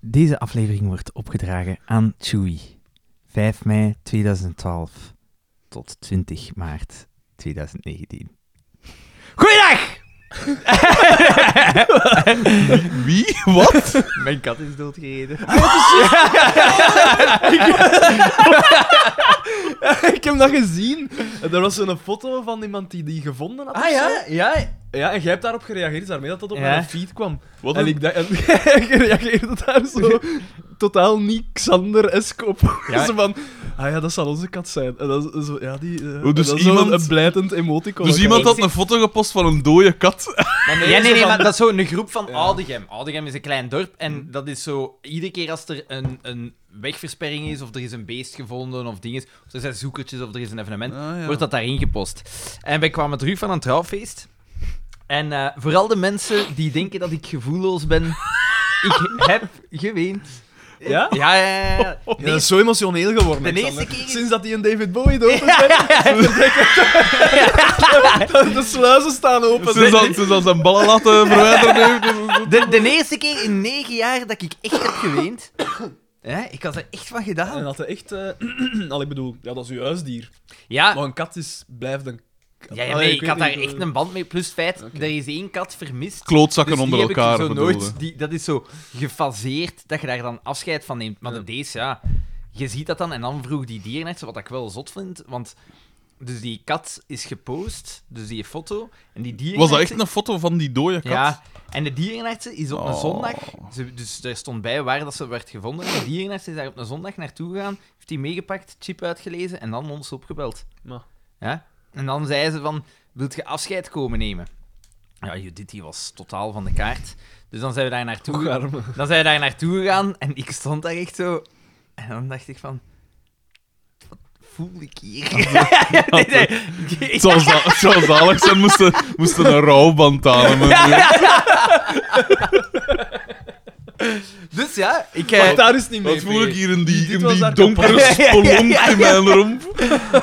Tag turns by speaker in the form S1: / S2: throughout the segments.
S1: Deze aflevering wordt opgedragen aan Chewy. 5 mei 2012 tot 20 maart 2019. Goeiedag!
S2: Wie? Wat?
S1: Mijn kat is doodgereden.
S3: Ah,
S2: ik heb dat gezien. Er was zo'n foto van iemand die die gevonden
S3: Ah,
S2: had. of zo.
S1: Ah, ja.
S2: Ja, en jij hebt daarop gereageerd, daarmee dat dat op
S1: Ja.
S2: mijn feed kwam.
S3: Wat
S2: en
S3: een-
S2: ik dacht, en jij reageerde daar zo totaal niet Xander-esk op.
S1: Ja.
S2: Zo van, ah ja, dat zal onze kat zijn. En dat is zo, ja, die... eh,
S3: Oh, dus
S2: dat is zo
S3: iemand-
S2: Een blijtend emoticon.
S3: Dus iemand
S1: ik
S3: had
S1: zie-
S3: een foto gepost van een dode kat.
S1: Nee,
S4: nee,
S1: nee,
S4: zo van-
S1: maar dat is zo een groep van
S4: Ja.
S1: Oudegem. Oudegem is een klein dorp en
S3: Mhm.
S1: dat is zo... Iedere keer als er een, een wegversperring is, of er is een beest gevonden, of dingen, of er zijn zoekertjes, of er is een evenement, wordt dat daarin gepost. En wij kwamen terug van een trouwfeest. En eh, vooral de mensen die denken dat ik gevoelloos ben, ik heb geweend.
S2: Ja?
S1: Ja, ja, ja, ja.
S2: Ja, dat is zo emotioneel geworden,
S1: De eerste
S2: Xander.
S1: keer is-
S2: Sinds dat hij een David Bowie dood is, de sluizen staan open.
S3: Ze zal, ze zal zijn ballen laten verwijderen.
S1: Dus
S3: heeft.
S1: De, de eerste keer in negen jaar dat ik echt heb geweend. Ja, ik had er echt van
S2: En
S1: gedaan.
S2: dat hij echt... eh, al, ik bedoel, ja, dat is uw huisdier.
S1: Ja,
S2: Maar een kat is, blijft een kat.
S1: ja, ja,
S2: Allee,
S1: nee,
S2: ik
S1: ik had
S2: weet
S1: daar
S2: niet,
S1: echt
S2: eh,
S1: een band mee. Plus het feit,
S2: Oké.
S1: er is één kat vermist.
S3: Klootzakken
S1: Dus
S3: onder
S1: die heb ik
S3: elkaar.
S1: zo
S3: bedoelde.
S1: nooit, die, dat is zo gefaseerd dat je daar dan afscheid van neemt. Maar
S2: Ja.
S1: de deze, ja, je ziet dat dan. En dan vroeg die dierenarts, wat ik wel zot vind, want dus die kat is gepost, dus die foto. En die
S3: Was
S1: dierenarts,
S3: dat echt een foto van die dode kat?
S1: Ja, en de dierenarts is op een
S3: Oh.
S1: zondag, ze- dus daar stond bij waar dat ze werd gevonden. De dierenarts is daar op een zondag naartoe gegaan, heeft die meegepakt, chip uitgelezen en dan ons opgebeld.
S2: Maar-
S1: Ja? En dan zei ze van, wilt je afscheid komen nemen? Ja, Judith die was totaal van de kaart. Dus dan zijn we daar naartoe
S2: Toch arm.
S1: dan zijn we daar naartoe gegaan en ik stond daar echt zo. En dan dacht ik van. Wat voel ik hier? Nee, nee.
S3: Het zou, za- het zou zalig zijn, moesten, moesten een rouwband aan hem.
S1: Dus ja, ik. eh,
S2: Maar daar is het niet mee.
S3: Wat voel ik hier in
S2: Die-
S3: die,
S2: dit
S3: in
S2: was
S3: die
S2: daar
S3: donkere
S1: kapot.
S3: spelonk in mijn romp?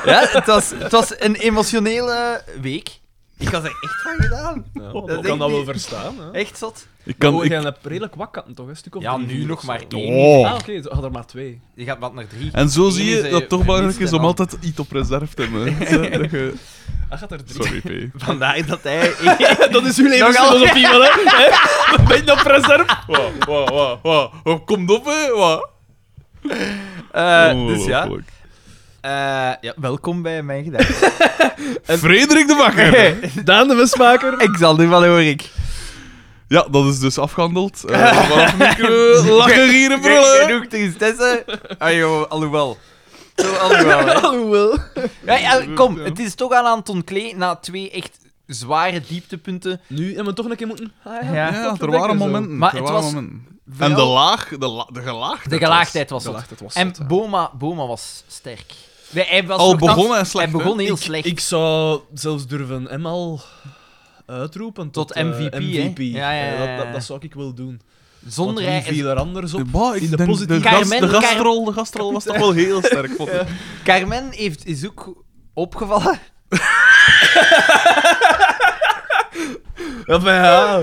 S1: ja, het, was, het was een emotionele week. Ik had er echt van gedaan. denk
S2: dat kan dat
S1: ik
S2: wel
S1: niet.
S2: verstaan. Hè?
S1: Echt zot.
S3: Ik
S2: Kan,
S1: Oh,
S3: kan, ik,
S2: hebt redelijk wat katten, toch? Een stuk of
S1: Ja,
S2: drie,
S1: nu
S2: vier
S1: nog
S2: of
S1: maar
S2: zo.
S1: één.
S2: Ah,
S3: oh.
S2: oké. zo- ah, er maar twee.
S1: Je gaat wat naar drie.
S3: En zo
S1: Eén
S3: zie
S1: is,
S3: je
S1: eh,
S3: dat het toch belangrijk
S1: vermist
S3: is om
S1: en
S3: altijd iets op reserve te hebben. hè. Dat je-
S2: Ah, gaat er drie.
S3: Sorry, P.
S1: Vandaar dat hij.
S2: dat is uw
S1: levensfilosofie,
S2: wel, hè? Ben je dat preserve?
S3: Wauw, wauw, wauw, wauw. Kom op, hè. wauw.
S1: Eh, dus ja.
S3: Ongelooflijk.
S1: Eh, ja. Welkom bij mijn gedachten.
S3: Frederik de Bakker.
S2: Daan de Westmaker.
S1: ik zal nu wel horen. Ik.
S3: Ja, dat is dus afgehandeld. Eh vanaf nu kunnen we eh, lachen, gieren, brullen.
S1: Genoeg tristesse. Ah joh, alhoewel. Zo, alhoewel. hè.
S2: Alhoewel.
S1: Ja, ja, kom,
S3: Ja.
S1: het is toch aan Anton Klee na twee echt zware dieptepunten.
S2: Nu hebben we toch een keer moeten... Ah, ja,
S1: Ja.
S2: toch
S3: Ja, er
S2: verdenken
S3: waren
S2: zo.
S3: momenten.
S1: Maar
S3: er
S1: het
S3: waren
S1: was
S3: momenten. En
S1: Vooral
S3: de laag, de, la, de gelaagdheid.
S1: de gelaagdheid was
S2: De
S1: dat.
S2: lacht, het was
S1: En
S2: zot, hè.
S1: Boma, Boma was sterk. Nee, hij was
S3: Al
S1: nog
S3: begon
S1: dat-
S3: hij slecht,
S1: Hij begon
S3: hè?
S1: heel
S2: ik,
S1: slecht.
S2: Ik zou zelfs durven hem al uitroepen tot,
S1: Tot
S2: eh,
S1: MVP, hè?
S2: MVP.
S1: Ja, ja,
S2: Eh,
S1: ja,
S2: dat,
S1: ja.
S2: dat, dat zou ik wel doen.
S1: Zonder
S2: Want
S1: hij...
S2: wie viel er anders op?
S3: was. Bah, ik
S2: In de
S3: denk de,
S2: positieve-
S3: gast- de
S1: Carmen- Car-
S3: gastrol, de gastrol was toch wel heel sterk, vond ik.
S1: Carmen heeft, is ook opgevallen.
S2: Ja, maar ja.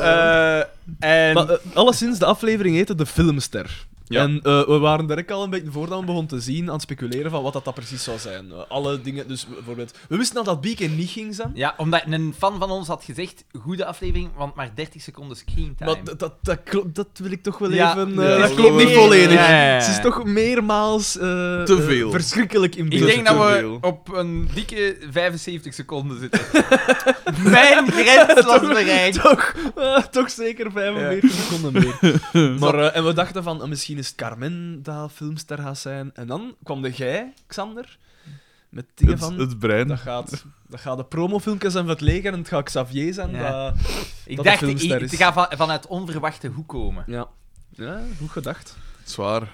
S1: Eh, en...
S2: Maar, eh, alleszins, de aflevering heette De Filmster.
S3: Ja.
S2: En eh, we waren direct al een beetje voordat we begonnen te zien aan het speculeren van wat dat, dat precies zou zijn. Eh, alle dingen, dus bijvoorbeeld... We wisten al dat Beacon niet ging zijn.
S1: Ja, omdat een fan van ons had gezegd, goede aflevering, want maar 30 seconden screentime.
S2: Maar dat, dat, dat, klopt- dat wil ik toch wel
S1: Ja.
S2: even... eh,
S3: Ja,
S2: dat
S3: dat
S2: klopt
S3: wil
S2: niet
S3: ik-
S2: volledig.
S1: Ja, ja, ja.
S2: Ze is toch meermaals... eh, eh,
S3: veel.
S2: verschrikkelijk in
S1: Ik
S2: beeld.
S1: denk dat
S3: te
S1: we
S3: veel.
S1: op een dikke 75 seconden zitten. Mijn grens was bereikt.
S2: toch, eh, toch zeker 45 seconden meer. Maar, eh, en we dachten van, eh, misschien is het Carmen dat filmster gaat zijn. En dan kwam de jij, Xander, met dingen
S3: Het,
S2: van...
S3: het brein.
S2: Dat gaat, dat gaat de promofilmpjes zijn van het leger en het gaat Xavier zijn.
S1: Ja.
S2: Dat,
S1: Ik
S2: dat
S1: dacht,
S2: de
S1: ik,
S2: filmster
S1: ik
S2: is.
S1: ga van, vanuit onverwachte hoek komen.
S2: ja. ja, goed gedacht.
S3: Zwaar.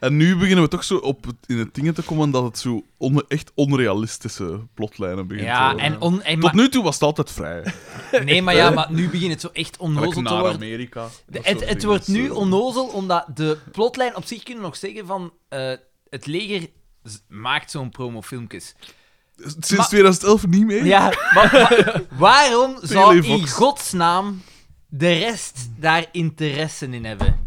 S3: En nu beginnen we toch zo op het, in het dingen te komen dat het zo on- echt onrealistische plotlijnen begint te
S1: Ja,
S3: worden.
S1: en, on, en
S3: Tot
S1: maar-
S3: nu toe was het altijd vrij.
S1: nee, maar, ja, maar nu begint het zo echt onnozel
S3: Gelijk
S1: te
S3: naar
S1: worden.
S3: Amerika. dat eh,
S1: De-
S3: soort
S1: het het
S3: dingen.
S1: wordt nu
S3: Zo.
S1: onnozel, omdat de plotlijn op zich kunnen we nog zeggen van... eh, het leger z- maakt zo'n promofilmpjes.
S3: Sinds
S1: Maar-
S3: 2011 niet meer?
S1: Ja, maar, maar waarom zou in
S3: Fox.
S2: Mm.
S1: godsnaam de rest daar interesse in hebben?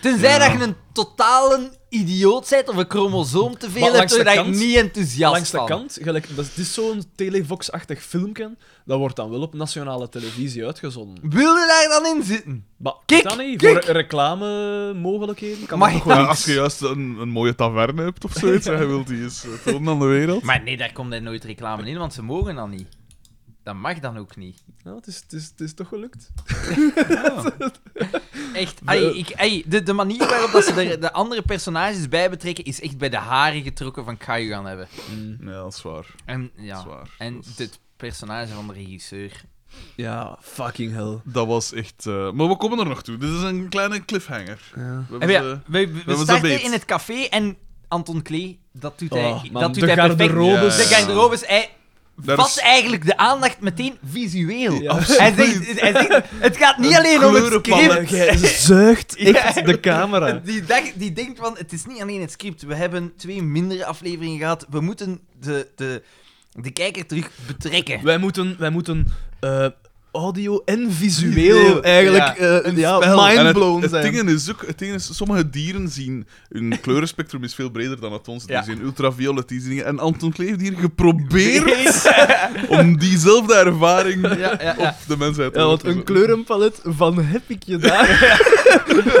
S1: Tenzij
S3: Ja.
S1: dat je een totale idioot bent of een chromosoom te
S2: Maar
S1: veel hebt,
S2: langs de
S1: zodat je
S2: kant-
S1: niet enthousiast
S2: Langs de
S1: van.
S2: kant, gelijk, dat is, het is zo'n televox-achtig filmpje, dat wordt dan wel op nationale televisie uitgezonden.
S1: Wil je daar dan in zitten?
S2: Maar
S1: Kijk,
S2: weet dat niet,
S1: kijk.
S2: voor reclame-mogelijkheden kan
S1: Maar
S2: dat toch
S3: Ja,
S2: wel
S3: als je juist een, een mooie taverne hebt of zoiets, en je wilt die eens eh, tonen aan de wereld.
S1: Maar nee, daar komt er nooit reclame in, want ze mogen dat niet. Dat mag dan ook niet.
S2: Ja, het, is, het, is, het is toch gelukt.
S1: Echt, ai, ik, ai, de, de manier waarop dat ze er de andere personages bij betrekken, is echt bij de haren getrokken van Kaju gaan hebben.
S3: Ja, dat is waar.
S1: En
S3: Dat
S1: ja,
S3: is waar.
S1: en
S3: Dat is-
S1: het personage van de regisseur.
S2: Ja, fucking hell.
S3: Dat was echt... eh, Maar we komen er nog toe. Dit is een kleine cliffhanger.
S2: Ja.
S3: We
S1: En
S3: hebben
S1: ja,
S3: ze-
S1: we, we,
S3: hebben ze
S1: starten
S3: beet.
S1: in het café en Anton Klee, dat doet hij,
S2: Oh, man,
S1: dat doet
S2: de
S1: hij perfect.
S2: garderobes.
S1: De
S3: Ja.
S1: garderobes, hij
S3: Daar
S1: vat
S3: is-
S1: eigenlijk de aandacht meteen visueel.
S2: Ja.
S1: Hij, zegt, hij zegt, het gaat niet
S3: Een
S1: alleen om het
S3: kleurenpalet.
S1: script.
S2: Jij zuigt echt
S1: Ja.
S2: de camera.
S1: Die, dacht- die denkt van, het is niet alleen het script. We hebben twee mindere afleveringen gehad. We moeten de, de, de kijker terug betrekken.
S2: Wij moeten, wij moeten eh, audio en visueel eigenlijk eh, ja,
S3: En het-
S2: mindblown
S3: het,
S2: zijn.
S3: Ding is ook, het ding is, sommige dieren zien... Hun kleurenspectrum is veel breder dan het onze.
S2: Ja.
S3: Die zien ultraviolet, die zien dingen. En Anton Klee heeft hier geprobeerd om diezelfde ervaring
S1: Ja, ja, ja.
S3: op de mensheid te
S2: Ja, want een kleurenpalet van heb ik je daar.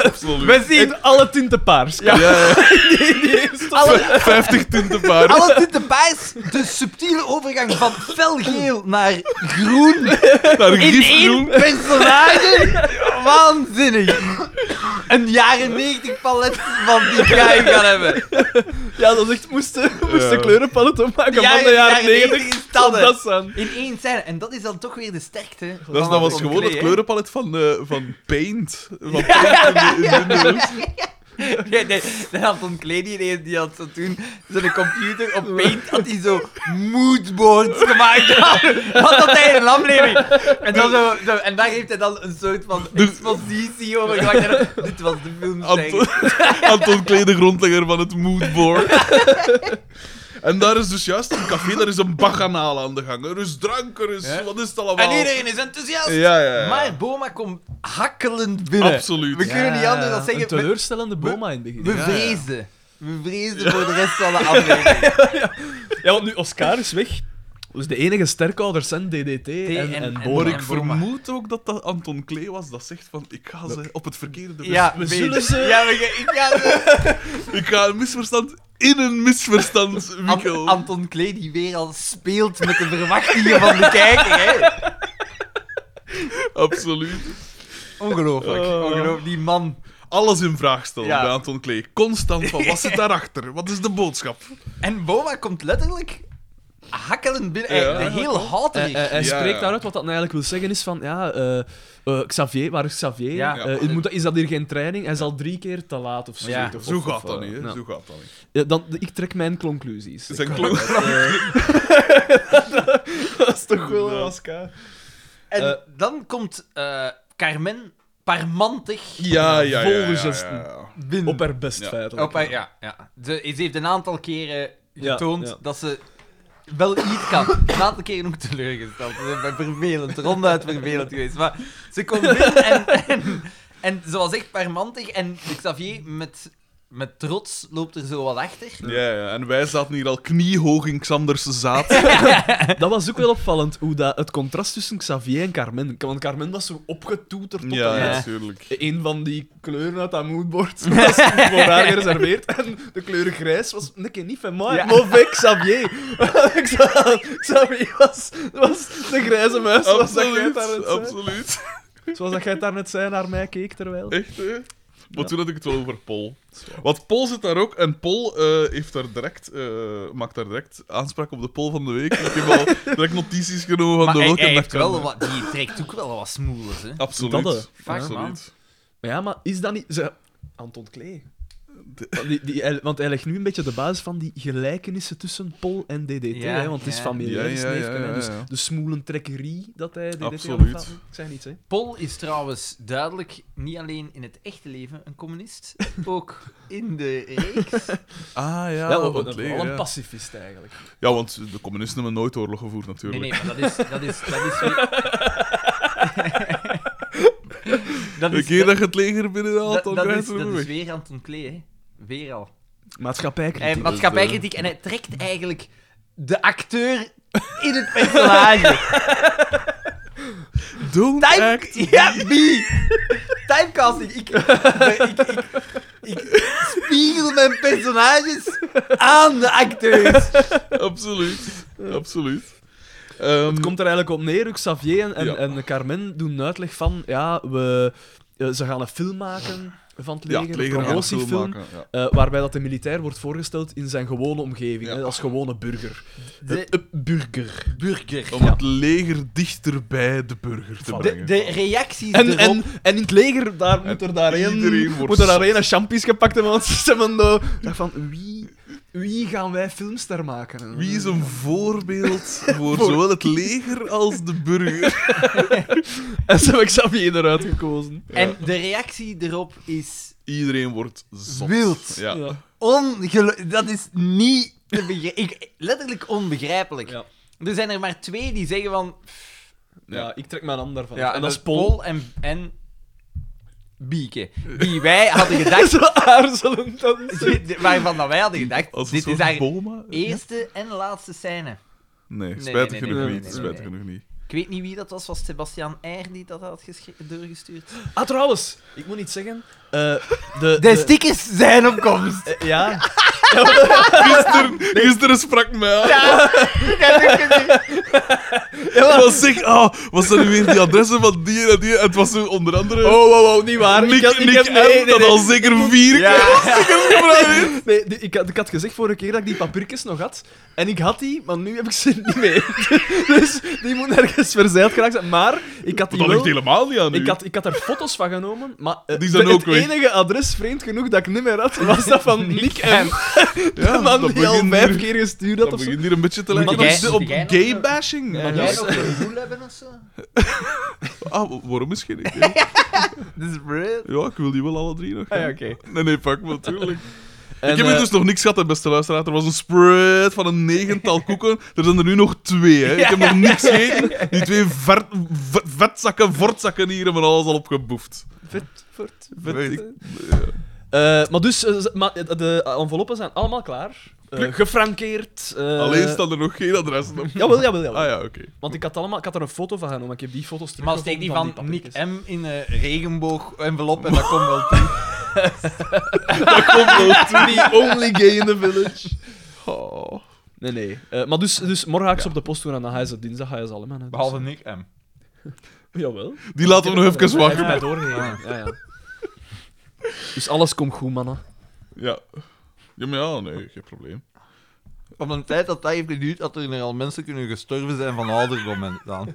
S3: Absoluut.
S1: We zien
S2: In alle tinten paars.
S3: Ja, ja, ja.
S1: alle,
S3: 50 tinten paars.
S1: alle tinten paars. De subtiele overgang van felgeel naar groen.
S3: Daar
S1: In één
S3: gifgroen.
S1: personage? Waanzinnig! Een jaren 90 palet van die guy gaan hebben.
S2: Ja, dat is echt moesten moesten
S3: Ja.
S2: kleurenpalet opmaken
S1: Ja,
S2: van de jaren
S1: jaren 90
S2: negentig.
S1: is dat, hè.
S2: Dat zijn.
S1: In één scène. En dat is dan toch weer de sterkte.
S3: Dat, is,
S1: van
S3: dat was
S1: Anton
S3: gewoon het
S1: Klee,
S3: kleurenpalet van, eh, van Paint. Van
S1: hè. Ja, nee, de Anton Klee die, ineens- die had zo toen zijn computer op Paint had hij zo moodboards gemaakt. Wat had hij in een aflevering? En, dan zo, zo- en daar heeft hij dan een soort van expositie over gemaakt. Dit was de film.
S3: Anton, Anton Klee, de grondlegger van het moodboard. En daar is dus juist een café, daar is een bacchanaal aan de gang. Er is drank, er is...
S1: Ja.
S3: Wat is het allemaal?
S1: En iedereen is enthousiast.
S3: Ja, ja, ja.
S1: Maar Boma komt hakkelend binnen.
S3: Absoluut.
S1: We kunnen niet anders dan zeggen...
S2: Een
S1: we-
S2: teleurstellende boma in het begin.
S1: We
S3: ja.
S1: vreesden. We vreesden voor de rest van de aflevering.
S2: Ja, want nu Oscar is weg. Dus de enige sterkouders zijn DDT en,
S1: en-
S2: en,
S1: en-
S2: Boma.
S3: Maar ik
S1: En Boma.
S3: vermoed ook dat dat Anton Klee was dat zegt van... Ik ga ze op het verkeerde... mis-
S1: Ja,
S2: we
S1: weet-
S2: zullen ze-
S1: Ja, we, gaan- ik ga ze...
S3: Ik ga een misverstand in een misverstand
S1: Ant-
S3: wikkelen.
S1: Anton Klee die weer al speelt met de verwachtingen van de kijker. Hè.
S3: Absoluut.
S1: Ongelooflijk.
S3: Oh.
S1: Ongelooflijk. Die man.
S3: Alles in vraag stellen
S1: Ja.
S3: bij Anton Klee. Constant van, wat zit daarachter? Wat is de boodschap?
S1: En Boma komt letterlijk hakkelend binnen.
S3: Ja,
S1: Hij- heel
S2: Eh,
S1: houterig.
S2: eh, hij
S3: Ja,
S2: spreekt
S3: ja.
S2: daaruit wat dat nou eigenlijk wil zeggen is van ja, eh, eh, Xavier, waar is Xavier?
S1: Ja.
S2: Eh, is- moet dat- is dat hier geen training? Hij zal drie keer te laat of zo.
S1: Ja.
S2: Of-
S3: Zo
S2: of-
S3: gaat
S2: of,
S3: dat
S2: eh,
S3: niet, hè.
S2: nou.
S3: Zo gaat dat niet.
S2: Ja, dan, ik trek mijn conclusies.
S3: Zijn klok...
S2: eh, dat is toch
S3: Ja.
S2: Oscar.
S1: en
S2: eh.
S1: dan komt eh, Carmen parmantig
S3: Ah, Ja, ja, ja.
S2: Vol
S3: ja, ja,
S2: gezesten.
S3: ja.
S1: binnen.
S2: Op haar best
S3: Ja.
S2: feitelijk.
S1: Op, ja, ja. Ze, ze heeft een aantal keren
S2: Ja,
S1: getoond
S2: ja.
S1: dat ze wel iets kan. Een aantal keren ook teleurgesteld. Ze zijn vervelend, ronduit vervelend geweest. Maar ze komt binnen en, en, en ze was echt parmantig. En Xavier met, met trots loopt er zo wat achter.
S3: Ja, ja, en wij zaten hier al kniehoog in Xanders zaad.
S2: Dat was ook wel opvallend, hoe dat, het contrast tussen Xavier en Carmen. Want Carmen was zo opgetoeterd tot
S3: Ja,
S2: de
S1: Ja.
S3: natuurlijk.
S2: een van die kleuren uit dat moodboard was voor haar gereserveerd. En de kleur grijs was een keer niet van mij,
S1: Ja.
S2: maar van Xavier. Xa- Xavier was, was de grijze muis, zoals dat jij
S3: Absoluut,
S2: daarnet zei.
S3: absoluut.
S2: Zoals dat jij daarnet zei, naar mij keek terwijl.
S3: Echt, hè? Maar
S2: Ja.
S3: toen had ik het wel over Pol. Want Pol zit daar ook en Pol eh, heeft daar direct, eh, maakt daar direct aanspraak op de Pol van de week. Ik heb al direct notities genomen van
S1: maar
S3: de
S1: hij,
S3: welke
S1: hij
S3: dag
S1: heeft
S3: kan.
S1: wel wat, die trekt ook wel wat smoelers. Hè.
S3: Absoluut.
S2: Dat,
S1: hè. Fuck,
S3: absoluut.
S2: Maar ja, maar is dat niet... Ze... Anton Klee. Want Die, die, hij- want hij legt nu een beetje de basis van die gelijkenissen tussen Pol en DDT,
S1: Ja,
S2: hè, want het is
S1: ja.
S2: familiair,
S3: Ja,
S2: is
S3: ja,
S2: neefje,
S3: ja,
S2: hè,
S3: ja,
S2: dus
S3: ja.
S2: de smoelentrekkerie dat hij DDT
S3: Absoluut.
S2: had. Ik zei niets, hè.
S1: Paul is trouwens duidelijk niet alleen in het echte leven een communist, ook in de reeks.
S3: Ah ja,
S2: Ja,
S3: want
S2: wel
S3: het
S2: een,
S3: leger,
S2: wel een
S3: ja.
S2: pacifist eigenlijk.
S3: Ja, want de communisten hebben nooit oorlog gevoerd, natuurlijk.
S1: Nee, nee, maar dat is... Dat is, dat is, weer- dat is, Dat
S3: De
S1: is,
S3: keer
S1: dat,
S3: dat je het leger binnenhaalt, dan
S1: dat- dat
S3: krijg
S1: is,
S3: je het
S1: dat
S3: weer
S1: is
S3: weg.
S1: weer aan het ontkleed, hè. Weer al.
S2: Maatschappijkritiek.
S1: Eh, maatschappijkritiek. En hij trekt eigenlijk de acteur in het personage.
S3: Don't
S1: Time...
S3: act.
S1: Ja, me! Timecasting. Ik, ik, ik, ik spiegel mijn personages aan de acteurs.
S3: Absoluut. Absoluut. Ehm,
S2: Het komt er eigenlijk op neer. ook Xavier en, en,
S3: Ja.
S2: en Carmen doen uitleg van... Ja, we, eh, ze gaan een film maken van het leger.
S3: ja, het
S2: een
S3: leger gaat het film
S2: promotiefilm.
S3: maken. Ja.
S2: eh, waarbij dat de militair wordt voorgesteld in zijn gewone omgeving.
S3: Ja.
S2: hè, als gewone burger.
S1: De
S2: Eh, burger.
S1: burger.
S3: Om het leger dichter bij de burger te
S2: Van-
S1: De,
S3: brengen.
S1: de reacties
S2: En,
S1: erop...
S2: en, en in het leger, daar moet er daar
S3: iedereen
S2: een,
S3: wordt
S2: moet er daar
S3: zot.
S2: een een champies gepakt hebben, want ze hebben eh, dacht van, wie, wie gaan wij filmster maken?
S3: Wie is een voorbeeld voor zowel het leger als de burger?
S2: En zo heb ik Xavier eruit gekozen.
S1: En de reactie erop is
S3: Iedereen wordt zot.
S1: wild.
S3: Ja.
S2: Ja.
S1: Ongelo- Dat is niet te begrijpen. Ik, letterlijk onbegrijpelijk.
S2: Ja.
S1: Er zijn er maar twee die zeggen van...
S2: Ja, ik trek mijn hand daarvan.
S1: Ja,
S2: en dat is Paul.
S1: en, en Bieke. Die wij hadden gedacht...
S2: Zo aarzelend dan.
S1: die- waarvan dat wij hadden gedacht...
S3: Als een
S1: dit is
S3: soort
S1: haar
S3: boma?
S1: eerste en laatste scène.
S3: Nee,
S1: nee,
S3: spijtig
S1: nee,
S3: genoeg
S2: nee, nee,
S3: niet.
S2: nee,
S3: spijtig
S1: nee.
S3: genoeg niet.
S1: Ik weet niet wie dat was. Was Sebastian Eyre die dat had geschre- doorgestuurd?
S2: Ah, trouwens, ik moet iets zeggen. Eh, de,
S1: De stickers zijn op komst.
S2: eh, ja,
S3: Gisteren, gisteren sprak mij aan.
S2: maar-
S3: was zeg, ah, wat zijn nu weer die adressen van die en die? Het was zo onder andere...
S2: Oh, wow, wow, niet waar.
S3: Nick,
S2: ik had, ik
S3: Nick
S2: heb-
S3: M,
S2: nee, nee,
S3: dat
S2: nee.
S3: al zeker vier keer gevraagd heeft.
S2: Nee, die- ik, had, ik had gezegd vorige keer dat ik die papiertjes nog had. En ik had die, maar nu heb ik ze niet meer. dus die moet ergens verzeild geraakt zijn. Maar ik had die
S3: Dat ligt
S2: wel...
S3: helemaal niet aan u.
S2: Ik had, ik had er foto's van genomen, maar eh,
S3: Die zijn
S2: de-
S3: ook
S2: het
S3: weg.
S2: enige adres, vreemd genoeg, dat ik niet meer had, was dat van Nick M.
S3: Ja,
S2: De man die al
S3: begint
S2: vijf
S3: hier-
S2: keer gestuurd had
S3: Dat
S2: of zo.
S3: begint hier een beetje te
S1: Moet
S3: lijken
S1: jij-
S3: op, op
S1: moet jij nog-
S3: gay-bashing. maar
S2: Moet
S3: dat
S2: jij
S3: is-
S2: nog-
S1: een gevoel hebben of zo?
S3: Ah, wa- waarom is geen idee?
S1: Dit is brutal.
S3: Ja, ik wil die wel alle drie nog.
S2: Ah, ja,
S3: hè.
S2: oké.
S3: Nee, nee, pak me, natuurlijk.
S2: En,
S3: ik heb
S2: eh,
S3: hier dus nog niks gehad, hè, beste luisteraar. Er was een spread van een negental koeken. Er zijn er nu nog twee. Hè. Ik heb nog niks gegeten. Die twee ver, v- vetzakken, vortzakken hier hebben alles al opgeboefd.
S2: vet- vet-
S3: Vet,
S2: vet-
S3: ik-
S2: Eh, maar dus, eh, z- maar de enveloppen zijn allemaal klaar. Eh,
S3: Prik.
S2: gefrankeerd. eh,
S3: Alleen staan er nog geen adressen op.
S2: Jawel, jawel, jawel.
S3: Ah ja, oké.
S2: Want ik had, allemaal, ik had er een foto van genomen, ik heb die foto's terug.
S1: Maar steek die van, Nick
S2: papiertjes.
S1: M in een regenboog-envelop en dat komt wel toe.
S3: Dat komt wel toe.
S2: The only gay in the village.
S3: Oh.
S2: Nee, nee. Eh, maar dus, dus morgen ga ik ze
S3: Ja.
S2: op de post doen en dan ga je ze dinsdag ga je ze allemaal. hè, dus-
S1: Behalve Nick M.
S2: Jawel.
S3: Die laten we nog even
S2: Hij
S3: wachten.
S2: heeft mij doorgegeven. Ja, ja. Dus alles komt goed, mannen.
S3: Ja. Ja, maar ja, nee, geen probleem.
S1: Van het feit dat dat heeft geduurd, dat er al mensen kunnen gestorven zijn van ouderdom dan.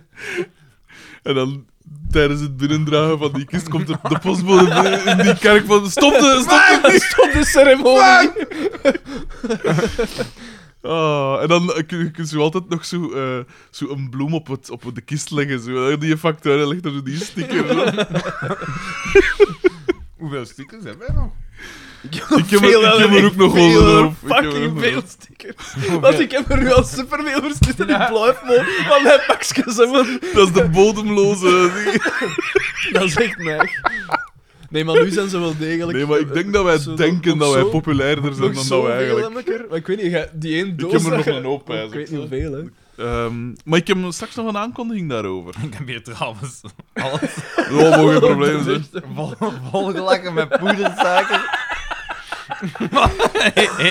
S3: En dan tijdens het binnendragen van die kist komt de, de postbode binnen in die kerk van... Stop de... Stop de kist!
S2: Stop de ceremonie!
S3: Ah, en dan eh, kun, kun je zo altijd nog zo, eh, zo een bloem op, het, op de kist leggen. Zo. Eh, Die factuur legt er zo die sticker. zo.
S1: Hoeveel stickers hebben wij nog?
S3: Ik heb er- ik heb er ook nog
S2: veel,
S3: onder op.
S2: hoor.
S3: Ik heb er ook
S2: Fucking
S3: nog
S2: veel
S3: op.
S2: stickers. Want ik heb er nu al superveel voor zitten in blijf man. Van mijn pakjes, hè, man.
S3: Dat is de bodemloze. ding.
S2: Dat is echt neig. Nee, maar nu zijn ze wel degelijk...
S3: Nee, maar ik denk dat wij
S2: Zo,
S3: denken
S2: nog
S3: dat wij
S2: zo-
S3: populairder zijn
S2: Nog
S3: dan dat wij
S2: zoveel
S3: eigenlijk.
S2: aan elkaar. Maar ik weet niet, jij- die één doos...
S3: heb er nog
S2: dat je-
S3: een hoop bij,
S2: Ik weet
S3: zeg.
S2: niet hoeveel, hè.
S3: Ehm, maar ik heb straks nog een aankondiging daarover.
S1: Ik heb hier trouwens alles
S3: Oh, mogen geen probleem zijn.
S1: vol, volgelakken met poedersuiker.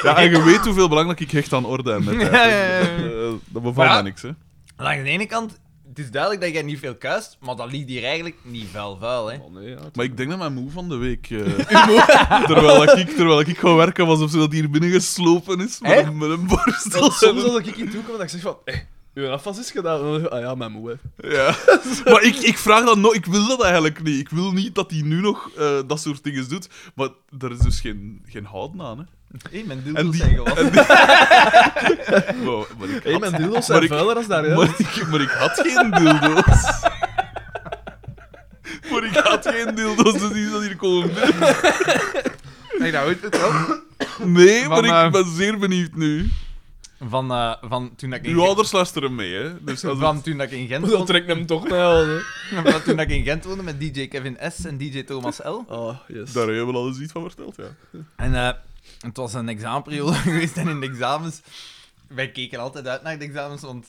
S3: Ja, en je weet hoeveel belangrijk ik hecht aan orde en netheid.
S1: Ja, ja, ja.
S3: Eh, Dat bevalt
S1: Maar ja.
S3: mij niks, hè.
S1: Langs de ene kant, het is duidelijk dat jij niet veel kuist, maar dat ligt hier eigenlijk niet vuil vuil, hè.
S2: Oh, nee, ja.
S3: Maar ik denk dat mijn moe van de week. eh, terwijl, dat ik, terwijl ik gewoon werken was of zo, dat hier binnen geslopen is met,
S1: Echt?
S3: een, met een borstel.
S2: Want Soms als ik hier toe kom, dat ik zeg van... Hé, uw afwas is gedaan. En dan zeg ik, ah ja, mijn moe, hè.
S3: Ja. Maar ik, ik vraag dat nooit, ik wil dat eigenlijk niet. Ik wil niet dat hij nu nog eh, dat soort dingen doet. Maar er is dus geen, geen houden aan. Hè.
S1: Hé, mijn
S3: En
S1: dildo's
S3: die-
S1: zijn gewassen.
S3: Wow, maar, ik
S2: Hé,
S3: had,
S2: mijn dildo's
S3: Maar
S2: zijn
S3: ik-
S2: vuiler als daar, hè.
S3: maar, ik, maar ik had geen dildo's. maar ik had geen dildo's, dus die is dat hier komen binnen.
S1: Nee, dat hoort nou, het wel.
S3: Nee,
S1: Van,
S3: maar ik
S1: eh,
S3: ben zeer benieuwd nu.
S1: Van, eh, van toen dat ik in
S3: Uw ouders luisteren mee, hè? Dus als
S1: van toen dat ik in Gent
S2: Dat
S1: woonde,
S2: trekt hem toch naar wel, hè.
S1: van toen dat ik in Gent woonde met DJ Kevin S en DJ Thomas L.
S2: Oh, yes.
S3: het- Daar hebben we al eens iets van verteld, ja.
S1: En eh, het was een examenperiode geweest en in de examens... Wij keken altijd uit naar de examens, want...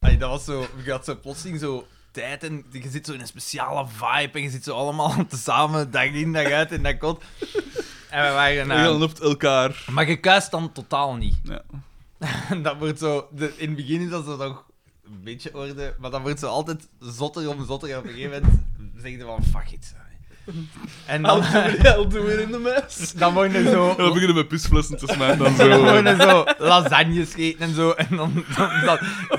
S1: ai, dat was zo... Je had zo plotseling zo tijd en je zit zo in een speciale vibe en je zit zo allemaal tezamen dag in, dag uit en dat kot. En we waren... eh,
S3: We gaan op elkaar.
S1: maar je kuist dan totaal niet.
S3: Ja.
S1: En dat wordt zo... de- in het begin is dat zo nog een beetje orde, maar dat wordt zo altijd zotter om zotter. En op een gegeven moment zeg je van, fuck it. En dan...
S2: I'll do it in the mess.
S1: Dan worden zo...
S3: En we beginnen met pisflessen te smijten en zo.
S1: Dan worden zo lasagnes eten en zo. En dan... dan, dan,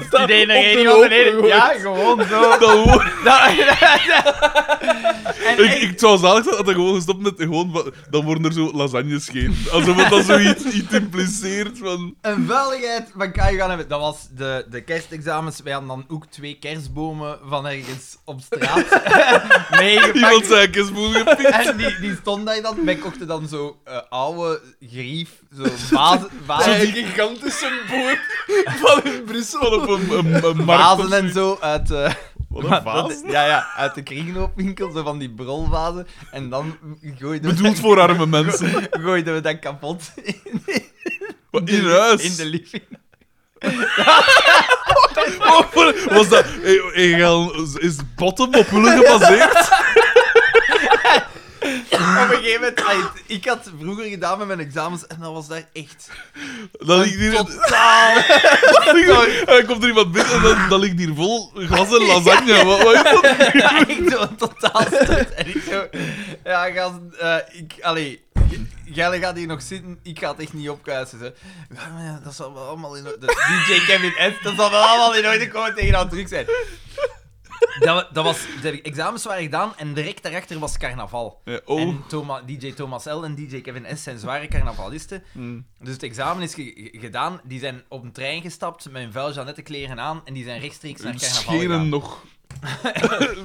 S1: dan die ene
S2: op
S1: regio,
S2: de hoop
S1: de ene-
S2: gegooid.
S1: Ja, gewoon zo.
S3: Dan wo-
S1: Dat- en,
S3: ik, ik zou zalig zijn dat hij gewoon gestopt met gewoon, wa- dan worden er zo lasagnes gegeten. Alsof het dan zoiets iets impliceert van...
S1: een vuiligheid van Kai gaan hebben. Dat was de, de kerstexamens. Wij hadden dan ook twee kerstbomen van ergens op straat. meegepakt.
S3: Iemand zijn kerstboom gepikt.
S1: En die, die stond daar dan. Wij kochten dan zo eh, oude grief, zo vazen,
S2: Zo'n
S1: vazen,
S2: gigantische boer van in
S3: Van
S2: Brussel.
S3: op een, een, een markt of
S1: vazen en zo uit... eh,
S3: Wat een
S1: Maar
S3: vaas.
S1: dat- Ja, ja, uit de kringloopwinkel, zo van die brolvazen. En dan gooiden we,
S3: Bedoeld voor arme mensen.
S1: gooiden we dat kapot in,
S3: Maar in huis.
S1: in de living.
S3: Oh, Was dat... Hey, hey, Gaal, is bottom op hullen gebaseerd?
S1: Op een gegeven moment, ay, ik had vroeger gedaan met mijn examens en dat was daar echt
S3: Dan ligt hier...
S1: totaal...
S3: En dan komt er iemand binnen en dan, dan ligt hier vol glazen lasagne. Wat, wat is dat?
S1: ik zo totaal stort. En ik zo... Ja, gast, eh, ik... Allee... Gelle gaat hier nog zitten, ik ga het echt niet opkuisen. Zo. Ja, maar ja, dat zal wel allemaal in orde... dat DJ Kevin S, dat zal wel allemaal in orde komen tegen dat druk zijn. Dat, wa- dat was... De examens waren gedaan en direct daarachter was carnaval.
S3: Ja, oh.
S1: En Thoma- DJ Thomas L. en DJ Kevin S. zijn zware carnavalisten. Dus het examen is ge- ge- gedaan. Die zijn op een trein gestapt met hun vuil Jeannette kleren aan en die zijn rechtstreeks naar
S3: Hun
S1: carnaval gegaan.
S3: schenen nog...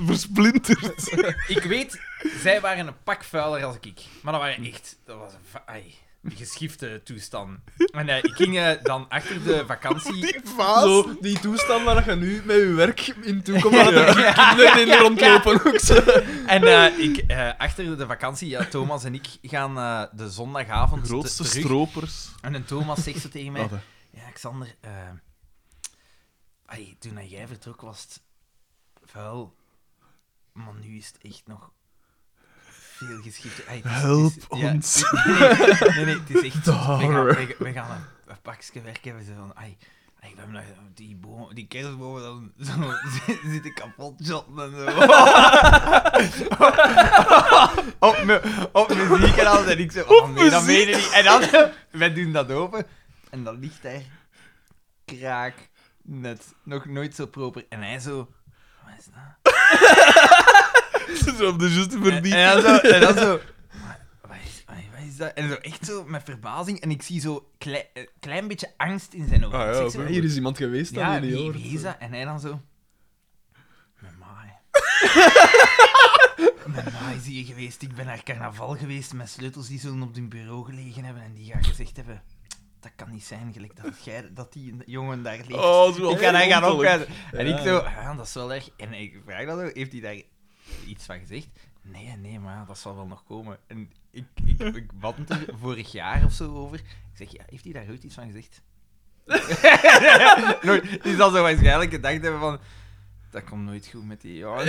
S3: Versplinterd.
S1: Ik weet, zij waren een pak vuiler als ik. Maar dat waren echt... Dat was een... va- Ai, een geschifte toestand. En eh, ik ging eh, dan achter de vakantie...
S2: Zo, die toestand waar je nu met je werk in toekomt, dat
S1: Ja.
S2: er kinderen in rondlopen ook zo.
S1: En eh, ik, eh, achter de vakantie, ja, Thomas en ik gaan eh, de zondagavond te-
S3: Grootste
S1: terug.
S3: stropers.
S1: En een Thomas zegt zo tegen mij...
S3: Wat, hè?
S1: Ja, Xander, eh, ai, toen dat jij vertrok was het vuil, maar nu is het echt nog veel geschifter. Ai, het is-
S3: Help
S1: het is- ja,
S3: ons.
S1: Nee, nee, nee, het is echt. We gaan,
S3: Daar.
S1: we, we gaan een, een pakje werken. We zeggen van, ai, ai, we hebben nog die, bomen, die kerstbomen dan zo, zi- zitten kapot shotten en zo. op, me, op muziek en alles. En ik zo, oh nee, dat meen je niet. En dan, wij doen dat open. En dan ligt daar kraak net. Nog nooit zo proper. En hij zo, wat is dat?
S3: Ze zijn op de juiste verdieping.
S1: En dan zo, en dan zo maar wat is, wat is- wat is dat? En zo echt zo met verbazing. En ik zie zo klein, een klein beetje angst in zijn ogen.
S3: Ah, ja,
S1: Ik zeg zo,
S3: oké.
S2: Hier is iemand geweest dan
S1: ja,
S2: jullie
S1: wie,
S2: hoort.
S1: wie is dat? En hij dan zo... Mijn maai. Mijn ma is hier geweest. Ik ben naar carnaval geweest met sleutels die zullen op hun bureau gelegen hebben. En die gaan gezegd hebben... Dat kan niet zijn, gelijk dat, jij, dat die jongen daar ligt.
S3: Oh, zo
S1: Ik ga daar gaan
S3: opkijken.
S1: opkijken. En
S2: Ja.
S1: ik zo, ah, dat is wel erg. En ik vraag dat zo, heeft hij daar iets van gezegd? Nee, nee, maar ja, dat zal wel nog komen. En ik, ik, ik had het er vorig jaar of zo over. Ik zeg, ja, heeft hij daar ooit iets van gezegd? nooit. Die zal zo waarschijnlijk gedacht hebben van... Dat komt nooit goed met die jongen.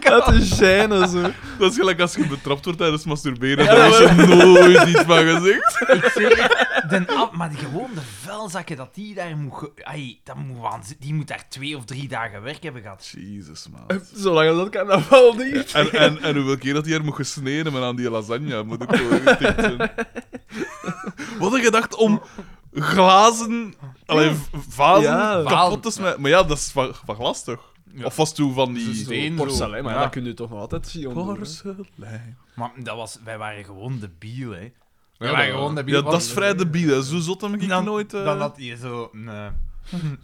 S2: Dat is gêne, zo.
S3: Dat is gelijk als je betrapt wordt tijdens masturberen. Daar is er nooit iets van gezegd.
S1: ik zeg het, den af, maar die- gewoon de vuilzakken dat die daar moet... ge- Ai, dat moet waanzin- die moet daar twee of drie dagen werk hebben gehad.
S3: Jezus, man.
S2: Zolang dat carnaval niet.
S3: En, en, en hoeveel keer dat hij er moet gesneden hebben aan die lasagne, moet ik wel getikt zijn. Wat een gedachte om glazen, alleen vazen,
S2: Ja.
S3: kapot te smijten. Maar ja, dat is van, van glas toch? Of was toen van die...
S1: steen zo.
S2: Porselein, maar
S1: Ja.
S2: dat kun je toch nog altijd zien. onderdoen, hè.
S3: Porselein.
S1: Maar dat was, wij waren gewoon debiel, hè. Wij
S3: Ja,
S1: waren
S3: dat-
S1: gewoon debiel.
S3: Ja,
S1: want-
S3: dat is vrij debiel. hè. Zo zot heb ik
S1: dan,
S3: nooit... eh,
S1: dan had hij zo een, eh,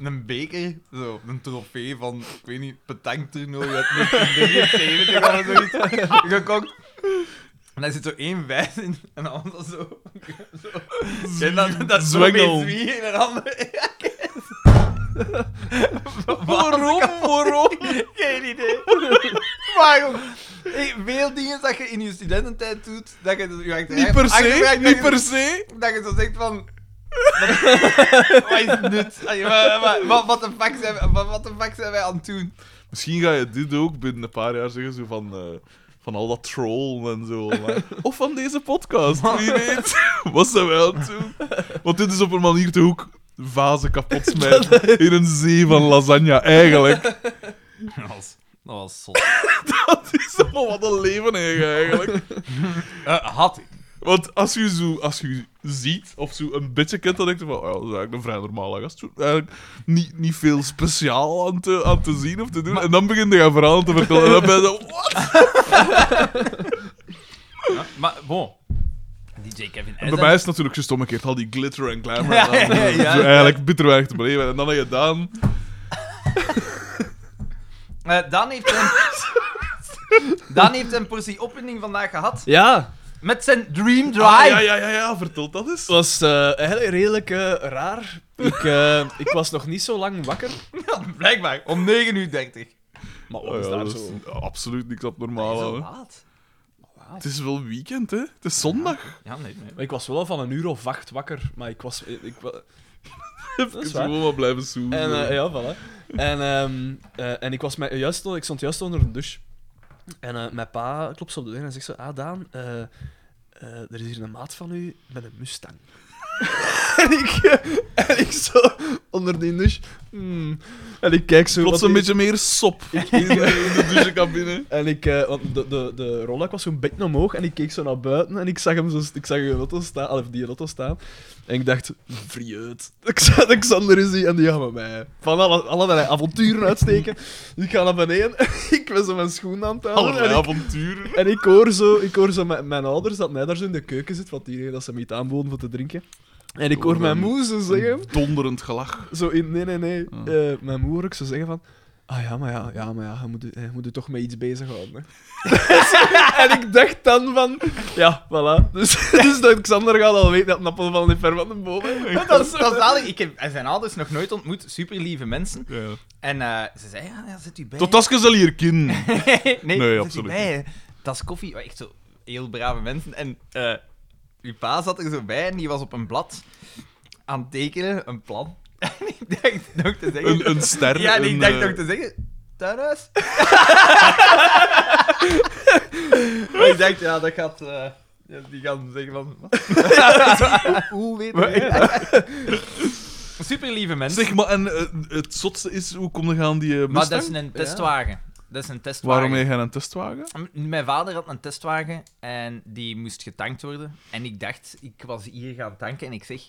S1: een beker, zo, een trofee van, ik weet niet, petanktoernooi uit 1973 of zoiets, gekocht. En daar zit zo één wijs in en de ander zo. zo. En dan, dat
S3: zwengel.
S1: zwengel. Wie en de ander.
S3: Waarom? Waarom?
S1: Geen idee. Waarom? Ik- Veel dingen dat je in je studententijd doet, dat je je achteraf-
S3: Niet per se,
S1: achteraf-
S3: niet
S1: dat je-
S3: per se.
S1: Dat je zo zegt van... Wat, wat is het nut? Allee, wa- wa- wa- Wat de fuck zijn wij- wa- wat de fuck zijn wij aan het doen?
S3: Misschien ga je dit ook binnen een paar jaar zeggen, zo van, eh, van al dat trollen en zo. maar- Of van deze podcast, wie weet. Wat zijn wij aan het doen? Want dit is op een manier toch ook vazen kapot smijten in een zee van lasagne, eigenlijk.
S1: Dat was, dat was
S3: Dat is allemaal wat een leven eigenlijk.
S1: Eh, had ik.
S3: Want als je zo, als je ziet of zo een beetje kent, dan denk je van, oh ja, dat is eigenlijk een vrij normale gast. Zo, Eigenlijk niet, niet veel speciaal aan te, aan te zien of te doen. En dan begin je haar verhaal te vertellen. En dan ben je zo, wat?
S1: maar bon. DJ Kevin
S3: En bij mij is het natuurlijk zo omgekeerd, al die glitter en glamour.
S1: Ja,
S3: en dan,
S1: ja,
S3: eh,
S1: ja.
S3: zo eigenlijk bitter weinig te beleven. En dan heb je Daan.
S1: dan Eh, heeft hij... Dan heeft hij een portie opwinding vandaag gehad.
S2: Ja,
S1: Met zijn Dream Drive.
S3: Ah, ja, ja, ja, ja, vertel dat eens.
S2: het was eh, eigenlijk redelijk eh, raar. Ik, eh, ik was nog niet zo lang wakker.
S1: Blijkbaar. Om 9 uur 30.
S2: Maar wat
S3: Oh
S2: is
S3: ja,
S2: daar
S3: dat is
S2: zo?
S3: absoluut niks abnormaal.
S1: Zo
S3: hè.
S1: laat.
S3: Het is wel weekend, hè? Het is zondag.
S1: Ja, nee, nee.
S2: Ik was wel al van een uur of acht wakker, maar ik was... Ik, ik wa-
S3: Even
S2: waar.
S3: gewoon maar blijven zoeken.
S2: En, eh, ja, voilà. En, ehm, eh, en ik, was mij, juist, ik stond juist onder een douche. En eh, mijn pa klopt zo op de deur en zegt zo... Ah, Daan, eh, eh, er is hier een maat van u met een Mustang. en, ik, eh, en ik zo onder die douche... hmm. en ik kijk zo...
S3: Plots
S2: wat
S3: een
S2: die-
S3: beetje meer sop in, eh, in de douchecabine.
S2: En ik, eh, want de, de, de rolluik was zo'n beetje omhoog en ik keek zo naar buiten en ik zag hem zo, ik zag een auto staan, of die auto staan. En ik dacht, vrieut. Alexander is die en die gaat met mij van alle, allerlei avonturen uitsteken. Dus ik ga naar beneden ik ben zo mijn schoen aan het houden.
S3: Allerlei
S2: En ik,
S3: avonturen.
S2: en ik hoor zo, ik hoor zo mijn, mijn ouders dat mij daar zo in de keuken zit, want die dat ze me iets aanboden voor te drinken. En ik hoor mijn moe zo zeggen...
S3: Donderend gelach.
S2: Zo in, nee, nee, nee.
S3: Ah.
S2: Eh, mijn moeder hoor ik zo zeggen van... Ah ja, maar ja, ja, maar ja, je moet, eh, je, je moet je toch met iets bezighouden, hè. en ik dacht dan van... Ja, voilà. Dus, dus dat Xander gaat al weten dat een appel van niet ver van de boom is.
S1: Dat is, dat is zalig. Ik heb zijn ouders nog nooit ontmoet. Super lieve mensen.
S3: Ja.
S1: En eh, ze zei, ja, ja, zit u bij.
S3: Tot als je zal hier kin.
S1: nee, zit u
S3: absoluut
S1: bij, hè? Dat is koffie. Maar Echt zo heel brave mensen. En eh uw pa zat er zo bij en die was op een blad aan het tekenen, een plan. En ik dacht nog te zeggen...
S3: Een, een ster.
S1: ja, en ik
S3: een,
S1: dacht
S3: eh,
S1: nog te zeggen... Tuinhuis? maar ik dacht, ja, dat gaat... eh, ja, die gaan zeggen van... wat?
S2: Hoe weet
S1: Maar-
S2: je?
S1: Super lieve mensen.
S3: Zeg maar, en eh, het zotste is, hoe kom je aan die eh,
S1: Maar
S3: Mustang?
S1: dat is een testwagen. Dat is een testwagen.
S3: Waarom heb je een testwagen?
S1: M- Mijn vader had een testwagen en die moest getankt worden. En ik dacht, ik was hier gaan tanken en ik zeg...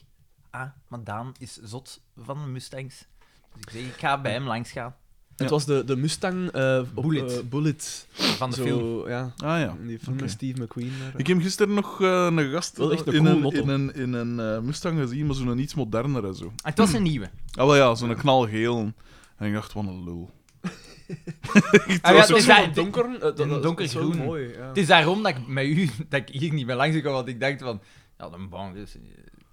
S1: Ah, maar Daan is zot van Mustangs. Dus ik zeg, ik ga bij hem langs gaan.
S2: Het was de, de Mustang eh, op,
S1: Bullet.
S2: eh, Bullet.
S1: Van de
S2: Zo,
S1: film.
S2: ja.
S3: Ah ja.
S2: Die film
S3: Oké.
S2: met Steve McQueen. daar.
S3: Ik heb gisteren nog eh, een gast
S2: Wel echt een
S3: in,
S2: cool
S3: een,
S2: motto.
S3: in een, in een eh, Mustang gezien, maar zo'n iets modernere zo.
S1: Het was een nieuwe.
S3: Ah wel ja, zo'n knalgeel. En ik dacht, wat een lul.
S1: Ah, ja,
S2: Het
S1: het, is
S2: was
S1: daar-
S2: zo donker. eh, dat-
S1: een
S2: dat-
S1: donkergroen.
S2: dat is zo mooi, ja.
S1: het is daarom dat ik bij u dat ik hier niet meer langs kwam, want ik dacht van... Ja, dan bang is...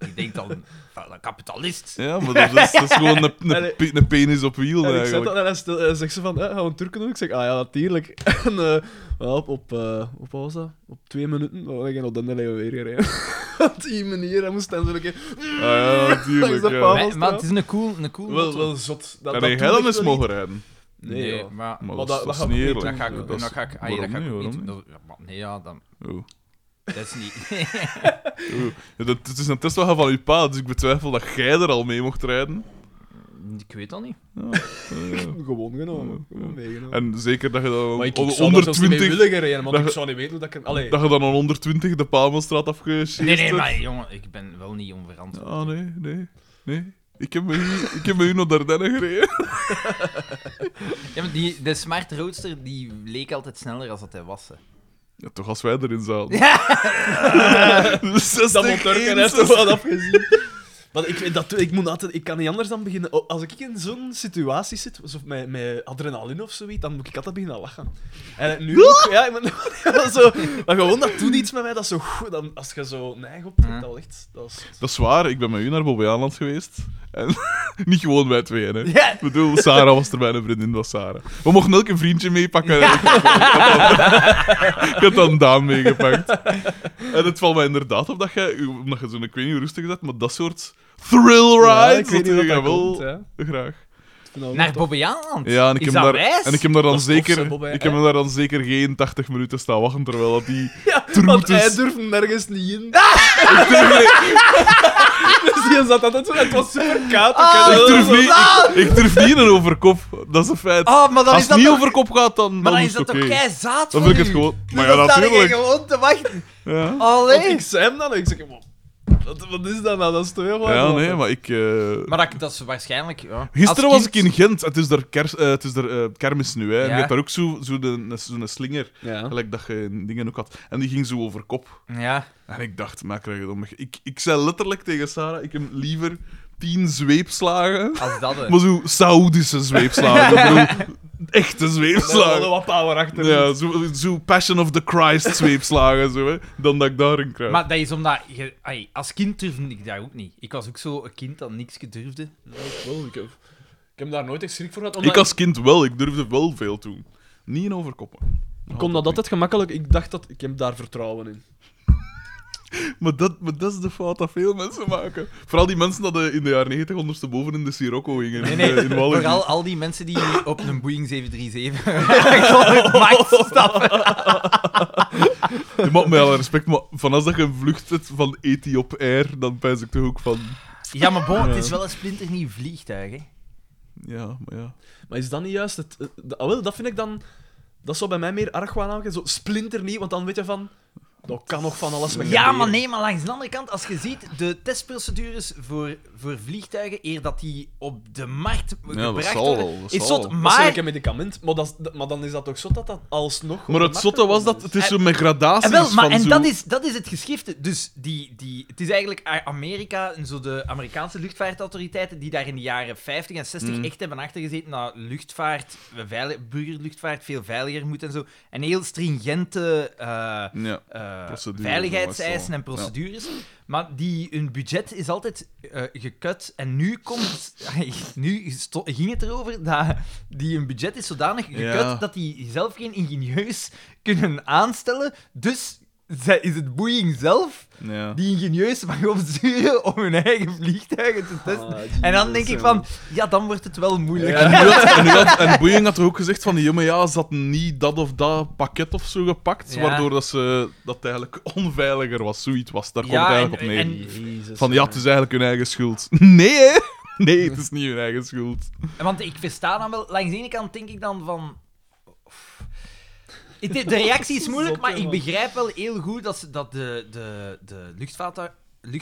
S1: Ik denk dan, van een kapitalist.
S3: Ja, maar dat is, dat is gewoon een, een,
S2: Allee.
S3: pe- een penis op wiel
S2: En ik zet dat
S3: eigenlijk.
S2: en hij stil- hij zegt ze van, eh, gaan we een Turken doen? Ik zeg, ah ja, natuurlijk. En eh, wel, op, op, eh, op, wat was dat? Op twee minuten, Oh, dan ben ik op de Nelly weer gereden. Op die manier, hij moest dan zo een keer...
S3: Ah ja, natuurlijk.
S2: Langs de
S3: Ja.
S2: paal.
S1: Maar, maar het is een cool, een cool
S2: Wel,
S1: motto.
S2: wel zot. Dat,
S3: En
S2: dat
S3: heb
S2: doe
S3: jij
S2: ik
S3: dan eens
S2: wel
S3: mogen
S2: niet.
S3: rijden?
S2: Nee,
S1: nee, maar...
S2: joh.
S3: Maar
S2: Maar
S3: dat,
S2: dat-
S3: dat is
S2: dat
S3: niet
S2: ga ik
S3: eerlijk.
S2: niet
S1: Dat ga ik,
S2: Ja,
S1: dat
S3: is-
S1: ga ik, ah, ja, dat
S3: waarom
S1: ga ik
S3: niet,
S1: ook niet
S3: waarom
S1: doen. Dat- ja, maar Nee, ja, dan,
S3: Oeh.
S1: dat is niet...
S3: Oeh. Ja, dat, het is een testwagen van uw pa, dus ik betwijfel dat jij er al mee mocht rijden.
S1: Ik weet dat niet.
S3: Eh,
S2: Gewoon genomen.
S3: Ja.
S2: Gewoon meegenomen.
S3: en zeker dat je dan
S2: Maar ik, ik
S3: on-
S2: zou daar zelfs niet mee
S3: 120
S2: willen gereden, want
S3: dat-
S2: ik zou niet weten hoe dat ik... Allee,
S3: dat je dan een 120 de Pamelstraat afgesjeest
S1: Nee, nee,
S3: hebt.
S1: maar jongen, ik ben wel niet onverantwoord.
S3: Ah, nee, nee, nee. Ik heb met u, ik heb met u naar Dardenne gereden.
S1: Ja, maar die, de Smart Roadster die leek altijd sneller als dat hij was. hè.
S3: Oh, Ja, toch als wij erin zaten. Dus
S1: Ja.
S2: dat
S3: 60,
S2: Monturken heeft er
S3: 61.
S2: wat afgezien. Maar ik, dat, ik, moet altijd, ik kan niet anders dan beginnen. oh, Als ik in zo'n situatie zit, zo met, met adrenaline of zoiets, dan moet ik altijd beginnen lachen. En nu ook, ja, ik ben, zo, maar gewoon dat doet iets met mij, dat is zo goed. Dan, als je zo neig op
S1: Ja.
S2: dat ligt. Dat is,
S3: Dat is waar, ik ben met u naar Bobbejaanland geweest. En niet gewoon wij tweeën, hè.
S2: Ja.
S3: Ik bedoel, Sarah was er, mijn vriendin was Sarah. We mochten elk een vriendje meepakken. en Ik, ik had dan Daan meegepakt. En het valt mij inderdaad op dat jij, omdat je zo'n, ik weet niet hoe rustig zet, maar dat soort thrill rides,
S2: Ja, ik weet niet wat
S3: jij
S2: dat
S3: wel
S2: komt, hè.
S3: graag.
S1: Naar Bobbejaanland?
S3: Ja, en ik,
S1: Is
S3: heb
S1: dat
S3: daar,
S1: wijs?
S3: en ik heb daar dan
S2: Dat is tof,
S3: zeker,
S2: hè, Bob, hè.
S3: ik heb hem daar dan zeker geen 80 minuten staan wachten, terwijl dat die...
S2: Ja, want
S3: Troetes.
S2: hij durft nergens niet in. dus die zat altijd zo, het was super koud. Ah, ik
S1: Ah,
S2: had-
S3: ik, durf niet, ik, ik durf niet in een overkop, dat is een feit.
S1: Oh, maar dan
S3: Als
S1: is
S3: het
S1: dat
S3: niet
S1: toch-
S3: over kop gaat, dan,
S1: Maar dan is
S3: is
S1: dat
S3: het
S1: toch
S3: oké.
S1: kei zaad voor
S3: Dan vind ik het
S1: u?
S3: gewoon... Maar
S1: Dan
S3: ja,
S1: sta jij
S3: natuurlijk.
S1: gewoon te wachten.
S3: Ja.
S1: Ah,
S2: Want
S1: Allee.
S2: ik zei hem dan, ik zeg, "Man, wat, wat is dat nou? Dat is toch heel wat.
S3: ja, nee, maar ik... eh,
S1: Maar dat, dat is waarschijnlijk... Ja.
S3: Gisteren
S1: Als
S3: was ik
S1: kind-
S3: in Gent. Het is daar, kers, eh, het is daar eh, kermis nu, hè. En
S1: Ja.
S3: je hebt daar ook zo'n zo de- zo'n slinger,
S2: Ja.
S3: gelijk dat je in dingen ook had. En die ging zo over kop.
S1: Ja.
S3: En ik dacht, maar krijg je dan weg. Ik, ik zei letterlijk tegen Sarah, ik heb liever tien zweepslagen...
S1: Als dat, hè.
S3: Maar zo Saoedische zweepslagen. Ik bedoel, echte
S2: slagen.
S3: zweepslagen.
S2: wat power achter.
S3: Ja, zo, zo Passion of the Christ zweepslagen, zo, hè, dan dat ik daarin krijg.
S1: Maar dat is omdat... Je, ai, als kind durfde ik dat ook niet. Ik was ook zo een kind dat niks gedurfde.
S2: Wel, ik, heb, ik heb daar nooit echt schrik voor gehad.
S3: Ik als kind wel, ik durfde wel veel doen. Niet in overkoppen.
S2: ik kon dat altijd gemakkelijk. Ik dacht dat ik heb daar vertrouwen in.
S3: Maar dat, maar dat is de fout dat veel mensen maken. Vooral die mensen dat eh, in de jaren 90 ondersteboven in de Sirocco gingen.
S1: Nee,
S3: in,
S1: nee.
S3: eh, in Wallinghi.
S1: Vooral al die mensen die op een Boeing 737 gewoon max stappen.
S3: Je mag mij alle respect, maar vanaf dat je een vlucht zet van Ethiop Air, dan pijs ik toch ook van...
S1: Ja, maar bon, het is wel een splinternieuw vliegtuig, hè.
S3: Ja, maar ja.
S2: Maar is dat niet juist? Het, eh, de- ah, wel, dat vind ik dan. Dat zou bij mij meer argwaan aangeven. Zo splinternieuw, want dan weet je van. Dat kan nog van alles met
S1: Ja, maar nee, maar langs de andere kant, als je ziet, de testprocedures voor, voor vliegtuigen, eer dat die op de markt
S3: dat
S1: gebracht
S3: zal
S1: worden,
S3: wel, dat
S1: is
S3: zal
S1: zot,
S3: wel.
S2: Maar...
S1: maar...
S2: een medicament. Maar, dat, is- dat- maar dan is dat ook zo dat dat alsnog.
S3: Maar het zotte was dat het is zo met gradaties
S1: En, Ah, wel, maar,
S3: van
S1: en
S3: zo...
S1: dat, is, dat is het geschifte. Dus die, die, het is eigenlijk A- Amerika en zo de Amerikaanse luchtvaartautoriteiten die daar in de jaren 50 en 60
S3: Mm.
S1: echt hebben achtergezeten dat luchtvaart, veili- burgerluchtvaart veel veiliger moet en zo. En heel stringente eh,
S3: Ja.
S1: eh,
S3: Procedures,
S1: veiligheidseisen en
S3: meestal. Ja.
S1: procedures. Maar die, hun budget is altijd eh, gekut. En nu, komt, nu sto- ging het erover dat die hun budget is zodanig gekut
S3: Ja.
S1: dat die zelf geen ingenieurs kunnen aanstellen. Dus zij- is het Boeing zelf
S3: ja.
S1: die ingenieurs mag opsturen om hun eigen vliegtuigen te testen.
S2: Ah,
S1: en dan
S2: Jesus,
S1: denk ik
S2: jongen.
S1: van, ja, dan wordt het wel moeilijk.
S3: En, nu had, en, nu had- en Boeing had toch ook gezegd van, ja, maar ja, ze hadden niet dat of dat pakket of zo gepakt,
S1: Ja.
S3: waardoor dat, ze, dat het eigenlijk onveiliger was. Zoiets was, daar komt
S1: Ja,
S3: het
S1: en-
S3: eigenlijk op neer.
S1: en-
S2: Jezus,
S3: Van ja,
S2: jongen.
S3: het is eigenlijk hun eigen schuld. Nee, hè? Nee, het is niet hun eigen schuld.
S1: Want ik versta dan wel, langs de ene kant denk ik dan van. Oef. Het- De reactie is moeilijk,
S2: Zot, hè,
S1: maar ik
S2: man.
S1: begrijp wel heel goed dat, ze- dat de, de, de luchtvaart,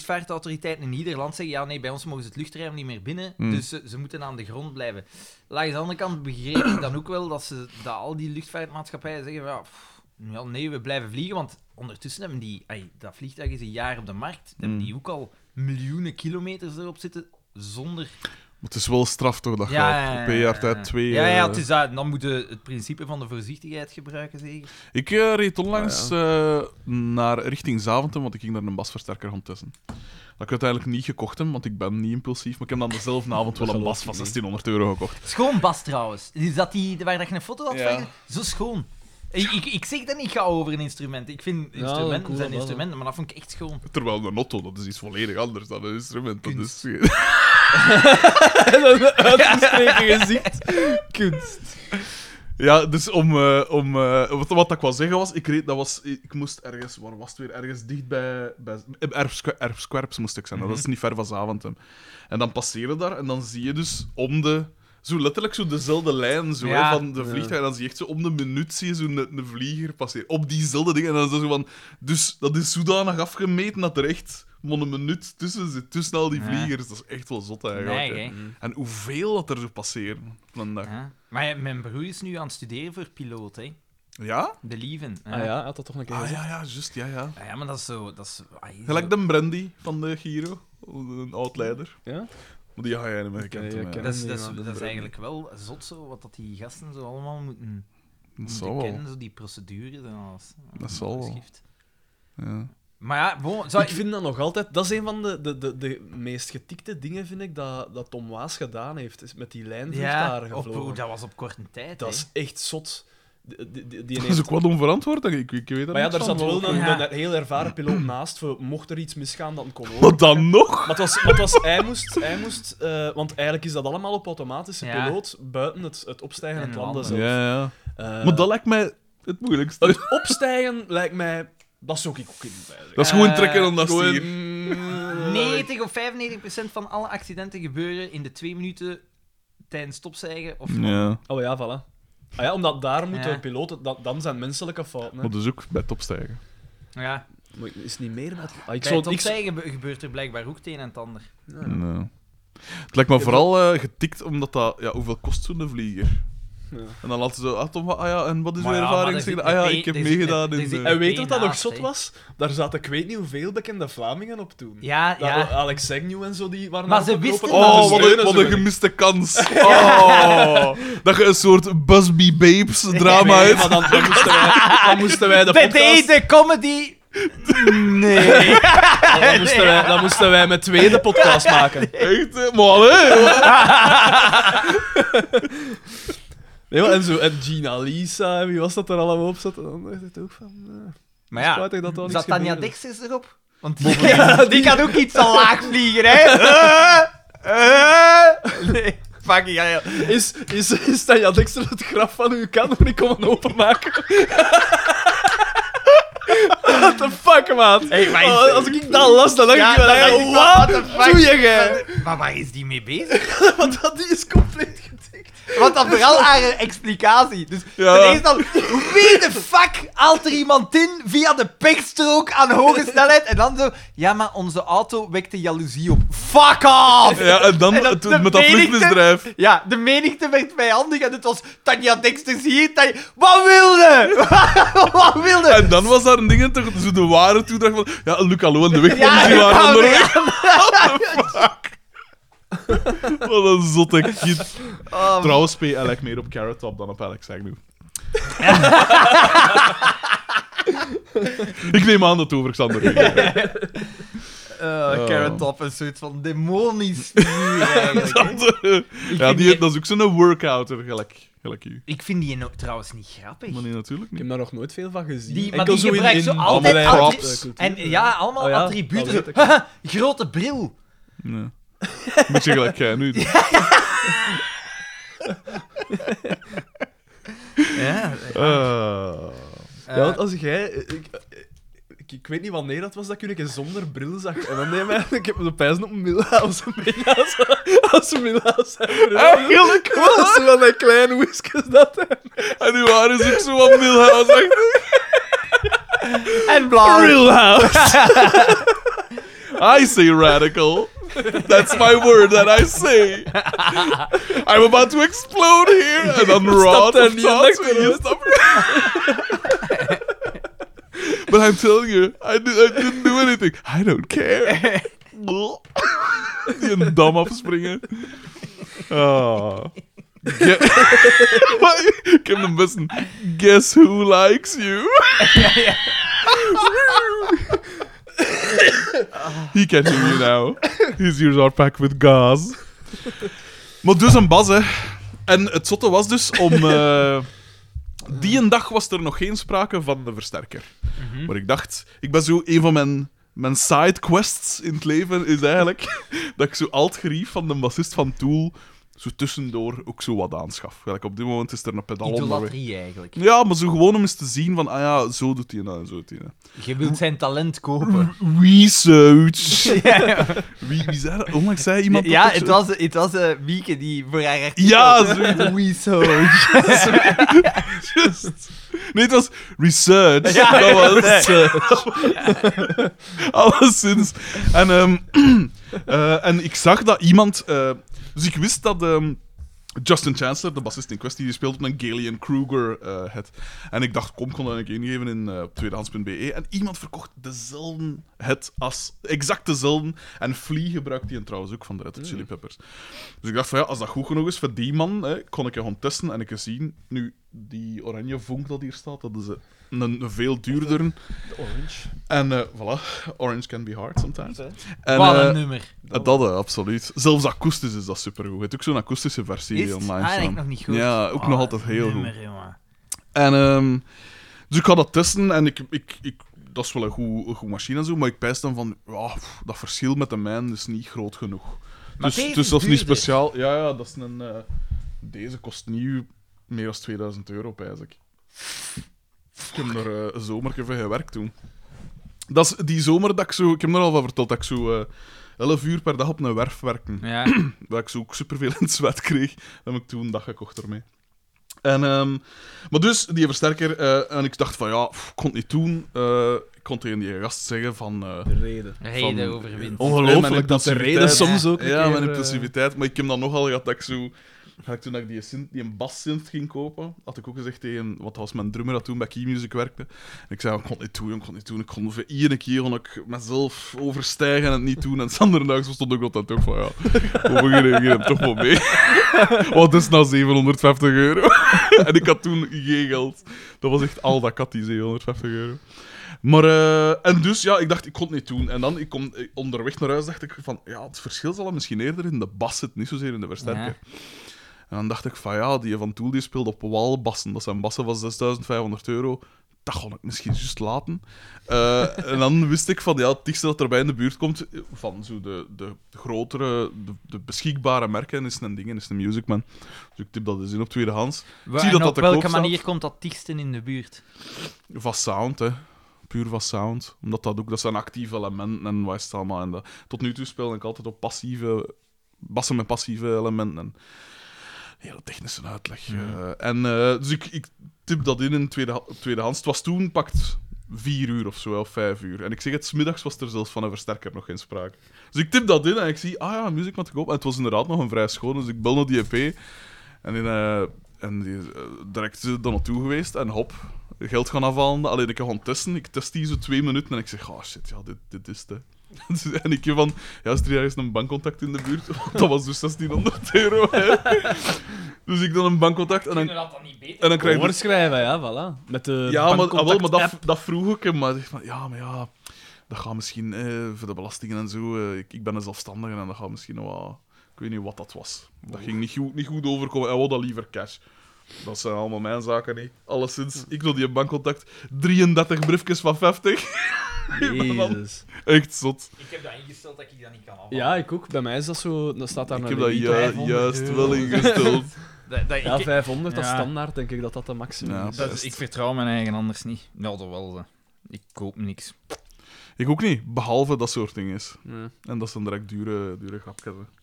S1: luchtvaartautoriteiten in ieder land zeggen: ja, nee, bij ons mogen ze het luchtruim niet meer binnen,
S3: Hmm.
S1: dus ze, ze moeten aan de grond blijven. Langs de andere kant begreep ik dan ook wel dat, ze, dat al die luchtvaartmaatschappijen zeggen: ja, pff, ja, nee, we blijven vliegen, want ondertussen hebben die, ai, dat vliegtuig is een jaar op de markt, hebben
S3: Hmm.
S1: die ook al miljoenen kilometers erop zitten zonder
S3: Maar het is wel straf toch dat je op één jaar tijd twee.
S1: Ja, ja,
S3: eh,
S1: het is dat. Dan moeten we het principe van de voorzichtigheid gebruiken, zeker.
S3: Ik eh, reed onlangs eh, naar richting Zaventem, want ik ging daar een basversterker gaan testen. Dat ik uiteindelijk niet gekocht heb, want ik ben niet impulsief. Maar ik heb dan dezelfde avond wel een
S2: geloof
S3: bas
S2: ik
S3: van
S2: niet.
S3: 1600 euro gekocht.
S1: Schoon Bas trouwens. Is dat die waar dat je een foto had
S3: Ja.
S1: van? Zo schoon. Ik, ik, ik zeg dat niet gauw over een instrument. Ik vind instrumenten
S2: cool,
S1: zijn
S2: dat was
S1: instrumenten, maar dat vond ik echt schoon.
S3: Terwijl een auto, dat is iets volledig anders dan een instrument. Dat is...
S1: Kunst.
S2: Uitgestreken gezicht. Kunst.
S3: Ja, dus om... eh, om eh, wat, wat ik wou zeggen was, ik reed, dat was... Ik moest ergens... Waar was het weer? Ergens dicht bij... bij eh, Erfsqu- Erfsquerps moest ik zijn.
S1: Mhm.
S3: Dat is niet ver van Zaventem. En dan passeer je daar en dan zie je dus om de... Zo letterlijk zo dezelfde lijn zo, hè,
S1: Ja.
S3: van de vliegtuig. En dan zie je echt zo om de minuut zie je zo een, een vlieger passeren. Op diezelfde ding. En dan is dat zo van... Dus dat is zodanig afgemeten dat er echt maar een minuut tussen zit. Tussen al die
S1: Ja.
S3: vliegers. Dat is echt wel zot eigenlijk.
S1: Nee,
S3: hè.
S1: hè.
S3: En hoeveel dat er zo passeren op een dag.
S1: Ja. Maar ja, mijn broer is nu aan het studeren voor piloot, hè.
S3: Ja?
S1: De lieven.
S2: Ah ja, had dat toch een keer
S3: Ah
S2: gezegd?
S3: ja, ja, juist, ja, ja.
S1: Ah ja, maar dat is zo... Dat is, ah,
S3: Gelijk
S1: zo-
S3: de brandy van de Giro. een oud-leider.
S2: Ja?
S3: Maar die ga jij niet meer gekend
S2: Nee, ik
S3: hebben.
S2: ken
S3: hè.
S1: Dat is,
S2: Nee,
S1: dat, is,
S2: maar
S1: dat
S2: dat
S1: is
S2: is
S1: eigenlijk wel zot zo, wat dat die gasten zo allemaal moeten,
S3: Dat
S1: moeten
S3: zal wel.
S1: kennen, zo die procedures en alles.
S3: Dat zal wel.
S1: Geschift.
S3: Ja.
S1: Maar ja, bon, zou
S2: Ik vind dat nog altijd... Dat is een van de, de, de, de meest getikte dingen, vind ik, dat, dat Tom Waas gedaan heeft. Is met die lijn
S1: ja, op,
S2: gevlogen.
S1: oh, dat was op korte tijd.
S2: Dat
S1: hè.
S2: is echt zot. Die, die, die
S3: Dat is
S2: heeft-
S3: ook wat onverantwoord. denk Ik, ik weet dat
S2: Maar ja,
S3: niet
S2: daar
S3: van,
S2: zat wel
S1: wel
S2: een,
S1: goed.
S2: een, een heel ervaren piloot naast. Voor, mocht er iets misgaan, dan kon ook.
S3: Wat dan nog?
S2: Maar het was, maar het was, hij moest, hij moest eh, want eigenlijk is dat allemaal op automatische
S1: Ja.
S2: piloot, buiten het, het opstijgen en het
S1: En
S2: landen
S1: landen.
S2: zelf.
S3: Ja, ja.
S2: Eh,
S3: Maar dat lijkt mij het moeilijkste.
S2: Het opstijgen lijkt mij... Dat zou ik ook kunnen bijzeggen.
S3: Dat is gewoon
S1: Eh,
S3: trekken aan dat
S2: Gewoon-
S3: stier.
S1: 90 of 95 procent van alle accidenten gebeuren in de twee minuten tijdens stopzijgen. Of
S3: Ja,
S2: Oh ja, voilà. Ah ja, omdat daar moeten
S1: Ja.
S2: piloten... Dat, dan zijn menselijke fouten. Hè.
S3: maar dus ook bij het opstijgen.
S1: ja.
S2: Maar is niet meer met... Ah, ik
S1: Bij het
S2: zou... Ik, zou-
S1: opzijgen be- gebeurt er blijkbaar ook het een en het ander.
S2: Ja.
S3: Nee. eh, Het lijkt me
S2: Ja,
S3: vooral eh, getikt omdat dat... Ja, hoeveel kost zo'n vlieger?
S2: Ja.
S3: En dan laten ze... Ah, Tom, ah ja, en wat is
S1: Maar
S3: uw
S1: ja, maar
S3: ervaring?
S1: er
S3: Zeg
S1: zit
S3: dan, Ah ja,
S1: meteen-
S3: ik heb
S1: er zit-
S3: meegedaan
S1: er
S3: in...
S1: zit-
S3: de-
S1: er
S2: En weet je wat dat nog
S1: Naast,
S2: zot
S1: hè.
S2: was? Daar zaten ik weet niet hoeveel bekende Vlamingen op toen.
S1: Ja,
S2: Daar-
S1: ja.
S2: Alex Zegnew en zo, die waren
S1: Maar
S2: daar
S1: ze
S2: ook lopen
S1: wisten
S2: om te
S3: Oh, wat een,
S2: steunen,
S3: wat
S2: zo.
S3: een gemiste kans. Oh, dat je een soort Busby Babes drama
S2: Nee, maar
S3: hebt.
S2: dan, dan, moesten wij, dan moesten wij de
S1: Bij
S2: podcast...
S1: deze comedy. Nee.
S2: Dan moesten, wij, dan moesten wij met tweede podcast maken.
S3: Echt, hè? maar allee.
S2: Nee, maar en, zo, en Gina Lisa, en wie was dat er allemaal op zat? En dan dacht ik ook van... eh,
S1: Maar ja,
S2: spijtig dat dat
S1: zat
S2: niks
S1: Tanja
S2: gebeurde.
S1: Dexters erop? Want die, die kan ook iets te laag vliegen, hè? Eh, eh. Nee, fuck ja, ja.
S2: Is, is, is Tanja Dexter het graf van uw kan nog niet komen openmaken? What the fuck, maat?
S1: Hey, maar is-
S2: Oh, als ik dat las, dan dacht
S1: Ja,
S2: ik wel,
S1: dan
S2: hey,
S1: dacht ik wel,
S2: wat
S1: what the fuck?
S2: doe je, gij?
S1: Maar waar is die mee bezig?
S2: Want dat is compleet getikt.
S1: Want dat vooral haar explicatie. Dus
S3: Ja.
S1: ten eerste dan, wie de fuck haalt er iemand in via de pechstrook aan hoge snelheid? En dan zo, ja, maar onze auto wekte jaloezie op. Fuck off!
S3: Ja, en dan
S1: En dat
S3: het-
S1: de
S3: met dat
S1: menigte-
S3: vluchtmisdrijf.
S1: Ja, de menigte werd mij handig en het was Tanja Dexter hier. Tanja... Wat wilde? Wat wilde?
S3: En dan was daar een ding toch zo de ware toedracht van... Ja, Luc Allo en de weg
S1: Ja,
S3: die
S1: ja,
S3: waren
S1: ja.
S3: onderweg. Wat een zotte kid.
S1: Oh,
S3: Trouwens, P, hij lijkt meer op Carrot Top dan op Alex Agnew. ik neem aan dat het over Xander ging.
S1: eh, Carrot Top, een soort van demonisch dier eigenlijk, hè.
S3: Dat, eh, Ja,
S1: vind
S3: die,
S1: die-
S3: dat is ook zo'n workouter, gelijk, gelijk u.
S1: Ik vind die nou trouwens niet grappig.
S3: Maar nee, natuurlijk
S2: Ik
S3: niet.
S2: heb daar nog nooit veel van gezien.
S1: Die- maar
S2: Enkel
S1: die
S2: in-
S1: gebruikt zo
S2: in
S1: altijd
S2: allerlei
S3: props.
S2: culturen.
S1: En ja, allemaal
S2: Oh ja,
S1: attributen.
S2: dat weet ik.
S1: Haha, Grote bril.
S3: Nee. Beetje gelijk jij nu.
S1: Ja.
S3: Ah.
S2: Ja, want als jij... Ik, ik, ik weet niet wanneer dat was dat ik je zonder bril zag. En dan neem ik, ik heb de pijzen op Mila als een Mila zijn- als een Mila zijn bril.
S1: Oh.
S3: Eigenlijk wel.
S2: was wel een kleine whiskers dat hij.
S3: En uw haar is ook zo wat Milhouse.
S1: En blauw.
S2: house.
S3: I say radical. That's my word that I say. I'm about to explode here. En dan rot
S2: daar
S3: of
S2: niet
S3: thoughts
S2: in,
S3: when you stop. But I'm telling you, I, did, I didn't do anything. I don't care. Die een dam afspringen. Ah. Ge- Wat? Ik heb hem best een Guess who likes you? He catching you now. His ears are packed with gas. Maar dus een bas, hè. En het zotte was dus om... eh, die een dag was er nog geen sprake van de versterker. Maar ik dacht... Ik ben zo... Een van mijn, mijn side quests in het leven is eigenlijk... dat ik zo alt grief van de bassist van Tool... zo tussendoor ook zo wat aanschaf. Gelijk, op dit moment is er een pedal onderweg.
S1: Idolatrie eigenlijk.
S3: Ja, maar zo gewoon om eens te zien van... Ah ja, zo doet hij dat en zo doet hij nou. dat.
S1: Je wilt zijn talent kopen.
S3: Research.
S1: ja,
S3: Wie, wie zei dat? Onlangs zei iemand... dat
S1: ja
S3: ook zo-
S1: het was, het was eh, Wieke die voor haar artikel...
S3: Ja, zoiets.
S1: Research.
S3: Just. Nee, het was research.
S1: Ja,
S3: dat was alleszins. En, ehm, eh, en ik zag dat iemand... eh, dus ik wist dat ehm, Justin Chancellor, de bassist in kwestie, die speelt op een Galen Kruger eh het. En ik dacht, kom, ik kon dat een keer ingeven in eh, tweedehands.be. En iemand verkocht dezelfde het als, exact dezelfde. En Flea gebruikt die en trouwens ook van de Red Hot Chili Peppers. Dus ik dacht van ja, als dat goed genoeg is voor die man, hè, kon ik hem testen en ik eens zien. Nu, die oranje vonk dat hier staat, dat is eh, een, een veel duurder.
S2: De Orange.
S3: En eh voilà, orange can be hard sometimes.
S2: hè?
S3: En,
S1: Wat een
S3: eh,
S1: nummer.
S3: dat, dat, eh, absoluut. Zelfs akoestisch is dat supergoed. Je hebt ook zo'n akoestische versie
S1: Is het?
S3: online
S1: Ah, dat
S3: staan.
S1: heb ik nog niet Ah, goed.
S3: oh, Ja, ook nog altijd heel
S1: nummer,
S3: goed.
S1: jongen.
S3: En, ehm, dus ik ga dat testen en ik, ik, ik, dat is wel een goed, een goed machine en zo, maar ik pijs dan van, ja, pff, dat verschil met de mijn is niet groot genoeg.
S1: Maar
S3: dus
S1: deze
S3: dus
S1: is
S3: dat is niet
S1: duurder.
S3: speciaal. Ja, ja, dat is een... eh, deze kost nieuw meer dan 2000 euro, pijs ik. Ik heb er eh, een zomertje voor gewerkt toen. Dat is die zomer dat ik zo... Ik heb er al van verteld dat ik zo eh 11 uur per dag op een werf werkte
S1: Ja.
S3: waar ik zo ook superveel in het zwet kreeg, dan heb ik toen een dag gekocht ermee. En, ehm, maar dus, die versterker, eh, en ik dacht van ja, pff, ik kon het niet doen. Eh, ik kon tegen die gast zeggen van... eh,
S2: De reden.
S1: Reden
S3: van-
S1: overwint.
S3: eh, mijn
S2: Ongelooflijk dat de reden
S3: impulsiviteit.
S2: soms ook. een
S3: Ja,
S2: keer,
S3: mijn
S2: eh,
S3: impulsiviteit. Maar ik heb dan nogal gehad dat ik zo... dat ik toen dat ik die, synth, die bassynth ging kopen, had ik ook gezegd tegen... Wat was mijn drummer dat toen bij Key Music werkte. En ik zei, ik kon het niet doen, ik kon het niet doen. Ik kon voor iedere keer kon ik mezelf overstijgen en het niet doen. En Sander Duigs stond ook altijd toch van, ja, we beginnen hem toch wel mee. Wat is nou 750 euro? en ik had toen geen geld. Dat was echt al dat kat, die 750 euro. Maar, eh, en dus, ja, ik dacht, ik kon het niet doen. En dan, ik kom eh, onderweg naar huis, dacht ik van, ja, het verschil zal misschien eerder in de bas zitten, niet zozeer in de versterker.
S1: Ja.
S3: En dan dacht ik van, ja, die Van Toel die speelt op walbassen. Dat zijn bassen van 6500 euro. Dat kon ik misschien juist laten. Eh, en dan wist ik van, ja, het dichtste dat erbij in de buurt komt, eh, van zo de, de grotere, de, de beschikbare merken, is een ding, en is een Musicman. Dus ik tip dat dus in op tweedehands.
S1: Wa-
S3: zie
S1: en
S3: dat dat
S1: op
S3: te koop
S1: welke
S3: staat.
S1: manier komt dat dichtsten in de buurt?
S3: Van sound, hè. Puur van sound. Omdat dat ook... Dat zijn actieve elementen en wat is het allemaal. En dat, tot nu toe speel ik altijd op passieve... Bassen met passieve elementen. En hele technische uitleg.
S1: Hmm.
S3: eh. en, eh, dus ik, ik tip dat in in tweede, tweedehands. Het was toen pakt vier uur of zo, wel vijf uur. En ik zeg het, smiddags was er zelfs van een versterker nog geen sprake. Dus ik tip dat in en ik zie, ah ja, muziek te koop. En het was inderdaad nog een vrij schoon, dus ik bel naar die EP. En, in, eh, en die, is, eh, direct eh, daar naartoe geweest en hop, geld gaan afhalen. Alleen ik ga gaan testen. Ik test die zo twee minuten en ik zeg, ah shit, ja, dit, dit is het. hè." en ik heb van, ja, is er hier ergens een bankcontact in de buurt? Want dat was dus 1600 euro. Hè. Dus ik dan een bankcontact en dan,
S1: dat dan niet beter?
S3: en dan krijg ik...
S2: Voorschrijven, ja, voilà. Met Eh, de
S3: Ja, maar, ah, wel,
S2: bankcontact
S3: maar dat,
S2: app.
S3: dat vroeg ik hem. Maar ik zeg van, ja, maar ja, dat gaat misschien eh, voor de belastingen en zo. eh, ik, ik ben een zelfstandige en dat gaat misschien nog wel... Ik weet niet wat dat was. Dat ging niet goed, niet goed overkomen. Hij wou dat liever cash. Dat zijn allemaal mijn zaken niet. Alleszins, ik doe die bankcontact. 33 briefjes van 50.
S2: Jezus.
S3: Echt zot.
S1: Ik heb dat ingesteld dat ik dat niet kan afhalen.
S2: Ja, ik ook. Bij mij is dat zo... Dan staat daar
S3: Ik
S2: een
S3: heb dat
S2: limiet
S3: ju-
S2: op.
S1: 500
S3: juist wel
S1: euro.
S3: ingesteld.
S1: Dat, dat-
S2: Ja,
S1: ik,
S2: 500, dat is
S1: Ja.
S2: standaard, denk ik dat dat de maximum
S3: Ja,
S2: is.
S1: dat is- ik vertrouw mijn eigen anders niet. Nou, dat wel. eh. Ik koop niks.
S3: Ik ook niet, behalve dat soort dingen is.
S2: Ja.
S3: En dat zijn direct dure, dure grapjes. hè.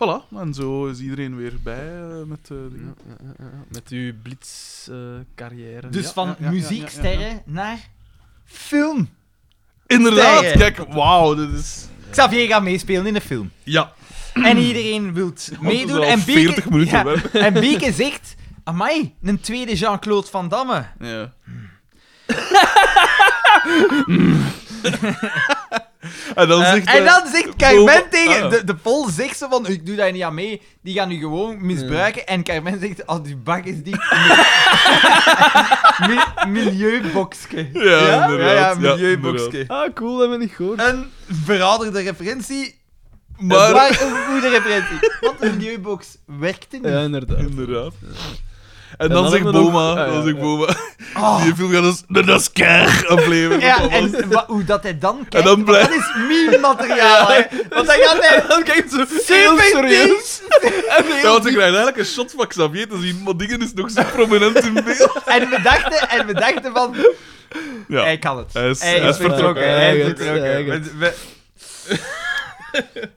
S3: Voilà, en zo is iedereen weer bij eh, met eh, dingen.
S2: Ja, ja, ja, ja. Met uw blitzcarrière.
S1: Dus
S3: Ja,
S1: van
S3: ja, ja, ja,
S1: muzieksterren naar film.
S3: Inderdaad,
S1: Stijgen.
S3: kijk, wauw, dit is...
S1: Xavier gaat meespelen in een film.
S3: Ja,
S1: En iedereen wilt meedoen. En Beke,
S3: 40 minuten
S1: ja,
S3: werk.
S1: en Beke zegt... Amai, een tweede Jean-Claude Van Damme.
S3: Ja. en dan
S1: Eh,
S3: zegt
S1: en
S3: hij...
S1: dan zegt
S3: Boma-
S1: Carmen tegen...
S3: Ah.
S1: De, de pol zegt ze van, ik doe daar niet aan mee. Die gaan nu gewoon misbruiken. En Carmen zegt, als die bak is die... Mi- milieuboxke.
S3: Ja,
S1: ja,
S3: inderdaad.
S1: ja,
S3: Ja,
S1: milieuboxke.
S2: Ah, cool, dat ben ik gehoord.
S1: Een verouderde referentie, maar,
S3: Maar...
S1: een goede referentie. Want een milieubox werkte niet.
S2: Ja, inderdaad.
S3: Inderdaad. En
S2: En
S3: dan,
S2: dan
S3: zegt
S2: hebben we nog-
S3: Boma,
S2: Ah, ja,
S3: dan zegt
S2: ja.
S3: Boma,
S1: Oh.
S3: die film gaat dus de Naskar afleveren.
S1: Ja, en wa- hoe dat hij dan kijkt,
S3: dan
S1: want
S3: blijft-
S1: dat is meme-materiaal, hè. Want dan gaat hij
S2: Dan kijk ze
S1: heel serieus.
S3: Ja, want ze krijgen eigenlijk een shot van Xavier te zien, maar dingen is nog zo prominent in beeld.
S1: En we dachten, en we dachten van,
S3: Ja.
S1: hij kan het.
S3: Hij is-
S1: hij
S3: hij
S1: is
S3: is
S1: vertrokken.
S2: vertrokken,
S1: Hij is
S2: hij gaat-
S1: vertrokken.
S2: hij gaat.
S1: We- we-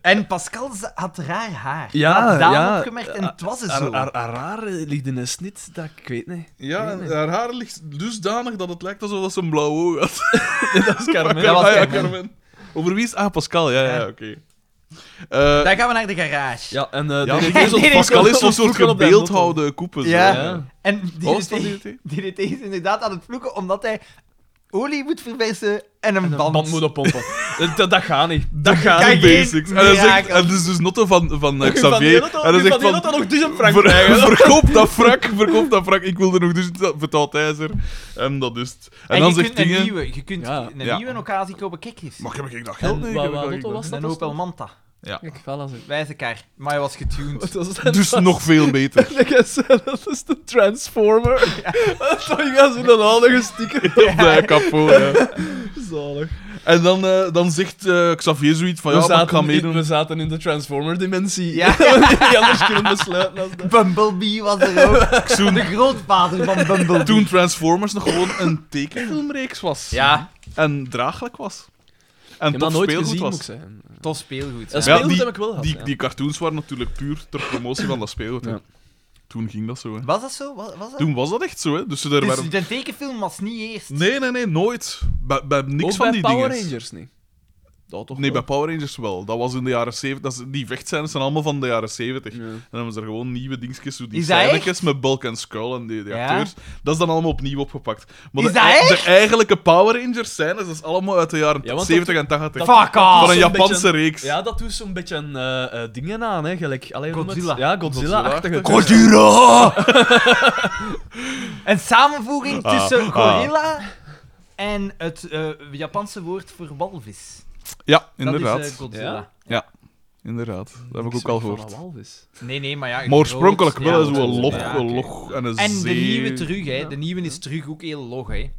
S1: En Pascal z- had raar haar.
S2: Ja,
S1: dat had Daan
S2: ja.
S1: opgemerkt en het was er zo.
S2: Haar, haar, haar, haar eh, ligt in een snit, dat ik weet niet.
S3: Ja, en haar haar ligt dusdanig dat het lijkt alsof dat ze een blauw oog had.
S2: dat is Carmen.
S1: Ja,
S3: Ah,
S1: was
S3: ja,
S1: Carmen.
S3: Carmen. Over wie is... Ah, Pascal. Ja, ja,
S1: Ja.
S3: ja, oké. Eh,
S1: Dan gaan we naar de garage.
S2: Ja, en eh
S3: ja,
S2: DDT
S1: nee,
S2: is
S1: nee,
S2: ons
S1: nee,
S3: Pascal is
S2: ons
S3: zo'n soort
S2: vloeken op de motto.
S3: gebeeldhouwde koepel.
S1: Ja.
S3: zo, hè.
S2: Ja.
S1: En
S3: Oh, is dat
S1: DDT,
S3: DDT?
S1: DDT is inderdaad aan het vloeken omdat hij olie moet verversen en een
S2: En een
S1: band.
S2: band moet oppompen. dat, dat gaat niet. Dat gaat
S1: kan
S2: niet.
S1: geen
S3: Basics. En hij zegt,
S1: mirakel.
S3: en het is dus notte van, van eh,
S2: Van die
S3: Xavier.
S2: hele
S3: en hij
S2: tijd-
S3: zegt
S2: van die hele
S3: van,
S2: tijd nog dus een frank
S3: Ver-
S2: krijgen.
S3: verkoop dat frak, verkoop dat frak. Ik wilde nog dus betaald ijzer. En dat is het. En,
S1: En,
S3: dan
S1: je
S3: zegt
S1: kunt een
S3: dingen.
S1: nieuwe, je kunt
S2: Ja.
S1: een
S3: Ja.
S1: nieuwe occasie kopen, kijk eens.
S3: Mag heb ik dat
S2: En
S3: geld nee, ik
S2: wat-
S3: heb
S2: wat
S3: dat
S2: Lotto
S3: niet.
S2: was? dat
S1: een
S2: was
S1: Opel
S2: toch?
S1: Manta,
S2: Ik val als
S1: wijze kar, maar hij was getuned.
S2: ik.
S3: Dus nog veel beter.
S2: Dat is de Transformer. Dat ging als in een oude sticker.
S3: Op de kapot, ja.
S2: Zalig.
S3: En dan, eh, dan zegt eh, Xavier zoiets van, ja, maar ik ga
S2: in,
S3: meedoen.
S2: we zaten in de Transformer-dimensie.
S1: Ja.
S2: We hadden niet anders kunnen besluiten als dat.
S1: Bumblebee was er ook.
S3: Toen,
S1: De grootvader van Bumblebee.
S3: toen Transformers nog gewoon een tekenfilmreeks was.
S1: Ja,
S3: En draaglijk was. En toch speelgoed was.
S2: zeggen.
S1: tof speelgoed.
S2: Dat
S1: hè.
S3: Ja,
S2: speelgoed
S3: die-
S2: heb ik wel gehad.
S3: Die,
S2: ja.
S3: die cartoons waren natuurlijk puur ter promotie van dat speelgoed. hè.
S2: Ja.
S3: Toen ging dat zo. Hè.
S1: Was dat zo? Was, was dat?
S3: Toen was dat echt zo, hè? Dus ze er
S1: Dus
S3: waren...
S1: de tekenfilm was niet eerst.
S3: Nee, nee, nee, nooit. Bij, bij niks
S2: Ook bij
S3: van die
S2: Power
S3: dingen.
S2: Rangers niet. Dat toch
S3: Nee, bij
S2: wel.
S3: Power Rangers wel. Dat was in de jaren 70. Dat is, die vechtscènes zijn allemaal van de jaren 70.
S2: Ja.
S3: En dan hebben ze er gewoon nieuwe dingetjes, zo die
S1: Is dat echt?
S3: scènetjes met Bulk en Skull en die, die
S1: Ja?
S3: acteurs. Dat is dan allemaal opnieuw opgepakt. Maar
S1: Is
S3: de,
S1: dat echt?
S3: de eigenlijke Power Rangers scènes, dat is allemaal uit de jaren
S2: Ja, want
S3: 70 en 80.
S1: dat- Fuck off!
S3: Van een
S2: doet zo'n
S3: Japanse
S2: beetje-
S3: reeks.
S2: Ja, dat doet zo'n beetje een, eh, eh, dingen aan, hè. Gelijk, allee, hoe noem het?
S1: Godzilla.
S2: Ja, Godzilla-achtige.
S3: Godzilla-achtige.
S1: Gojira! een samenvoeging
S3: Ah,
S1: tussen
S3: ah.
S1: gorilla en het eh, Japanse woord voor walvis.
S3: Ja, inderdaad.
S1: Dat is eh, Godzilla.
S2: Ja?
S3: Inderdaad. Dat heb ik ook al gehoord.
S1: Nee, nee, maar ja...
S3: Maar
S1: groot,
S3: oorspronkelijk
S1: ja,
S3: wel
S1: groot,
S3: eens wel log,
S1: ja,
S3: wel
S1: oké.
S3: log en een
S1: En de
S3: zee.
S1: nieuwe terug, hè. De
S2: Ja.
S1: nieuwe is terug ook heel log, hè.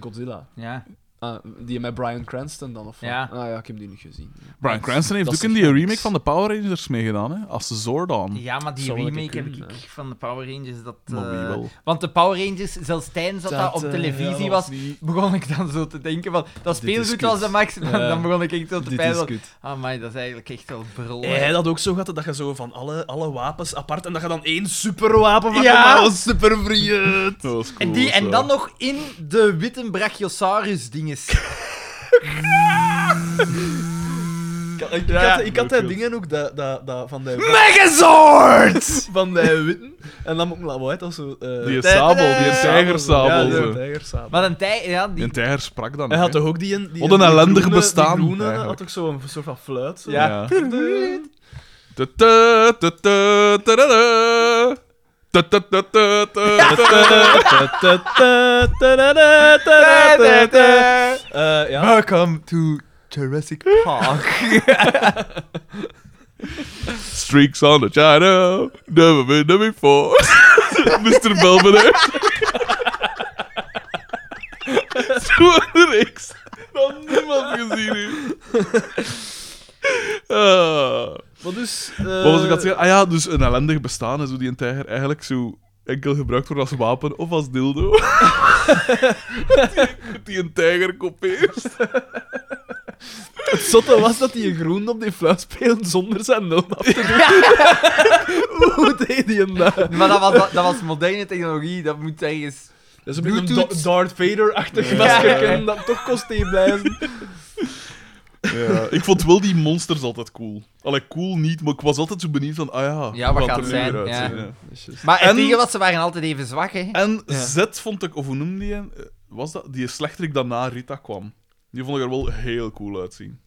S2: Godzilla.
S1: Ja.
S2: Ah, die met Brian Cranston dan, of wat?
S1: Ja.
S2: Ah ja, ik heb die niet gezien.
S3: Brian Cranston heeft
S2: Dat
S3: ook in
S2: zegt
S3: die
S2: wel
S3: remake
S2: niks.
S3: van de Power Rangers meegedaan, hè? Als Zordon.
S1: ja, maar die
S2: Zou wel een
S1: remake
S2: keer
S1: heb ik
S2: kunnen,
S1: van de Power Rangers. Dat,
S3: Maar wie
S1: eh,
S3: wel?
S1: Want de Power Rangers, zelfs tijdens dat dat, op
S2: eh,
S1: televisie
S2: ja, dat
S1: was,
S2: niet-
S1: begon ik dan zo te denken van... Dat
S2: Dit is
S1: speelgoed
S2: kut.
S1: was de max. Dan,
S2: Ja.
S1: dan begon ik echt zo te
S2: Dit
S1: pijlen.
S2: is
S1: van,
S2: kut.
S1: Amai, dat is eigenlijk echt wel brol.
S2: Heb jij dat Eh, ook zo gehad, dat je zo van alle, alle wapens apart en dat je dan één superwapen van
S1: Ja.
S2: kan maken? Supervriend!
S3: Dat was cool,
S1: en, die, en
S3: zo.
S1: dan nog in de witte brachiosaurus dinges.
S2: Ik, ik,
S1: Ja.
S2: had, ik had die dingen ook dat, dat, dat van de
S1: Megazord!
S2: van die witten. En dan moet ik laten dat zo... eh,
S3: Die sabel, die tijgersabel.
S2: Ja, die
S3: zo.
S2: tijgersabel.
S1: Maar een tij... Ja, die...
S3: Die tijger sprak dan.
S2: Hij
S3: ook,
S2: had
S3: hè.
S2: toch ook die... een- die
S3: Wat een
S2: die
S3: ellendig
S2: groene-
S3: bestaan,
S2: Die groene
S3: eigenlijk.
S2: had ook zo'n soort van fluit. Zo.
S1: Ja.
S3: Ta- ta- ta- ta- ta- da- da. Ta- ta- ta- ta- ta- ta-
S2: Eh, ja.
S1: Welcome to Jurassic Park.
S3: Streaks on the China, never been there before. Mr. Belvedere. Zo'n reeks. Dat niemand gezien heeft. Ah.
S2: Maar dus...
S3: Wat was ik aan het zeggen? Ah ja, dus een ellendig bestaan is hoe die een tijger eigenlijk zo enkel gebruikt wordt als wapen of als dildo. die, die een tijger kopeert.
S2: Het zotte was dat hij groen op die fluit speelde zonder zijn nul af te doen. Hoe deed hij hem dat?
S1: maar dat was, dat, dat was moderne technologie, dat moet ergens...
S2: Dat is
S1: een
S2: een
S1: beetje een Da-
S2: Darth Vader-achtig
S1: masker,
S2: masker. Dat toch kost hij blijven.
S3: Ja, ik vond wel die monsters altijd cool. Allee, cool niet, maar ik was altijd zo benieuwd van, ah ja,
S1: Ja, wat
S3: hoe
S1: gaat
S3: er
S1: het
S3: nu
S1: zijn?
S3: weer uitzien,
S1: Ja.
S3: ja.
S1: Maar het
S3: En-
S1: enige was, ze waren altijd even zwak, hè.
S3: En
S2: Ja.
S3: Z vond ik, of hoe noemde die hem? Eh, Was dat? Die slechterik dat na Rita kwam. Die vond ik er wel heel cool uitzien.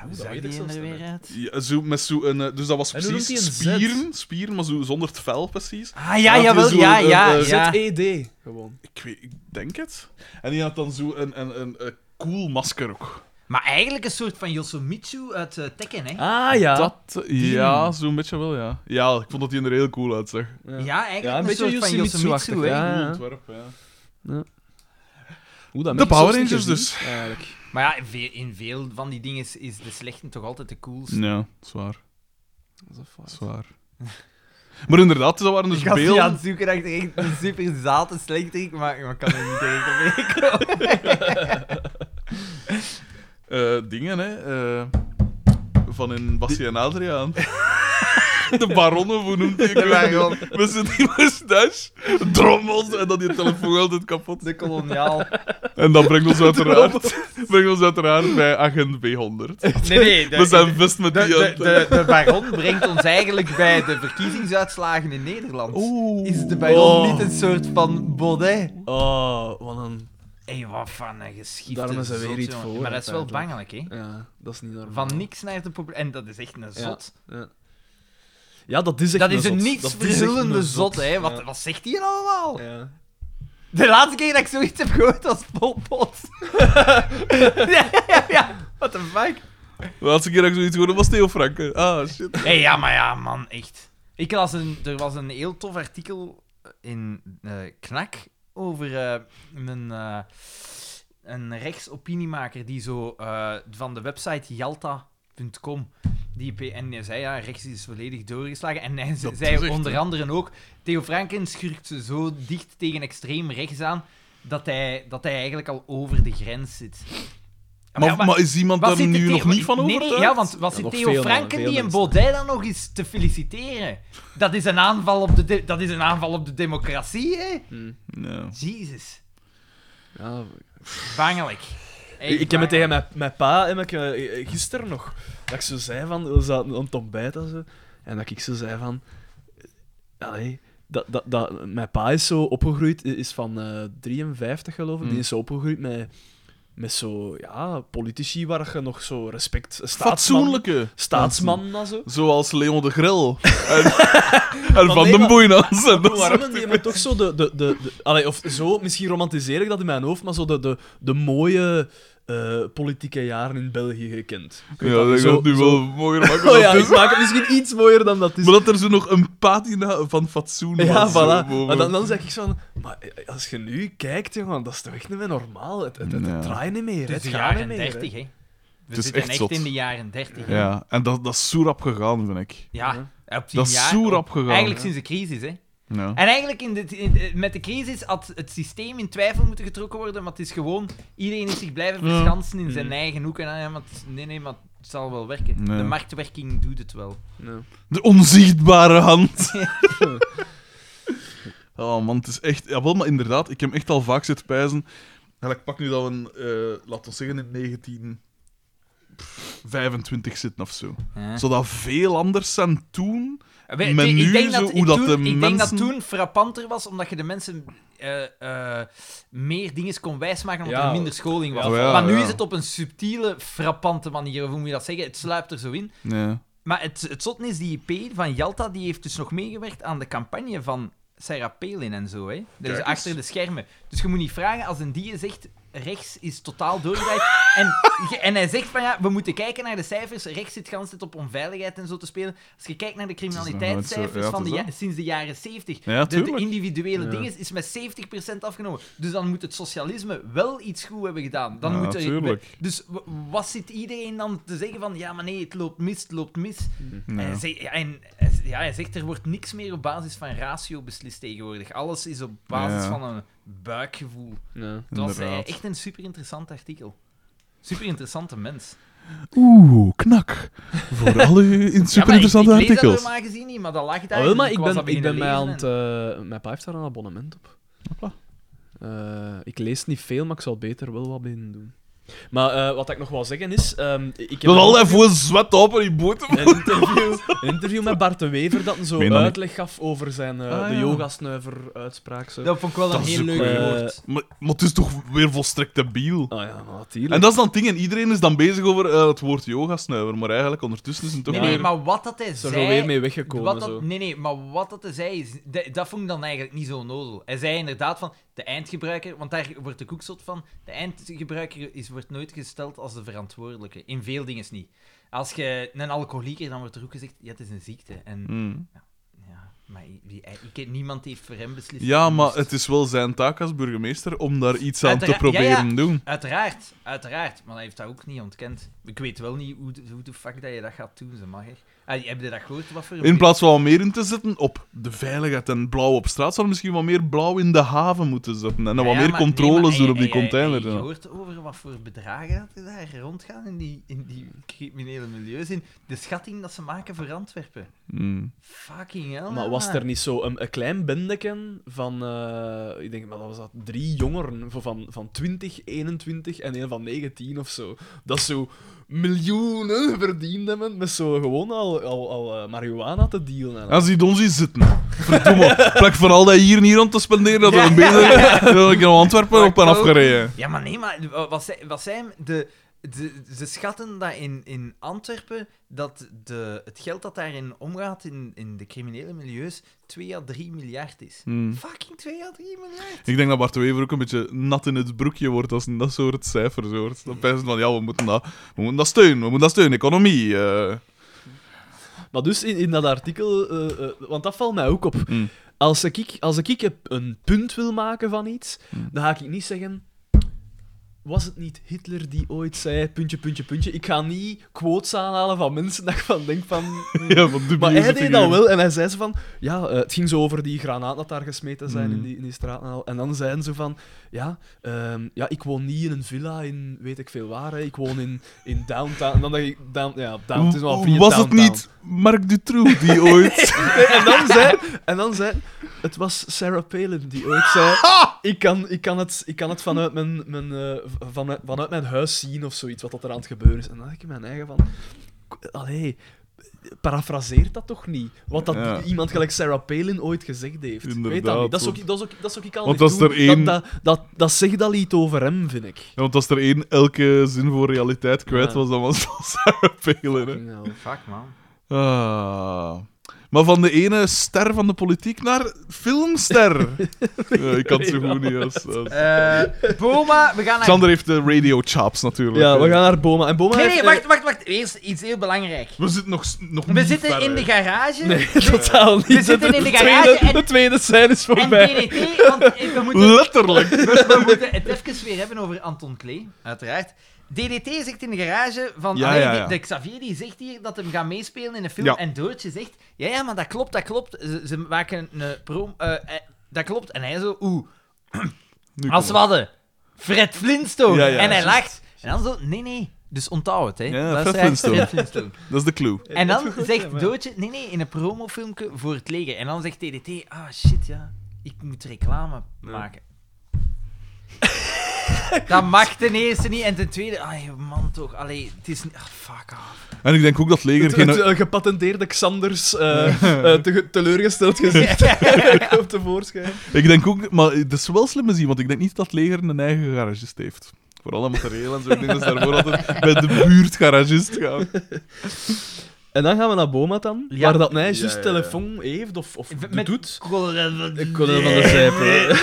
S1: Hoe
S2: dat
S1: zag
S2: weet ik
S1: die
S2: zelfs
S1: er nou
S2: niet
S1: weer uit?
S3: Ja, zo, met zo een, eh, dus dat was
S2: En hoe noemt
S3: precies
S2: die een Z?
S3: spieren, spieren, maar zo zonder het vel precies.
S1: Ah, ja,
S3: Ja,
S1: jawel,
S3: die is zo,
S1: ja,
S3: eh,
S1: ja,
S3: eh,
S1: Ah, ja.
S2: ZED. E Gewoon.
S3: Ik, weet, ik denk het. En die had dan zo een, een, een, een cool masker ook.
S1: Maar eigenlijk een soort van Yosemitsu uit eh, Tekken, hè.
S2: Ah ja.
S3: Dat, ja, zo'n beetje wel, ja. Ja, ik vond dat die er heel cool uitzag.
S1: Ja, eigenlijk
S2: Ja, een
S1: een,
S2: beetje
S1: soort van
S2: Yosemitsu-achtig,
S1: Yosemitsu, hè.
S2: Ah, ja.
S3: Cool ontwerp, ja.
S2: Hoe dat
S3: De
S2: mensen
S3: Power
S2: soms niet
S3: Rangers
S2: gezien,
S3: dus.
S2: Eigenlijk.
S1: Maar ja, in veel- in veel van die dingen is, is de slechte toch altijd de coolste.
S3: Ja, zwaar,
S2: Dat is een fout.
S3: zwaar. Maar inderdaad, dat waren dus
S1: Ik had die aan
S3: beelden...
S1: het zoeken dat ik er echt een super zate slechterik, maar maar ik kan er niet tegen op
S3: eh, dingen, hè. eh, van in Bassie en Adriaan. De baronnen, hoe noemt die? Ik weet het niet. Met zijn die moustache, drommels en dan die telefoon altijd kapot.
S1: De koloniaal.
S3: En dat brengt ons uiteraard, brengt ons uiteraard bij agent B100.
S1: Nee, nee. De,
S3: We zijn vast met
S1: de,
S3: die...
S1: de,
S3: uit-
S1: de, de baron brengt ons eigenlijk bij de verkiezingsuitslagen in Nederland.
S3: Oeh.
S1: Is de baron
S2: Oh.
S1: niet een soort van Baudet?
S2: Oh, wat een...
S1: Hé, wat van een geschiedenis.
S2: Daarom is er weer iets voor,
S1: Maar dat is wel
S2: uiteindelijk.
S1: bangelijk, hè?
S2: Ja, dat is niet normaal.
S1: Van niks naar de populair. En dat is echt een zot.
S2: Ja, ja dat is echt
S1: dat is een
S2: zot.
S1: niets
S2: Dat is echt
S1: verhullende
S2: een
S1: zot, hè? Wat,
S2: Ja.
S1: wat zegt hij allemaal?
S2: Ja.
S1: De laatste keer dat ik zoiets heb gehoord was Pol Pot. ja, ja, ja. What the fuck?
S3: De laatste keer dat ik zoiets hoorde was Theo Franken. Ah, shit.
S1: Hé, ja, maar ja, man, echt. Ik las een, er was een heel tof artikel in eh, Knak over eh, een, eh, een rechtsopiniemaker die zo eh, van de website Yalta.com die P- en die zei ja, rechts is volledig doorgeslagen. En hij ze-
S3: Dat is
S1: zei
S3: echt,
S1: onder
S3: hè.
S1: andere ook: Theo Franken schurkt ze zo dicht tegen extreem rechts aan dat hij, dat hij eigenlijk al over de grens zit.
S3: Maar, maar, is iemand
S1: wat
S3: daar
S1: zit de
S3: nu
S1: Theo-
S3: nog niet van
S1: nee, nee,
S3: overtuigd?
S1: ja, want wat
S2: Ja,
S1: zit
S2: nog
S1: Theo
S2: veel,
S1: Franken
S2: veel
S1: die en
S2: mensen.
S1: Baudet dan nog eens te feliciteren? Dat is een aanval op de, de- dat is een aanval op de democratie, hè?
S2: Hm.
S3: Ja.
S1: Jezus.
S2: Ja,
S1: Bangelijk. Echt
S2: ik, ik heb het tegen
S1: bangelijk.
S2: mijn, mijn pa en ik, eh, eh, gisteren nog. Dat ik zo zei van, we zaten aan het ontbijt en zo. En dat ik zo zei van. eh, Allee, dat, dat, dat, mijn pa is zo opgegroeid, i- is van eh, 53 geloof ik. Die
S3: Mm.
S2: is zo opgegroeid met, met zo, ja, politici waar je nog zo respect. staatsman-
S3: Fatsoenlijke.
S2: Staatsmannen en zo.
S3: Zoals Leon de Grill. En, en Van
S2: nee,
S3: den
S2: maar-
S3: Boeinans. En dat soort-
S2: Warmen, die hebben toch zo de... de, de, de allee, of zo, misschien romantiseer ik dat in mijn hoofd, maar zo de, de, de mooie eh, politieke jaren in België gekend. Ik weet
S3: Ja,
S2: dat
S3: dat
S2: zo-
S3: gaat nu
S2: zo-
S3: wel mooier maken dan
S2: Oh ja,
S3: het
S2: ik
S3: is.
S2: maak het misschien iets mooier dan dat is.
S3: Maar dat er zo nog een patina van fatsoen was.
S2: ja,
S3: zo
S2: voilà.
S3: boven.
S2: Maar dan, dan zeg ik zo van... Maar eh, als je nu kijkt, jongen, dat is toch echt niet meer normaal? Het, het, het,
S3: Ja.
S2: het draait niet meer,
S1: Het
S2: hè. het
S1: is de
S2: gaat niet
S1: jaren
S2: meer. hè.
S1: 30, hè? We
S3: is
S1: zitten
S3: echt
S1: echt,
S3: zot.
S1: in de jaren 30. hè.
S3: Ja, en dat, dat is zo rap gegaan, vind ik.
S1: Ja, op tien
S3: Dat is
S1: jaar.
S3: zo
S1: op-
S3: rap gegaan.
S1: Eigenlijk sinds de crisis, hè?
S3: Ja.
S1: En eigenlijk in dit, in- eh, met de crisis had het systeem in twijfel moeten getrokken worden, maar het is gewoon iedereen is zich blijven
S3: Ja.
S1: verschansen in zijn
S2: Mm.
S1: eigen hoek. En, ah, ja, maar het- nee, nee, maar het zal wel werken.
S3: Ja.
S1: De marktwerking doet het wel.
S2: Ja.
S3: De onzichtbare hand. oh man, het is echt... Jawel, maar inderdaad, ik heb hem echt al vaak zitten pijzen. En ik pak nu dat we, een, eh, laten we zeggen, in 1925 zitten of zo.
S1: Ja.
S3: Zodat veel anders zijn toen...
S1: We-
S3: Maar
S1: Eh, ik
S3: nu
S1: denk
S3: zo,
S1: dat,
S3: hoe dat
S1: toen,
S3: de
S1: ik denk dat
S3: mensen-
S1: toen frappanter was, omdat je de mensen eh, eh, meer dingen kon wijsmaken omdat
S2: Ja.
S1: er minder scholing was.
S3: Ja, Oh ja,
S1: maar nu
S3: ja.
S1: is het op een subtiele, frappante manier, of hoe moet je dat zeggen? Het sluipt er zo in.
S3: Ja.
S1: Maar het, het zotte is, die IP van Jalta, die heeft dus nog meegewerkt aan de campagne van Sarah Palin en zo, hè.
S3: Kijk
S1: Dus
S3: eens.
S1: achter de schermen. Dus je moet niet vragen als een die zegt, rechts is totaal doorgedraaid. en, je- en hij zegt van, ja, we moeten kijken naar de cijfers. Rechts zit de hele tijd op onveiligheid en zo te spelen. Als je kijkt naar de
S3: nog nooit zo-
S1: criminaliteitscijfers
S3: ja,
S1: van
S3: het
S1: de
S3: is
S1: ja-
S3: dat.
S1: sinds de jaren 70.
S3: Ja,
S1: de, de
S3: tuurlijk.
S1: individuele
S2: Ja.
S1: dingen is met 70% afgenomen. Dus dan moet het socialisme wel iets goed hebben gedaan. Dan
S3: Ja,
S1: moet er,
S3: tuurlijk.
S1: Dus w- wat zit iedereen dan te zeggen van, ja, maar nee, het loopt mis, het loopt mis. En, hij
S3: Ja.
S1: zei- ja, en hij z- ja, hij zegt, er wordt niks meer op basis van ratio beslist tegenwoordig. Alles is op basis
S3: Ja.
S1: van een buikgevoel.
S2: Ja.
S1: Het was eh,
S3: Inderdaad.
S1: echt een super interessant artikel. Super interessante mens.
S3: Oeh, knak. Voor al uw in- super interessante
S1: ja, maar ik- Ik lees
S3: artikels.
S1: dat normaal gezien niet, maar dat lag daar.
S2: Ah, wel, maar
S1: dus
S2: ik
S1: was dat
S2: ben, ik ben
S1: beginnen
S2: mij aan het...
S1: lezen en-
S2: eh, mijn pa heeft daar een abonnement op.
S3: Hopla.
S2: Eh, ik lees niet veel, maar ik zal beter wel wat binnen doen. Maar eh, wat ik nog wil zeggen is... ehm, ik heb
S3: Dat al even zwet op en die boten.
S2: een interview, een interview met Bart de Wever dat een zo
S3: Meen dat niet.
S2: uitleg gaf over zijn eh,
S3: Ah,
S2: de
S3: ja.
S2: yoga-snuiver-uitspraak. zo.
S1: Dat vond ik wel
S3: Dat
S1: een
S3: is
S1: heel
S3: ook
S1: leuk
S2: wel-
S1: woord.
S3: Maar, maar het is toch weer volstrekt debiel.
S2: Ah ja, maar natuurlijk.
S3: En dat is dan het ding, en iedereen is dan bezig over eh, het woord yoga-snuiver, maar eigenlijk ondertussen is het toch
S1: Nee,
S3: weer...
S1: nee, maar wat dat hij
S2: is er
S1: zei...
S2: alweer mee weggekomen.
S1: Wat
S2: zo.
S1: dat, nee, nee, maar wat dat hij zei, is, dat, dat vond ik dan eigenlijk niet zo nozel. Hij zei inderdaad van de eindgebruiker, want daar wordt de koeksot van, de eindgebruiker is, wordt nooit gesteld als de verantwoordelijke. In veel dingen
S3: Mm.
S1: niet. Als je een alcoholieker, dan wordt er ook gezegd, ja, het is een ziekte. En
S3: Hmm.
S1: ja, Maar ik, die- ik, ik- niemand heeft voor hem beslist.
S3: Ja,
S1: Hij
S3: maar
S1: moest-
S3: het is wel zijn taak als burgemeester om daar iets aan te
S1: Uiteraard, ja,
S3: proberen
S1: ja.
S3: doen.
S1: Uiteraard, uiteraard. Maar hij heeft dat ook niet ontkend. Ik weet wel niet hoe, de- hoe de fuck dat je dat gaat doen, ze mag echt. Ah, heb je dat gehoord? Wat voor een
S3: In plaats van wat meer in te zetten op de veiligheid en blauw op straat, zou er misschien wat meer blauw in de haven moeten zetten. En dan wat
S1: Nou Ja,
S3: meer
S1: maar-
S3: controles
S1: nee, maar
S3: doen op
S1: hij-
S3: die
S1: hij- hij-
S3: container.
S1: hij-
S3: ja.
S1: Je hoort over wat voor bedragen dat er daar rondgaan in die, in die criminele milieus. In de schatting dat ze maken voor Antwerpen.
S3: Hmm.
S1: Fucking hell.
S2: Maar was er niet zo een, een klein bendeken van, eh, ik denk, maar dat was dat, drie jongeren van- van, van 20, 21 en een van 19 of zo. Dat zo miljoenen verdiend hebben met zo gewoon al, al, al eh, marihuana te dealen. en al.
S3: Als die dons hier zitten. Verdomme. In plaats van al dat hier en hier rond te spenderen, dat we een bezig dat ik in Antwerpen op ben
S1: oh.
S3: afgereden.
S1: Ja, maar nee, maar wat zij- wat zijn de... de- ze schatten dat in, in Antwerpen dat de, het geld dat daarin omgaat in, in de criminele milieus 2 à 3 miljard is.
S3: Hmm.
S1: Fucking 2 à 3 miljard.
S3: Ik denk dat Bart de Wever ook een beetje nat in het broekje wordt als dat soort cijfers hoort. Dan pijzen van, ja, we moeten dat, we moeten dat steunen, we moeten dat steunen, economie. eh.
S2: Maar dus in, in dat artikel, eh, eh, want dat valt mij ook op.
S3: Mm.
S2: Als ik, als ik een- een punt wil maken van iets,
S3: Mm.
S2: dan ga ik niet zeggen. Was het niet Hitler die ooit zei, puntje, puntje, puntje. Ik ga niet quotes aanhalen van mensen dat ik van denk van...
S3: Ja, van dubieuze
S2: maar hij deed dat
S3: figuren.
S2: wel en hij zei ze van... Ja, eh, het ging zo over die granaat dat daar gesmeten zijn in,
S3: Mm.
S2: die, in die straat en al. En dan zeiden ze van... Ja, ehm, ja, ik woon niet in een villa in weet ik veel waar. Hè. Ik woon in, in downtown. En dan dacht ik... Down, ja, downtown, het is wel via
S3: Was het
S2: downtown.
S3: niet Mark Dutroux die ooit...
S2: Nee, en dan zei... En dan zei... Het was Sarah Palin die ooit zei... Ik kan, ik kan, het, ik kan het vanuit, mijn, mijn, eh, van, vanuit mijn huis zien of zoiets, wat dat er aan het gebeuren is. En dan dacht ik in mijn eigen van... k- Allee, parafraseert dat toch niet? Wat dat
S3: Ja.
S2: iemand gelijk Sarah Palin ooit gezegd heeft. Weet dat
S3: Inderdaad,
S2: niet. Dat is ook,
S3: want-
S2: dat is ook, dat is ook ik al
S3: want
S2: niet
S3: als er
S2: doen.
S3: één-
S2: Dat, dat, dat, dat zegt al iets over hem, vind ik.
S3: Ja, want als er één elke zin voor realiteit kwijt
S2: Ja.
S3: was, dan was dat Sarah Palin. hè.
S2: Nou,
S1: Fuck, man.
S3: Ah. Maar van de ene ster van de politiek naar filmster. Ja, ik kan het zo goed niet. Als, als-
S1: Eh, Boma, we gaan naar...
S3: Xander heeft de radio chops natuurlijk.
S2: Ja, we gaan naar Boma. En Boma
S1: Nee,
S2: heeft,
S1: nee,
S2: eh,
S1: wacht, wacht, wacht. Eerst iets heel belangrijk.
S3: We zitten nog, s- nog
S1: We
S3: niet
S1: zitten
S3: verder.
S1: in de garage.
S2: Nee, totaal niet.
S1: zitten in de
S2: tweede,
S1: garage en-
S2: De tweede scène is
S1: En
S2: voorbij.
S1: TNT, want eh, we moeten
S3: Letterlijk.
S1: We moeten het even weer hebben over Anton Klee, uiteraard. DDT zegt in de garage van...
S3: Ja,
S1: allee,
S3: ja,
S1: die-
S3: ja.
S1: De Xavier die zegt hier dat hem gaat meespelen in een film.
S3: Ja.
S1: En Doortje zegt... Ja, ja, maar dat klopt, dat klopt. Ze, ze maken een prom... eh, eh, dat klopt. En hij zo... Oeh,
S3: Nu
S1: als we
S3: komen
S1: hadden Fred Flintstone.
S3: Ja, ja,
S1: en hij
S3: juist.
S1: lacht. En dan zo... Nee, nee. Dus onthoud het, hè.
S3: Ja,
S1: Dat is
S3: Fred
S1: echt
S3: Flintstone.
S1: Fred Flintstone.
S3: we. Eh, Dat is de clue.
S1: En dan zegt Doodje, nee, nee, in een promofilmpje voor het leger. En dan zegt TDT, ah shit, ja, ik moet reclame maken. dat mag ten eerste niet. En ten tweede, ah man toch, allee, het is niet... Ah, fuck off.
S3: En ik denk ook dat het leger
S2: Het,
S3: geen...
S2: het, eh, gepatenteerde Xanders eh, eh, te- teleurgesteld gezicht op de voorschijn.
S3: Ik denk ook... Maar het is wel slim zien, want ik denk niet dat het leger een eigen garagist heeft. Vooral dat materieel en zo. Ik denk dat ze daarvoor altijd bij de buurt garagist gaan.
S2: En dan gaan we naar Boma dan,
S1: Ja.
S2: waar dat meisje
S3: Ja, ja, ja.
S2: telefoon heeft of, of
S1: Met-
S2: doet.
S1: Ik
S2: Zijpen.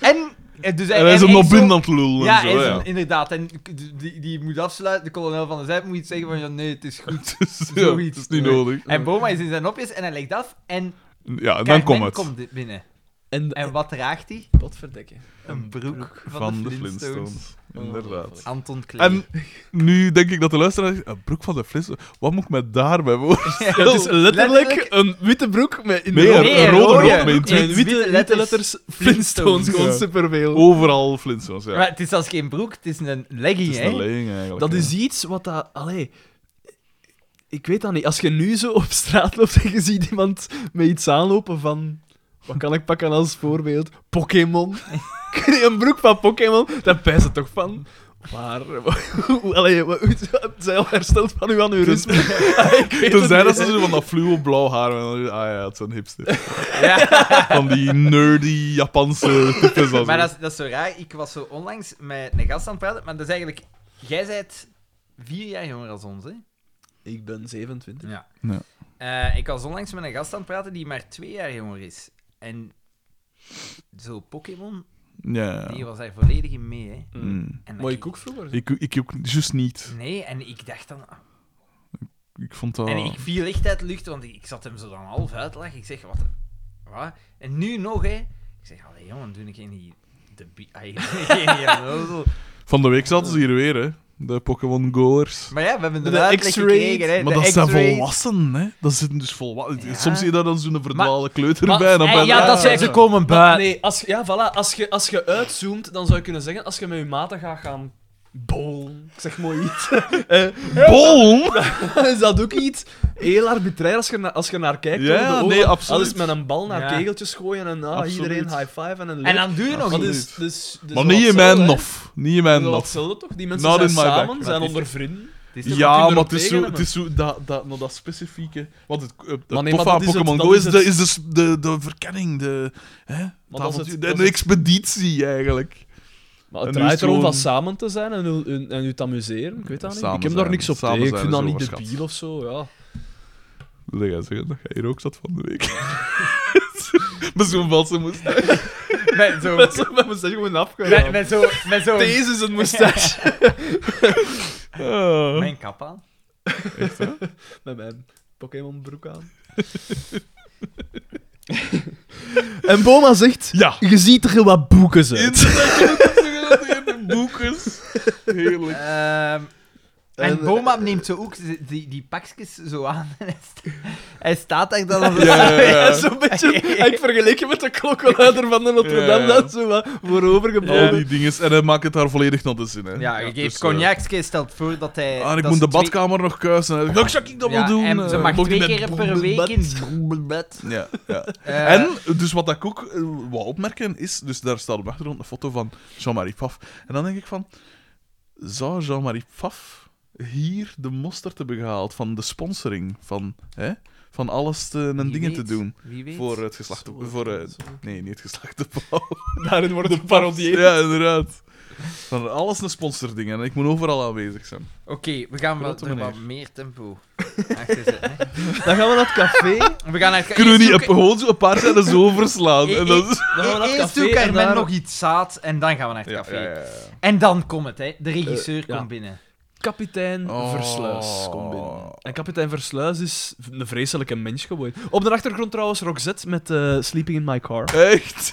S1: En, eh, dus hij,
S3: En hij is hem
S1: hij
S3: nog
S1: zo-
S3: binnen aan het lullen.
S1: Ja,
S3: en zo,
S1: hij is
S3: ja.
S1: hem- inderdaad. En die, die moet afsluiten, de kolonel van de Zijp moet iets zeggen van, ja, nee, het is goed.
S3: Dus, ja,
S1: Zoiets.
S3: het is niet nodig.
S1: En Boma is in zijn nopjes en hij legt af en...
S3: Ja, en dan
S1: Carmen
S3: komt het.
S1: komt binnen.
S2: En,
S1: En wat draagt hij?
S2: potverdekken.
S1: Een broek van,
S3: Van
S1: de
S3: de
S1: Flintstones.
S3: Flintstones. Inderdaad.
S1: Anton Klee.
S3: En nu denk ik dat de luisteraar zegt, een broek van de Flintstones, wat moet ik me daarbij voor?
S2: het is Oh, letterlijk,
S1: dus Letterlijk.
S2: een witte broek met in de
S3: Nee,
S2: rode-
S3: een- een rode
S1: rode
S3: rok met
S2: met witte,
S1: witte
S2: witte letters,
S1: letters.
S2: Flintstones, gewoon
S3: Ja.
S2: superveel.
S3: Overal Flintstones, ja.
S1: Maar het is zelfs geen broek, het is een legging,
S3: het is
S1: hè?
S3: een legging eigenlijk.
S2: Dat
S3: ja.
S2: is iets wat dat... Allee, ik weet dat niet. Als je nu zo op straat loopt en je ziet iemand met iets aanlopen van... Wat kan ik pakken als voorbeeld? Pokémon. Kun je een broek van Pokémon? Daar pijst het toch van? Waar? hoe- Allee, wat- hoe het zij al hersteld van uw aneurysme? ik weet het
S3: Tenzij
S2: niet.
S3: dat ze zo van dat fluo blauw haar hebben. Ah ja, het zijn hipsters.
S1: Ja.
S3: Van die nerdy Japanse types. als
S1: maar dat is, dat is zo raar. Ik was zo onlangs met een gast aan het praten, maar dat is eigenlijk... Jij bent vier jaar jonger dan ons, hè?
S2: Ik ben 27.
S1: Ja.
S3: Ja.
S1: Eh, ik was onlangs met een gast aan het praten die maar twee jaar jonger is. En zo Pokémon,
S3: Ja.
S1: die was daar volledig in mee, hè?
S3: Mm.
S1: En dat
S2: Mooi koek vroeger.
S3: Ik, ik ook juist niet.
S1: ah, Nee, en ik dacht dan...
S3: ik vond dat...
S1: En ik viel echt uit de lucht, want ik zat hem zo dan half uitlachen. Ik zeg, wat? wat? En nu nog, hè? Ik zeg, allee, jongen, doe ik in die... De bi- ai, geen die onnozel.
S3: Van de week zaten ze hier weer, hè. De Pokémon Goers.
S1: Maar ja, we hebben
S2: De
S1: de uitleg
S2: X-raid.
S1: gekregen, hè?
S3: Maar
S1: de
S3: dat zijn
S1: X-raid.
S3: volwassen, hè. Dat zitten dus volwassen.
S1: Ja.
S3: Soms zie je daar dan zo'n verdwaalde kleuter bij. en dan
S1: Maar-
S3: ben je-
S1: Ah, ja, dat zijn ze komen
S2: Maar
S1: buiten.
S2: nee, als, ja, voilà, als je als je uitzoomt, dan zou je kunnen zeggen, als je met je maten gaat gaan bowlen, ik zeg mooi iets, eh,
S3: Bol!
S2: is dat ook iets heel arbitrair als je, na- als je naar kijkt.
S3: Ja,
S2: over de
S3: nee,
S2: ogen.
S3: absoluut.
S2: Dat is met een bal naar
S1: Ja.
S2: kegeltjes gooien en ah,
S3: Absoluut.
S2: iedereen high five en een
S1: En dan doe je nog
S2: dat
S1: iets.
S2: is, dus, dus
S3: Maar niet in mijn nof. Niet in
S2: Dat is
S3: mijn
S2: wel
S3: nof.
S2: hetzelfde toch? Die mensen
S3: Not
S2: zijn
S3: in my
S2: samen,
S3: back.
S2: zijn
S3: Maar het
S2: onder vrienden.
S3: Ja, maar het is zo, het is zo dat, dat, nou, dat specifieke. Want het, eh, het
S2: Maar nee,
S3: toffe
S2: maar
S3: aan
S2: dat is het-
S3: Pokémon
S2: dat
S3: Go
S2: is
S3: is, de,
S2: het-
S3: is de, s- de, de verkenning, de, hè, het
S2: dat is
S3: avontuur,
S2: het-
S3: de,
S2: dat
S3: de
S2: is het-
S3: expeditie eigenlijk.
S2: Maar het
S3: En nu
S2: draait
S3: is het
S2: erom van
S3: gewoon-
S2: samen te zijn en, u- en, en u te amuseren. Ik weet dat niet.
S3: Samen
S2: ik heb daar
S3: zijn.
S2: niks op
S3: Samen
S2: tegen. Ik
S3: zijn
S2: vind
S3: is
S2: dat niet
S3: overschat.
S2: debiel of zo. Ja.
S3: Wil jij zeggen dat jij hier ook zat van de week? Met zo'n valse moest.
S1: Met zo...
S2: Mensen hebben me gewoon
S1: Met,
S2: afgedaan.
S1: met zo... Met zo...
S2: Deze is een moustache.
S3: Ah.
S1: Mijn kap aan.
S2: Met mijn Pokémon broek aan. en Boma zegt...
S3: Ja,
S2: Je ziet er wat boeken uit.
S3: inderdaad, boekjes. Heerlijk.
S1: Ehm,
S3: Eh,
S1: en Boma neemt zo ook z- die, die pakjes zo aan. en hij sta- Hij staat daar dan op
S3: Ja, ja, ja.
S2: Zo'n beetje... Ik vergelijk je met de klokkenluider van de Notre Dame.
S3: Ja.
S2: Dat is zo wat
S3: Al
S2: voorovergebogen.
S3: die dinges. En hij maakt het daar volledig naar de zin. Hè.
S1: Ja, je
S3: dus,
S1: geeft
S3: eh,
S1: cognacske stelt voor dat hij...
S3: Ah, en ik
S1: dat
S3: moet de
S1: ze twee-
S3: badkamer nog kuisen. Hij zegt, "Ja, ik zou ik dat
S1: Ja,
S3: wel doen.
S1: En
S3: eh,
S1: ze mag
S3: mocht
S1: twee
S3: niet
S1: keer
S3: met
S1: per week in...
S3: Ja, ja.
S1: Eh,
S3: en, dus wat ik ook eh, wou opmerken is, dus daar staat op de achtergrond een foto van Jean-Marie Pfaff. En dan denk ik van, zou Jean-Marie Pfaff hier de mosterd hebben gehaald van de sponsoring? Van, hè, van alles te, en
S1: wie
S3: dingen te
S1: weet,
S3: doen
S1: Wie weet.
S3: voor het geslacht...
S2: Zo,
S3: voor, eh,
S2: zo.
S3: nee, niet het geslacht de pauw.
S2: Daarin wordt het parodieerd.
S3: Ja, inderdaad. Van alles een sponsording en ik moet overal aanwezig zijn.
S1: Oké, we gaan wat,
S3: Grote
S1: er wat
S3: meneer.
S1: meer tempo achter zetten, hè.
S2: Dan gaan we naar het café.
S1: We gaan naar...
S3: Kunnen we niet
S1: eerst
S3: op- gewoon zo een paar zijn zo verslaan?
S1: Ik-
S3: En dat is...
S2: Dan gaan we
S1: doe-
S2: naar het
S1: Eerst
S2: café.
S1: doe ik
S2: en
S1: Carmen
S2: daar-
S1: nog iets zaad en dan gaan we naar het
S3: Ja,
S1: café.
S3: ja, ja, ja.
S1: En dan komt het, hè. De regisseur
S2: Eh, ja.
S1: komt binnen.
S2: Kapitein
S3: Oh.
S2: Versluis komt binnen. En kapitein Versluis is een vreselijke mens geworden. Op de achtergrond trouwens Roxette met eh, Sleeping in My Car.
S3: Echt?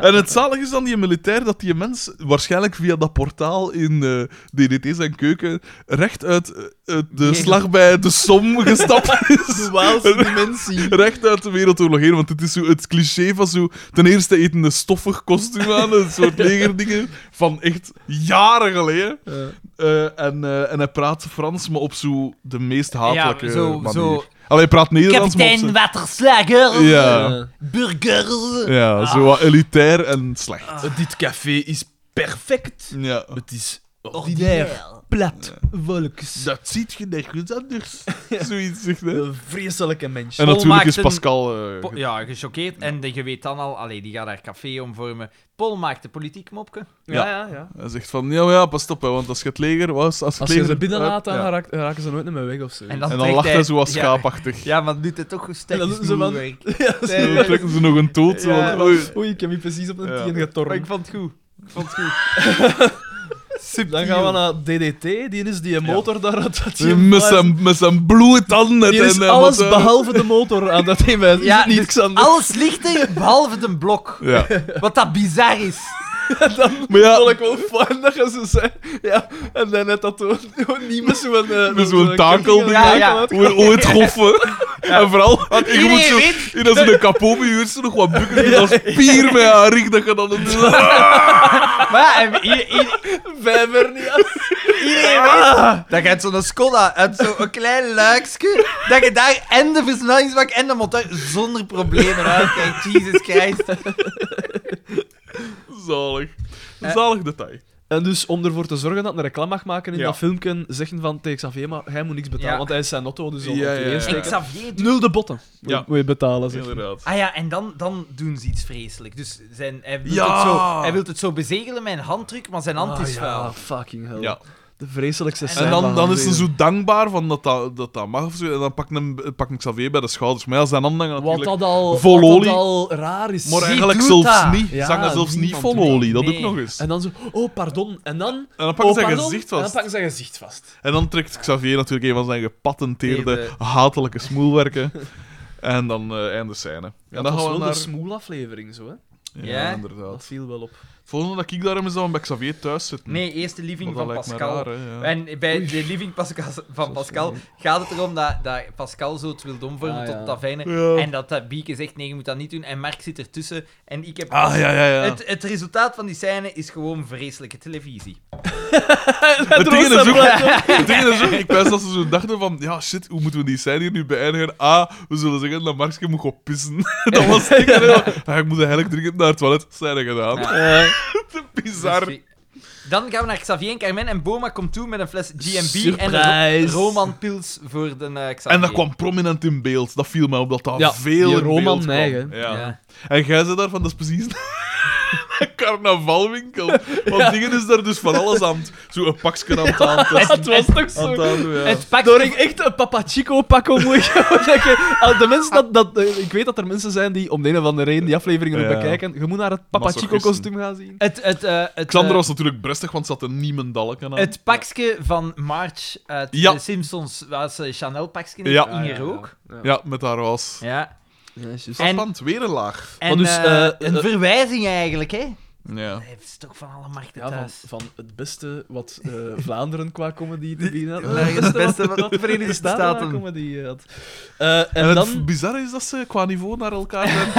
S3: en het zalige is dan die militair dat die mens waarschijnlijk via dat portaal in eh, DDT zijn keuken recht uit eh, uit de
S1: Nee.
S3: slag bij de som gestapt is.
S2: De Waalse dimensie.
S3: Recht uit de Wereldoorlog heen, want het is zo het cliché van zo... Ten eerste eten een stoffig kostuum aan, een soort legerdingen van echt jaren geleden. Eh, en, eh, en hij praat Frans, maar op zo de meest hatelijke
S1: Ja, zo-
S3: manier.
S1: zo-
S3: Allee, hij praat Nederlands,
S1: Kapitein
S3: maar op
S1: Waterslager.
S3: zijn- Ja,
S2: Eh,
S1: Burgers.
S3: ja
S1: Ah.
S3: zo wat elitair en slecht.
S2: eh, dit café is perfect.
S3: Ja.
S2: Het is ordinair.
S1: Ordinair.
S2: Plat. Volks.
S3: Dat ziet je nergens anders. Zoiets zegt hij.
S2: Een vreselijke mens.
S3: En
S1: Paul
S3: natuurlijk is
S1: maakt een-
S3: Pascal... eh,
S1: Po- Ja, gechoqueerd. En de- je weet dan al, allee, die gaat haar café omvormen. Paul maakt de politiek mopke.
S2: ja, ja, ja.
S3: Hij zegt van, ja, maar ja, pas op, hè, want als je het leger... Was, als je
S2: Als
S3: het
S2: je
S3: leger
S2: ze binnen laat, dan
S3: Ja.
S2: raak- raken ze nooit meer weg of zo.
S1: En
S3: En dan
S1: trekt
S3: lacht hij zo wat
S1: ja.
S3: schaapachtig.
S1: Ja, maar doet het toch een
S2: En
S1: stekje
S2: dan doen ze wel-
S1: snoerwerk.
S2: Ja, zo.
S1: Nee,
S3: Dan trekken ze nog een toot. zo
S1: Ja.
S3: van, oei.
S2: Oei, ik heb hier precies op een
S3: Ja.
S2: tien
S1: Maar ik
S2: getormd.
S1: vond het goed. Ik vond het goed.
S2: Dan gaan we naar DDT. Die is die motor daar. Dat, dat die
S3: Met zijn, met zijn bloeie tanden.
S2: Hier
S3: en,
S2: is
S3: eh,
S2: alles
S3: wat, eh,
S2: behalve de motor aan dat ding. Is
S1: Ja,
S2: het niet,
S1: dus
S2: Xander?
S1: Alles ligt er, behalve de blok.
S3: Ja.
S1: Wat dat bizar is.
S3: Maar
S2: Dat vond
S3: ja,
S2: ik wel fijn dat je zo zei. Ja, en dan net dat toen niet met zo'n... eh,
S3: Met zo'n takel
S2: ketting
S1: Ja,
S2: aan de
S1: ja.
S2: takel.
S3: hoe hoe het goffen. En vooral, je moet
S1: iedereen
S3: zo...
S1: weet-
S3: In dat ze een kapot huurt, ze nog wat bukken. En als pier met haar rug, dat je dan... een-
S1: Maar ja, en i- i-
S2: Vijver niet aan.
S1: iedereen weet dat je uit zo'n Skoda, uit zo'n klein luikje, dat je daar en de versnellingsbak en de motor zonder problemen uitkijkt. Jesus Christ.
S3: Zalig. Zalig detail.
S2: En dus om ervoor te zorgen dat een reclame mag maken in
S3: Ja.
S2: dat filmpje, zeggen van tegen Xavier, maar hij moet niks betalen,
S1: Ja.
S2: want hij is zijn auto, dus al
S3: Ja,
S2: moet hij
S3: ja, ja.
S2: eerst-
S1: En Xavier
S2: Nul de botten.
S3: Ja.
S2: Moet- Moet je betalen, zeg.
S3: Inderdaad.
S1: Ah ja, en dan, dan doen ze iets vreselijk. Dus zijn, hij, wil
S3: Ja!
S1: het zo, hij wil het zo bezegelen met een handdruk, maar zijn hand
S2: Ah,
S1: is vuil.
S2: ja, fucking hell.
S3: Ja.
S2: De vreselijkste scène.
S3: En dan,
S2: van
S3: dan
S2: heel
S3: is ze
S2: leven.
S3: zo dankbaar van dat dat, dat, dat mag of zo. En dan pak ik, hem, pak ik Xavier bij de schouders. Maar ja, zijn handen gaan
S2: Wat
S3: natuurlijk...
S2: dat al,
S3: vol
S2: wat dat
S3: olie.
S2: al raar is.
S3: Maar
S1: Wie
S3: eigenlijk
S1: doet
S3: zelfs
S1: dat?
S3: niet.
S2: Ja,
S3: Ze hangen zelfs niet
S1: niemand
S3: vol
S1: doet dat.
S3: olie. Dat
S1: Nee.
S3: ook nog eens.
S2: En dan zo, oh pardon. En dan,
S3: En dan pakken
S2: oh,
S3: ze zijn
S2: pardon.
S3: gezicht
S2: En dan
S3: vast.
S2: pakken ze zijn gezicht vast.
S3: En dan trekt Xavier natuurlijk een van zijn gepatenteerde,
S1: Eerde.
S3: hatelijke smoelwerken. en dan eh einde scène.
S2: Ja, dat
S3: en dan
S2: was
S3: gaan
S2: wel
S3: we
S2: de
S3: naar...
S2: smoelaflevering zo, hè.
S1: dus- Ja?
S3: inderdaad.
S2: Dat viel wel op.
S3: Het volgende dat ik daarom is dat we bij Xavier thuis zitten.
S1: Nee, eerste living
S3: Maar
S1: van
S3: dat lijkt me
S1: Pascal.
S3: raar, hè, ja.
S1: En bij de living Pascal, van Pascal gaat het erom dat, dat Pascal zo het wil domvormen
S2: Ah,
S1: tot
S2: ja.
S1: dat fijne.
S3: Ja.
S1: En dat, dat Bieke zegt, nee, je moet dat niet doen. En Mark zit ertussen. En ik heb...
S3: Ah, ja, ja, ja.
S1: Het, het resultaat van die scène is gewoon vreselijke televisie.
S3: Het ding is ook- het ding is ook, ik wist dat ze zo dachten van, ja shit, hoe moeten we die scène hier nu beëindigen? Ah, we zullen zeggen dat Markske moet gaan pissen. dat was het ding, hè. Ah, ik moet eigenlijk dringend naar het toilet. Scène gedaan. Te bizar.
S1: Dan gaan we naar Xavier en Carmen. En Boma komt toe met een fles G&B en een
S2: Surprise.
S1: ro- Roman Pils voor de eh, Xavier.
S3: En dat kwam prominent in beeld. Dat viel mij op dat dat
S2: Ja,
S3: veel
S2: die
S3: in
S2: Roman
S3: beeld kwam.
S2: Nijg, hè.
S3: Ja.
S1: Ja.
S3: En jij zei daarvan, dat is precies een carnavalwinkel. Want dingen is daar dus van alles aan. het- Zo een pakje aan het aantesten.
S2: Het was toch
S3: Aan
S2: zo...
S3: het aandoen, ja.
S1: Het pak...
S2: Daar ging echt een Papa Chico pak om. moet je zeggen. Als De mensen dat, dat, eh, ik weet dat er mensen zijn die om de een of andere reden die afleveringen
S3: Ja.
S2: bekijken. Je moet naar het Papa Chico
S3: Masochisten.
S2: kostuum gaan zien.
S1: Het, het, eh, het,
S3: Xander
S1: eh,
S3: was natuurlijk brestig, want ze had een niemendalken aan.
S1: Het pakje van Marge uit
S3: Ja.
S1: de Simpsons, was eh, ze Chanel pakje
S3: Ah, Ja.
S1: in hier ook.
S3: Ja, met haar was.
S1: Ja.
S2: Ja,
S1: En-
S3: Spannend, weer een laag.
S1: En
S2: dus,
S1: eh,
S2: eh,
S1: een
S2: eh,
S1: verwijzing eigenlijk, hè?
S3: Ja.
S1: Hij is toch van alle markten
S2: van,
S1: thuis.
S2: van het beste wat eh, Vlaanderen qua comedy te bieden had.
S1: Ja, het beste wat
S2: de Verenigde Staten qua
S1: Staten.
S2: comedy had. Eh, en,
S3: En, het
S2: dan...
S3: bizarre is dat ze qua niveau naar elkaar zijn.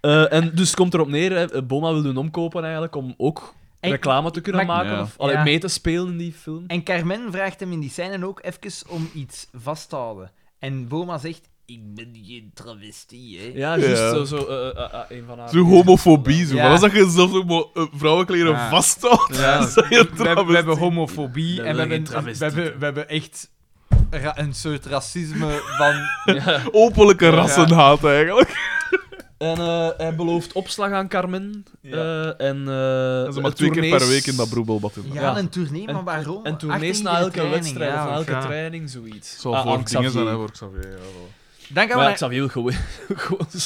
S2: eh, en dus komt erop neer, hè, eh, Boma wil doen omkopen eigenlijk, om ook
S1: En-
S2: reclame te kunnen
S1: maar-
S2: maken.
S3: Ja.
S2: Of allee,
S1: Ja.
S2: mee te spelen in die film.
S1: En Carmen vraagt hem in die scène ook even om iets vast te houden. En Boma zegt, ik ben geen travestie, hè.
S2: Ja, juist
S3: Ja.
S2: zo, zo eh, eh, eh, een van haar...
S3: zo homofobie. Zo.
S1: Ja.
S3: Maar als dat je zelf ook maar, eh, vrouwenkleren
S1: Ja.
S3: vasthoudt,
S1: Ja.
S3: dan zijn je
S1: We, hebben- we hebben
S3: travestie.
S1: homofobie
S2: Dat
S1: en we
S2: wil
S1: hebben,
S2: geen
S1: we,
S2: travestieten.
S1: hebben, we hebben echt ra- een soort racisme van...
S3: Openlijke rassenhaat, eigenlijk.
S2: En eh, hij belooft opslag aan Carmen. eh, en, eh,
S3: En ze mag
S2: het
S3: twee keer per
S2: tournees-
S3: week in dat broebelbad in.
S1: Ja,
S2: Ja.
S1: een tournee,
S2: En-
S1: maar waarom?
S2: En tournees
S1: 18
S2: na
S1: uur
S2: elke
S1: training,
S2: wedstrijd
S1: ja,
S2: of na elke
S1: ja.
S2: training, zoiets.
S3: Het zal
S2: Ah,
S3: voor
S2: aan
S3: dingen zijn, hè,
S2: Xavier.
S3: voor Xavier. Ja, wel.
S1: Dan gaan we
S2: Maar
S1: naar...
S2: Xavier wil gewoon, gewoon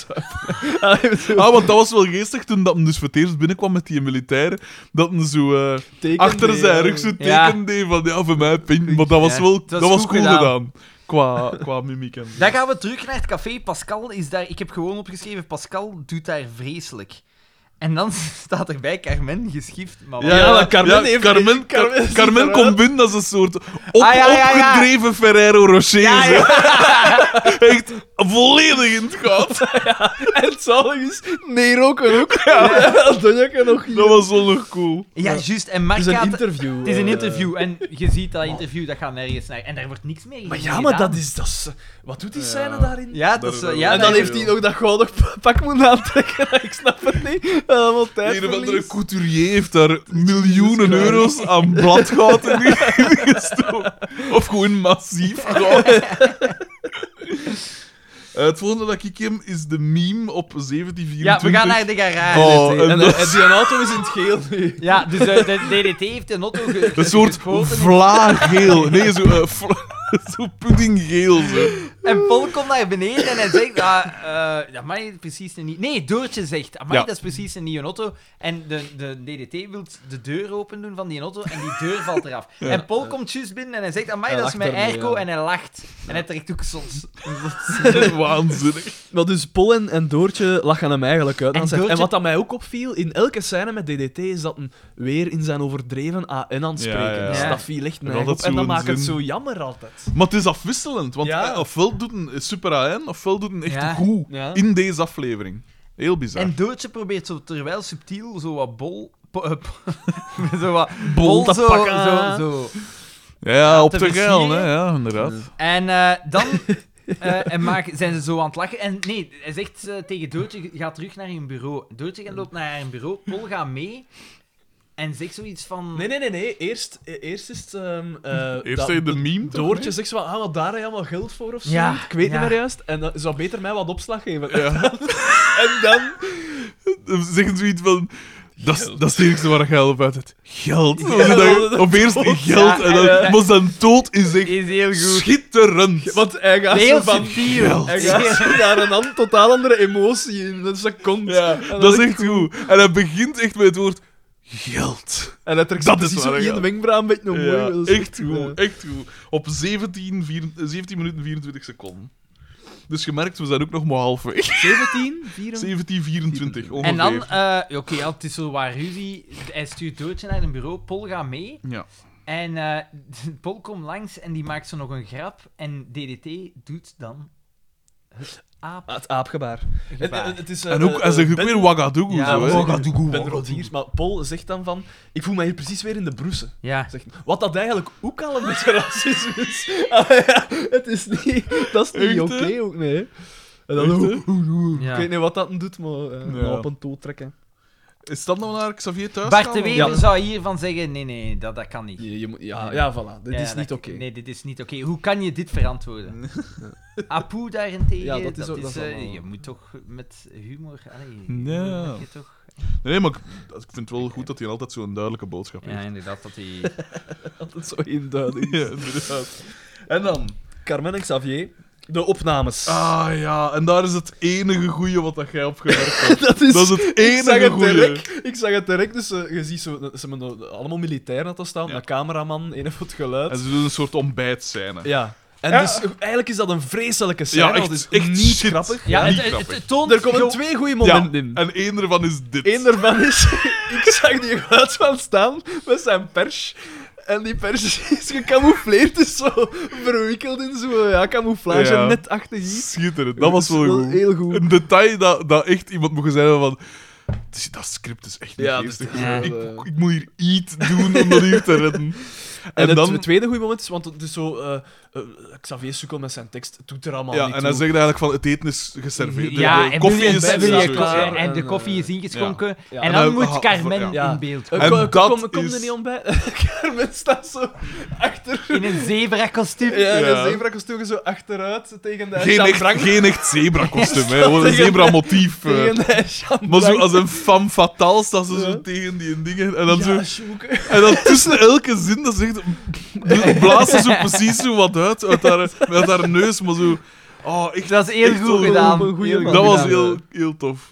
S2: zuipen.
S3: Ah, want dat was wel geestig toen dat hem dus voor het eerst binnenkwam met die militair. Dat hem zo eh, achter zijn rug zo'n
S1: Ja.
S3: teken deed van ja, voor mij pink. Maar dat was
S1: Ja.
S3: wel
S1: Het was
S3: dat was
S1: goed
S3: cool
S1: gedaan.
S3: gedaan. Qua, qua mimiek en zo.
S1: Dan gaan we terug naar het café. Pascal is daar... Ik heb gewoon opgeschreven, Pascal doet daar vreselijk. En dan staat erbij Carmen geschift, maar wat-
S2: Ja, maar Carmen heeft-
S3: Carmen,
S2: Carmen is
S3: Carmen
S2: eruit.
S3: komt binnen als een soort op,
S1: Ah, ja, ja, ja.
S3: opgedreven Ferrero Rocher.
S1: Ja, ja.
S3: zo. Echt volledig in het gat.
S2: En het zalig is, nee, roken ook. Dat doe ik er nog niet.
S3: Dat was wel nog cool.
S1: Ja, juist. En Mark
S2: Het is een
S1: gaat...
S2: interview.
S1: Het is een
S2: eh.
S1: interview. En je ziet dat interview, dat gaat nergens naar. En daar wordt niks mee
S2: Maar ja,
S1: gedaan.
S2: maar dat is... Dat is eh, wat doet die scène
S3: Ja.
S2: daarin?
S1: Ja, dat is... eh,
S3: Daar-
S1: Ja,
S2: en
S1: dat
S2: dan
S1: is-
S2: heeft hij nog dat gouden pak moeten aantrekken. Ik snap het niet. Allemaal tijd
S3: Een of andere couturier heeft daar miljoenen
S2: Christ.
S3: euro's aan bladgoud in gestoken. Of gewoon massief goud. Eh, het volgende dat ik hem is de meme op 1724.
S1: Ja, we gaan naar de garage.
S3: Oh,
S2: En,
S3: en
S2: en,
S3: dat
S2: en die auto is in het geel nu.
S1: Ja, dus eh, de DDT heeft een auto ge-
S3: Een soort
S1: gespoten.
S3: vlaaggeel. Nee, zo, eh, vla- zo puddinggeel. Zo.
S1: En Paul komt naar beneden en hij zegt... Ah, eh dat is precies een niet... Nee, Doortje zegt... Amai,
S3: Ja.
S1: dat is precies een nieuwe auto. En de, de DDT wil de deur open doen van die auto en die deur valt eraf. En Paul komt juist binnen en hij zegt... Amai,
S2: Hij
S1: dat is
S2: lacht
S1: mijn
S2: ermee,
S1: airco.
S2: ja.
S1: En hij lacht. En hij trekt ook soms...
S3: Waanzinnig.
S2: Maar dus Pol en, en Doortje lachen hem eigenlijk uit.
S1: En
S2: En, zegt,
S1: Doortje-
S2: en wat dat mij ook opviel, in elke scène met DDT is dat een weer in zijn overdreven AN aan het
S3: Ja,
S2: spreken.
S3: ja.
S2: Dus
S1: Ja.
S2: dat viel echt mij
S3: altijd
S2: op. En dat
S3: zo'n
S2: maakt het
S3: zin.
S2: zo jammer altijd.
S3: Maar het is afwisselend, want
S2: Ja.
S3: eh, ofwel doet een super AN, ofwel doet een echt
S1: Ja.
S3: goed
S2: Ja.
S3: in deze aflevering. Heel bizar.
S1: En Doortje probeert zo terwijl subtiel zo wat bol. po- eh, po- zo wat
S2: Bol te
S1: zo,
S2: pakken.
S1: zo, zo.
S3: ja, ja, op
S1: te
S3: de geil,
S1: versieren.
S3: hè? Ja, inderdaad.
S1: En eh, dan eh, en maken- zijn ze zo aan het lachen. En nee, hij zegt eh, tegen Doortje: ga terug naar je bureau. Doortje gaat loopt naar haar bureau. Pol gaat mee. En zegt zoiets van.
S2: Nee, nee, nee, nee. Eerst, e- eerst is het... ehm, eh,
S3: Eerst
S2: dat-
S3: zei je de meme. toch?
S2: Doortje zegt zo van, ah, wat daar heb je allemaal geld voor of zo.
S1: Ja,
S2: Ik weet
S1: ja.
S2: niet meer juist. En dat zou beter mij wat opslag geven.
S3: Ja.
S2: En dan...
S3: Zeggen zoiets van. Dat is, dat is het enige waar je op uit het geld.
S2: Ja,
S3: dat
S2: dat-
S3: je op eerst geld en dan
S1: Ja, ja.
S3: was dan dood is echt
S1: Is heel goed.
S3: schitterend.
S2: Want hij gaat
S1: Heel
S2: zo van...
S1: subtiel.
S2: Hij gaat daar een an- totaal andere emotie in. Dat is een kont.
S3: Ja,
S2: dat
S3: dat, is echt goed. En hij begint echt met het woord geld.
S2: En hij trekt dus
S3: Dat
S2: zo
S3: is
S2: precies zo
S3: waar, ja.
S2: één wenkbrauw een eh. beetje omhoog.
S3: Ja,
S2: Dat is
S3: echt goed, echt goed. Op 17, vier- 17 minuten 24 seconden. Dus je merkt, we zijn ook nog maar halfweg.
S1: 17, 24.
S3: 17, 24, ongeveer.
S1: En dan, eh, oké, ja, het is zo waar ruzie. Hij stuurt Doodje naar een bureau, Paul gaat mee.
S3: Ja.
S1: En eh, Paul komt langs en die maakt zo nog een grap. En DDT doet dan het
S2: Ah, Het aapgebaar. Het,
S1: aapgebaar.
S2: het, het is, eh,
S3: En ook, hij
S2: eh,
S3: zegt ook
S2: ben,
S3: weer Ouagadougou.
S1: Ja,
S3: zo, hè.
S1: Ouagadougou,
S2: Ben
S1: Ouagadougou.
S2: Rodiers, maar Paul zegt dan van... Ik voel mij hier precies weer in de broesen.
S1: Ja.
S2: Zegt, wat dat eigenlijk ook al een beetje racisme is. Ah, ja, het is niet... Dat is niet
S3: Echt,
S2: oké
S3: hè?
S2: ook, nee. En dan...
S3: Echt, hè?
S2: oeh, oeh, oeh.
S1: Ja.
S2: Ik weet niet wat dat doet, maar... eh,
S3: Ja.
S2: maar op een toe trekken.
S3: Is dat nou naar Xavier thuis
S1: Bart
S3: gaan,
S1: de
S3: of-
S1: Wever
S2: Ja.
S1: zou hiervan zeggen: nee, nee, dat, dat kan niet.
S2: Je, je moet, ja, ja, voilà. Dit
S1: Ja,
S2: is niet
S1: dat-
S2: oké.
S1: Nee, dit is niet oké. Hoe kan je dit verantwoorden? Apu daarentegen,
S2: Ja,
S1: dat
S2: dat is
S1: is,
S2: ook- dat is
S1: eh,
S2: allemaal-
S1: je moet toch met humor. Allee,
S3: Ja.
S1: humor heb je toch...
S3: Nee, maar ik, ik vind het wel goed dat hij altijd zo'n duidelijke boodschap
S1: Ja,
S3: heeft.
S1: inderdaad, dat die.
S2: Altijd zo induidelijk.
S3: Ja, inderdaad. En dan?
S2: Carmen en Xavier, de opnames.
S3: Ah ja, en daar is het enige goeie wat dat jij opgewerkt hebt.
S2: dat is...
S3: Dat is het
S2: ik zag
S3: enige
S2: het
S3: goeie.
S2: direct. Ik zag het direct. Dus eh, je ziet zo, ze hebben de- allemaal militairen aan het staan.
S3: Ja.
S2: Een cameraman, een voor het
S3: En
S2: geluid.
S3: ze doen een soort ontbijtscène.
S2: Ja. En
S3: Ja.
S2: dus, eh, eigenlijk is dat een vreselijke scène.
S3: Ja,
S2: want
S3: echt,
S2: het is
S3: echt
S2: niet
S3: shit.
S2: grappig.
S1: Ja,
S3: niet
S1: het, het,
S3: grappig.
S1: het toont
S2: Er komen
S1: gewoon-
S2: twee goede
S3: Ja,
S2: momenten in.
S3: en één ervan is dit.
S2: Eén daarvan is, ik zag die geluidsman staan met zijn pers. En die pers is gecamoufleerd, dus zo verwikkeld in zo'n ja, camouflage,
S3: Ja.
S2: net achter iets.
S3: Schitterend, dat was wel goed.
S2: Heel goed.
S3: Een detail dat, dat echt iemand mocht zijn van... "Het is- Dat script is echt niet
S2: Ja,
S3: geestig.
S2: dat is wel,
S3: ik,
S2: eh.
S3: ik moet hier iets doen om dat hier te redden. En,
S2: En, het,
S3: dan...
S2: het tweede goede moment is, want het is zo, eh, eh, Xavier sukkel met zijn tekst, het doet er allemaal
S3: ja,
S2: niet
S3: en hij
S2: toe.
S3: zegt eigenlijk van het eten is geserveerd. De-
S1: Ja,
S3: de
S1: en
S3: koffie
S1: wil je-
S3: is...
S1: wil je-
S2: sowieso.
S1: en- en
S2: En,
S1: de
S2: eh,
S1: koffie is ingeschonken.
S2: Ja.
S1: En
S3: En
S1: dan
S3: hij-
S1: moet
S3: ha-
S1: Carmen
S2: ja.
S1: in beeld
S2: Eh,
S1: komen.
S3: En
S2: kom, kom, kom,
S3: dat
S2: kom
S3: is-
S2: er niet om bij. Carmen staat zo achter.
S1: In een zebra-kostuum.
S2: Ja, en
S3: Ja.
S2: de zebra zo achteruit tegen de
S3: Geen echt,
S2: Chambrank-
S3: geen echt zebra-kostuum, hè.
S2: Ja,
S3: Gewoon een
S2: tegen-
S3: zebra-motief. eh.
S2: Tegen de
S3: Maar zo
S2: Chambrank.
S3: als een femme fatale staat ze
S2: Ja.
S3: zo tegen die dingen. En dan,
S2: Ja,
S3: zo,
S2: Sjoeke.
S3: en dan tussen elke zin, dat zegt... blaast ze zo precies zo wat uit, uit haar, uit haar neus. Maar zo... Oh, echt,
S1: Dat is heel
S3: echt
S1: goed
S3: wel-
S1: gedaan.
S2: op een goede
S1: Heel
S2: man.
S1: goed
S3: Dat was
S1: gedaan.
S3: heel, heel tof.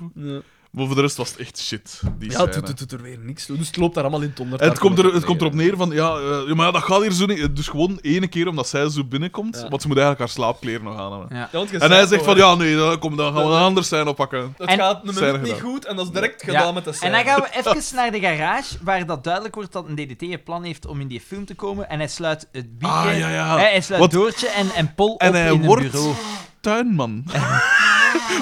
S3: Maar voor de rest was het echt shit. Die
S2: Ja,
S3: scène.
S2: het doet- het doet er weer niks toe. Dus het loopt daar allemaal in het onder.
S3: En het komt, er, het komt erop neer van, ja, eh, ja, maar ja, dat gaat hier zo niet. Dus gewoon ene keer omdat zij zo binnenkomt,
S2: Ja.
S3: want ze moet eigenlijk haar slaapkleren nog aan hebben.
S1: Ja.
S3: En hij zegt van, ja, nee, dan, kom, dan gaan we een ander scène oppakken.
S2: Het
S1: En-
S2: gaat een
S3: Scène
S2: minuut niet
S3: gedaan.
S2: goed en dat is direct gedaan
S1: Ja.
S2: met de
S1: En
S2: scène.
S1: dan gaan we even naar de garage, waar dat duidelijk wordt dat een DDT een plan heeft om in die film te komen. En hij sluit het bieken,
S3: Ah, ja, ja.
S1: Hij, hij sluit
S3: Wat-
S1: Doortje en, en Pol
S3: En
S1: op
S3: hij
S1: in
S3: wordt-
S1: een bureau.
S3: Tuinman.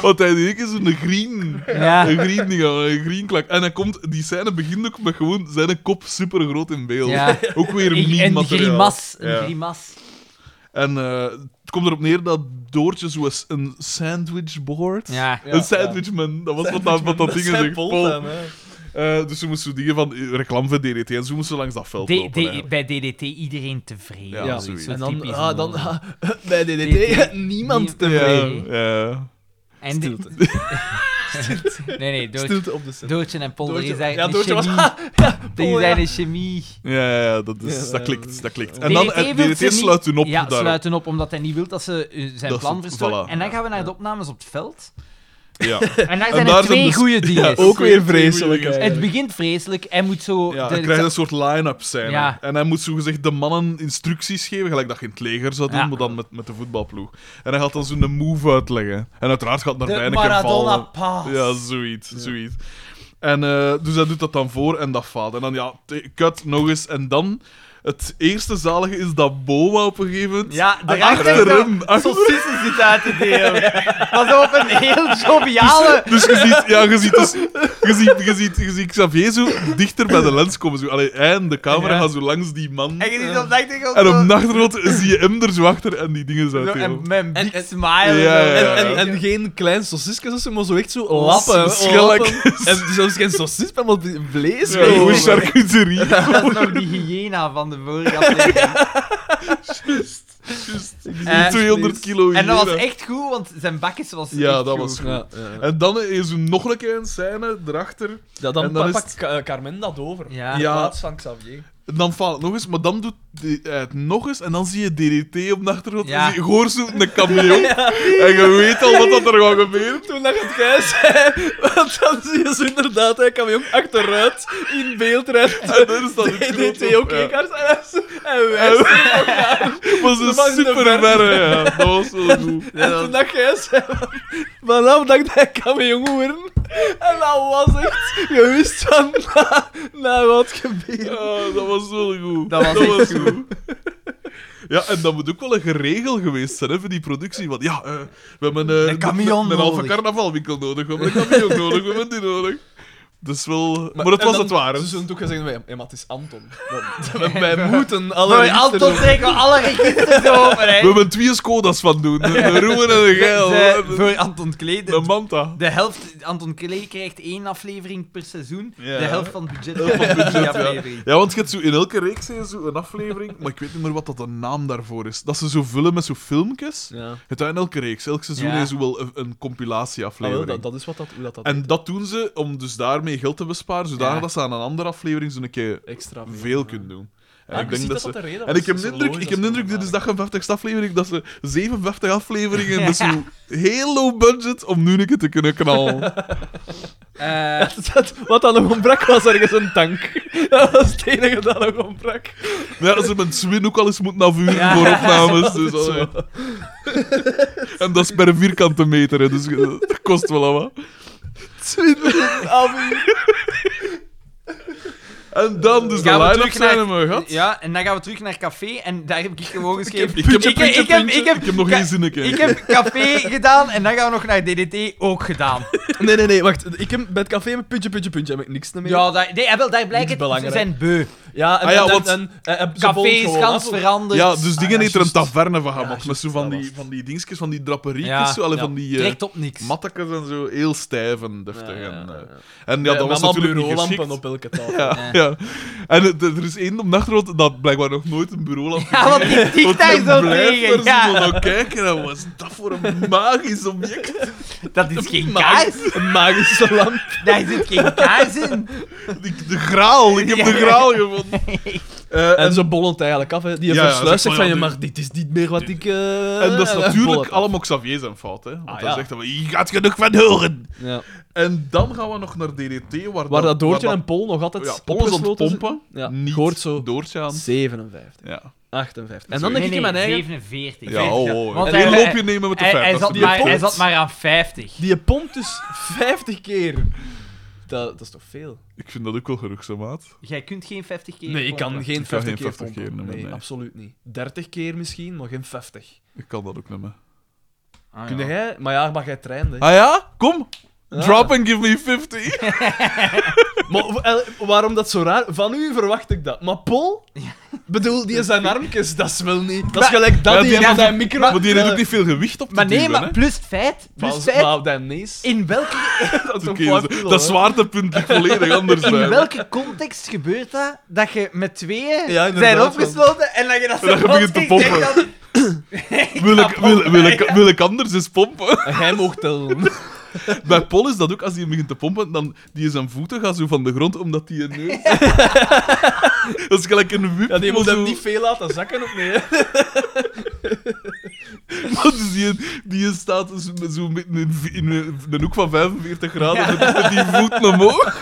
S3: Want hij denkt, is een green.
S1: Ja.
S3: Een green ding, een green klak. En hij komt, die scène begint ook met gewoon zijn kop super groot in beeld.
S1: Ja.
S3: Ook weer
S1: Een, een
S3: meme-materiaal.
S1: grimas. Een
S3: Ja.
S1: grimas.
S3: En eh, het komt erop neer dat Doortje zo eens een sandwichboard...
S1: Ja.
S2: Ja,
S3: een sandwichman, dat was wat dat, wat dat ding is.
S2: Zijn
S3: echt.
S2: pol
S3: Pol.
S2: dan, hè.
S3: Eh, dus ze moesten dingen van eh, reclame van DDT en zo moesten ze langs dat veld
S1: D-
S3: lopen.
S1: D-
S3: eigenlijk.
S1: bij DDT iedereen tevreden.
S3: Ja,
S2: Ja,
S3: zoiets.
S1: Zo
S2: En dan,
S1: typisch
S2: ah, dan
S1: Nederland.
S2: ah, bij DDT, niemand
S1: Niemand.
S2: tevreden.
S1: D-
S3: ja.
S1: en die-
S2: Stilte.
S1: Nee, nee, Doortje,
S2: Stilte op de set.
S1: Doortje en Pol,
S2: Doortje-
S1: die zijn
S2: ja,
S1: een
S2: Doortje was-
S1: chemie.
S2: Pol,
S1: Die
S2: ja.
S1: zijn een chemie.
S3: Ja, ja, ja, dat, is,
S2: Ja,
S3: dat
S2: eh,
S3: klikt. Dat klikt.
S1: DDT
S3: En dan eh,
S1: wil ze
S3: DDT sluit
S1: niet-
S3: hun op
S1: Ja,
S3: daar.
S1: sluit hun op, omdat hij niet wil dat ze eh, zijn
S3: Dat
S1: plan
S3: ze-
S1: verstoren.
S3: voilà.
S1: En dan gaan we naar
S2: Ja.
S1: de opnames op het veld.
S3: Ja.
S1: En daar
S3: En
S1: zijn
S3: daar
S1: er
S3: zijn
S1: twee
S3: dus-
S1: goede dingen.
S3: Ja, ook weer
S2: vreselijk,
S3: vreselijk.
S2: hè.
S1: Het begint vreselijk. Hij moet zo...
S3: Ja,
S1: de-
S3: hij krijgt een soort line-up zijn.
S1: Ja.
S3: En hij moet zogezegd de mannen instructies geven, gelijk dat je in het leger zou doen,
S1: Ja.
S3: maar dan met, met de voetbalploeg. En hij gaat dan zo'n move uitleggen. En uiteraard gaat naar
S2: De
S3: Deineken
S2: Maradona
S3: vallen.
S2: Paas.
S3: Ja, zoiets, zoiets. En eh, dus hij doet dat dan voor en dat faalt. En dan, ja, t- kut, nog eens. En dan, het eerste zalige is dat Boma op een gegeven moment...
S1: Ja,
S3: Ah,
S1: daarachter
S3: achterin,
S1: zo-
S3: achterin.
S1: Saucissen zit uit te delen. Pas op, een heel joviale...
S3: Dus je ziet, ja, je ziet, dus, je ziet, je ziet, je ziet Xavier zo dichter bij de lens komen. Zo. Allee, hij en de camera
S1: Ja.
S3: gaan zo langs die man.
S1: En je ziet op de achtergrond
S3: En op
S1: zo-
S3: nachtrot zie je hem er zo achter en die dingen zo
S1: zo-
S3: uit.
S1: en Met een
S2: En-
S1: big
S2: en-
S1: smile.
S3: Ja, ja, ja.
S2: En, en, en geen klein sausjes of zo, maar zo echt zo lappen. Oh,
S3: Schellek.
S2: lappen. En zelfs geen sausjes, maar wat vlees.
S3: Ja,
S2: gewoon.
S3: goeie charcuterie.
S1: Dat is nog die hyena van de vorige aflevering.
S3: Juist.
S1: Eh,
S3: 200 kilo
S1: En dat was
S3: hyena.
S1: echt goed, want zijn bakjes was
S3: Ja,
S1: echt
S3: dat
S1: goed.
S3: was goed.
S2: Ja, ja.
S3: En dan is er nog een keer een scène erachter.
S2: Ja, dan
S3: En dan is
S2: pakt
S3: het-
S2: Ka- eh, Carmen dat over.
S1: Ja.
S2: In
S3: Ja.
S2: plaats van Xavier.
S3: En dan faalt het nog eens, maar dan doet die- hij het nog eens. En dan zie je DDT op de achtergrond.
S1: Ja.
S3: En zie je gehoorzoetende kameleon. En je weet al wat dat er gaat gebeuren.
S2: Toen dat het gij zei, want dan zie je ze inderdaad, hij kan ook achteruit in beeld rijden.
S3: En dan is dat een
S2: DDT
S3: knop op,
S2: ook
S3: ja.
S2: kekers en hij is- hij wijst.
S3: Het was een
S2: Dat was in de
S3: super
S2: verte.
S3: verre, ja. Dat was wel goed.
S2: En toen dat jij zei, van- vanaf dat ik dat kan mijn jongen worden. En dat was echt, je wist van na, na wat gebeurde.
S3: Ja, dat was wel goed.
S1: Dat was echt goed.
S3: Ja, en dat moet ook wel een geregel geweest zijn hè, voor die productie. Want ja, eh, we hebben eh,
S1: Een camion
S3: een, een halve
S1: nodig.
S3: carnavalwinkel nodig, we hebben een camion nodig, we hebben die nodig. Dus wel... Maar, het was het ware.
S2: Ze zullen ook gezegd hebben, ja, maar het is Anton. Want Wij moeten alle
S1: Maar
S2: liefde
S1: Anton
S2: doen.
S1: trekken we alle registers open, hè.
S3: We hebben twee Skodas van doen. Een roer en een geil.
S1: Ze- Voor Anton Klee,
S3: Een
S1: de,
S3: manta.
S1: de helft... Anton Klee krijgt één aflevering per seizoen.
S3: Ja.
S1: De helft van het budget
S3: Heel van budget,
S1: die
S3: ja.
S1: aflevering.
S3: Ja, want je hebt zo in elke reeks heb je zo een aflevering, maar ik weet niet meer wat dat de naam daarvoor is. Dat ze zo vullen met zo'n filmpjes.
S2: Ja.
S3: Het is in elke reeks. Elk seizoen
S1: Ja.
S3: is zo wel een, een
S2: Ah, wel,
S3: compilatieaflevering.
S2: dat, dat is wat dat, hoe dat, dat
S3: En dat doen ze om dus daarmee geld te besparen, zodat
S1: Ja.
S3: dat ze aan een andere aflevering zo'n keer
S2: extra
S3: veel kunnen doen. En
S2: Ah,
S3: ik denk
S2: zie
S3: dat
S2: dat
S3: ze...
S2: de reden
S3: En
S2: was.
S3: ik heb
S2: Dat
S3: de
S2: is
S3: indruk,
S2: logisch
S3: ik heb de
S2: dat
S3: indruk,
S2: ze
S3: dit is
S2: dat
S3: dag en 50 aflevering, dat ze 57 afleveringen,
S1: Ja.
S3: dus zo heel low budget, om nu een keer te kunnen knallen.
S1: Eh,
S2: gedaan hebben. Dat- Wat dan nog ontbrak was ergens een tank. Dat was het enige dat nog ontbrak.
S3: Ja, ze hebben Swin ook al eens moeten afvuren
S1: Ja.
S3: voor opnames. Dus,
S2: is
S3: allee. en dat is per vierkante meter, hè, dus eh, dat kost wel wat. En dan dus
S1: Gaan
S3: de
S1: we
S3: line-up
S1: terug naar-
S3: zijn we gehad.
S1: ja, en dan gaan we terug naar café en daar heb ik gewoon geschreven...
S3: Ik heb, ik, heb, ik, heb,
S1: ik heb-
S3: nog
S1: ka-
S3: geen zin in.
S1: Ik heb café gedaan en dan gaan we nog naar DDT ook gedaan.
S2: Nee, nee, nee, wacht. Ik heb bij het café mijn puntje, puntje, puntje. Heb ik niks meer.
S1: Ja, daar, nee, ja, wel, daar blijkt
S2: Niet
S1: het, ze
S2: belangrijk.
S1: zijn beu.
S2: ja en,
S3: Ah ja,
S2: en-
S3: want
S2: en, en- en- ze
S1: Café
S2: bolt
S1: is
S2: gewoon
S1: gans
S2: af.
S1: veranderd.
S3: Ja, dus dingen
S2: ja,
S3: heeft er een
S2: juist.
S3: taverne van
S2: Ja,
S3: gemaakt. met
S2: juist,
S3: zo van
S2: dat
S3: die,
S2: was
S3: van die dingetjes, van die draperiekjes.
S1: Ja,
S3: zo, allee,
S2: ja.
S3: van die eh
S1: Direct op niks.
S3: mattekes en zo. Heel stijf en deftig.
S2: Ja, ja,
S3: en,
S2: ja,
S3: eh.
S2: ja.
S3: en ja,
S2: Met
S3: dat was
S2: allemaal
S3: natuurlijk niet
S2: bureaulampen
S3: geschikt.
S2: op elke tafel.
S3: Ja, ja. En het- er is één op de achtergrond dat blijkbaar nog nooit een bureaulamp
S1: Ja, want die tikt daar zo tegen.
S3: Ja.
S1: Ja,
S3: kijken, en wat is dat voor een magisch object?
S1: dat is geen
S2: Magisch-
S1: kaars.
S2: Een magische lamp.
S1: Daar zit geen kaars in.
S3: Ik- de graal, ik heb de graal gevonden. Eh,
S2: En, ze bollen het eigenlijk af. Hè. Die
S3: Ja, ja,
S2: versluist
S3: ze
S2: zegt van,
S3: van,
S2: ja,
S3: ja,
S2: maar dit is niet meer wat ik... eh,
S3: en dat is
S2: eh, bollen
S3: natuurlijk
S2: het af.
S3: allemaal Xavier zijn fout, hè. Want
S2: Ah,
S3: hij
S2: ja.
S3: zegt, dan, je gaat genoeg van horen.
S2: Ja.
S3: En dan gaan we nog naar DDT, waar,
S2: Waar dat Doortje
S3: waar
S2: en Pol nog altijd
S3: ja, Paul is aan het
S2: opgesloten zijn.
S3: pompen.
S2: Ja,
S3: Niet
S2: hoort zo.
S3: Doortje aan.
S2: 57,
S3: Ja.
S2: 58. En
S3: Sorry.
S2: dan denk ik in mijn eigen...
S1: 47.
S3: Ja, oh, oh.
S1: Want
S3: En
S1: hij-
S3: die loop je nemen met de
S1: Hij, hij,
S3: 50.
S1: zat
S2: die
S1: maar, hij
S2: pompt.
S1: zat maar aan 50.
S2: Die pompt dus 50 keer. Dat, dat is toch veel?
S3: Ik vind dat ook wel genoeg, zo, maat.
S1: Jij kunt geen 50 keer.
S2: Nee, ik kan
S1: pompen.
S2: geen 50
S3: geen
S2: keer
S3: 50
S2: pompen.
S3: keer, nee,
S2: nee,
S3: nee.
S2: absoluut niet. 30 keer misschien, maar geen 50.
S3: Ik kan dat ook nemen.
S1: Ah,
S2: Kun
S1: ja.
S2: jij... Maar ja, maar jij trainde.
S3: Ah ja? Kom.
S2: Ja.
S3: Drop and give me 50.
S2: Maar w- el- waarom dat zo raar? Van u verwacht ik dat. Maar Pol? Bedoel, die zijn armpjes, dat is wel niet... Dat is
S1: Maar-
S2: gelijk dat
S3: Ja,
S2: die,
S3: die
S2: die
S3: heeft-
S2: zijn micro...
S3: Want die heeft
S2: Ja.
S3: ook niet veel gewicht op te
S1: Maar nee,
S3: duwen,
S1: maar
S3: hè.
S1: plus het feit.
S2: Maar,
S1: Plus het feit.
S2: maar dat nees...
S1: In welke,
S2: Dat is
S3: Oké,
S2: een
S3: dus
S2: paar kilo,
S3: dat
S2: hè.
S3: zwaartepunt ligt volledig anders
S1: in
S3: bij.
S1: welke context gebeurt dat? Dat je met tweeën
S2: Ja, inderdaad,
S1: zijn
S2: want-
S1: opgesloten en dat je dat zo
S3: dat je begint te
S1: vastkijkt en
S3: pompen.
S1: dan-
S3: Wil ik, wil, wil, ik, wil ik anders eens pompen?
S2: En jij mocht tellen.
S3: Bij Paul is dat ook, als hij begint te pompen, dan die zijn voeten gaan zo van de grond, omdat die een neus... dat is gelijk een wip.
S2: Ja, die
S3: maar
S2: moet
S3: zo-
S2: hem niet veel laten zakken, of nee? hè?
S3: Dus die, die staat zo, zo midden in, in een hoek van 45 graden met, met die voeten omhoog.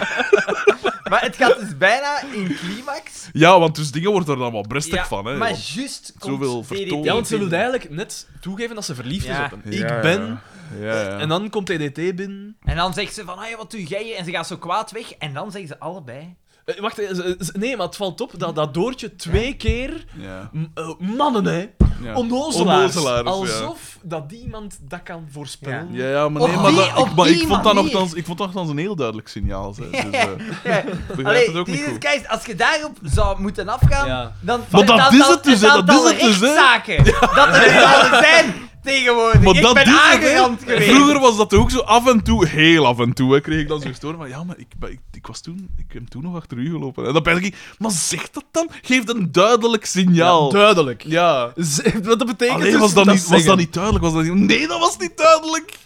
S1: Maar het gaat dus bijna in climax.
S3: Ja, want dus dingen wordt er dan wel brestig
S1: Ja,
S3: van, hè.
S1: Maar
S3: want-
S1: juist komt
S3: zoveel
S1: DDT
S3: vertoning.
S2: Ja, want ze
S1: binnen.
S2: wil eigenlijk net toegeven dat ze verliefd
S1: Ja.
S2: is op hem.
S3: Ja,
S2: Ik ben...
S3: Ja, ja.
S2: En dan komt TDT binnen.
S1: En dan zegt ze van, ah, ja, wat doe jij hier? En ze gaat zo kwaad weg. En dan zeggen ze allebei.
S2: Eh, wacht, eh, ze- ze- nee, maar het valt op dat, dat Doortje twee keer...
S3: ja,
S2: m- eh, mannen, hè?
S3: ja.
S2: Onnozelaars.
S3: Onnozelaars, ja.
S2: Alsof dat iemand dat kan voorspellen.
S3: Ja, ja, maar
S1: Op
S3: nee, maar,
S1: die-
S3: dat- ik,
S1: op
S3: maar ik
S1: die
S3: vond dat
S1: manier.
S3: nogthans, ik vond dat nogthans een heel duidelijk signaal. Zijn, dus, eh, ik
S1: Ja.
S3: begrijp het
S1: Allee,
S3: ook niet
S1: Jesus
S3: goed.
S1: Christ, als je daarop zou moeten afgaan,
S2: Ja.
S1: dan...
S3: Maar dat
S1: dan-
S3: is
S1: dan-
S3: het dus, hè,
S1: dan-
S3: dat is
S1: dan
S3: het dus, hè.
S1: rechtszaken. Dat er zouden zijn. tegenwoordig.
S3: Maar
S1: ik
S3: dat
S1: ben
S3: duurt, hè?
S1: aangerand geweest.
S3: Vroeger was dat ook zo af en toe, heel af en toe, hè, kreeg ik dan zo'n storen van ja, maar ik, ben- ik, ik was toen, ik heb toen nog achter u gelopen. En dan ben ik, maar zeg dat dan? Geef een duidelijk signaal. Ja,
S2: duidelijk. Z- Wat dat betekent
S3: Alleen
S2: dus,
S3: was dat,
S2: moet
S3: niet, was dat
S2: zeggen.
S3: niet duidelijk? Was dat niet... Nee, dat was niet duidelijk.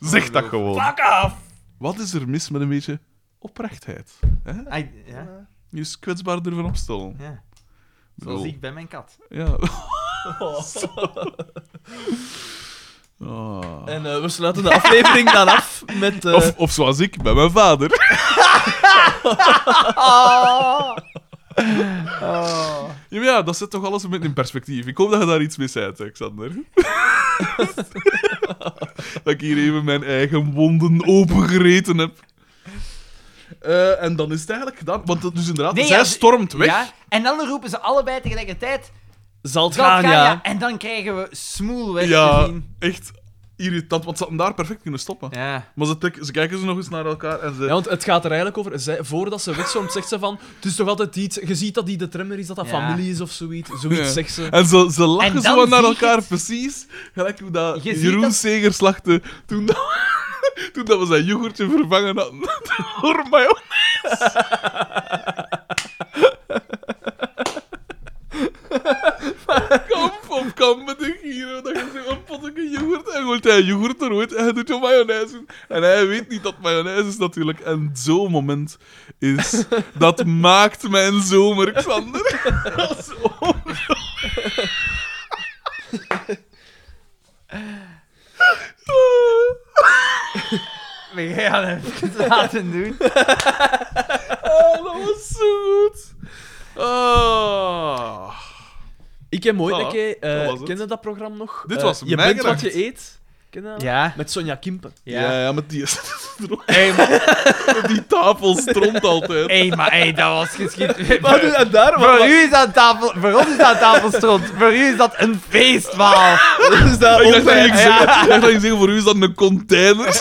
S3: Zeg dat gewoon. Fuck af. Wat is er mis met een beetje oprechtheid? Hè?
S1: Ai, ja,
S3: Je is kwetsbaar durven opstellen.
S1: ja.
S3: Ik
S1: Zoals
S3: bedoel,
S1: ik bij mijn kat.
S3: Ja. Ah.
S2: En eh, we sluiten de aflevering dan af met... eh,
S3: Of, of zoals ik, bij mijn vader.
S1: Ah.
S3: Ja, maar ja, dat zet toch alles een beetje in perspectief. Ik hoop dat je daar iets mee zei, Alexander. dat ik hier even mijn eigen wonden opengereten heb. Eh, en dan is het eigenlijk gedaan. Want dat, dus inderdaad,
S1: Nee,
S3: zij
S1: ja, ze-
S3: stormt weg.
S1: Ja, en dan roepen ze allebei tegelijkertijd.
S2: Zal het
S1: Dat
S2: gaan,
S1: kan,
S2: ja.
S1: ja. En dan krijgen we smoel weg te
S3: Ja,
S1: zien.
S3: echt irritant. Want ze hadden daar perfect kunnen stoppen.
S1: Ja.
S3: Maar ze, trekken- ze kijken ze nog eens naar elkaar en ze...
S2: Ja, want het gaat er eigenlijk over. Zij, voordat ze wegstormt, zegt ze van. Het is toch altijd iets. Je ziet dat die de trimmer is, dat dat
S1: Ja.
S2: familie is of zoiets. Zoiets
S3: Ja.
S2: zegt ze.
S3: En ze, ze
S1: En
S3: lachen
S1: dan
S3: zo wat naar
S1: zie je
S3: elkaar,
S1: het.
S3: precies. Gelijk hoe dat
S1: Je ziet
S3: Jeroen
S1: dat-
S3: Segers lachte toen, dat, toen dat we zijn yoghurtje vervangen hadden door mayonaise. Kom op, kom met de giro. Dat je zegt, een potje yoghurt. En gooit hij yoghurt er ooit en hij doet er mayonaise in. En hij weet niet dat mayonaise is natuurlijk. En zo'n moment is... Dat maakt mijn zomer, Xander. Dat is ongelooflijk.
S1: We gaan het even laten doen.
S3: Oh, dat was zo goed. Ah.
S2: Ik heb ooit
S3: Voilà,
S2: een keer. eh,
S3: dat was het.
S2: ken je dat programma nog?
S3: Dit
S2: Eh,
S3: was
S2: Je
S3: mijn
S2: bent wat
S3: gedacht.
S2: je eet. Ken je dat?
S1: Ja.
S2: Met Sonja Kimpen.
S3: Ja, ja, met die,
S1: Hey, maar,
S3: die tafel stront altijd.
S1: hey, maar hey, dat was geschikt.
S2: Maar dus, en daar
S1: Voor
S2: wat-
S1: u is dat tafel, voor ons is dat tafelstront. Voor u is dat een feestmaal.
S2: wat is dat
S3: Ik dacht dat
S2: onwijs-
S3: ik zeggen, ik dacht dat je zeggen, voor u is dat een container.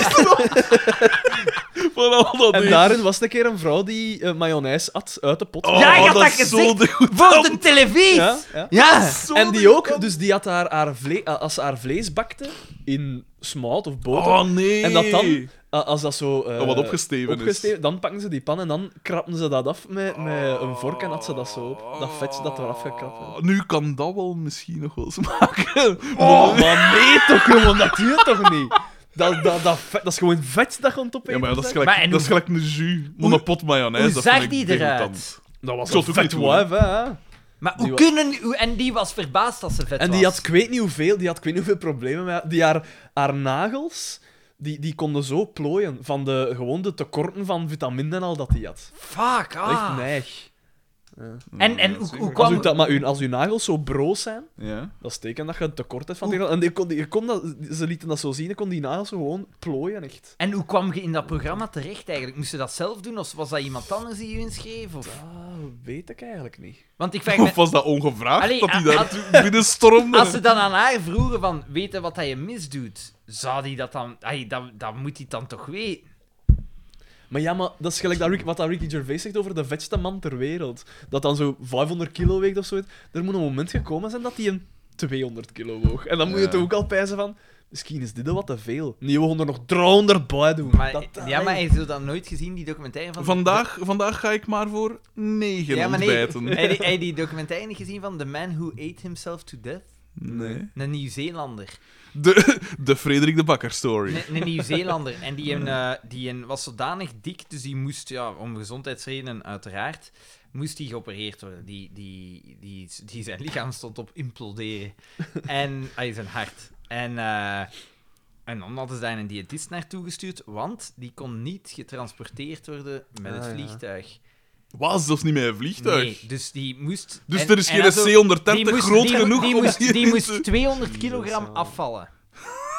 S3: Van al dat
S2: En
S3: eten.
S2: daarin was het een keer een vrouw die eh, mayonaise at uit de pot.
S3: Oh,
S1: Ja, ik had dat
S3: is zo
S1: gezegd.
S3: de goed.
S1: Voor de televisie.
S2: Ja,
S1: Ja.
S2: ja.
S3: Zo
S2: En
S3: de
S2: die
S3: goed
S2: ook,
S3: kant.
S2: dus die had haar, haar vle- eh, als ze haar vlees bakte in smout of boter.
S3: Oh nee.
S2: En dat dan, eh, als dat zo... eh,
S3: Dat wat opgesteven is.
S2: opgesteven, Dan pakken ze die pan en dan krappen ze dat af met, met een vork en had ze dat zo op. Dat vet dat eraf gekrapt werd.
S3: Oh, Nu kan dat wel misschien nog wel smaken.
S2: Oh, maar nee toch, jongen, dat duurt toch niet? Dat, dat, dat, vet, dat is gewoon vet dat je aan het opeten
S3: Ja, maar ja, dat is
S2: bent.
S3: gelijk,
S1: Maar en
S3: dat is
S1: hoe-
S3: gelijk een jus. Maar een pot mayonaise.
S1: Hoe
S3: dat
S1: zag
S3: vind ik
S1: die eruit?
S3: degoutant.
S2: Dat was
S3: Ik zou
S2: een
S3: het ook
S2: vet
S3: niet doen, hè.
S2: wijf, hè.
S1: Maar
S2: Die
S1: hoe
S2: wa-
S1: kunnen... Hoe, en die was verbaasd dat ze vet
S2: En
S1: was.
S2: die had, ik weet niet hoeveel, die had, ik weet niet hoeveel problemen met haar- die haar, haar nagels... Die, die konden zo plooien van de, gewoon de tekorten van vitamine en al dat die had.
S1: Fuck,
S2: Echt
S1: ah.
S2: neig.
S1: En, en
S3: Ja,
S1: hoe,
S3: zeker.
S1: hoe
S2: Als
S1: kwam...
S2: u, dat, maar u, als uw nagels zo broos zijn,
S3: Ja.
S2: Dat is teken dat je een tekort hebt van die En die kon, die kon dat, ze lieten dat zo zien, ik kon die nagels gewoon plooien, echt.
S1: En hoe kwam je in dat programma terecht eigenlijk? Moest je dat zelf doen of was dat iemand anders die je inschreef? Of...
S2: Ah, weet ik eigenlijk niet.
S1: Want ik vraag
S3: Of
S1: me...
S3: was dat ongevraagd
S1: Allee,
S3: dat hij
S1: a-
S3: daar binnenstormde?
S1: Als ze dan aan haar vroegen van, weten wat dat je misdoet, zou die dat dan... Ay, dat, dat moet hij dan toch weten?
S2: Maar ja, maar dat is gelijk dat Rick, wat dat Ricky Gervais zegt over de vetste man ter wereld. Dat dan zo 500 kilo weegt of zoiets. Er moet een moment gekomen zijn dat die een 200 kilo woog. En dan moet je
S3: Ja.
S2: toch ook al pijzen van... Misschien is dit al wat te veel. Nee, we gaan er nog 300 bij doen.
S1: Maar,
S2: Dat-
S1: ja, maar hij zult dat nooit gezien, die documentaire van...
S3: Vandaag, vandaag ga ik maar voor negen
S1: ja, maar nee.
S3: ontbijten.
S1: Heb je- heb je die documentaire niet gezien van The Man Who Ate Himself to Death?
S3: Nee.
S1: Een Nieuw-Zeelander.
S3: De, de Frederik de Bakker story.
S1: Een, een Nieuw-Zeelander. En die, een, eh, die een, was zodanig dik, dus die moest, ja, om gezondheidsredenen uiteraard, moest die geopereerd worden. Die, die, die, die zijn lichaam stond op imploderen. En, ah, hij zijn hart. En, eh, en dan hadden ze daar een diëtist naartoe gestuurd, want die kon niet getransporteerd worden met
S2: Ah,
S1: het
S2: ja.
S1: vliegtuig.
S3: Was zelfs niet met een vliegtuig.
S1: Nee, dus die moest...
S3: Dus
S1: en-
S3: er is
S1: en
S3: geen
S1: dat zo-
S3: C-130
S1: die moest-
S3: groot
S1: die mo-
S3: genoeg
S1: die
S3: om
S1: moest, die
S3: hierin
S1: moest
S3: te-
S1: 200 kilogram
S2: Jezus, ja.
S1: afvallen.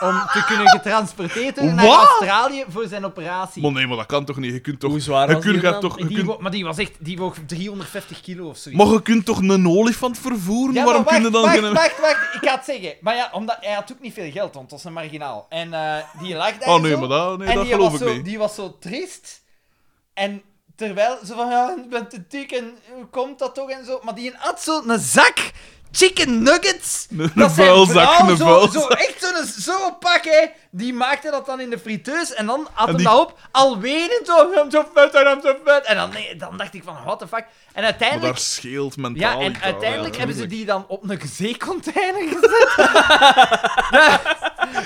S1: Om te kunnen getransporteerd worden naar
S3: Wat?
S1: Australië voor zijn operatie.
S3: Maar nee, maar dat kan toch niet? Je kunt toch...
S2: Hoe zwaar
S3: je
S2: was
S3: kunt,
S2: die
S3: gaat
S2: dan?
S3: toch, je
S1: die,
S3: kunt-
S1: wo- maar die was echt... Die woog 350 kilo of zoiets.
S3: Maar je kunt toch een olifant vervoeren?
S1: Ja, maar
S3: Waarom
S1: wacht,
S3: kun je dan
S1: wacht,
S3: geen...
S1: wacht, wacht, ik ga het zeggen. Maar ja, omdat hij had ook niet veel geld, want het was een marginaal. En eh, die lag daar
S3: Oh nee,
S1: zo,
S3: maar dat, nee,
S1: en
S3: dat
S1: die
S3: geloof
S1: was
S3: ik
S1: zo,
S3: niet.
S1: Die was zo triest. En terwijl ze van, ja, ik ben te dik en hoe komt dat toch en zo. Maar die had zo'n zak chicken nuggets.
S3: Een
S1: Dat zijn
S3: vuilzak,
S1: vrouw,
S3: een
S1: zo,
S3: vuilzak.
S1: zo, echt zo'n zo pak, hè. Die maakte dat dan in de friteus en dan at
S3: En
S1: hem
S3: die-
S1: dat op. Al wenend zo, "I'm zo vet, I'm zo vet. En dan, nee, dan dacht ik van, what the fuck. En
S3: Maar
S1: uiteindelijk...
S3: daar scheelt mentaal
S1: Ja,
S3: iets
S1: en
S3: aan,
S1: uiteindelijk
S3: ja,
S1: hebben ze
S3: tuurlijk.
S1: die dan op een zeecontainer gezet. Ja,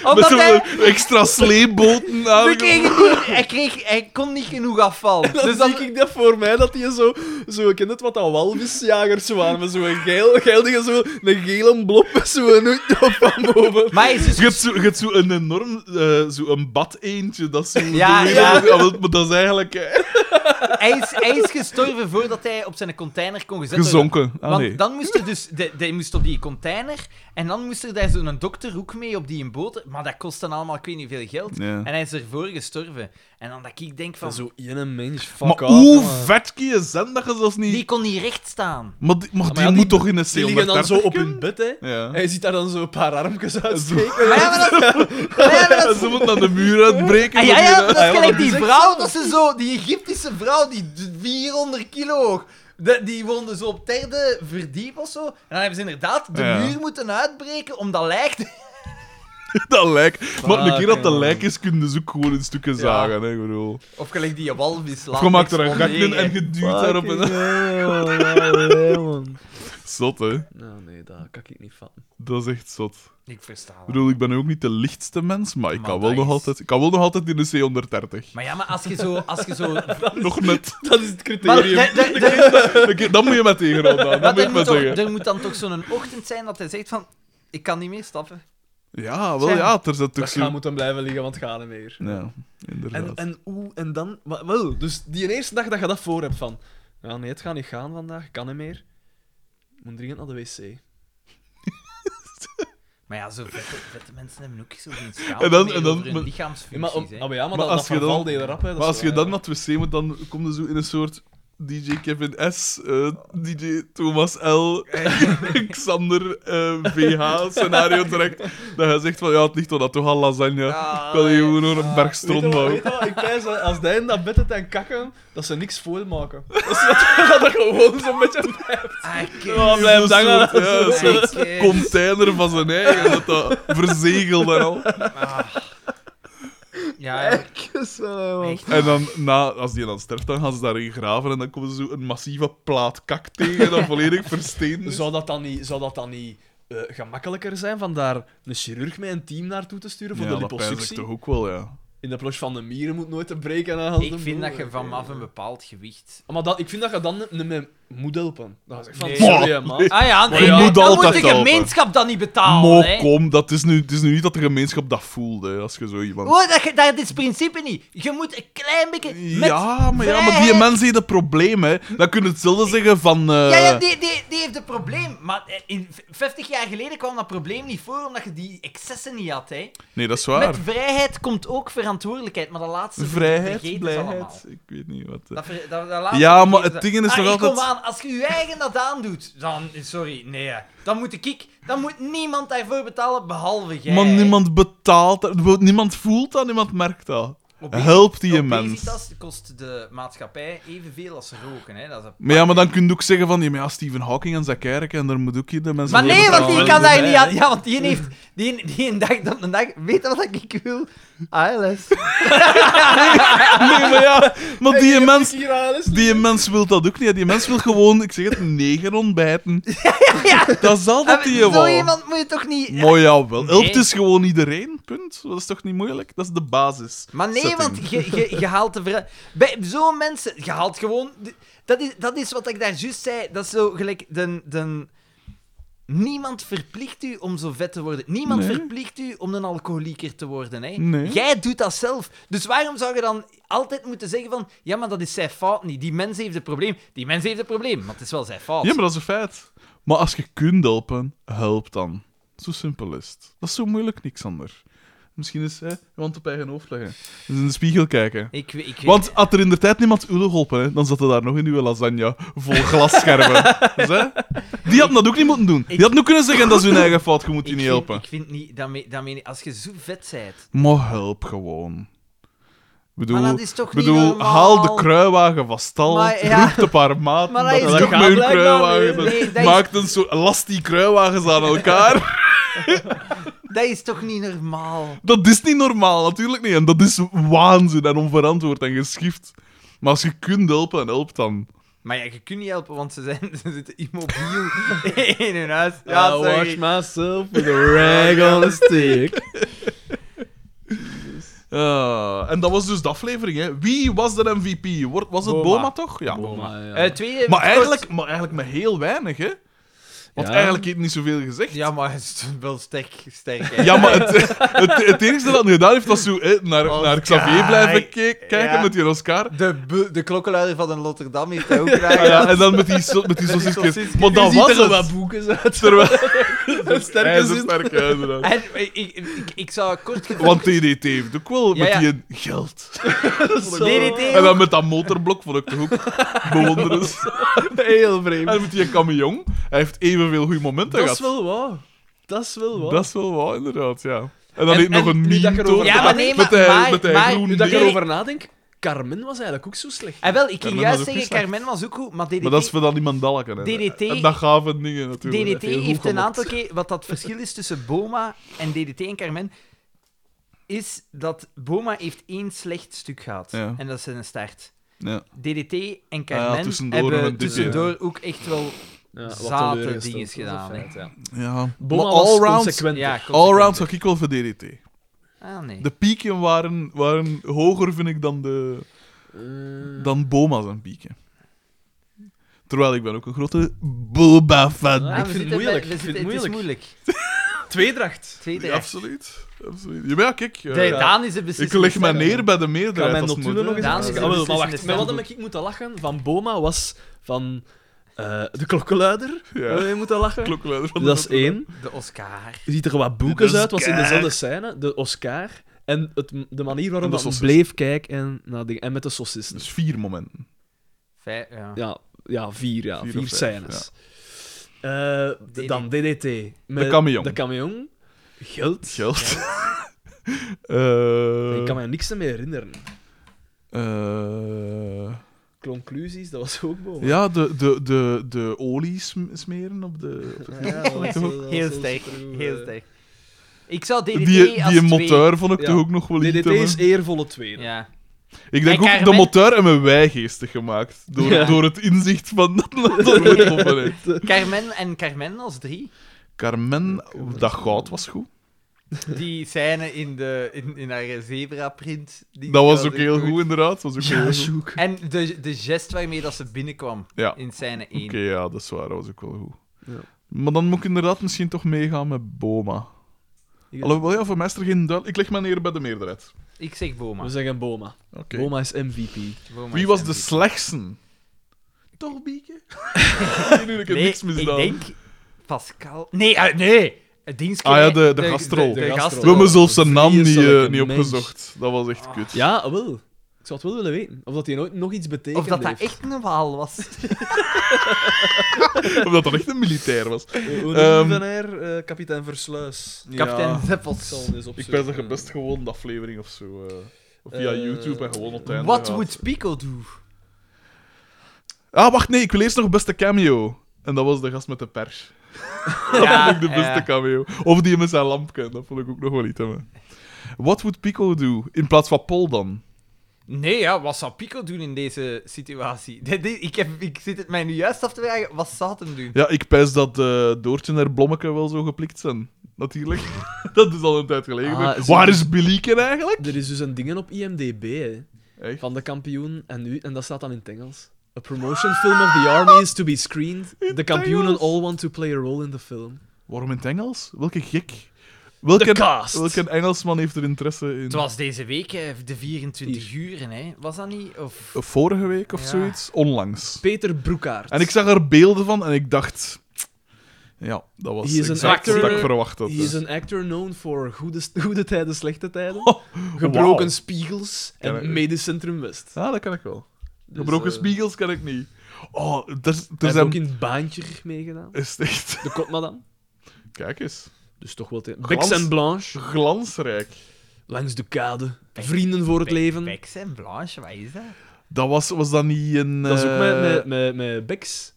S1: omdat
S3: Met zo'n
S1: hij...
S3: extra sleepboten aan.
S1: Ze kregen niet- hij, kreeg, hij kon niet genoeg afval.
S2: Dan
S1: Dus
S2: dus
S1: dan,
S2: zie ik dat voor mij, dat die zo... zo ken het wat dat walvisjagers waren, met zo'n geil, geil ding, zo een gele blop met zo'n hoed op van boven.
S1: maar hij is dus
S3: Je hebt zo- je hebt zo'n een enorm eh, zo een bad eentje, dat is zo
S1: Ja,
S3: de
S1: ja.
S3: wereld- maar dat- maar dat is eigenlijk eh,
S1: hij is, hij is gestorven voordat hij op zijn container kon gezet worden.
S3: gezonken. Ah,
S1: Want
S3: nee.
S1: dan moest er dus... de- de- Hij moest op die container. En dan moest er daar zo'n dokter ook mee op die een boot. Maar dat kost dan allemaal ik weet niet veel geld.
S3: Ja.
S1: En hij is ervoor gestorven. En dan dat ik denk van...
S2: Zo één mens, fuck
S3: Maar
S2: off,
S3: hoe
S2: man.
S3: vet kun je zijn dat je zelfs niet...
S1: Die kon niet recht staan.
S3: Maar die, maar die
S2: ja, die-
S3: moet toch in een C130
S2: Die liggen dan zo op hun bed, hè.
S3: Ja.
S2: En je ziet daar dan zo een paar armpjes uitsteken.
S1: Maar ja, maar dat... maar ja, maar dat-
S3: Ze moeten aan de muur uitbreken.
S1: Ah, ja,
S3: zodat
S1: ja,
S3: die-
S1: dat
S2: Ah,
S1: is
S2: ja,
S1: gelijk
S2: dat is
S1: die
S2: echt
S1: vrouw,
S2: zo.
S1: dat ze zo, die Egyptische vrouw, die d- 400 kilo hoog. De- die woonde zo op derde verdiep of zo. En dan hebben ze inderdaad de
S3: Ja.
S1: muur moeten uitbreken om dat lijk te...
S3: Dat lijk. Maar een
S2: Fuck,
S3: keer dat dat
S2: man.
S3: lijk is, kunnen ze ook gewoon in stukken zagen. Hè, ik bedoel.
S1: Of gelijk die walvis Oh,
S3: Of
S1: laat
S3: je maakt
S1: niks
S3: er een
S1: van
S3: gat in
S1: liggen.
S3: en je duwt daarop.
S2: Fucking
S3: En...
S2: hell, ja, ja, man.
S3: Zot, hè.
S2: Nou, nee, dat kan ik niet vatten.
S3: Dat is echt zot.
S1: Ik versta dat.
S3: Ik bedoel, ik ben ook niet de lichtste mens, maar ik
S1: Maar
S3: kan wel,
S1: dat
S3: nog
S1: is-
S3: altijd, ik kan wel nog altijd in de C130.
S1: Maar ja, maar als je zo... Als je zo...
S3: Nog net.
S2: Dat is het
S1: Maar
S2: criterium.
S1: de- de- de-
S3: Oké, dat moet je met tegenhouden. dan.
S1: maar
S3: Dat moet
S1: er,
S3: ik maar
S1: moet toch,
S3: zeggen.
S1: er moet dan toch zo'n ochtend zijn dat hij zegt van... Ik kan niet meer stappen.
S3: Ja, wel ja, er zit toch
S2: Dat gaan
S3: zo...
S2: moeten blijven liggen, want gaan er meer.
S3: Ja,
S2: En,
S3: inderdaad.
S2: en hoe, en dan, wa- wel, dus die eerste dag dat je dat voor hebt van, ja nee, het gaat niet gaan vandaag, kan niet meer. Ik Moet dringend naar de wc.
S1: Maar ja, zo vette, vette mensen hebben ook zo geen
S3: En
S1: schaamte
S3: dan-
S1: meer
S3: en
S1: over
S3: dan-
S1: hun
S3: maar-
S2: Ja, maar,
S1: lichaamsfuncties,
S2: op,
S1: hè.
S2: ah, maar ja, maar,
S3: Maar
S2: dat,
S3: als
S2: als
S3: je dan-
S2: deed erop, hè. dat
S3: Maar
S2: is
S3: als je
S2: waar,
S3: dan
S2: ja.
S3: naar het wc moet, dan kom je zo in een soort DJ Kevin S, eh, DJ Thomas L, Xander eh, VH scenario terecht. Dat je zegt van, ja, het ligt toch dat toch al lasagne.
S1: Ah,
S3: ik wil hier gewoon nog een berg
S2: Weet je
S3: stront
S2: wat-
S3: bouwen.
S2: weet je wat, Ik pijs dat als die in dat bed zit en kakken, dat ze niks voormaken. Dat ze dat, dat er gewoon zo'n beetje blijft.
S3: Oh,
S1: Ah, kijk.
S2: Ja, blijft
S3: Zo'n
S2: hangen.
S3: soort- ja, een soort
S1: Kijk, eh.
S3: container van zijn eigen, dat dat verzegeld en al.
S1: Ah. Ja, ja, echt.
S3: En dan, na, als die dan sterft, dan gaan ze daarin graven en dan komen ze zo een massieve plaat kak tegen dat volledig versteend is.
S2: Zou dat dan niet, zou dat dan niet eh, gemakkelijker zijn van daar een chirurg met een team naartoe te sturen voor
S3: Ja,
S2: de
S3: dat pijs ik
S2: liposuctie?
S3: toch ook wel, ja.
S2: In de plosh van de mieren moet nooit te breken aan
S1: Ik vind dat je vanaf een bepaald gewicht...
S2: Ah, Maar dat, ik vind dat je dan niet meer moet helpen. Dan zeg je van,
S1: Nee.
S2: sorry hè, man.
S1: Ah ja, nee,
S3: je
S1: maar
S3: moet
S1: dan moet
S3: altijd
S1: de
S3: helpen.
S1: gemeenschap dat niet betalen,
S3: Maar
S1: hè.
S3: kom, dat is nu, het is nu niet dat de gemeenschap dat voelt, hè, als je zo iemand...
S1: Oh, dat, ge- dat is het principe niet. Je moet een klein beetje... Met
S3: ja, maar, ja, maar die
S1: vrijheid-
S3: mensen heeft een probleem, hè. Dan kun je hetzelfde zeggen van... eh,
S1: Ja, ja die, die, die heeft een probleem. Maar eh, in v- 50 jaar geleden kwam dat probleem niet voor, omdat je die excessen niet had. Hè.
S3: Nee, dat is waar.
S1: Met vrijheid komt ook verantwoordelijkheid, maar dat laatste
S3: Vrijheid,
S1: vergeten ze allemaal.
S3: blijheid, ik weet niet wat... eh.
S1: Dat ver- dat- dat laatste
S3: Ja, maar
S1: vergeten
S3: het
S1: ze.
S3: ding is
S1: Ah,
S3: nog
S1: ik
S3: altijd-
S1: Kom aan, als je je eigen dat aandoet, dan... Sorry, nee. hè. Dan moet ik... ik- Dan moet niemand daarvoor betalen, behalve jij.
S3: Maar
S1: hè.
S3: niemand betaalt dat, niemand voelt dat, niemand merkt dat.
S1: Obes-
S3: Help die mens.
S1: Obesitas kost de maatschappij evenveel als roken. Hè. Dat is een-
S3: Maar ja, maar dan kun je ook zeggen van, ja, maar ja, Stephen Hawking en zijn kerk, en daar moet ook hier de mensen...
S1: Maar nee,
S3: voor
S1: want die
S3: betalen.
S1: kan
S2: wel
S1: daar
S2: bij,
S1: niet aan.
S2: hè.
S1: Ja, want die heeft. Die, die een dag dat een dag. Weet je wat ik wil? Ah, ALS.
S3: Nee, maar ja, maar die mens...
S2: Hier aan is.
S3: Die mens wil dat ook niet. Die mens wil gewoon, ik zeg het, negen ontbijten.
S1: ja.
S3: Dat is al dat die
S1: Zo
S3: je wou.
S1: iemand moet je toch niet.
S3: Maar jawel.
S1: Nee.
S3: Helpt is gewoon iedereen, punt. Dat is toch niet moeilijk? Dat is de basis.
S1: Maar nee,
S3: Setting.
S1: want je, je, je haalt de vera- Bij zo'n mensen, je haalt gewoon... Dat is, dat is wat ik daar juist zei. Dat is zo gelijk... Den, den, niemand verplicht u om zo vet te worden. Niemand
S3: Nee.
S1: verplicht u om een alcoholieker te worden. Hè.
S3: Nee.
S1: Jij doet dat zelf. Dus waarom zou je dan altijd moeten zeggen van... Ja, maar dat is zijn fout niet. Die mens heeft een probleem. Die mens heeft een probleem, maar het is wel zijn fout.
S3: Ja, maar dat is een feit. Maar als je kunt helpen, help dan. Zo simpel is het. Dat is zo moeilijk, niks anders. Misschien is hè, je hand op eigen hoofd leggen. Dus in de spiegel kijken.
S1: Ik, weet- ik weet-
S3: Want had er in de tijd niemand ulle geholpen, hè, dan zat er daar nog een nieuwe lasagne vol glasscherven. dus, hè, die hadden dat ook niet moeten doen. Die hadden ook kunnen zeggen dat is hun eigen fout, je moet
S1: ik
S3: die niet
S1: vind-
S3: helpen.
S1: Ik vind niet... Dat me- dat meen ik- als je zo vet bent...
S3: Maar help gewoon.
S1: maar
S3: bedoel,
S1: dat is toch
S3: bedoel
S1: niet normaal.
S3: haal de kruiwagen van stal,
S1: Maar ja.
S3: roep de paar maten,
S1: Maar dat is
S3: dat
S1: toch
S3: ik met hun
S1: blijkbaar
S3: kruiwagen...
S1: niet- nee, dat is-
S3: maakt een soort... Last die kruiwagens aan elkaar.
S1: Dat is toch niet normaal?
S3: dat is niet normaal, natuurlijk niet. En dat is waanzin en onverantwoord en geschift. Maar als je kunt helpen, help dan.
S1: Maar ja, je kunt niet helpen, want ze, zijn, ze zitten immobiel in hun huis. Ja,
S2: Ja, I wash
S1: sorry.
S2: myself with a rag on a stick.
S3: Ah, en dat was dus de aflevering, hè. Wie was de MVP? Wordt- Was het
S1: Boma.
S3: Boma, toch? Ja.
S2: Boma, ja.
S1: Eh, twee heeft
S3: Maar
S1: kort-
S3: eigenlijk, maar eigenlijk met heel weinig, hè? Want
S2: Ja.
S3: eigenlijk heeft niet zoveel gezegd.
S1: Ja, maar het is wel sterk. sterk hè.
S3: Ja, maar het, het, het enige dat hij gedaan heeft, was zo hè, naar,
S1: Oscar.
S3: naar Xavier blijven ke- kijken
S1: Ja.
S3: met die Oscar.
S1: De, bu- de klokkenluider van een Rotterdam heeft hij ook gedaan.
S3: Ah ja, en dan met die, so- met die
S1: Met die
S3: sausjes.
S1: sausjes.
S3: Maar dat
S2: Je ziet
S3: was
S2: er
S3: het.
S2: wel wat boeken uit.
S3: Terwijl-
S2: Een
S3: Hij
S2: sterke
S3: is een
S2: zin.
S3: sterke uiteraard.
S1: En eh, ik, ik, ik, ik zou kort gezegd...
S3: Want TDT heeft ook wel
S1: Ja, ja.
S3: met die geld.
S1: DDT
S3: En dan met dat motorblok vond ik toch ook bewonderend.
S2: Heel vreemd.
S3: En met die camion. Hij heeft evenveel goede momenten
S2: Dat
S3: gehad.
S2: is wel waar. Dat is wel waar.
S3: Dat is wel waar, inderdaad, ja. En dan
S2: En-
S3: heeft nog
S2: en
S3: een
S2: nu
S3: meme
S2: dat ik erover
S3: door-
S1: Ja, maar nee,
S3: met
S1: maar-
S3: hij-
S1: maar-
S3: met hij
S1: maar-
S3: groen
S2: Nu dat ik
S3: ding.
S2: erover nadenk, Carmen was eigenlijk ook zo slecht.
S1: En Ah, wel, ik ging
S3: Carmen
S1: juist
S3: was ook
S1: zeggen,
S3: niet slecht.
S1: Carmen was ook goed, maar DDT,
S3: Maar dat is voor dan iemand dallakken. hè.
S1: DDT
S3: En dat gave dingen natuurlijk.
S1: DDT
S2: heel goed
S1: heeft een
S2: gemokt.
S1: aantal keer... Wat dat verschil is tussen Boma en DDT en Carmen, is dat Boma heeft één slecht stuk gehad.
S3: Ja.
S1: En dat is een start.
S3: Ja.
S1: DDT en
S3: Ah ja,
S1: Carmen
S3: tussendoor nog
S1: hebben
S3: een dipje,
S1: tussendoor ook echt wel...
S2: Ja,
S1: wat Zaten teleurgesteld. dingen is gedaan, hè.
S3: ja.
S2: Boma
S3: maar
S2: was
S3: allround,
S2: consequent.
S1: Ja,
S3: allround zag ik wel voor DDT.
S1: Ah, nee.
S3: De pieken waren, waren hoger, vind ik, dan, de,
S2: Eh,
S3: dan Boma zijn pieken. Terwijl ik ben ook een grote Boba-fan.
S1: Ah,
S2: ik
S1: we
S2: vind het
S1: zitten bij-
S2: moeilijk,
S1: we
S2: ik vind
S1: zitten-
S2: het
S1: Het is
S2: moeilijk.
S1: moeilijk.
S2: Tweedracht.
S1: Tweede
S3: Ja,
S1: recht.
S3: absoluut. absoluut. Ja, maar ja, kijk. eh,
S1: De Daan is de
S3: ik
S1: beslissing.
S3: leg mij neer bij de
S2: Kan
S3: meerderheid.
S2: mijn
S3: als het
S2: notulen nog eens
S3: moet, hè.
S1: Daan is
S2: aanschaffen?
S1: de
S2: Ah, wel, Maar
S1: beslissende
S2: wacht, met wat
S1: stem.
S2: heb ik moeten lachen van Boma was van eh, de klokkenluider.
S3: Ja.
S2: Hebben we moeten lachen.
S3: Klokkenluider van de
S2: dat is
S3: Notre Dame.
S2: één.
S1: De Oscar.
S2: Je ziet er wat boekjes
S3: De
S2: uit, was in
S3: Oscar.
S2: dezelfde scène. De Oscar. En het, de manier
S3: En de
S2: waarop dat
S3: saucissen.
S2: bleef kijken en, naar dingen. en met de saucissen.
S3: Dus vier momenten.
S1: Vijf, ja.
S2: Ja, ja vier, ja,
S3: Vier
S2: vier,
S3: of vijf,
S2: scènes. Eh, d-
S1: DDT.
S2: dan DDT. Met
S3: De camion.
S2: De camion. Geld.
S3: Geld.
S2: Ik
S3: Eh
S2: kan me niks meer herinneren.
S3: eh,
S2: Conclusies, dat was ook mooi.
S3: ja, de, de, de, de olie sm- smeren op de... op het-
S2: Ja, dat was wel- dat was
S1: Heel
S2: wel
S1: sterk,
S2: supergoed,
S1: heel
S2: eh.
S1: sterk. Ik zou DDT
S3: Die, die,
S1: als
S3: motor vond ik
S2: Ja.
S3: toch ook nog wel iets
S2: DDT
S3: hebben.
S2: is eervolle
S1: twee-
S2: tweede.
S1: Ja.
S3: Ik denk
S1: En
S3: ook, de
S1: Carmen-
S3: motor hebben wij geestig gemaakt. Door,
S2: Ja.
S3: door het inzicht van dat dat we getroffen hebben.
S1: Carmen en Carmen als drie.
S3: Carmen, dat goud was goed.
S1: Die scène in, de, in, in haar zebra-print. die-
S3: Dat was
S1: die
S3: ook heel goed, inderdaad. Dat was ook heel
S2: Ja,
S3: goed.
S2: Sjoek.
S1: En de, de gest waarmee dat ze binnenkwam
S3: Ja.
S1: in scène 1.
S3: Oké, ja, dat is waar. Dat was ook wel goed.
S2: Ja.
S3: Maar dan moet ik inderdaad misschien toch meegaan met Boma.
S2: Ik-
S3: Alhoewel, ja, voor mij is er geen duidelijk... Ik leg me neer bij de meerderheid.
S1: Ik zeg Boma.
S2: We zeggen Boma.
S3: Oké.
S2: Boma is MVP.
S1: Boma
S3: Wie
S1: is
S3: was de
S1: MVP.
S3: slechtste? Toch, Bieke? Nee, nu, ik heb
S1: Nee,
S3: niks misdaan.
S1: Ik denk Pascal. Nee, ah, nee! Het dienstje.
S3: Ah ja, de- de gastrol.
S1: De,
S2: De
S1: gastrol.
S3: We hebben zelfs zijn naam niet, eh,
S2: Vreselijke
S3: niet
S2: mens.
S3: opgezocht. Dat was echt kut.
S2: Ja, wel. Ik zou het wel willen weten. Of dat hij nooit nog iets betekent.
S1: Of dat dat echt een waal was.
S3: Omdat dat echt een militair was. Ehm,
S2: van haar, eh, kapitein Versluis.
S1: Kapitein
S2: Ik
S1: Zeppels.
S2: zal hem eens
S3: Ik ben dat je
S2: opzoeken.
S3: best gewoon de aflevering of zo. eh, of via
S2: Eh,
S3: YouTube en gewoon op het einde.
S1: What
S3: gaat.
S1: would Pico do?
S3: Ah, wacht, nee, ik wil eerst nog beste cameo. En dat was de gast met de pers. dat vond ik de beste
S1: ja. eh,
S3: cameo. Of die met zijn lampje, dat vond ik ook nog wel iets hebben. What would Pico do? In plaats van Paul dan?
S1: Nee, ja, wat zou Pico doen in deze situatie? Dit- dit- ik, heb, ik zit het mij nu juist af te vragen, wat zou het hem doen?
S3: Ja, ik pijs dat eh, Doortje en Blommeke wel zo geplikt zijn. Natuurlijk. dat is al een tijd geleden.
S2: Ah, zo-
S3: Waar is Bilieken eigenlijk?
S2: Er is dus een dingen op IMDb hè,
S3: Echt?
S2: van de kampioen en nu, en dat staat dan in het Engels. A promotion film of the army is to be screened.
S3: In
S2: The
S3: het
S2: kampioenen
S3: Engels?
S2: all want to play a role in the film.
S3: Waarom in het Engels? Welke gek? Welke,
S2: De cast.
S3: welke Engelsman heeft er interesse in?
S1: Het was deze week, eh, de 24 uren, hè. was dat niet? Of...
S3: Vorige week of
S1: Ja.
S3: zoiets? Onlangs.
S2: Peter Broekaert.
S3: En ik zag er beelden van en ik dacht... Ja, dat was
S2: He is an
S3: exact
S1: actor.
S3: wat ik verwacht had.
S2: He is
S3: hè.
S2: an actor known for goede, goede tijden, slechte tijden.
S3: Oh, wauw.
S2: gebroken spiegels en
S3: Ken ik.
S2: Medisch Centrum West.
S3: Ja, dat kan ik wel.
S2: Dus,
S3: Gebroken
S2: eh,
S3: spiegels kan ik niet. Oh, er,
S2: Hij
S3: er
S2: heeft
S3: zijn...
S2: ook in Baantje meegedaan.
S3: Is het echt...
S2: De Kotmadam.
S3: Kijk eens.
S2: Dus toch wel... te-
S3: Glans.
S2: Bex en Blanche.
S3: Glansrijk.
S2: Langs de kade. Vrienden voor het leven.
S1: Bex en Blanche, wat is dat?
S3: Dat was, was dat niet een...
S2: Dat is ook met,
S3: eh,
S2: met, met, met Bex.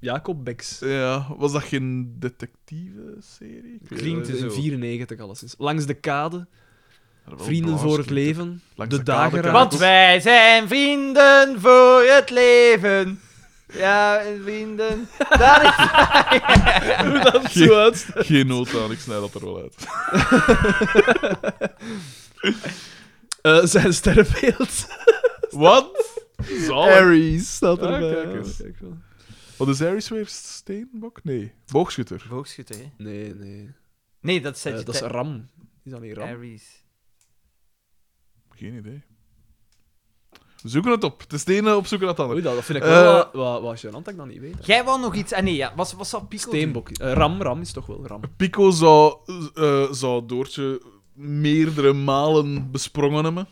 S2: Jacob Bex.
S3: Ja, was dat geen detectieve-serie? Ik weet
S2: Klinkt
S3: het
S1: zo.
S2: in 94 Eh, alleszins. Langs de
S3: Oh,
S2: kade.
S3: niet.
S2: Vrienden voor het leven.
S3: Langs
S2: de,
S3: de kade
S2: dageraad.
S3: kan
S1: Want
S3: dat-
S1: wij zijn vrienden voor het leven. Ja, vrienden. Dat is...
S2: dat is zo uit.
S3: Geen nood aan, ik snijd dat er wel uit.
S2: Eh, zijn sterrenbeeld.
S3: Wat? Zalig.
S2: Aries staat
S3: Ah,
S2: erbij.
S3: kijk eens. Wat is Harry weer steenbok? Nee, boogschutter.
S1: Boogschutter, hè?
S2: Nee, nee.
S1: Nee, dat is
S2: Eh, dat is Ram. Is dat niet Ram?
S1: Aries.
S3: Geen idee. We zoeken het op. Het is de ene op zoeken naar het
S2: Oei,
S3: andere.
S2: dat, dat vind ik
S3: Eh,
S2: wel wat, wat, wat gênant dat ik dat niet weet.
S1: Jij wou nog iets... Ah nee, ja. Was, was dat Pico? doen?
S2: Steenbok. Eh, ram, Ram is toch wel Ram.
S3: Pico zou, eh, zou Doortje meerdere malen besprongen hebben.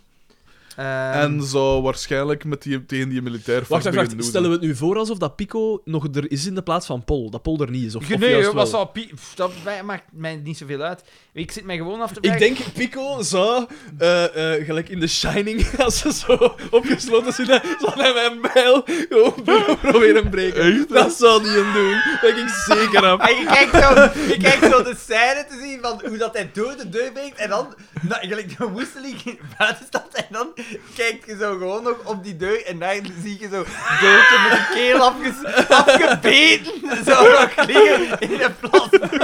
S1: Ehm,
S3: en zou waarschijnlijk met die, tegen die militair
S2: Wacht, wacht, wacht.
S3: beginnen
S2: Stellen
S3: doen.
S2: we het nu voor alsof dat Pico nog er is in de plaats van Pol. Dat Pol er niet is. Of,
S1: ge-
S2: of
S1: nee,
S2: juist
S1: hè,
S2: wel.
S1: was dat Pico? Dat wij- maakt mij niet zoveel uit. Ik zit mij gewoon af te
S2: Ik
S1: vragen...
S2: denk, Pico zou, eh, eh, gelijk in The Shining, als ze zo opgesloten zitten, zal hij mijn bijl gewoon pro- proberen breken.
S3: Echt?
S2: Dat zou hij hem doen. Dat denk ik zeker af.
S1: En je kijkt, zo, je kijkt zo de scène te zien van hoe dat hij door de deur breekt en dan, nou, gelijk de woesteling buiten staat en dan kijk je zo gewoon nog op die deur en daar zie je zo doodje met de keel afge afgebeten zo nog liggen in een plas bloed,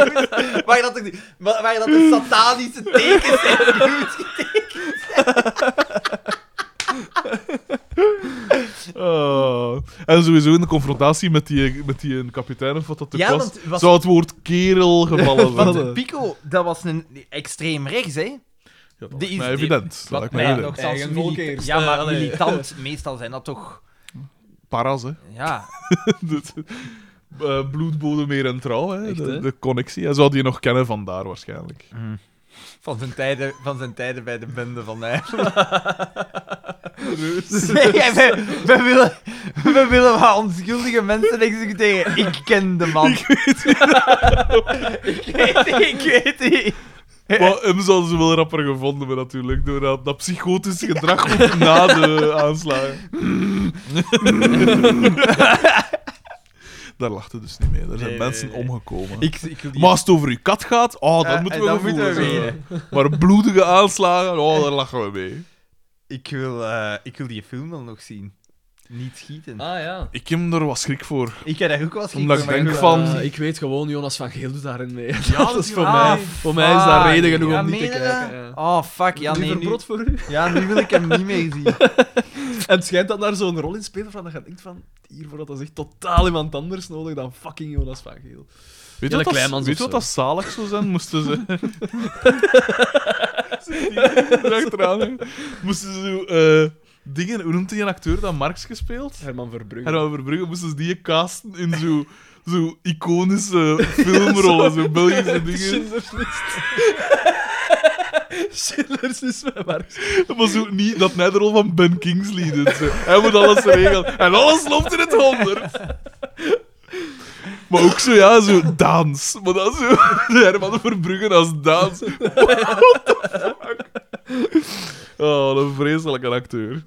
S1: waar dat, de, waar waar dat de satanische tekens en bloed getekend
S3: Ah. En sowieso in de confrontatie met die, met die een kapitein of wat dat ook
S1: Ja,
S3: was,
S1: want was-
S3: zou het woord kerel gevallen zijn.
S2: Want-
S1: Pico, dat was een extreem rechts, hè?
S3: Ja, dat
S1: die
S3: lijkt
S1: is-
S3: mij
S1: die-
S3: evident. Dat
S1: Wat
S3: lijkt mij
S1: mij
S3: evident.
S1: nog zelfs
S2: Eigen volk
S1: milita-
S2: eerst,
S1: Ja,
S2: eh,
S1: maar
S2: allee.
S1: militant, meestal zijn dat toch...
S3: Paras, hè.
S1: Ja,
S3: Dit- eh, bloedbodem, meer en trouw, hè.
S2: Echt,
S3: de,
S2: hè?
S3: de connectie. Hij zou die nog kennen vandaar waarschijnlijk.
S1: Van zijn, tijden, van zijn tijden bij de bende van
S3: Reus.
S1: Nee, we, we willen, we willen maar onschuldige mensen executeren. Ik ken de man. Ik weet niet. ik weet niet.
S3: Maar hem zouden ze wel rapper gevonden hebben, natuurlijk, door dat, dat psychotische gedrag na de aanslagen. Daar lachten dus niet mee. Er zijn
S1: Nee,
S3: mensen
S1: nee, nee.
S3: omgekomen.
S1: Ik, ik wil die-
S3: Maar als het over uw kat gaat, oh, dan
S1: Eh,
S3: moeten we
S1: dan
S3: gevoelens
S1: moeten we
S3: hebben. Maar bloedige aanslagen, oh, daar lachen we mee.
S1: ik, wil, eh, ik wil die film wel nog zien. Niet schieten.
S2: Ah ja.
S3: Ik heb er wat schrik voor.
S1: Ik heb daar ook wel schrik
S3: Omdat
S1: voor,
S3: ik
S1: maar
S3: denk
S1: wil-
S3: van-
S2: Eh, ik weet gewoon, Jonas van Geel doet daarin mee. dat is Ah,
S3: natuurlijk.
S2: voor
S1: Ah,
S2: mij. Voor mij is dat
S1: fuck.
S2: reden genoeg
S1: Ja,
S2: om niet te
S1: meen je dat?
S2: kijken. Ja.
S1: Oh, fuck. Ja, nee,
S2: Liever
S1: nu,
S2: brood voor u.
S1: ja, nu wil ik hem niet meer zien.
S2: En het schijnt dat daar zo'n rol in speelt van dat je denkt van, hiervoor had dat echt totaal iemand anders nodig dan fucking Jonas van Geel.
S3: Weet
S2: Jelle
S3: je wat, dat,
S2: Kleimans
S3: weet
S2: of
S3: je wat
S2: zo.
S3: dat zalig zou zijn? Moesten ze. Zit die erachteraan, hè? Moesten ze zo. eh, dingen, hoe noemt die een acteur dat Marx gespeeld?
S2: Herman Verbrugge.
S3: Herman Verbrugge, moesten ze die casten in zo. Zo iconische filmrollen, zo Belgische dingen.
S2: Schindler's List. Schindler's List met Marx.
S3: Maar zo niet dat hij de rol van Ben Kingsley doet. Zo. Hij moet alles regelen. En alles loopt in het honderd. Maar ook zo, ja, zo Daans. Maar dat is zo Herman Verbruggen als Daans. What the fuck? Oh, wat een vreselijke acteur.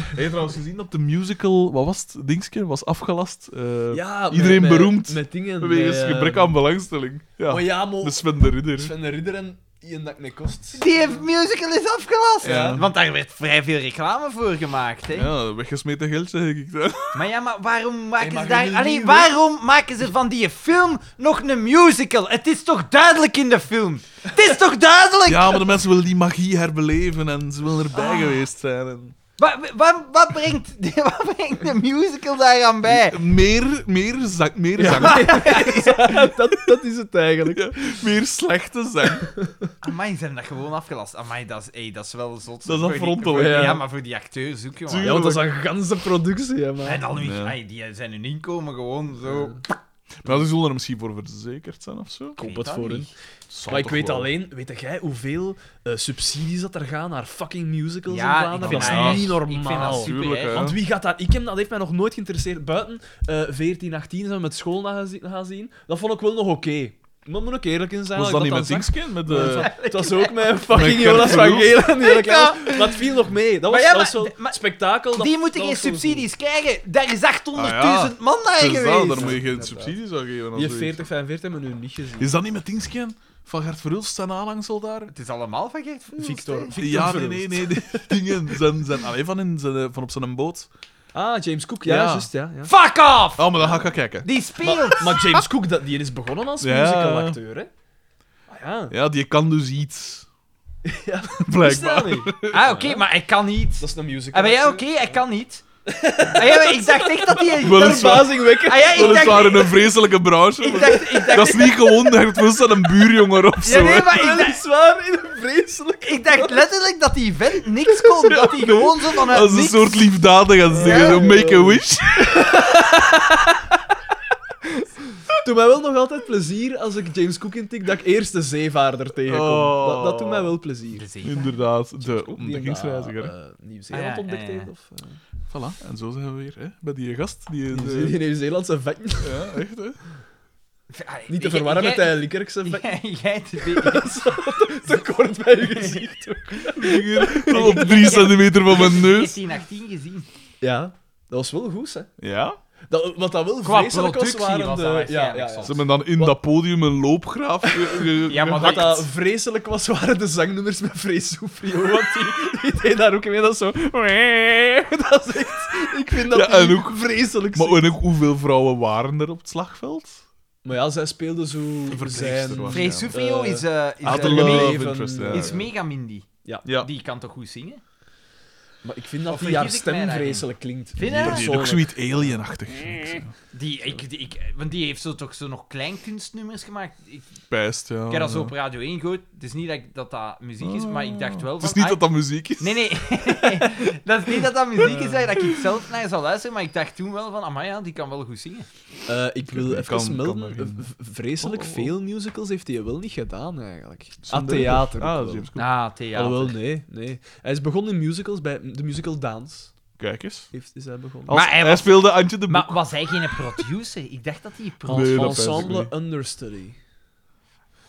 S3: Heb je trouwens gezien dat de musical, wat was het, Dingske, was afgelast? Eh,
S2: Ja,
S3: Iedereen beroemd.
S2: Met dingen.
S3: Wegens
S2: met, eh,
S3: gebrek aan belangstelling. Ja,
S2: Maar ja, mo.
S3: de Sven de Ridder.
S2: Sven de Ridder en Ian Dakne Kost.
S1: Die heeft musical is afgelast.
S3: Ja.
S1: Want daar werd vrij veel reclame voor gemaakt, hè.
S3: Ja, weggesmeten geld, zeg ik.
S1: Maar ja, maar waarom maken
S2: maar
S1: ze
S2: je
S1: daar...
S2: wil
S1: Allee,
S2: niet,
S1: waarom maken ze van die film nog een musical? Het is toch duidelijk in de film? Het is toch duidelijk?
S3: Ja, maar de mensen willen die magie herbeleven en ze willen
S2: Ah.
S3: erbij geweest zijn. En...
S1: Wa- wa- wa- wat, brengt, wat brengt de musical daaraan bij?
S3: Meer, meer zang, meer, zang.
S2: dat, dat is het eigenlijk.
S3: Ja, meer slechte zang.
S1: Amai, ze hebben dat gewoon afgelast. Amai, dat is, ey, dat is wel zot.
S3: Dat is
S1: Voor die-
S3: afrontelen,
S1: voor die-
S2: ja.
S1: Ja, maar voor die acteur zoek je
S3: Tuurlijk.
S1: maar.
S2: Ja, want dat is een ganse productie, hè,
S1: En
S2: man.
S1: dan nu,
S3: Ja.
S1: ai, die zijn hun inkomen gewoon zo...
S3: Maar die zullen er misschien voor verzekerd zijn of zo.
S2: Ik hoop
S1: weet
S2: het
S1: dat
S2: voor
S1: niet.
S2: hun.
S3: Zal
S2: Maar ik
S3: toch
S2: weet
S3: wel.
S2: alleen, weet jij hoeveel eh, subsidies dat er gaan naar fucking musicals in
S1: Ja, ik
S2: Vlaanderen?
S1: vind
S2: Dat
S1: dat
S2: is niet
S1: echt- Ik vind dat
S2: normaal.
S1: super
S3: Tuurlijk,
S1: erg.
S3: hè.
S2: Want wie gaat dat... Ik heb, dat heeft mij nog nooit geïnteresseerd. Buiten eh 14, 18 zijn we met school naar gaan zien- gaan zien. Dat vond ik wel nog oké. Maar moet ook eerlijk in zijn.
S3: Was
S2: ik
S3: dat niet met
S2: dan zag-
S3: Dingskin? Met
S2: Nee,
S3: de...
S2: het was- Het was ook met fucking
S3: Met
S2: Jonas van
S3: Kurt
S2: Gelen. die
S1: Ik, ja.
S2: lekker- Dat viel nog mee. Dat
S1: Maar
S2: was,
S1: ja,
S2: dat was
S1: maar-
S2: zo'n
S1: maar-
S2: spektakel. dat-
S1: Die moeten
S2: dat
S1: geen
S2: was wel goed.
S1: subsidies krijgen. Daar is 800.000
S3: Ah,
S1: man naar
S3: Het is dat,
S1: geweest.
S3: daar moet je geen subsidies aan geven. of
S2: Die
S3: zoiets.
S2: 40, 45 hebben we nu niet gezien.
S3: Is dat niet met Dingskin? Van Gert Verhulst zijn aanhangsel daar?
S1: Het is allemaal van Gert Verhulst,
S2: Victor.
S1: hè?
S2: Victor
S3: ja, nee,
S2: Verhulst.
S3: nee, nee. die dingen zijn, zijn alleen van, in zijn, eh, van op zijn boot.
S2: Ah, James Cook. Ja,
S3: Ja.
S2: juist. Ja, ja.
S1: Fuck off!
S3: Oh, maar dan ga ik gaan kijken.
S1: Die speelt.
S2: Maar, maar James Cook, dat, die is begonnen als
S3: Ja.
S2: musicalacteur, hè? Ah ja.
S3: Ja, die kan dus iets.
S2: Ja. Is
S3: Blijkbaar.
S2: dat niet?
S1: Ah, oké, maar hij kan niet.
S2: Dat is een musical.
S1: Ah, maar ja, oké, hij kan niet. Ah, ja, maar ik dacht echt dat hij...
S3: Wel eens waar.
S2: Verbazingwekkend.
S1: Ah, ja, ik
S3: Weliswaar in
S1: dacht...
S3: een vreselijke branche.
S1: Ik
S3: maar
S1: dacht, ik
S3: Dat
S1: dacht,
S3: is niet gewoon Gert Verhulst aan een buurjongen of zo.
S1: ja, nee,
S3: hè.
S1: maar ik dacht,
S2: Weliswaar in een vreselijk.
S1: ik dacht letterlijk dat die vent niks kon. Dat hij gewoon zo vanuit
S3: Als een
S1: niks...
S3: soort liefdadige aan zingen.
S1: Ja.
S3: zo make a wish.
S2: doet mij wel nog altijd plezier als ik James Cook intik dat ik eerst de zeevaarder tegenkom.
S3: Oh.
S2: Dat, dat doet mij wel plezier.
S3: Inderdaad, de
S2: Die hem
S3: ontdekkingsreiziger.
S2: daar, eh, Nieuw-Zeeland
S1: Ah, ja,
S2: ontdekt
S1: ja, ja.
S2: heeft, Of, eh,
S3: Voilà, en zo zijn we weer hè, bij die gast. Die,
S2: die-
S3: eh,
S2: die Nieuw-Zeelandse vet.
S3: ja, echt hè.
S1: Allee,
S2: Niet te
S1: jij-
S2: verwarren met eh,
S1: jij-
S2: de Likkerkse vet.
S1: jij- Jij te
S2: Te kort bij je gezicht.
S3: Hier, tot op drie centimeter van mijn neus.
S1: 18 gezien.
S2: Ja, dat was wel goed, hè?
S3: Ja?
S2: Dat, wat dat wel
S1: Qua
S2: vreselijk was,
S1: productie
S2: waren
S1: was
S2: de...
S1: dat waarschijnlijk
S3: Ze hebben dan in dat podium een loopgraaf ge- ge-
S1: Ja, maar
S2: Wat
S3: gehakt.
S2: dat vreselijk was, waren de zangnummers met Vrees Soufrio. Want die, die deed daar ook mee. Dat is zo. Dat is echt. Ik vind dat
S3: Ja, en
S2: die
S3: ook-
S2: vreselijk.
S3: Maar
S2: zingen.
S3: en ook hoeveel vrouwen waren er op het slagveld?
S2: maar ja, zij speelde zo.
S3: verpleegster
S2: Zijn.
S3: was.
S1: Vrees Soufrio
S2: Eh,
S1: is... eh, is,
S3: Had
S1: eh,
S3: een
S2: Adele-
S1: mega-
S3: love
S2: leven-
S3: interest, ja.
S1: is mega Mindy.
S3: Ja.
S1: Die kan toch goed zingen?
S2: Maar ik vind dat
S1: Of
S2: die
S1: vergis
S2: haar
S1: ik mij
S2: stem
S1: daarin?
S2: vreselijk klinkt.
S1: Vind je?
S2: Die
S1: Ja,
S3: Maar die is ook
S2: persoonlijk.
S3: zoiets alienachtig.
S1: Mm.
S3: vind ik zo.
S1: Die, ik, die, ik, want die heeft zo toch zo nog kleinkunstnummers gemaakt. Ik,
S3: Pijst, ja.
S1: ik heb dat zo op Radio 1 gehoord. Het is niet dat ik- dat, dat muziek is, maar ik dacht wel
S3: Het
S1: van...
S3: is niet
S1: ah,
S3: dat dat muziek is.
S1: Nee, nee. dat is niet dat dat muziek is dat ik zelf naar zal luisteren, maar ik dacht toen wel van, amai ja, die kan wel goed zingen.
S2: Eh, ik wil
S3: Kan-
S2: even
S3: kan
S2: melden.
S3: nog in.
S2: v- Vreselijk
S3: Oh, oh, oh.
S2: veel musicals heeft hij wel niet gedaan eigenlijk. Aan
S3: Zonder-
S2: theater. ook
S3: Ah, dat is
S2: wel.
S3: James Cook.
S1: Ah, theater.
S2: Alhoewel, nee, nee. Hij is begonnen in musicals bij de musical Dans.
S3: Kijk eens.
S2: Heeft, is hij begonnen.
S3: Als-
S1: Maar hij
S3: hij,
S1: was-
S3: speelde Antje de Oh, Boek.
S1: Maar was hij geen producer? Ik dacht dat hij
S3: Nee, dat
S1: producer
S3: pijs ik
S2: ensemble
S3: niet.
S2: Understudy.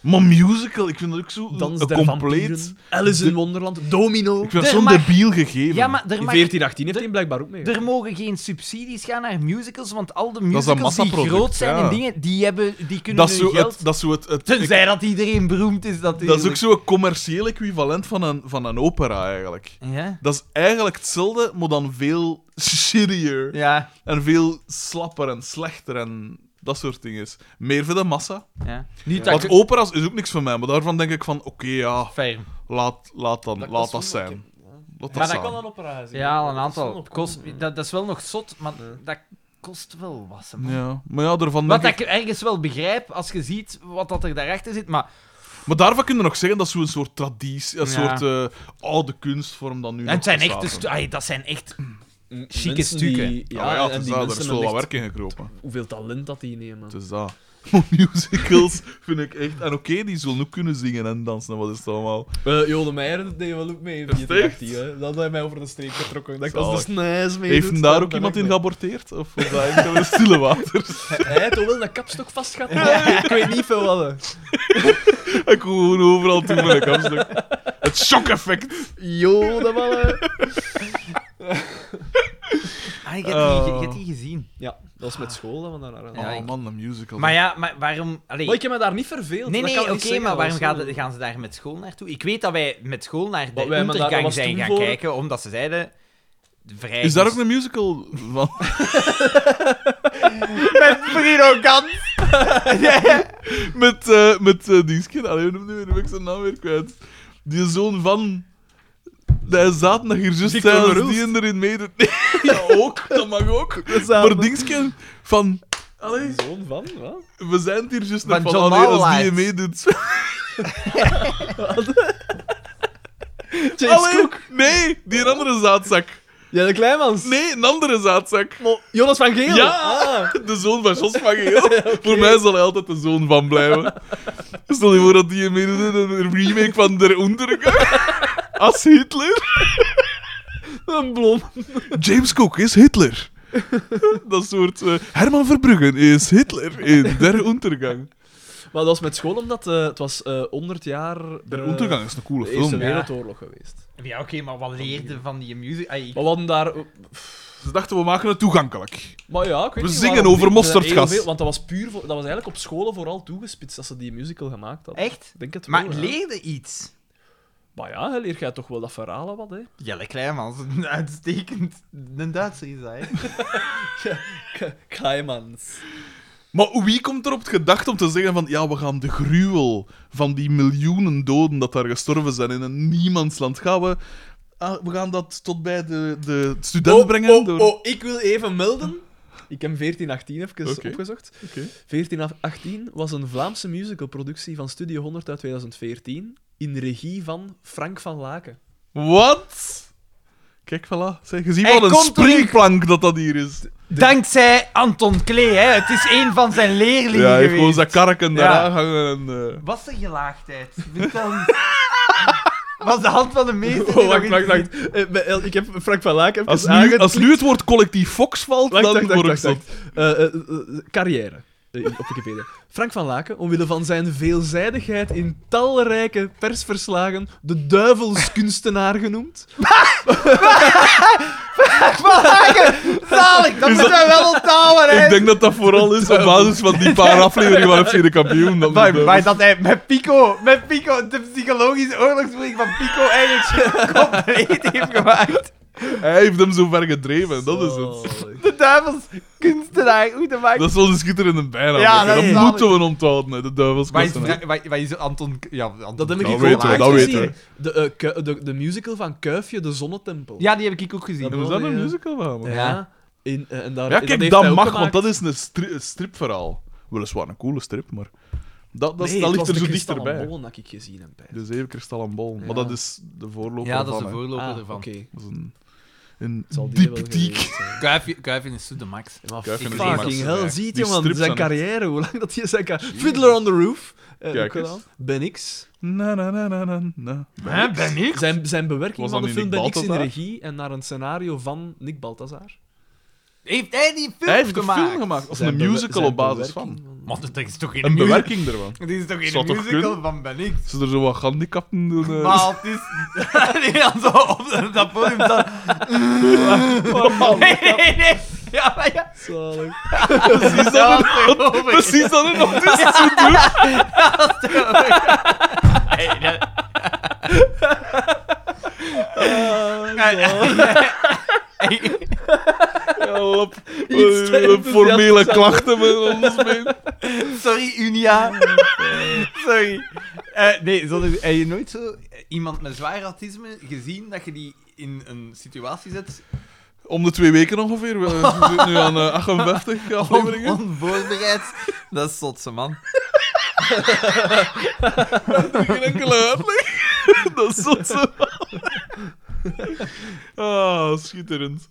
S3: Maar musical, ik vind dat ook zo
S2: Dans
S3: een
S2: der
S3: compleet...
S2: vampieren, Alice in Wonderland, Domino.
S3: Ik vind
S1: Er
S3: dat zo'n
S1: mag-
S3: debiel gegeven.
S1: Ja, maar er,
S2: In
S1: mag-
S2: 1418 heeft hij blijkbaar ook mee.
S1: er mogen geen subsidies gaan naar musicals, want al de
S3: is een
S1: musicals die
S3: massaproduct,
S1: groot zijn
S3: ja.
S1: en dingen, die, hebben, die kunnen
S3: dat
S1: hun
S3: is zo
S1: geld...
S3: het... Dat is, zo het, het-
S1: Tenzij dat iedereen beroemd is,
S3: ik-
S1: natuurlijk.
S3: dat is ook zo'n commercieel equivalent van een, van een opera, eigenlijk.
S1: Ja?
S3: Dat is eigenlijk hetzelfde, maar dan veel shittier.
S1: Ja,
S3: En veel slapper en slechter en dat soort dingen is. Meer voor de massa.
S1: ja.
S2: Niet
S3: Want opera's is ook niks van mij, maar daarvan denk ik van, oké, ja,
S1: Ferm.
S3: laat, laat, dan, laat dat zijn. Laat dat
S1: dat
S3: zijn.
S1: kan
S2: opera zijn.
S1: Ja, al een aantal. Kost, dat, dat is wel nog zot, maar dat kost wel wat. man.
S3: Ja, maar ja, daarvan
S1: Wat
S3: denk
S1: dat
S3: ik...
S1: ik ergens wel begrijp, als je ziet wat dat er daarachter zit, maar...
S3: Maar daarvan kun je nog zeggen dat is zo'n soort traditie, een
S1: Ja.
S3: soort eh, oude kunstvorm dan nu
S1: En het zijn
S3: echt
S1: echte stu- ai, dat zijn echt... Chique stukken.
S3: Mm, Ja, ja, het
S2: en
S3: is
S2: die
S3: dat, er
S2: mensen
S3: is wel wat
S2: hebben
S3: werk
S2: echt
S3: in gekropen.
S2: hoeveel talent dat die nemen.
S3: Het is dat. Maar musicals vind ik echt... En oké, die zullen ook kunnen zingen en dansen, en wat is het allemaal.
S2: Eh, Jo de Meijer deed wel ook mee in
S3: Is het
S2: 1418. hè. Dat had hij mij over de streep getrokken. Dat ik als de snijs mee
S3: Heeft hem daar ook iemand in geaborteerd? Of was dat eigenlijk wel stille waters?
S2: Hij heeft toch wel een kapstok vast gehad? Ik weet niet veel wat. hè.
S3: Ik kon gewoon overal toe met een kapstok. Het shock-effect.
S2: Jo, de mannen.
S1: Ah, je, hebt
S3: Oh.
S1: die, je hebt die gezien.
S2: Ja, dat was met school dat we daar aan.
S1: Ja,
S3: oh
S1: ik-
S3: man, een musical.
S1: Maar ja, maar waarom... allee,
S2: Maar ik heb me daar niet verveeld.
S1: nee,
S2: dat
S1: nee,
S2: kan ik
S1: oké,
S2: niet zeggen,
S1: maar
S2: dat
S1: waarom
S2: was
S1: gaan,
S2: wel-
S1: de- gaan ze daar met school naartoe? Ik weet dat wij met school naar de
S2: Maar wij hebben daar- dat
S1: Untergang
S2: was
S1: zijn
S2: toen
S1: gaan
S2: voor-
S1: kijken, omdat ze zeiden... Vrij
S3: Is daar ook een musical van?
S1: Met Bruno Gans!
S3: met eh met eh Dienstje. Allee, hoe noemde hij? nu ben ik zijn naam weer kwijt. Die zoon van... Hij zat nog hier juist
S2: Victor
S3: zei als
S2: Verhoest.
S3: die erin meedoet. Nee, ja, ook. Dat mag ook. Maar Dienstje van... Allee,
S2: Zoon van, wat?
S3: we zijn het hier juist nog
S1: Van
S3: van...
S1: John
S3: Allee, als die
S1: Malwaert.
S3: meedoet...
S2: James
S3: Allee,
S2: Cook.
S3: nee, die andere zaadzak.
S2: Ja, de Kleinmans.
S3: Nee, een andere zaadzak.
S2: Jonas van Geel.
S3: Ja.
S2: Ah.
S3: De zoon van Jos van Geel. Voor mij zal hij altijd de zoon van blijven. Stel je voor dat die meedoet in een remake van Der Ondergang. Als Hitler.
S2: Een blond.
S3: James Cook is Hitler. Dat soort... eh, Herman Verbruggen is Hitler in Der Untergang.
S2: Maar dat was met school omdat eh, het was eh 100 jaar.
S3: De
S2: eh,
S3: Untergang is een coole
S2: de Eerste
S3: film.
S1: Ja.
S2: Wereldoorlog geweest.
S1: Ja, oké, maar wat leerde van die music? Ai, ik-
S2: Maar we hadden daar. eh,
S3: Ze dachten, we maken het toegankelijk.
S2: Maar ja, ik weet
S3: We
S2: niet
S3: zingen
S2: waarom
S3: over
S2: niet, eh,
S3: mosterdgas.
S2: heel veel, Want dat was puur. voor- dat was eigenlijk op scholen vooral toegespitst dat ze die musical gemaakt hadden.
S1: Echt?
S2: Ik Denk het
S1: Maar
S2: wel, hè.
S1: leerde iets.
S2: Maar ja, hè, leer jij toch wel dat verhalen wat, hè?
S1: Jelle Kleinmans, een uitstekend. Een Duitser is hij.
S2: Kleimans.
S3: Maar wie komt er op het gedacht om te zeggen van ja, we gaan de gruwel van die miljoenen doden dat daar gestorven zijn in een niemandsland gaan we, ah, we gaan dat tot bij de, de student
S2: Oh,
S3: brengen. door...
S2: ik wil even melden. Ik heb 1418 even
S3: Oké.
S2: opgezocht.
S3: Oké.
S2: 1418 was een Vlaamse musicalproductie van Studio 100 uit 2014 in regie van Frank van Laken.
S3: Wat? Kijk, voilà. Zeg, je ziet
S1: Hij
S3: wat een
S1: komt terug.
S3: springplank dat dat hier is.
S1: Dankzij Anton Klee, hè. Het is een van zijn leerlingen
S3: Ja, hij heeft gewoon
S1: geweest.
S3: zijn karken
S1: Ja.
S3: daaraan hangen en... eh,
S1: Was er gelaagdheid? Vertel eens. Was de hand van de meester die
S2: Oh,
S1: nog
S2: wacht,
S1: in-
S2: wacht, wacht. Eh, bij- eh, Ik heb Frank van Laken even
S3: Als nu,
S2: aangeklikt.
S3: als nu het woord collectief Fox valt,
S2: Wacht,
S3: dan
S2: wacht, wacht,
S3: word ik
S2: wacht,
S3: zot.
S2: wacht. Eh, eh, eh, carrière. eh, op Wikipedia. Frank van Laken, omwille van zijn veelzijdigheid in talrijke persverslagen, de duivelskunstenaar genoemd.
S1: Zalig, dat moeten we wel onthouden, hè.
S3: Ik denk dat dat vooral is op basis van die paar afleveringen van FC de kampioen. Dat
S1: Maar,
S3: moet-
S1: maar dat hij met Pico, met Pico, de psychologische oorlogsvoering van Pico eigenlijk compleet heeft gemaakt.
S3: Hij heeft hem zo ver gedreven, dat is het.
S2: Zalig.
S1: De duivels kunstenaar, hoe te maken.
S3: Dat is onze schitterende
S1: Ja,
S3: bijnaam. Ja,
S1: dat
S3: dat
S1: is
S3: moeten we onthouden, hè, de
S1: Waar is,
S3: duivelskosten.
S1: waar, waar- waar is Anton... Ja, Anton
S2: Dat heb ik
S3: Dat
S2: ook
S3: weten we,
S2: onlangs
S3: dat weten
S2: gezien. De, eh, Ku- de, de musical van Kuifje, De Zonnetempel.
S1: Ja, die heb ik ook gezien.
S2: Dat
S3: Was dat een
S2: Ja.
S3: musical van hem?
S1: Ja.
S2: Ja. In, eh, en daar,
S3: Ja,
S2: en dat
S3: kijk,
S2: heeft
S3: dat
S2: hij ook
S3: mag, want
S2: gemaakt.
S3: dat is een, stri- een stripverhaal. Weliswaar een coole strip, maar... Dat, dat, is-
S2: Nee,
S3: dat
S2: het
S3: ligt
S2: was
S3: er
S2: de
S3: zo
S2: kristallen
S3: dichterbij.
S2: bollen dat ik gezien heb. bij.
S3: De zeven kristallen bol.
S2: Ja.
S3: Maar dat is de voorloper
S1: Ja, dat is
S3: van,
S1: de
S3: hè.
S1: voorloper
S2: Ah, oké.
S1: ervan.
S3: Dat is een, een
S2: Het zal die wel
S3: dieptiek.
S2: geweest zijn.
S1: Kuifje- Kuifje is zo de max.
S2: Ja, Maar
S3: Kuif in
S1: de
S2: fucking
S1: zon.
S2: hell,
S1: Ja.
S2: ziet
S3: Die
S2: jongen,
S3: strips
S2: zijn
S3: aan het-
S2: carrière, hoe lang dat hij zijn carrière... Fiddler on the Roof, eh,
S3: Kijk
S2: ook
S3: eens.
S2: gedaan. Ben X.
S3: Na, na, na, na, na, na.
S1: Hè, ben ik?
S2: Zijn, zijn bewerking
S3: Was
S2: van de
S3: dat
S2: film
S3: niet
S2: Ben
S3: Nick
S2: X in de
S3: Balthazar?
S2: regie en naar een scenario van Nick Balthazar.
S1: Heeft hij die film
S3: Hij heeft een
S1: gemaakt?
S3: film gemaakt, of
S2: Zijn
S3: een
S2: bewer-
S3: musical
S2: zijn
S3: op basis
S2: bewerking
S3: van.
S1: Maar dat is toch geen
S3: Een
S1: mu-
S3: bewerking ervan.
S1: Dit is toch
S3: Zou
S1: geen
S3: toch
S1: musical
S3: kunnen?
S1: van Ben ik?
S3: Ze er zo wat handicapten doen. eh,
S1: Maar het is... Nee, dan zo op dat podium staan.
S3: Oh,
S1: Nee, nee, nee. Ja, maar ja.
S2: Zalig.
S1: Precies dat is
S3: Precies dat in nog tussen. Oh, Help.
S2: Iets te
S3: Eh,
S2: enthousiast
S3: Formele
S2: zijn.
S3: klachten met ons mee.
S1: Sorry, Unia. Sorry. Eh, nee, zonder, heb je nooit zo eh, iemand met zwaar autisme gezien dat je die in een situatie zet?
S3: Om de twee weken ongeveer. We we zitten nu aan eh, 58
S1: On,
S3: afleveringen.
S1: onvoorbereid. Dat is zotse man.
S3: Geen enkele uitleg. Dat is zot zo. Ah, schitterend.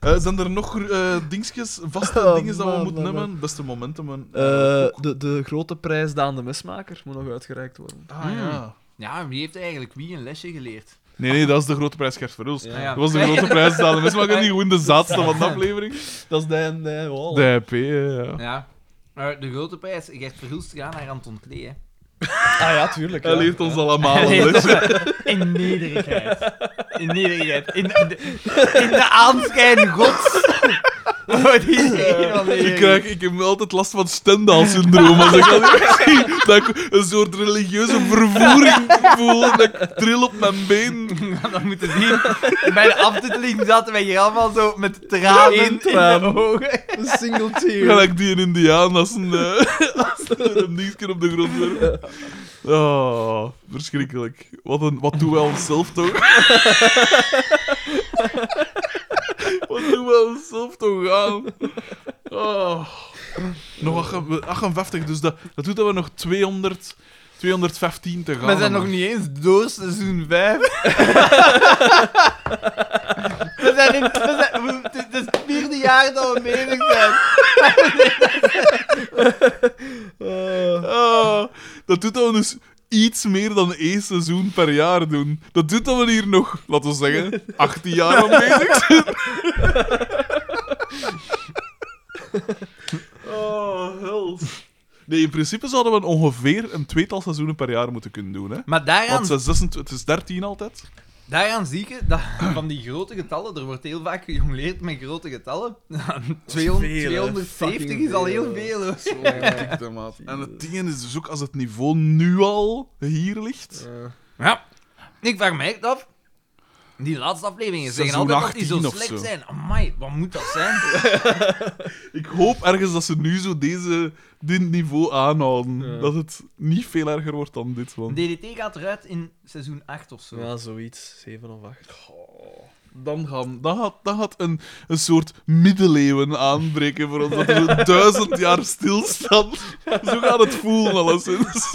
S3: Eh, zijn er nog eh dingetjes, vaste
S2: Oh,
S3: dingen dat we
S2: man,
S3: moeten
S2: man,
S3: hebben? Beste momenten. man.
S2: Eh, de, de grote prijs Daan de Mesmaker moet nog uitgereikt worden.
S3: ah,
S2: hmm.
S3: ja.
S1: Hmm. Ja, wie heeft eigenlijk wie een lesje geleerd?
S3: Nee, nee, dat is de grote prijs Gert Verhulst.
S1: Ja, ja.
S3: Dat was de grote prijs. Dat is maar niet gewoon de zaadste van de aflevering.
S2: Dat is de... de wow.
S3: De IP, eh, ja.
S1: Ja. Eh, de grote prijs, Gert Verhulst, gaat naar Anton Klee, hè.
S2: Ah ja, tuurlijk.
S3: Hij
S2: ja.
S3: leert ons allemaal
S1: Hij
S3: een
S1: leert
S3: lesje.
S1: In nederigheid. In nederigheid. In, in, de, in de aanschijn gods. Oh, die is een van de
S3: Ik, krijg, ik heb altijd last van Stendhal-syndroom. Als ik dat zie, dat ik een soort religieuze vervoering voel. En dat ik tril op mijn been.
S1: Dat moeten zien. Bij de aftiteling zaten wij hier allemaal zo met tranen in de
S2: traan.
S1: ogen.
S2: Een single
S3: Ga
S2: tear.
S3: ik die in Indiaan als een, eh, als een dingetje op de grond werpen. Oh, verschrikkelijk. Wat, een, wat doen wij onszelf toch? wat doen wij onszelf toch aan? Oh. Nog 58, dus dat, dat doet dat we nog 200, 215 te
S1: We
S3: gaan.
S1: zijn nog
S3: hebben.
S1: niet eens door seizoen 5. we zijn in, we zijn, we- het is het vierde jaar dat we bezig zijn.
S3: Ah, dat doet dat we dus iets meer dan één seizoen per jaar doen. Dat doet dat we hier nog, laten we zeggen, 18 jaar aan bezig zijn. Oh, hels. Nee, in principe zouden we ongeveer een tweetal seizoenen per jaar moeten kunnen doen. Hè?
S1: Maar daaraan,
S3: Want ze is 26 het is 13 altijd.
S1: daaraan zie je dat van die grote getallen, er wordt heel vaak gejongleerd met grote getallen. 200,
S2: Vele,
S1: 270 is al heel veel. hoor.
S3: En het ding is dus ook als het niveau nu al hier ligt.
S2: Eh,
S1: Ja, ik vraag me echt af. Die laatste afleveringen zeggen
S3: Seizoen
S1: altijd dat die zo
S3: 18 of
S1: slecht
S3: zo.
S1: zijn. Amai, wat moet dat zijn?
S3: Ik hoop ergens dat ze nu zo deze, dit niveau aanhouden.
S2: Ja.
S3: Dat het niet veel erger wordt dan dit. Want...
S1: DDT gaat eruit in seizoen 8 of zo.
S2: Ja, zoiets. 7 of 8.
S3: Dan, gaan, dan gaat, dan gaat een, een soort middeleeuwen aanbreken voor ons. Dat er zo'n duizend jaar stilstand. Zo gaat het voelen, alleszins.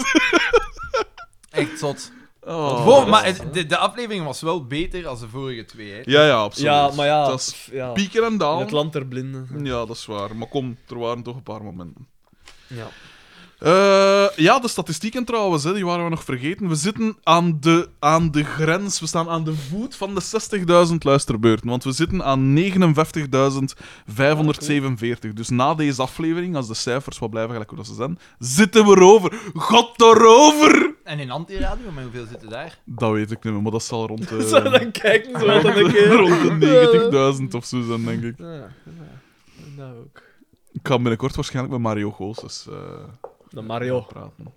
S1: Echt zot.
S3: Oh.
S1: Wow, maar het- de, de aflevering was wel beter als de vorige twee. Hè.
S3: Ja, ja, absoluut.
S2: Ja, maar ja.
S3: Dat is
S2: pff, ja.
S3: pieken en
S2: In
S3: dalen.
S2: het land der blinden.
S3: Ja, dat is waar. Maar kom, er waren toch een paar momenten.
S2: Ja.
S3: Eh, ja, de statistieken trouwens, hè, die waren we nog vergeten. We zitten aan de, aan de grens. We staan aan de voet van de 60.000 luisterbeurten. Want we zitten aan 59.547. Dus na deze aflevering, als de cijfers wat blijven gelijk hoe dat ze zijn, zitten we erover. God erover!
S1: En in antiradio, maar hoeveel zitten daar?
S3: Dat weet ik niet meer, maar dat zal rond de,
S2: Zo, dan kijken ze wel
S3: rond
S2: dan een keer. Eh,
S3: de 90.000 of zo zijn, denk ik.
S2: Ja, ja. Nou ook.
S3: Ik ga binnenkort waarschijnlijk met Mario Goossens eh,
S2: De Nou, Mario.
S3: praten.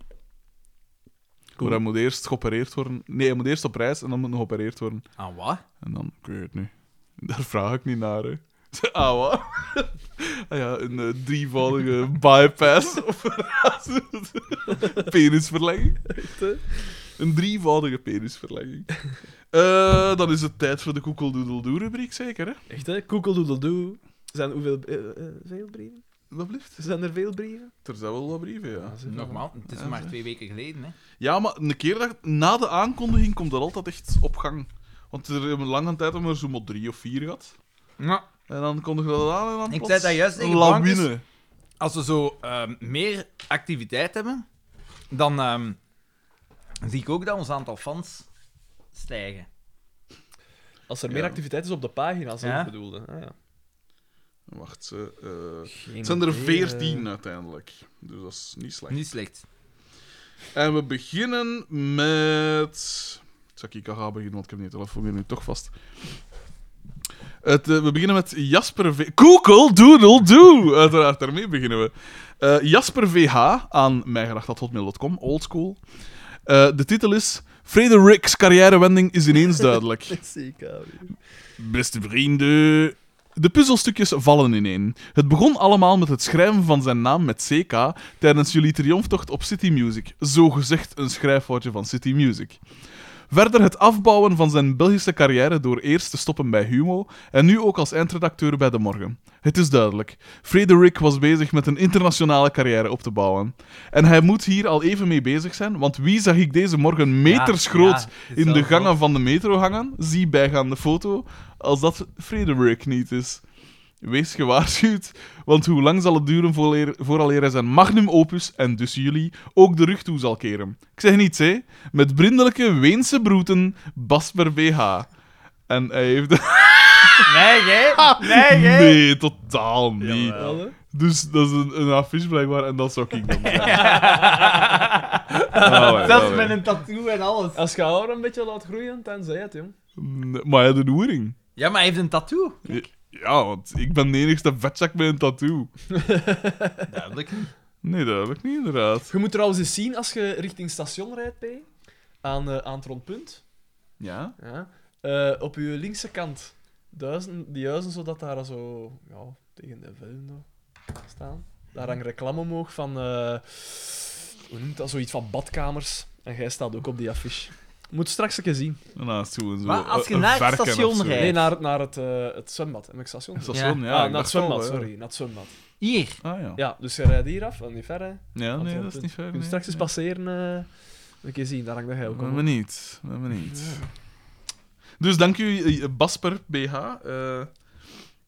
S3: Maar hij moet eerst geopereerd worden. Nee, hij moet eerst op reis en dan moet hij nog geopereerd worden.
S1: Aan Ah, wat?
S3: En dan, ik weet het niet. Daar vraag ik niet naar, hè. Ah, wat? ah ja, een eh, drievoudige bypass operatie. penisverlenging.
S2: hè?
S3: Een drievoudige penisverlenging. Eh, dan is het tijd voor de koekeldoedeldoe-rubriek, zeker, hè?
S2: Echt, hè? Koekeldoedeldoe. Zijn hoeveel... eh, eh, veel brieven?
S3: Wat blieft?
S2: Zijn er veel brieven?
S3: Er zijn wel wat brieven, ja.
S2: zeg maar.
S1: Nogmaals, het is
S3: Ja,
S1: maar
S3: zeg.
S1: twee weken geleden. Hè.
S3: Ja, maar een keer dat, na de aankondiging komt dat altijd echt op gang. Want er hebben lange tijd hebben we er zo maar drie of vier gehad. En dan kondigen we dat aan en dan
S1: Ik dus- zei
S3: plots
S1: dat juist
S3: een
S1: tegen
S3: lawine.
S1: Als we zo ehm, meer activiteit hebben, dan ehm, zie ik ook dat ons aantal fans stijgen.
S2: Als er
S3: Ja.
S2: meer activiteit is op de pagina, als
S1: Ja.
S2: ik bedoelde. Ah, ja.
S3: Wacht, ze, eh, het zijn er
S1: eh.
S3: veertien uiteindelijk. Dus dat is niet slecht.
S1: Niet slecht.
S3: En we beginnen met... Zal ik al gaan beginnen, want ik heb niet de telefoon hier nu toch vast. Het, eh, we beginnen met Jasper V... Koekel, doedel, doe! Uiteraard, daarmee beginnen we. Eh, Jasper VH aan mijgedacht.hotmail.com, oldschool. Eh de titel is... Fredericks carrièrewending is ineens duidelijk.
S2: Ziek, ouwe.
S3: Beste vrienden. De puzzelstukjes vallen ineen. Het begon allemaal met het schrijven van zijn naam met CK tijdens jullie triomftocht op City Music. Zo gezegd een schrijffoutje van City Music. Verder het afbouwen van zijn Belgische carrière door eerst te stoppen bij Humo en nu ook als eindredacteur bij De Morgen. Het is duidelijk, Frederik was bezig met een internationale carrière op te bouwen. En hij moet hier al even mee bezig zijn, want wie zag ik deze morgen meters
S1: Ja,
S3: groot
S1: ja, het is
S3: in
S1: wel
S3: de
S1: groot.
S3: gangen van de metro hangen? Zie bijgaande foto, als dat Frederik niet is. Wees gewaarschuwd, want hoe lang zal het duren vooraleer, vooraleer hij zijn magnum opus, en dus jullie, ook de rug toe zal keren? Ik zeg niets, hè? Met brindelijke Weense broeten, Basper BH. En hij heeft...
S1: Nee, hè? Nee, hè?
S3: Nee, totaal niet.
S2: Wel, hè?
S3: Dus dat is een, een affiche blijkbaar, en dat zou ik dan zijn. Ah, ouais, ah,
S1: Zelfs
S3: ouais.
S1: met een tattoo en alles.
S2: Als je haar een beetje laat groeien, dan zei het, jong.
S3: Nee, Maar hij had een oering.
S1: Ja, maar hij heeft een tattoo.
S3: Ja, want ik ben de enigste vetzak met een tattoo.
S1: Duidelijk.
S3: Nee, duidelijk niet, inderdaad.
S2: Je moet trouwens eens zien, als je richting station rijdt, P, aan, eh, aan het rondpunt,
S3: Ja?
S2: ja, eh, op je linkse kant, duizen, die huizen, zodat daar zo, ja, tegen de vuilen staan. Daar hangt reclame omhoog van, eh, hoe noemt dat, zoiets van badkamers. En jij staat ook op die affiche. Moet straks een keer zien.
S3: En naast gewoon zo.
S1: Maar als je
S3: een- een
S1: naar het
S3: varken of
S1: station
S3: zo.
S1: rijdt.
S2: Nee, naar, het- naar het, eh, het zwembad. Heb ik station?
S3: Een
S2: gezegd?
S3: station, ja.
S2: ah,
S3: ik
S2: naar het
S3: dacht al,
S2: zwembad,
S3: ja.
S2: sorry. Naar het zwembad.
S1: Hier.
S3: Ah ja.
S2: Ja, dus je rijdt hier af, en niet ver, hè.
S3: Ja,
S2: Aan het
S3: nee, dat is
S2: rondpunt.
S3: niet ver.
S2: Je moet
S3: nee.
S2: straks eens
S3: Nee.
S2: passeren. eh, een keer zien, daar hangt dat jij ook
S3: Maar
S2: op.
S3: me niet. Maar me niet. Dus dank u, eh, Basper BH. Eh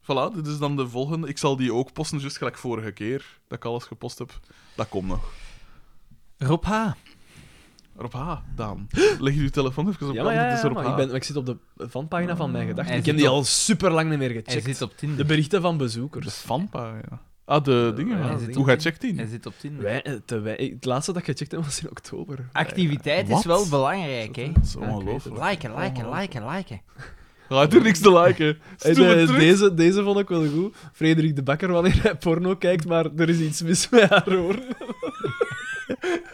S3: voilà, dit is dan de volgende. Ik zal die ook posten, juist gelijk vorige keer dat ik alles gepost heb. Dat komt nog.
S1: Rob H.
S3: Rob H, Daan. Leg je uw telefoon even op
S2: Ja,
S3: kant,
S2: maar, ja,
S3: het
S2: ja,
S3: is Rob
S2: maar
S3: H.
S2: ik, ben, maar ik zit op de fanpagina
S3: Ah.
S2: van mijn gedachten.
S1: Hij
S2: Ik heb
S1: zit
S2: die
S1: op-
S2: al super lang niet meer
S1: Hij
S2: gecheckt.
S1: zit op Tinder.
S2: De berichten van
S3: De
S2: bezoekers.
S3: fanpa, ja. Ah, de dingen.
S1: Hij
S3: ja.
S1: zit
S3: Hoe
S1: op
S3: gaat
S1: Tinder.
S3: checkt in?
S1: Hij zit op Tinder.
S2: Wij, eh, te wij, het laatste dat ik gecheckt heb was in oktober.
S1: Activiteit
S3: Wat?
S1: is
S3: Oh,
S1: wel belangrijk, hè.
S3: Dat is
S2: dus
S3: ongelooflijk.
S1: Liken, liken, liken, liken.
S3: Laat er niks te liken.
S2: En,
S3: Stuur
S2: eh,
S3: het terug.
S2: deze, deze vond ik wel goed. Frederik de Bakker, wanneer hij porno kijkt, maar er is iets mis met haar hoor.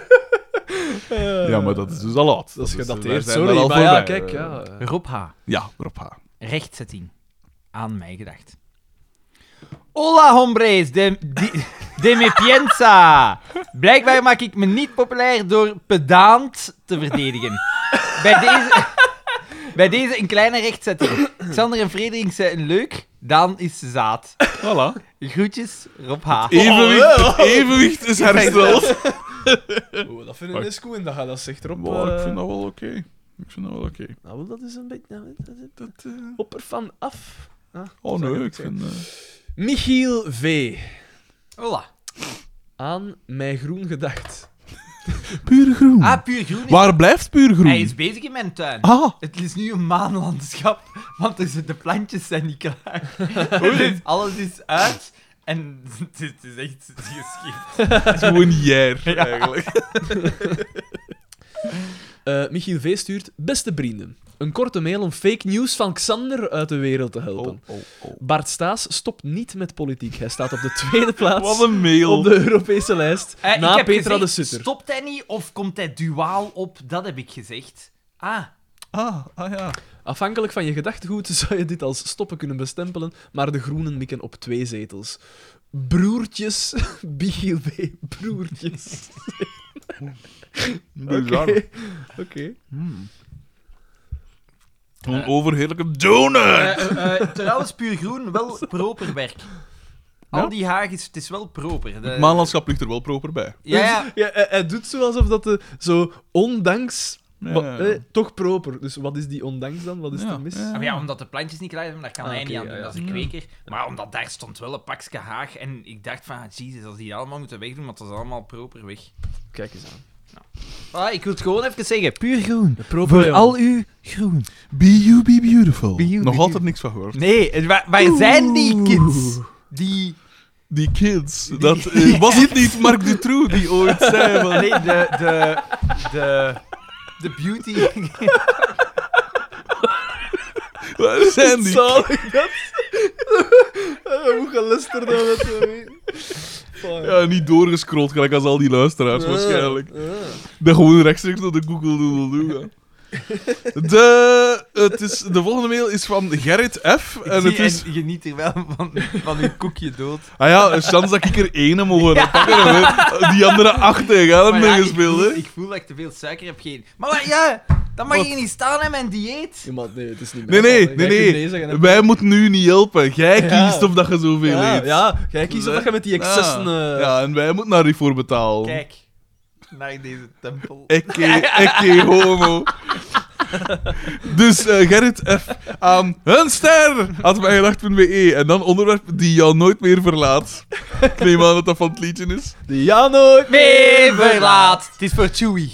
S2: Eh,
S3: Ja, maar dat is dus al laat.
S2: dat is
S3: wij
S2: gedateerd,
S3: zijn daar
S2: sorry.
S3: al
S2: Maar ja,
S3: voorbij.
S2: kijk, ja. eh.
S1: Rob H.
S3: Ja, Rob H.
S1: Rechtzetting. Aan mij gedacht. Hola, hombres de, di- de me piensa. Blijkbaar maak ik me niet populair door pedaant te verdedigen. Bij deze, bij deze een kleine rechtzetting. Xander en Frederik zijn leuk, Daan is zaad.
S3: Voilà.
S1: Oh, Groetjes, Rob H.
S3: Evenwicht, evenwicht is hersteld.
S2: Oh, dat vind ik dus goed en dat gaat dat zegt erop.
S3: Maar ik
S2: eh,
S3: vind dat wel oké. Ik vind dat wel oké.
S2: Nou, dat is een beetje... Nou, dat is-
S3: Dat, eh,
S2: Op ervan af.
S3: Oh nee,
S2: Zou
S3: ik
S2: ik zeggen.
S3: vind... eh,
S2: Michiel V.
S1: Hola.
S2: Aan mij groen gedacht.
S3: Puur groen.
S1: Ah, puur groen. is-
S3: Waar blijft puur groen?
S1: Hij is bezig in mijn tuin.
S3: Ah,
S1: Het is nu een maanlandschap, want er zijn- de plantjes zijn niet klaar. Het is- alles is uit en het is, het is echt geschikt.
S3: het is gewoon jaar eigenlijk.
S2: Eh, Michiel V. stuurt... Beste vrienden, een korte mail om fake news van Xander uit de wereld te helpen.
S1: Oh,
S3: Oh.
S2: Bart Staes stopt niet met politiek. Hij staat op de tweede plaats
S3: Wat een mail.
S2: op de Europese lijst.
S1: Eh, ik
S2: na
S1: heb
S2: Petra
S1: gezegd,
S2: de Sutter.
S1: Stopt hij niet of komt hij duaal op? Dat heb ik gezegd. Ah,
S3: Ah, ah ja.
S2: Afhankelijk van je gedachtegoed zou je dit als stoppen kunnen bestempelen, maar de groenen mikken op twee zetels. Broertjes, Michiel B. Broertjes. Oké.
S3: Bizar.
S2: Oké.
S3: Een overheerlijke donut.
S1: eh, eh, eh, trouwens, puur groen, wel proper werk.
S3: Ja?
S1: Al die haag is, het is wel proper. De-
S3: Het maanlandschap ligt er wel proper bij.
S1: ja, ja.
S2: Ja, Dus hij, hij doet zo alsof dat de, zo ondanks,
S3: Ja,
S2: wa-
S3: ja, ja.
S2: eh, toch proper. Dus wat is die ondanks dan? Wat is
S3: Ja,
S2: er mis?
S3: ja.
S1: Ah, Maar ja, omdat de plantjes niet klaar zijn, daar kan
S2: Ah,
S1: hij
S2: oké,
S1: niet aan
S2: ja,
S1: doen,
S2: ja.
S1: dat is een kweker. Maar omdat daar stond wel een pakje haag en ik dacht van, ah, jezus, als die dat allemaal moeten wegdoen, want dat is allemaal proper weg.
S2: Kijk eens aan.
S1: Ah, ik wil het gewoon even zeggen, puur groen.
S2: Proper,
S1: Voor
S2: jongen.
S1: al uw groen.
S3: Be you, be beautiful.
S1: Be you,
S3: Nog
S1: be
S3: altijd niks van gehoord.
S1: Nee, het- waar, waar zijn die kids?
S2: Oeh.
S1: Die...
S3: Die kids. Dat, eh, was het niet Marc Dutroux die ooit zei van...
S1: Allee, de... De... De... De beauty...
S3: Waar zijn die
S2: Zalig dat. Eh, Hoe gelusterd dat we het wel weten. Fuck.
S3: Ja, niet doorgescrollt, gelijk als al die luisteraars waarschijnlijk.
S2: Eh, eh.
S3: Dat gewoon rechtstreeks door de Google Doodle Doo gaan. De, het is, de volgende mail is van Gerrit F. En het is...
S1: En geniet er wel van, van uw koekje dood.
S3: Ah ja, een kans dat ik er ene mogen pakken. hè. Die andere acht, hè. Ga dat
S1: Maar
S3: mee
S1: ja,
S3: gespeeld,
S1: ik,
S3: hè.
S1: voel, ik voel dat ik te veel suiker heb gegeten. Maar wat- ja, dat mag
S3: Wat?
S1: je niet staan in mijn dieet.
S2: Ja, maar nee, het is niet
S3: Nee,
S2: mijn
S3: nee,
S2: fout.
S3: nee,
S2: Jij kunt
S3: nee.
S2: zeggen, hè.
S3: Wij moeten nu niet helpen. Jij
S2: Ja.
S3: kiest of dat je zoveel
S2: ja,
S3: eet.
S2: Ja, jij kiest of dat je met die excessen...
S3: Ja.
S2: eh,
S3: Ja, en wij moeten daar niet voor betalen.
S1: Kijk naar deze tempel.
S3: Ikke, ikke homo. Dus eh, Gerrit F. aan een ster had mij gedacht.be E. en dan onderwerp die jou nooit meer verlaat. Ik neem aan dat dat van het liedje is.
S2: Die ja nooit
S1: Mee verlaat. Het is voor Chewy.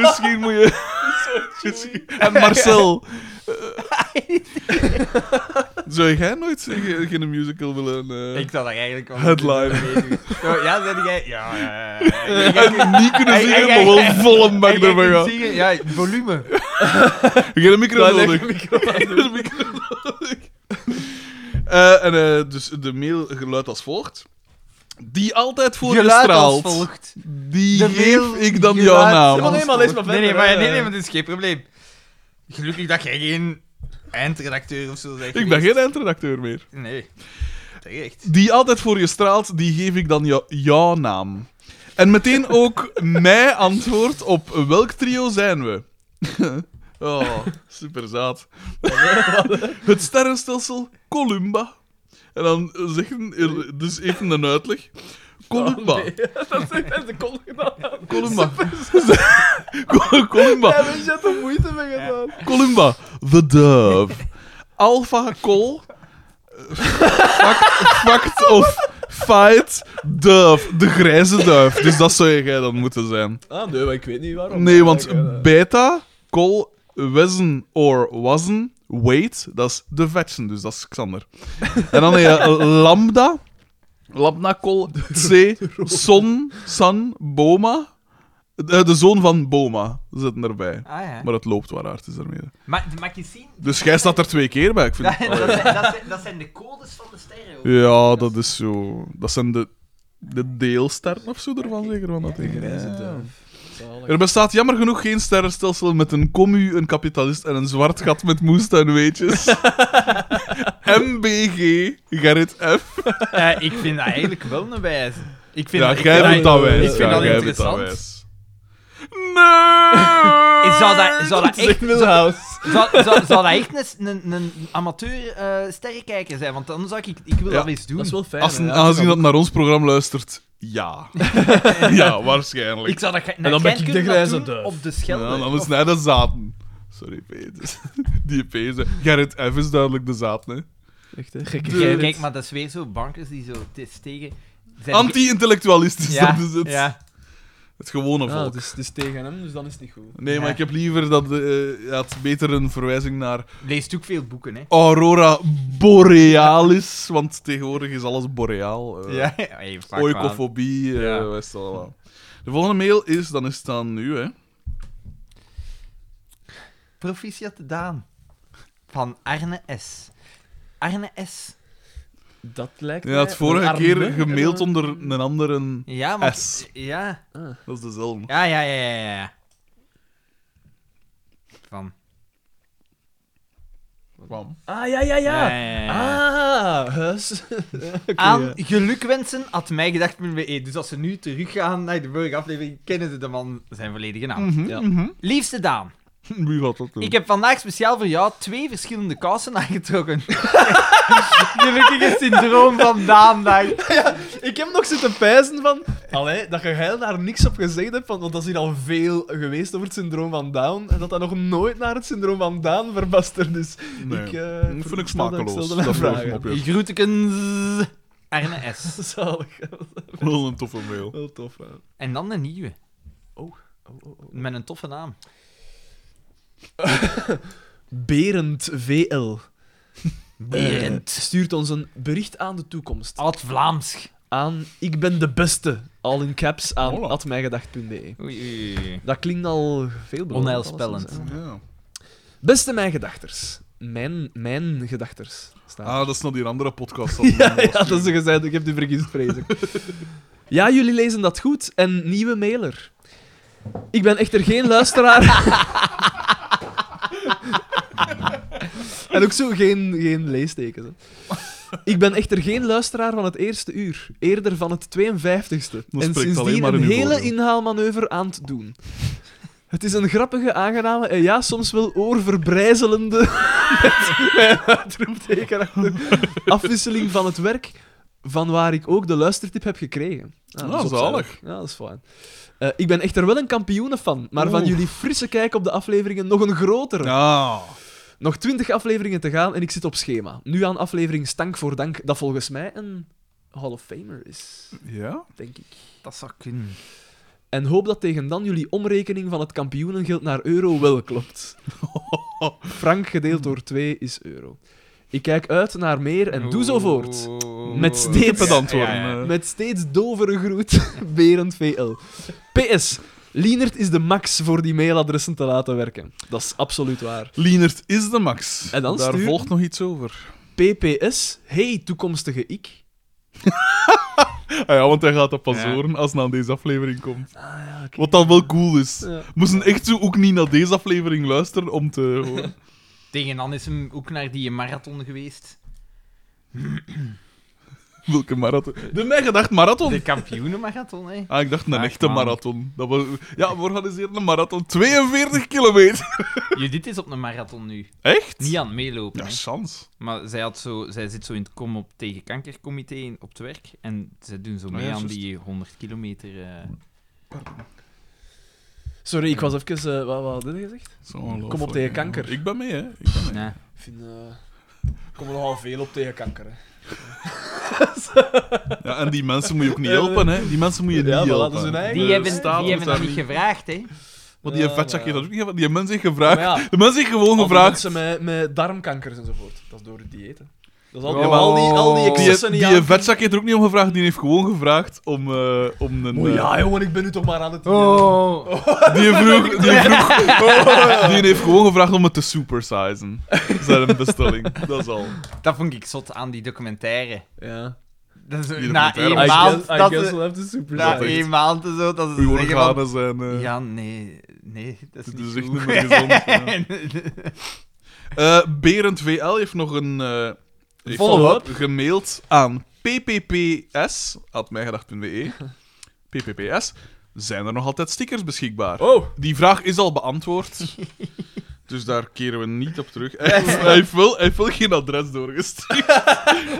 S3: Misschien moet je. Misschien- En Marcel. eh, Zou jij nooit zeggen, geen musical willen? eh,
S1: Ik zou dat eigenlijk wel
S3: Headline.
S1: moeten meedoen. Zo, Ja, zeg jij. Ja, ja, ja, ja. Jij- jij-
S3: en Eh, niet kunnen
S1: Hey,
S3: zingen,
S1: hey,
S3: maar wel
S1: hey,
S3: volle bak
S1: jij kunt
S3: ervan gaan.
S1: zingen. Ja, volume.
S3: Geen micro
S2: Daar leg
S3: nodig.
S2: ik microfoon aan.
S3: Een micro nodig. Eh, en eh, dus de mail geluid als volgt. Die altijd voor je
S1: Geluid als
S3: straalt.
S1: volgt.
S3: Die
S1: De
S3: geef
S1: mail,
S3: ik dan
S1: geluid
S3: jouw
S1: als
S2: Ja, maar nee,
S3: naam.
S2: maar lees maar
S1: Nee, nee,
S2: verder,
S1: maar,
S2: hè.
S1: nee, nee, maar dit is geen probleem. Gelukkig dat jij geen eindredacteur of zo bent.
S3: Ik ben geen eindredacteur meer.
S1: geen... Nee. Terecht.
S3: Die altijd voor je straalt, die geef ik dan jou- jouw naam. En meteen ook mij antwoord op welk trio zijn we. oh, super zaad. Het sterrenstelsel Columba. En dan zeggen, dus even een uitleg. Columba.
S2: Oh, Nee, dat is echt de kont gedaan.
S3: Columba. Col- Columba.
S2: Ja, weet je, de moeite mee gedaan.
S3: Columba. The Dove. Alpha Col. Fact, fact of Fight Dove. De grijze duif. Dus dat zou jij dan moeten zijn.
S2: Ah, nee, maar ik weet niet waarom.
S3: Nee, want
S2: Kijk, eh,
S3: Beta, Col, Wezen or Wazen, Wait, dat is de vetsen, dus dat is Xander. En dan heb je Lambda, Labnakol, C, Son, San, Boma. Eh, De, de zoon van Boma zit erbij.
S1: Ah ja.
S3: Maar het loopt waar aard is ermee.
S1: Maar mag je zien?
S3: Dus jij staat er twee keer bij, ik vind
S1: Dat,
S3: het-
S1: dat, zijn, dat, zijn, dat zijn de codes van de sterren. hoor.
S3: Ja, dat is zo. Dat zijn de, de deelsterren of zo ervan, zeker van dat ding. Ja. Er bestaat jammer genoeg geen sterrenstelsel met een commu, een kapitalist en een zwart gat met moestuinweetjes. MBG, Gerrit F.
S1: Eh, ik vind dat eigenlijk wel een wijze. Ik vind
S3: ja,
S1: ik
S3: jij
S1: vind
S3: doet dat wijs.
S1: Ik vind
S3: ja,
S1: dat
S3: jij doet
S1: interessant.
S3: wijs. Nee!
S1: Ik zou dat, zou dat echt...
S2: Milhouse.
S1: Zou, zou, zou dat echt een, een, een amateur eh sterrenkijker zijn? Want dan zou ik... Ik wil
S3: Ja,
S1: dat eens doen.
S2: Dat is wel fijn.
S3: Als een
S2: hè,
S3: aangezien
S2: ja.
S3: dat naar ons programma luistert, ja. ja, waarschijnlijk.
S1: Ik zou dat... En
S2: dan ben ik de grijze duif.
S1: Op de Schelde.
S3: Ja, dan
S1: Of-
S3: is hij de zaten. Sorry, Peter. Die Peter. Gerrit F. is duidelijk de zaten, hè.
S2: Echt, hè? Gekke
S1: Kijk,
S2: geiten.
S1: kijk, maar dat is weer zo bankers die zo het is tegen... zijn-
S3: Anti-intellectualistisch,
S1: Ja,
S3: dat is het.
S1: ja. Oh,
S3: Het gewone
S2: Ah, het,
S3: volk.
S2: is, het is tegen hem, dus dan is het niet goed.
S3: Nee, maar
S1: Ja.
S3: ik heb liever dat... eh ja, het is beter een verwijzing naar
S1: Leest ook veel boeken, hè.
S3: Aurora Borealis, want tegenwoordig is alles boreaal. eh,
S1: Ja, hey, fuck, man.
S3: Oikofobie, eh,
S1: Ja.
S3: wat is dat allemaal. De volgende mail is, dan is het aan nu, hè.
S1: Proficiat Daan. Van Arne S. Arne S.
S2: Dat lijkt
S3: Ja,
S1: Eh,
S3: het vorige keer gemaild onder een andere...
S1: Ja, maar...
S3: S.
S1: Ja.
S3: Dat is dezelfde.
S1: Ja, ja, ja, ja, ja, ja. Van...
S3: Kwam.
S2: Ah, ja, ja, ja.
S1: ja, ja.
S2: Ah, huis. Oké,
S1: Aan
S2: ja.
S1: gelukwensen had mij gedacht. Dus als ze nu teruggaan naar de vorige aflevering, kennen ze de man zijn volledige naam.
S3: Mm.
S2: Ja.
S1: Liefste Daan,
S3: Mhm, Wie gaat dat doen?
S1: ik heb vandaag speciaal voor jou twee verschillende kousen aangetrokken. Gelukkige syndroom van Daan dag.
S2: Ik heb nog zitten pijzen van... Allee, dat je jij daar niks op gezegd hebt, want want dat is hier al veel geweest over het syndroom van Down. En dat dat nog nooit naar het syndroom van Down verbasterd is.
S3: Nee.
S2: Ik,
S3: Dat
S2: eh,
S3: vind ik
S2: stelde- ik
S3: smakeloos.
S2: stelde
S3: Dat
S2: mijn
S3: vraag ik
S2: vragen.
S3: op je.
S1: Groetekens. Arne S.
S2: Zalig.
S3: Wel een toffe mail.
S2: Heel tof, hè. Oh,
S1: En dan een nieuwe,
S2: oh, oh.
S1: met een toffe naam.
S2: Berend VL
S1: Berend.
S2: eh, stuurt ons een bericht aan de toekomst.
S1: Oud-Vlaams.
S2: Aan ik ben de beste, al in caps, aan
S3: Hola.
S2: atmijngedacht.be.
S1: Oei, oei, oei.
S2: E. Dat klinkt al veel
S1: Onheilspellend.
S3: Ja.
S2: Beste mijn gedachters. Mijn, mijn gedachters. Staat.
S3: Ah, dat is nog die andere podcast. Dat
S2: ja, ja, dat is een gezegd. Ik heb die vergist, vrees ik. Ja, jullie lezen dat goed. En nieuwe mailer. Ik ben echter geen luisteraar. en ook zo geen, geen leestekens. Hè. Ik ben echter geen luisteraar van het eerste uur, eerder van het 52ste.
S3: Dat
S2: en
S3: spreekt alleen
S2: sindsdien
S3: maar
S2: een
S3: in uw
S2: hele
S3: voordeel.
S2: inhaalmanoeuvre aan het doen. Het is een grappige, aangename en ja, soms wel oorverbrijzelende met mijn uitroepteken achter. afwisseling van het werk, van waar ik ook de luistertip heb gekregen.
S3: Ah,
S2: dat is
S3: zalig.
S2: opzienlijk. Ja, dat is fijn. Eh, ik ben echter wel een kampioenenfan, maar van
S3: Oeh.
S2: jullie frisse kijk op de afleveringen nog een grotere.
S3: Ja.
S2: Nog twintig afleveringen te gaan en ik zit op schema. Nu aan aflevering Stank voor Dank, dat volgens mij een Hall of Famer is,
S3: Ja?
S2: denk ik.
S1: Dat zou kunnen.
S2: En hoop dat tegen dan jullie omrekening van het kampioenengeld naar euro wel klopt. Frank gedeeld door 2 is euro. Ik kijk uit naar meer en doe zo voort. Met steeds-
S3: Te pedant worden.
S1: Oh. Ja, ja, ja.
S3: eh.
S2: Met steeds dovere groet, Berend VL. PS, Lienert is de max voor die mailadressen te laten werken. Dat is absoluut waar.
S3: Lienert is de max.
S2: En dan
S3: Daar
S2: stuur-
S3: volgt nog iets over.
S2: PPS, hey toekomstige ik.
S3: Ah ja, want hij gaat dat pas
S1: Ja.
S3: horen als het aan deze aflevering komt.
S2: Ah ja, oké.
S3: Wat dan wel cool is.
S2: Ja.
S3: Moesten echt zo ook niet naar deze aflevering luisteren om te horen.
S1: Tegen dan is hem ook naar die marathon geweest.
S3: Welke marathon? De mij gedacht marathon.
S1: De kampioenenmarathon, hè.
S3: Ah, ik dacht een
S1: Ach,
S3: echte
S1: man.
S3: marathon. Dat we... Ja, we organiseren een marathon. 42 kilometer.
S1: Judith is op een marathon nu.
S3: Echt?
S1: Niet aan het meelopen,
S3: Ja,
S1: hè.
S3: chance.
S1: Maar zij, had zo, zij zit zo in het kom op tegen kankercomité in- op het werk. En zij doen zo
S3: ja,
S1: mee aan
S3: juist.
S1: die 100 kilometer. eh.
S2: Sorry, ik was even... eh, wat, wat had je gezegd?
S3: Dat is ongelooflijk,
S2: Kom op tegen
S3: hè.
S2: kanker.
S3: Ik ben mee, hè. Ik ben mee.
S1: Ja.
S2: Ik vind... eh, ik kom er nogal veel op tegen kanker, hè.
S3: Ja, en die mensen moet je ook niet helpen, hè. Die mensen moet je niet
S2: Ja, voilà,
S3: helpen.
S2: dat is hun eigen-
S1: Die
S3: De
S1: hebben,
S3: staat
S1: die
S3: moet
S1: hebben dat
S3: daar
S1: niet gevraagd, hè?
S3: Want die
S2: Ja,
S3: vetzak heeft
S2: maar-
S3: dat ook niet gevraagd. Die hebben mensen heeft
S2: Maar
S3: gevraagd.
S2: ja,
S3: De mensen heeft gewoon
S2: al die
S3: gevraagd.
S2: Mensen met, met darmkankers enzovoort. Dat is door het dieet, hè. Dat is al,
S1: Ja, maar-
S2: al die, al die
S3: Die,
S2: excessen
S3: die
S2: die aan-
S3: vetzak heeft er ook niet om gevraagd, die heeft gewoon gevraagd om, eh, om een...
S2: Oh
S3: eh,
S2: ja, jongen, ik ben nu toch maar aan het...
S1: Oh.
S3: Die vroeg, die vroeg, die heeft gewoon gevraagd om het te supersizen. Zijn bestelling, dat is al.
S1: Dat vond ik zot aan die documentaire.
S2: Ja.
S1: Dat is,
S3: Die
S1: na één
S3: documentaire.
S2: I
S3: I
S1: maand...
S2: guess, I
S1: Dat
S2: guess
S1: ze-
S2: we'll have to super
S1: na
S3: dat echt.
S1: één maand en zo, dat ze
S3: Goede
S1: zeggen van...
S3: organen zijn... eh,
S1: Ja, nee, nee, dat is
S3: Dit
S1: niet
S3: is echt
S1: goed.
S3: niet meer gezond, eh, Berend VL heeft nog een... eh, heeft
S1: Follow-up.
S3: Gemaild aan ppps.mijgedacht.be ppps. Zijn er nog altijd stickers beschikbaar?
S2: Oh!
S3: Die vraag is al beantwoord. Dus daar keren we niet op terug. Hij heeft- hij heeft wel, hij heeft wel geen adres doorgestuurd. Dus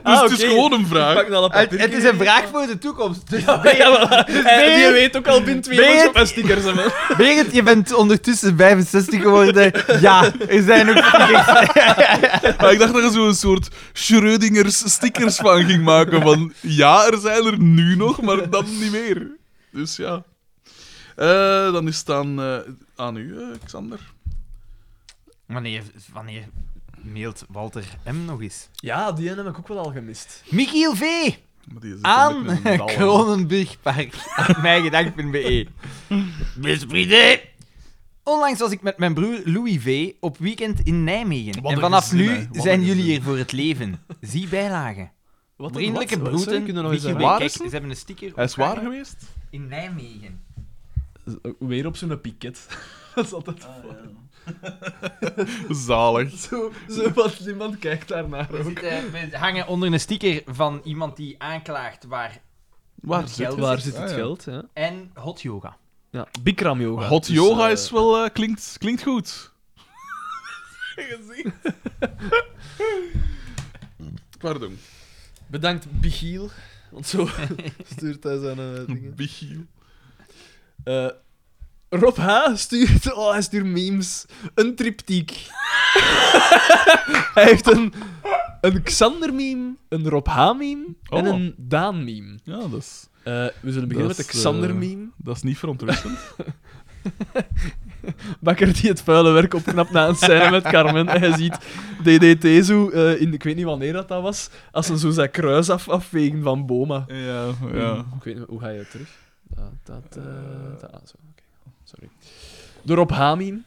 S2: Ah,
S3: het is
S2: oké.
S3: gewoon een
S2: Ik
S3: vraag.
S2: pak nou dat
S1: Het,
S2: papier.
S1: het is een vraag voor de toekomst. Dus
S2: Ja, maar hij-
S1: Beer-
S2: die weet ook al binnen twee
S1: Beer-
S2: jaar op mijn stickers hebben.
S1: Berend, je bent ondertussen 65 geworden. Ja, er zijn ook stickers.
S3: Maar ik dacht dat je zo'n soort Schrödingers stickers van ging maken. Van ja, er zijn er nu nog, maar dan niet meer. Dus ja. Eh, dan is het aan, eh, aan u, eh, Xander.
S1: Wanneer, wanneer mailt Walter M nog eens?
S2: Ja, die ene heb ik ook wel al gemist.
S1: Michiel V.
S3: Maar die is
S1: aan
S3: natuurlijk een dal.
S1: Kronenburgpark. Mijgedank.be. Beste vrienden. E. Onlangs was ik met mijn broer Louis V. op weekend in Nijmegen.
S3: Wat
S1: en
S3: een
S1: vanaf
S3: gezin, hè.
S1: nu
S3: Wat een
S1: zijn jullie
S3: gezin.
S1: er voor het leven. Zie bijlagen.
S2: Wat
S1: Vriendelijke broeten. Michiel W.
S3: zeggen? Waar
S1: Kijk,
S3: is
S1: ze
S3: het?
S1: hebben een sticker.
S3: Hij is
S1: opgehangen.
S3: waar geweest?
S1: In Nijmegen.
S2: Weer op zo'n piket. dat is altijd
S3: Zalig.
S2: zo. Zo wat niemand kijkt daarnaar
S1: We,
S2: ook.
S1: zitten, we hangen onder een sticker van iemand die aanklaagt waar.
S3: Waar
S1: Het
S3: zit
S1: geld.
S3: het?
S2: Waar zit het
S3: Ah, ja.
S2: geld? Ja.
S1: En hot yoga.
S2: Ja, Bikram yoga.
S3: Hot
S2: Dus,
S3: yoga
S2: eh,
S3: is wel, eh, klinkt, klinkt goed. Pardon.
S2: Bedankt Bichiel, want zo stuurt hij zijn eh, dingen.
S3: Bichiel.
S2: Eh, Rob H. stuurt... Oh, hij stuurt memes. Een triptiek. hij heeft een, een Xander-meme, een Rob H.-meme en
S3: Oh.
S2: een Daan-meme.
S3: Ja, dat is,
S2: Eh, we zullen beginnen
S3: Dat
S2: met de
S3: is, eh,
S2: Xander-meme.
S3: dat is niet verontrustend.
S2: Bakker die het vuile werk opknapt na een scène met Carmen. En je ziet DDT zo, eh, in, ik weet niet wanneer dat, dat was, als ze zo zijn kruis af, afvegen van Boma.
S3: ja, ja.
S2: Hmm. Ik weet niet, hoe ga je terug? Dat, dat, eh, dat- ah, zo, oké. Sorry. De Rob Hamin.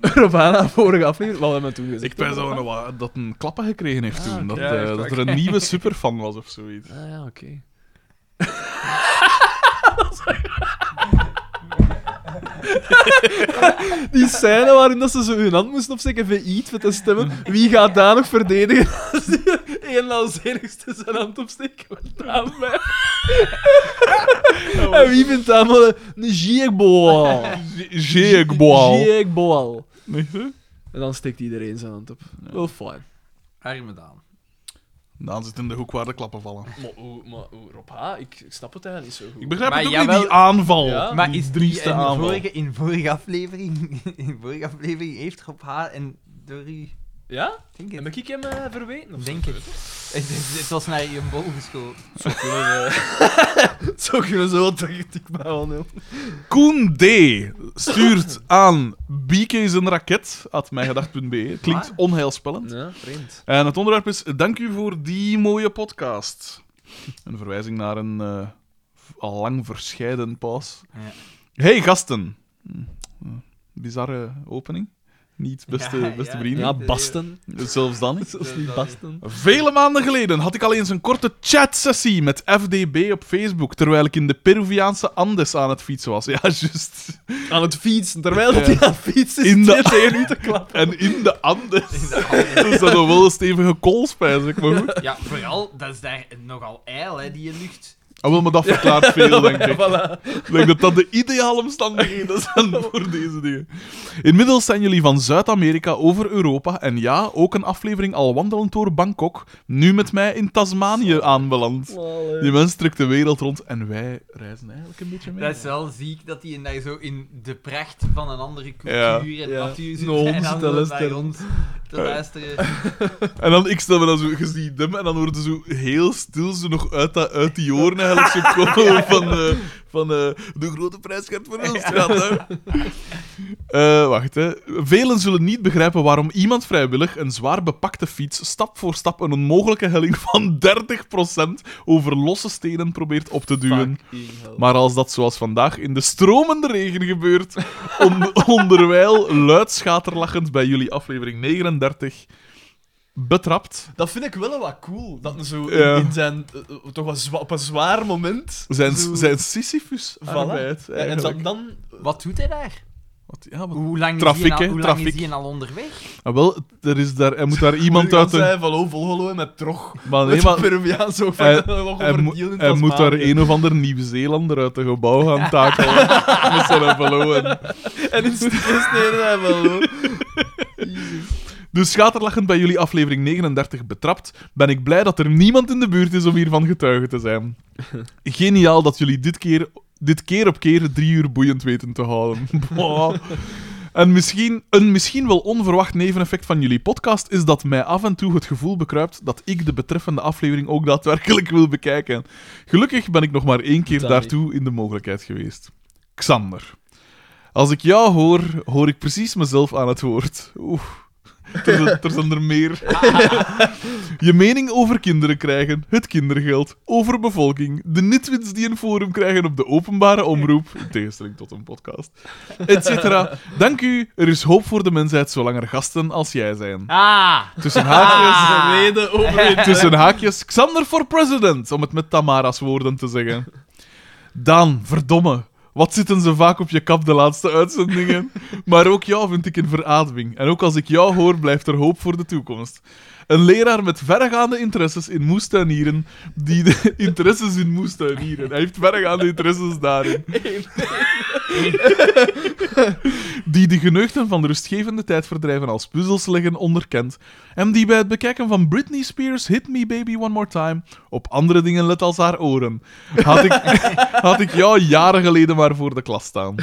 S2: Rob Hana, vorige aflevering. Wat hebben we toen gezegd?
S3: Ik ben
S2: over
S3: zo
S2: Rob
S3: een, wa- dat een klappen gekregen heeft
S2: Ah,
S3: toen.
S2: oké.
S3: Dat,
S1: Ja,
S3: eh,
S1: echt
S3: dat
S1: waar.
S3: er een nieuwe superfan was of zoiets.
S2: Haan? Ah ja, oké. Die scène waarin dat ze zo hun hand moesten opsteken van iets met te stemmen. Wie gaat daar nog verdedigen als die een als enigste zijn hand opsteken? Wat aan mij. En wie vindt dat wel een een jekboal?
S3: Jeegboal.
S2: Jekboal.
S3: Niet zo?
S2: En dan steekt iedereen zijn hand op. Wel fijn.
S1: Arme Daan.
S3: Daan zit in de hoek waar de klappen vallen.
S2: Maar, hoe- maar hoe, Rob H., ik, ik snap het eigenlijk niet zo goed.
S3: Ik begrijp
S1: Maar
S3: het ook
S1: jawel-
S3: niet, die aanval.
S2: Ja.
S3: Die
S1: Maar is die
S3: drieste
S1: in
S3: aanval.
S1: vorige, in vorige aflevering... In vorige aflevering heeft Rob H. en door u...
S2: Ja?
S1: Denk
S2: En
S1: het.
S2: ben ik hem eh, verweten? Of
S1: Denk het. Het, het- het was naar je bol geschoten.
S2: Zo kunnen we... zo kunnen zo wat ik maar wel doen.
S3: Koen D. stuurt aan BK is een raket, at mijgedacht.be. E. Klinkt
S1: Waar?
S3: onheilspellend.
S2: Ja, vreemd.
S3: En het onderwerp is: Dank u voor die mooie podcast. Een verwijzing naar een eh, al lang verscheiden pas.
S1: Ja.
S3: Hey gasten! Hm, eh, Bizarre opening. Niet beste,
S1: Ja,
S3: beste
S1: ja.
S3: vrienden.
S2: Ja, Basten.
S3: Zelfs dan niet.
S2: Zelfs niet Basten.
S3: Vele maanden geleden had ik al eens een korte chatsessie met FDB op Facebook. terwijl ik in de Peruviaanse Andes aan het fietsen was. Ja, juist.
S2: Aan het fietsen, terwijl dat
S3: Ja.
S2: hij aan het fietsen is.
S3: In de-
S2: zit hij nu te klappen.
S3: En in de Andes.
S1: In de handen.
S3: Dat is dan nog wel een stevige koolspijs, ik maar goed.
S1: Ja, vooral, dat is daar nogal eil, hè, die lucht.
S3: Ah, wel, maar dat verklaart veel, denk ik.
S2: Voilà.
S3: Ik denk dat dat de ideale omstandigheden zijn voor deze dingen. Inmiddels zijn jullie van Zuid-Amerika over Europa en ja, ook een aflevering al wandelend door Bangkok, nu met mij in Tasmanië aanbeland. Die mens trekt de wereld rond en wij reizen eigenlijk een beetje mee.
S1: Dat is wel ziek dat die in- daar zo in de pracht van een andere cultuur
S3: Ja.
S1: en
S2: Ja.
S1: natuur zit.
S2: Naar ons
S1: en
S2: te
S1: dan zo
S2: luisteren.
S1: naar ons te luisteren.
S3: En dan, ik stel me dan zo, je ziet hem en dan worden ze zo heel stil, zo nog uit, dat, uit die oren en eigenlijk zo komen van, eh, van eh, de grote prijs gaat voor ons gaan. wacht, hè. Velen zullen niet begrijpen waarom iemand vrijwillig een zwaar bepakte fiets stap voor stap een onmogelijke helling van 30% over losse stenen probeert op te duwen. Maar als dat zoals vandaag in de stromende regen gebeurt, on- onderwijl luidschaterlachend bij jullie aflevering 39 betrapt,
S2: Dat vind ik wel wat cool. Dat hij zo
S3: Ja.
S2: in zijn, eh, eh, toch wel zwa- op een zwaar moment...
S3: zijn,
S2: zo-
S3: zijn Sisyphus
S2: Voilà.
S3: arbeid.
S2: Ja, en
S3: eigenlijk.
S2: dan, dan
S1: Wat doet hij daar?
S3: Wat- ja, wat-
S1: Hoe lang,
S3: Trafiek,
S1: is, hij
S3: hè,
S1: al, hoe lang
S3: trafiek.
S1: is hij al onderweg?
S3: Ah, wel, er, is daar, er moet daar iemand
S2: dan
S3: uit een...
S2: zei van, oh, volgelo en met trog.
S3: Maar nee,
S2: met
S3: maar
S2: Peruviaan zo van...
S3: Hij-
S2: wat
S3: hij, moet-
S2: verdielend
S3: hij
S2: was
S3: moet daar
S2: maken.
S3: een of ander Nieuw-Zeelander uit een gebouw gaan takelen. met zijn envelop en-
S2: En in stukken sneden hij wel, hoor. Jezus.
S3: Dus schaterlachend bij jullie aflevering 39 betrapt, ben ik blij dat er niemand in de buurt is om hiervan getuige te zijn. Geniaal dat jullie dit keer, dit keer op keer drie uur boeiend weten te houden. Boah. En misschien, een misschien wel onverwacht neveneffect van jullie podcast is dat mij af en toe het gevoel bekruipt dat ik de betreffende aflevering ook daadwerkelijk wil bekijken. Gelukkig ben ik nog maar één keer
S2: Dai.
S3: daartoe in de mogelijkheid geweest. Xander. Als ik jou hoor, hoor ik precies mezelf aan het woord. Oeh. Er zijn, er zijn er meer. Je mening over kinderen krijgen, het kindergeld, over bevolking, de nitwits die een forum krijgen op de openbare omroep, in tegenstelling tot een podcast, et cetera. Dank u, er is hoop voor de mensheid zolang er gasten als jij zijn.
S1: Ah!
S3: Tussen haakjes,
S1: Ah.
S2: De reden over
S3: tussen haakjes, Xander voor president, om het met Tamara's woorden te zeggen. Daan, verdomme. Wat zitten ze vaak op je kap de laatste uitzendingen? Maar ook jou vind ik in verademing. En ook als ik jou hoor, blijft er hoop voor de toekomst. Een leraar met verregaande interesses in moestuinieren, die de interesses in moestuinieren. Hij heeft verregaande interesses daarin. Die de geneugten van rustgevende tijdverdrijven als puzzels leggen onderkent. En die bij het bekijken van Britney Spears' Hit Me Baby One More Time op andere dingen let als haar oren. Had ik, had ik jou jaren geleden maar voor de klas staan.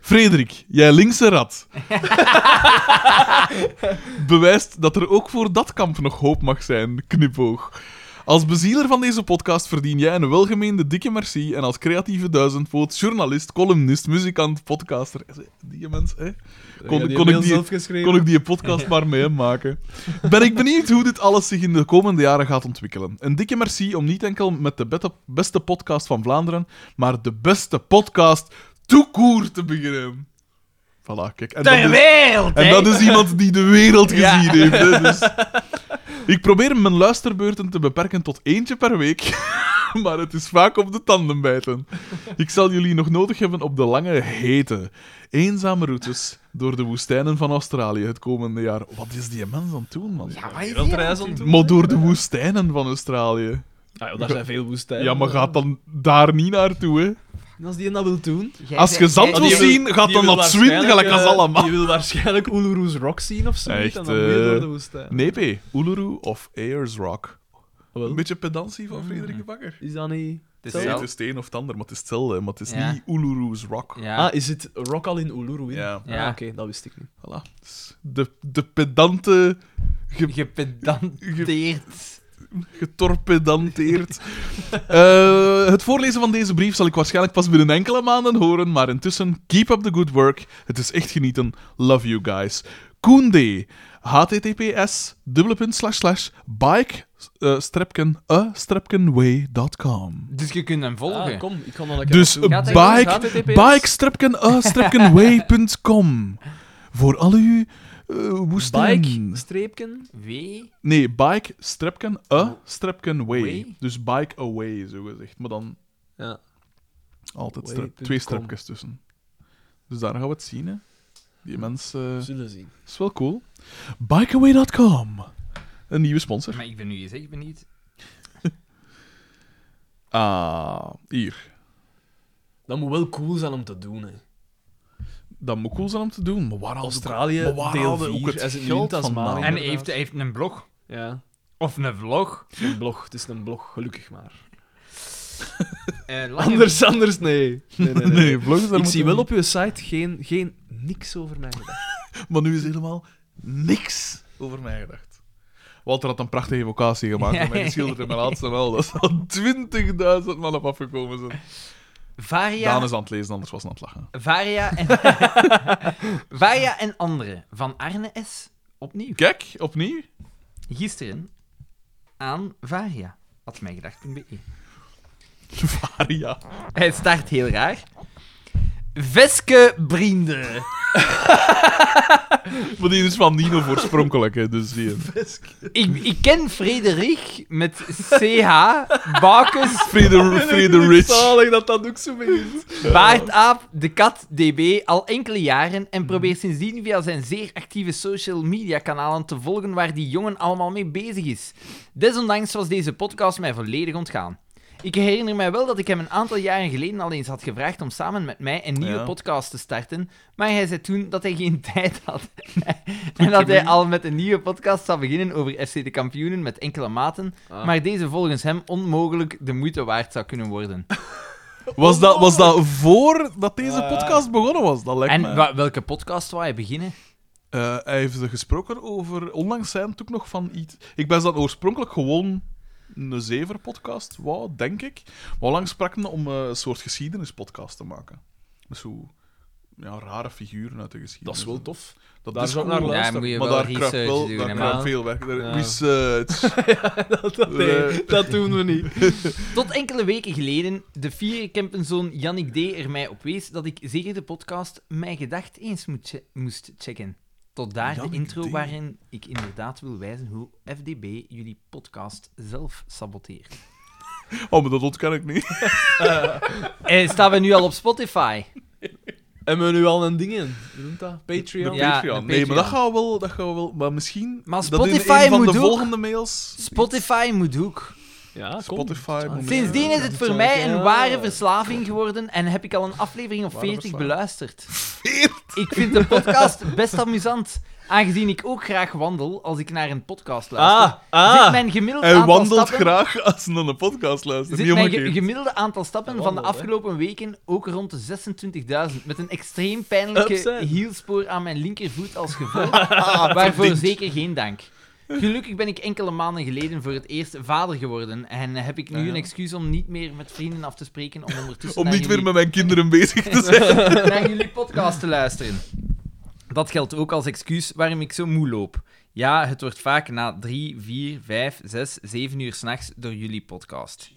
S3: Frederik, jij linkse rat. Bewijst dat er ook voor dat kamp nog hoop mag zijn, knipoog. Als bezieler van deze podcast verdien jij een welgemeende dikke merci en als creatieve duizendpoot, journalist, columnist, muzikant, podcaster... Die mens, hè? Kon-
S2: Ja, die
S3: kon ik
S2: mail
S3: die-
S2: zelf geschreven.
S3: kon ik die podcast maar mee maken. Ben ik benieuwd hoe dit alles zich in de komende jaren gaat ontwikkelen. Een dikke merci om niet enkel met de bette- beste podcast van Vlaanderen, maar de beste podcast toekoer te beginnen. Voilà, kijk. En dat
S1: Ter
S3: is,
S1: wereld, hè?
S3: en dat is iemand die de wereld gezien
S1: Ja.
S3: heeft. Hè, dus. Ik probeer mijn luisterbeurten te beperken tot eentje per week. Maar het is vaak op de tanden bijten. Ik zal jullie nog nodig hebben op de lange, hete, eenzame routes door de woestijnen van Australië het komende jaar. Wat is die mens aan het doen, man?
S1: Ja, wat is
S2: Wilt
S1: hier
S2: er
S1: aan
S2: eens
S1: het
S2: aan
S1: doen?
S2: toe?
S3: Maar door de woestijnen van Australië.
S2: Ah, joh, daar zijn veel woestijnen.
S3: Ja, maar gaat dan daar niet naartoe, hè?
S2: En Als die dat wil doen...
S1: Jij
S3: Als
S1: zei-
S3: je zand
S1: jij-
S3: wil
S2: Die wil-
S3: zien, gaat
S2: die
S3: dan
S2: wil
S3: naar Sweden,
S2: waarschijnlijk,
S3: gelijk als
S2: eh,
S3: allemaal.
S2: Die wil waarschijnlijk Ulurus Rock zien of zo. niet?
S3: Echt,
S2: en dan weer
S3: eh,
S2: door de woestijn.
S3: Nee, P. Uluru of Ayers Rock.
S2: Ah, Wel,
S3: Een beetje pedantie van Frederik de Bakker.
S2: Is dat niet...
S1: Het is
S3: Nee,
S1: zelf-
S3: het is het een of het ander, maar het is hetzelfde. hè, Maar het is
S1: Ja.
S3: niet Uluru's Rock.
S1: Ja.
S2: Ah, is het Rock al in Uluru? in?
S3: Ja.
S2: Ah,
S1: Ja.
S2: Oké, dat wist ik niet.
S3: Voilà. Dus De, de pedante,
S1: Gepedanteerd.
S3: getorpedanteerd. Eh, het voorlezen van deze brief zal ik waarschijnlijk pas binnen enkele maanden horen, maar intussen, keep up the good work. Het is echt genieten. Love you guys. Koen D. https dubbele punt slash slash bike eh, strepken a strepkenway.com
S1: Dus je kunt hem volgen.
S2: Ah, kom, ik kan dan een keer
S3: Dus
S2: naartoe.
S1: Gaat hij
S3: bike, eh,
S2: gewoon eens HTTPS?
S3: bikestrepkenway.com voor al uw eh, woestijn.
S2: Bike, streepken.
S1: Wee.
S3: Nee, bike strepken a strepken way.
S1: Way?
S3: Dus bike away zo gezegd, maar dan
S2: Ja.
S3: altijd
S2: Way
S3: strep-
S2: punt
S3: twee
S2: com.
S3: strepjes tussen. Dus daar gaan we het zien hè. Die mensen
S2: Zullen zien.
S3: is wel cool. Bikeaway.com. Een nieuwe sponsor.
S1: Maar ik ben nu eens echt benieuwd.
S3: Ah, hier.
S2: Dat moet wel cool zijn om te doen, hè.
S3: Dat moet cool zijn om te doen, maar waar haalden-
S2: Australië,
S3: maar waar
S2: deel
S3: haalden ook
S2: 4.
S3: het
S2: Hij zit nu in
S3: geld
S2: Tasmanië.
S3: vandaan?
S1: En heeft,
S2: Inderdaad.
S1: heeft een blog.
S2: Ja,
S1: Of een vlog.
S2: een blog. Het is een blog, gelukkig maar.
S1: Eh, lange-
S2: Anders, anders, nee. Nee, nee, nee.
S3: Nee, vloggen zijn
S2: Ik zie
S3: moeten-
S2: wel op uw site geen, geen niks over mij gedacht.
S3: Maar nu is helemaal niks over mij gedacht. Walter had een prachtige evocatie gemaakt. En hij schilderde in mijn laatste wel dat er al 20.000 man op afgekomen zijn. Daan
S1: Varia,
S3: is aan het lezen, anders was hij aan het lachen.
S1: Varia, en Varia en anderen van Arne S. Opnieuw.
S3: Kijk, opnieuw.
S1: Gisteren aan Varia. Had mij gedacht.
S3: Varia.
S1: Hij start heel raar. Veske Brinde.
S3: Maar die is van Nino voorspronkelijk, hè, dus die...
S1: Ik, ik ken Frederik met CH, Bakus,
S3: Freder, Freder Rich.
S2: Zalig dat dat ook zo begint.
S1: Baardaap, de kat, DB al enkele jaren en probeert sindsdien via zijn zeer actieve social media kanalen te volgen waar die jongen allemaal mee bezig is. Desondanks was deze podcast mij volledig ontgaan. Ik herinner mij wel dat ik hem een aantal jaren geleden al eens had gevraagd om samen met mij een nieuwe
S3: Ja.
S1: podcast te starten, maar hij zei toen dat hij geen tijd had. en dat hij al met een nieuwe podcast zou beginnen over FC de kampioenen met enkele maten, maar deze volgens hem onmogelijk de moeite waard zou kunnen worden.
S3: Was dat, was dat voordat deze
S2: Ja.
S3: podcast begonnen was? Dat lijkt me.
S1: En wa- welke podcast wou je beginnen?
S3: Eh, hij heeft er gesproken over. Onlangs zijn het ook nog van iets. Ik ben dan oorspronkelijk gewoon een zever-podcast, wou, denk ik. Maar onlangs sprak hij om eh, een soort geschiedenispodcast te maken. Dus hoe. Ja, rare figuren uit de
S2: Dat
S3: geschiedenis.
S2: is wel tof.
S3: Dat
S2: Daar
S3: is
S2: zou ik
S3: cool.
S2: naar luisteren.
S1: Ja, moet je
S3: Maar
S1: wel
S3: daar kruipt
S1: research
S3: wel
S1: doen,
S3: daar
S1: hè,
S3: kruipt
S1: man.
S3: veel weg. Er-
S2: Ja.
S3: Research.
S2: Dat, nee,
S3: Eh.
S2: dat doen we niet.
S1: Tot enkele weken geleden de vierde Kempenzoon Jannik D. er mij op wees dat ik zeker de podcast Mijn Gedacht eens moet che- moest checken. Tot daar
S3: Jannik
S1: de intro
S3: D.
S1: waarin ik inderdaad wil wijzen hoe FDB jullie podcast zelf saboteert.
S3: Oh, maar dat ontken ik niet.
S1: Eh, staan we nu al op Spotify?
S2: Hebben we nu al een ding in? Hoe noemt dat? Patreon?
S1: Ja,
S3: Patreon.
S1: de
S3: Nee, maar dat
S1: Patreon.
S3: gaan we wel. Dat gaan we wel maar misschien.
S1: Maar
S3: dat in
S1: Spotify
S3: een van
S1: moet
S3: de
S1: ook-
S3: volgende mails.
S1: Spotify moet ook.
S2: Ja, Ah, kom.
S3: Spotify. moet-
S1: Sindsdien is het voor
S2: Ja.
S1: mij een ware verslaving geworden en heb ik al een aflevering of
S3: oh. Ware
S1: 40
S3: verslaving.
S1: beluisterd. Ik vind de podcast best amusant, aangezien ik ook graag wandel als ik naar een podcast luister.
S2: Ah, ah.
S1: Zit mijn gemiddeld
S3: Hij
S1: aantal
S3: wandelt
S1: stappen,
S3: graag als hij naar een podcast luistert.
S1: Zit
S3: Niet
S1: mijn ge-
S3: omgekeerd.
S1: gemiddelde aantal stappen
S2: Hij
S1: van de
S2: wandelt, hè.
S1: afgelopen weken ook rond de 26.000, met een extreem pijnlijke
S2: Upset.
S1: hielspoor aan mijn linkervoet als gevolg, Ah, waarvoor zeker geen dank. Gelukkig ben ik enkele maanden geleden voor het eerst vader geworden en heb ik nu
S3: Ah, ja.
S1: een excuus om niet meer met vrienden af te spreken om ondertussen
S3: Om
S1: naar
S3: niet
S1: jullie-
S3: weer met mijn kinderen bezig te zijn.
S1: naar jullie podcast te luisteren. Dat geldt ook als excuus waarom ik zo moe loop. Ja, het wordt vaak na drie, vier, vijf, zes, zeven uur s'nachts door jullie podcast.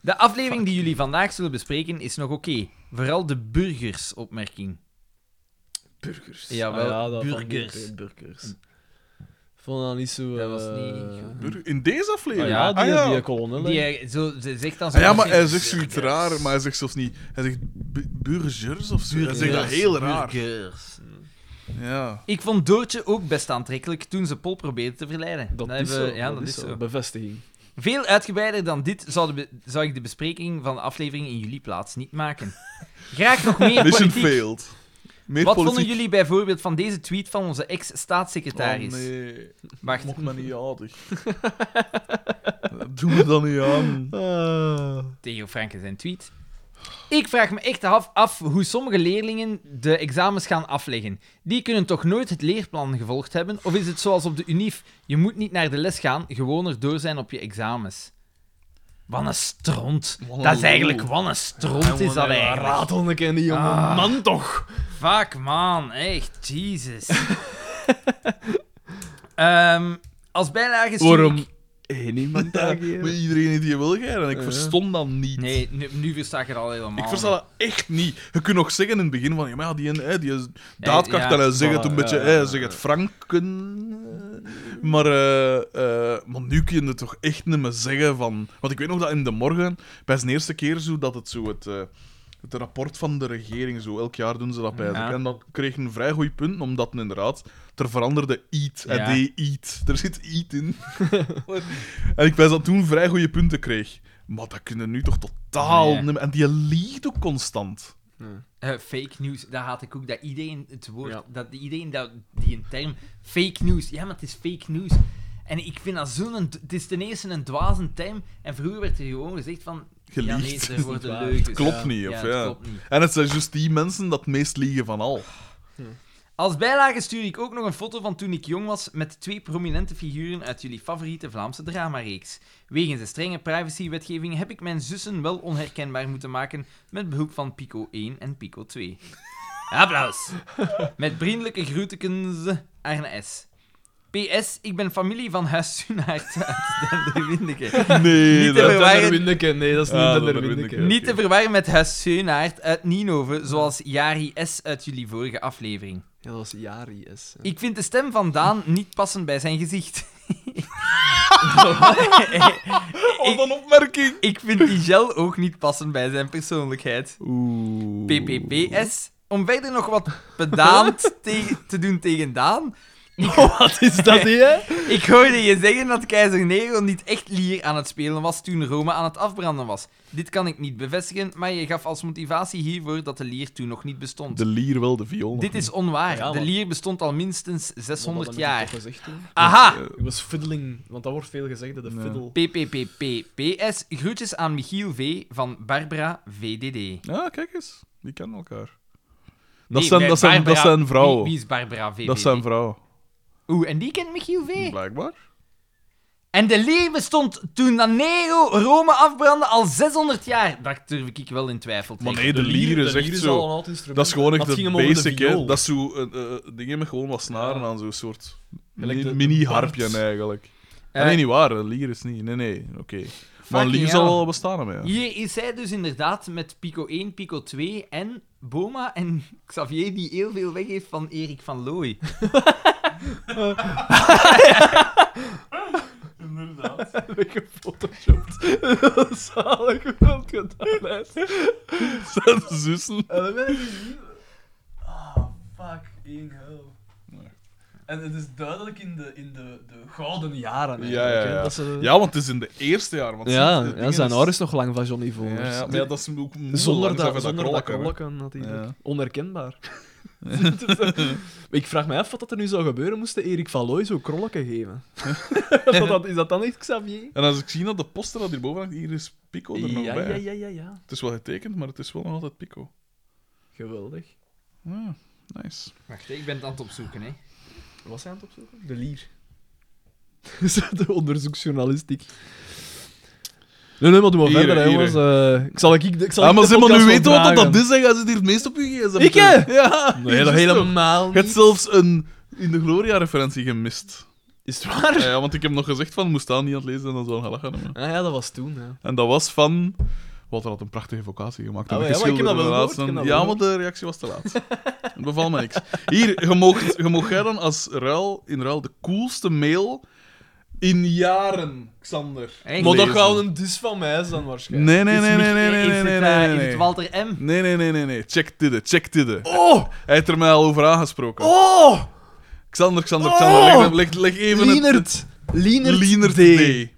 S1: De aflevering die jullie vandaag zullen bespreken is nog oké. Vooral de burgersopmerking.
S2: Burgers.
S1: Jawel,
S2: dat
S1: burgers.
S2: vond ik ook, burgers. Vond dat niet zo...
S1: Dat was
S2: eh,
S1: niet goed.
S3: Burger- In deze
S2: Ah,
S3: aflevering?
S2: ja, die,
S3: Ah, ja.
S2: die kolonne.
S1: Die hij zo, ze zegt dan zo
S3: Ah, ja, maar hij zegt zoiets raar, maar hij zegt zelfs niet... Hij zegt bu- burgers of zo. Hij
S1: Burgers,
S3: zegt dat heel raar.
S1: burgers.
S3: Ja.
S1: Ik vond Doortje ook best aantrekkelijk toen ze Pol probeerde te verleiden.
S2: Dat,
S1: Dan
S2: is
S1: hebben
S2: zo.
S1: we- Ja,
S2: dat, is zo. Bevestiging.
S1: Veel uitgebreider dan dit zouden we- zou ik de bespreking van de aflevering in jullie plaats niet maken. Graag nog meer
S3: Mission
S1: politiek.
S3: failed. Meer
S1: Wat
S3: politiek.
S1: vonden jullie bijvoorbeeld van deze tweet van onze ex-staatssecretaris?
S3: Oh, nee.
S1: Wacht.
S3: Mocht me niet aardig. Doe me dan niet aan.
S2: Ah.
S1: Theo Franken zijn tweet. Ik vraag me echt af, af hoe sommige leerlingen de examens gaan afleggen. Die kunnen toch nooit het leerplan gevolgd hebben? Of is het zoals op de UNIF? Je moet niet naar de les gaan, gewoon erdoor zijn op je examens. Wat een stront.
S3: Wat een
S1: Dat is eigenlijk,
S3: lul.
S1: wat een stront is dat eigenlijk.
S2: Ratel een keer die jongen.
S1: Ah.
S2: Man toch.
S1: Fuck man, echt, Jesus. Ehm, als bijlage stuur
S2: Waarom?
S1: ik-
S2: Hé, niemand
S3: Ja,
S2: daar
S3: maar iedereen heeft die wil jij en ik
S2: Ja.
S3: verstond dat niet.
S1: Nee, nu, nu versta ik het al helemaal.
S3: Ik versta dat echt niet. Je kunt nog zeggen in het begin van, ja, maar ja, die, hè, die is daadkracht,
S1: ja.
S3: en hij zegt het een
S2: Ah,
S3: beetje,
S2: ja,
S3: hè,
S2: ja,
S3: hij
S2: ja.
S3: zegt het Franken. eh, Maar, eh, eh, maar nu kun je het toch echt niet meer zeggen van... Want ik weet nog dat in de morgen, bij zijn eerste keer zo, dat het zo het... eh, het rapport van de regering, zo elk jaar doen ze dat bij.
S1: Ja.
S3: En dat kreeg een vrij goed punt, omdat het inderdaad er veranderde eat. Hij
S1: Ja.
S3: deed eat. Er zit eat in. en ik wijs dat toen vrij goede punten kreeg. Maar dat kunnen nu toch totaal
S1: Nee.
S3: niet meer. En die liegt ook constant.
S1: Eh, fake news, daar haat ik ook. Dat iedereen het woord,
S2: Ja.
S1: dat iedereen dat, die een term, fake news. Ja, maar het is fake news. En ik vind dat zo'n, d- het is ten eerste een dwaze term. En vroeger werd er gewoon gezegd van, ja nee,
S3: Gelicht.
S1: er worden
S2: waar.
S1: leugens.
S3: Klopt
S1: Ja.
S3: niet, of
S1: ja,
S3: ja.
S1: het klopt niet.
S3: En het zijn juist die mensen dat het meest liegen van al.
S1: Als bijlage stuur ik ook nog een foto van toen ik jong was met twee prominente figuren uit jullie favoriete Vlaamse dramareeks. Wegens de strenge privacywetgeving heb ik mijn zussen wel onherkenbaar moeten maken met behulp van Pico 1 en Pico 2. Applaus! Met vriendelijke groetekens, Arne S. PS, ik ben familie van Huis Sunaert uit Denderwindeke.
S3: Nee,
S1: Niet te
S3: dat...
S1: veel. waren-
S2: Windenke, nee, dat is niet
S3: Ah,
S2: ah,
S3: dat is
S2: Windenke.
S3: Oké,
S1: Niet te
S3: oké.
S1: verwarren met Huis Sunaert uit Ninove, zoals Jari S. uit jullie vorige aflevering.
S2: Ja, dat was Jari S.
S1: Ik vind de stem van Daan niet passend bij zijn gezicht.
S3: Wat een opmerking!
S1: Ik vind die gel ook niet passend bij zijn persoonlijkheid.
S3: Oeh.
S1: PPPS. Om verder nog wat bedaamd te, te doen tegen Daan.
S2: Wat is dat hier?
S1: Ik hoorde je zeggen dat keizer Nero niet echt lier aan het spelen was toen Rome aan het afbranden was. Dit kan ik niet bevestigen, maar je gaf als motivatie hiervoor dat de lier toen nog niet bestond.
S3: De lier wel, de viool.
S1: Dit is onwaar.
S2: Ja, maar-
S1: de lier bestond al minstens 600 jaar.
S2: Ik
S1: Aha!
S2: was fiddling, want dat wordt veel gezegd, de
S3: Ja.
S2: fiddle.
S1: PPPPPS. Groetjes aan Michiel V. van Barbara VDD.
S3: Ja, kijk eens. Die kennen elkaar. Dat,
S1: Nee,
S3: zijn,
S1: bij
S3: dat, zijn, dat
S1: Barbara-
S3: zijn vrouwen.
S1: Wie, wie is Barbara VVD?
S3: dat zijn vrouwen.
S1: Oeh, en die kent Michiel V.
S3: Blijkbaar.
S1: En de leer bestond toen dat Nero Rome afbrandde al 600 jaar. Dat durf ik wel in twijfel te
S3: Maar
S1: trekken.
S3: nee, de lier is echt
S2: al
S3: zo...
S2: een oud instrument.
S3: Dat is gewoon echt
S2: Maar het
S3: de
S2: ging over de
S3: basic, hè.
S2: viool.
S3: Dat is zo... eh, eh, dingen met gewoon wat snaren
S2: Ja.
S3: aan, zo'n soort
S2: Gelijk
S3: mini-
S2: de- de
S3: mini-harpje
S2: bard.
S3: eigenlijk. Ah,
S1: Eh,
S3: nee, niet waar. Een lier is niet. Nee, nee. Oké. Maar een
S1: Fucking
S3: lier zal
S1: hell.
S3: wel bestaan, hè. ja.
S1: Hier is hij dus inderdaad met Pico 1, Pico 2 en Boma en Xavier die heel veel weg heeft van Erik van Looy.
S2: heb ik gefotoshopt. Zalig hoe dat gedaan is.
S3: Zijn zussen.
S2: En dan ben ik niet... Ah, fucking hell.
S3: Nee.
S2: En het is duidelijk in de, in de, de gouden jaren.
S3: Ja,
S2: eigenlijk,
S3: ja,
S2: hè,
S3: ja.
S2: Dat ze...
S3: Ja, want het is in de eerste jaar. Want
S2: Ja,
S3: sinds de
S2: ja,
S3: dingen
S2: zijn
S3: is-
S2: haar is nog lang van Johnny
S3: Ja,
S2: Voners.
S3: ja, maar ja, dat is ook moeilijk,
S2: Zonder
S3: langs
S2: dat,
S3: even
S2: zonder dat
S3: krollen, hè.
S2: krollen, natuurlijk.
S3: Ja.
S2: Onherkenbaar. ik vraag me af wat er nu zou gebeuren moest Erik van Looy zo krolken geven. Zou dat, is dat dan echt Xavier?
S3: En als ik zie dat de poster dat hierboven hangt, hier is Pico er nog
S2: Ja,
S3: bij.
S2: ja, ja, ja, ja.
S3: Het is wel getekend, maar het is wel nog altijd Pico.
S2: Geweldig.
S3: Ja, nice.
S1: Wacht, hè, ik ben het aan het opzoeken, hè.
S2: Was hij aan het opzoeken? De lier. de onderzoeksjournalistiek. Nee, nee, maar doe maar
S3: Hier,
S2: verder, hè,
S3: hier.
S2: jongens. Eh, ik zal ik, ik zal
S3: Ah,
S2: ik
S3: maar
S2: de
S3: zeg maar, nu
S2: podcast
S3: weet wat dat
S2: vragen.
S3: is, hè. Jij zit hier het meest op je gsm.
S2: Ik, hè?
S3: Ja.
S2: Nee, dat
S3: juist toch.
S2: helemaal
S3: Je hebt
S2: niet.
S3: zelfs een In de Gloria-referentie gemist.
S2: Is het waar?
S3: Ja, ja, want ik heb nog gezegd van, moest dat niet aan het lezen en dan zou hij gelachen hebben.
S2: Ah ja, dat was toen, hè.
S3: En dat was van... Walter had een prachtige vocatie gemaakt.
S2: Ah,
S3: En
S2: ja, maar ik heb dat wel gehoord,
S3: geschilderde
S2: ik heb dat
S3: laatste-
S2: wel
S3: Ja, maar de reactie was te laat. Het beval me niks. Hier, je mocht, je mocht jij dan als ruil, in ruil de coolste mail in jaren, Xander.
S1: Echt?
S2: Maar dat
S3: lezen.
S2: gaan een dis van mij zijn, waarschijnlijk.
S3: Nee, nee,
S1: Is
S3: nee,
S1: Mich-
S3: nee, nee, nee,
S1: is
S3: nee,
S1: het,
S3: nee,
S1: eh,
S3: nee,
S1: Is het
S3: nee.
S1: Walter M?
S3: Nee, nee, nee, nee, nee. Check dit, check dit.
S2: Oh!
S3: Hij heeft er mij al over aangesproken.
S2: Oh!
S3: Xander, Xander,
S2: Oh!
S3: Xander, leg, leg, leg even het...
S2: Lienert. Lienert,
S3: Lienert
S2: D.
S3: D.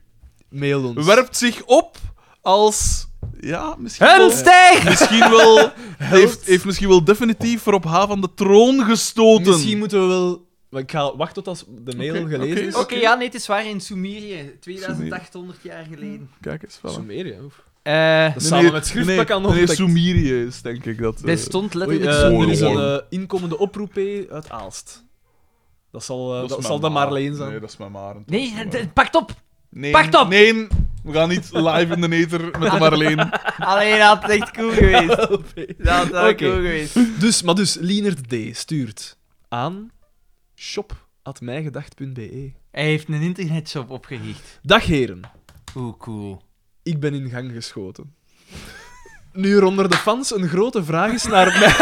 S2: Mail ons.
S3: Werpt zich op als... Ja, misschien wel...
S1: Helmstijg!
S3: Misschien wel... heeft, heeft misschien wel definitief Rob H. van de troon gestoten.
S2: Misschien moeten we wel... maar Ik ga wachten tot als de mail
S3: Oké,
S2: gelezen
S3: oké.
S2: is.
S1: Oké, ja, nee, het is waar. In Sumerië. 2800 jaar geleden.
S3: Kijk eens, voilà.
S2: Sumerië, oef.
S1: Eh...
S2: Dat samen met schriftpak aan de
S3: Nee,
S2: ontdekt.
S3: Sumerië is denk ik dat... eh,
S1: Er stond
S2: Oei,
S1: letterlijk...
S2: eh,
S1: Sumerië.
S3: Oei,
S2: er is een
S3: oei.
S2: eh, inkomende oproep hè, uit Aalst. Dat zal, eh,
S3: is
S2: dat
S3: mijn
S2: zal dan
S3: maar.
S2: Marleen zijn.
S3: Nee, dat is mijn Maren.
S1: Nee, d- pakt op!
S3: nee,
S1: pak het op!
S3: Nee, we gaan niet live in de ether met de Marleen.
S1: Alleen dat had echt cool geweest. Dat had
S2: Oké.
S1: cool geweest.
S2: Dus, maar dus, Lienert D. stuurt aan shop.mijgedacht.be
S1: Hij heeft een internetshop opgericht.
S2: E. Dag heren,
S1: Oeh, cool.
S2: ik ben in gang geschoten. Nu er onder de fans een grote vraag is naar mij...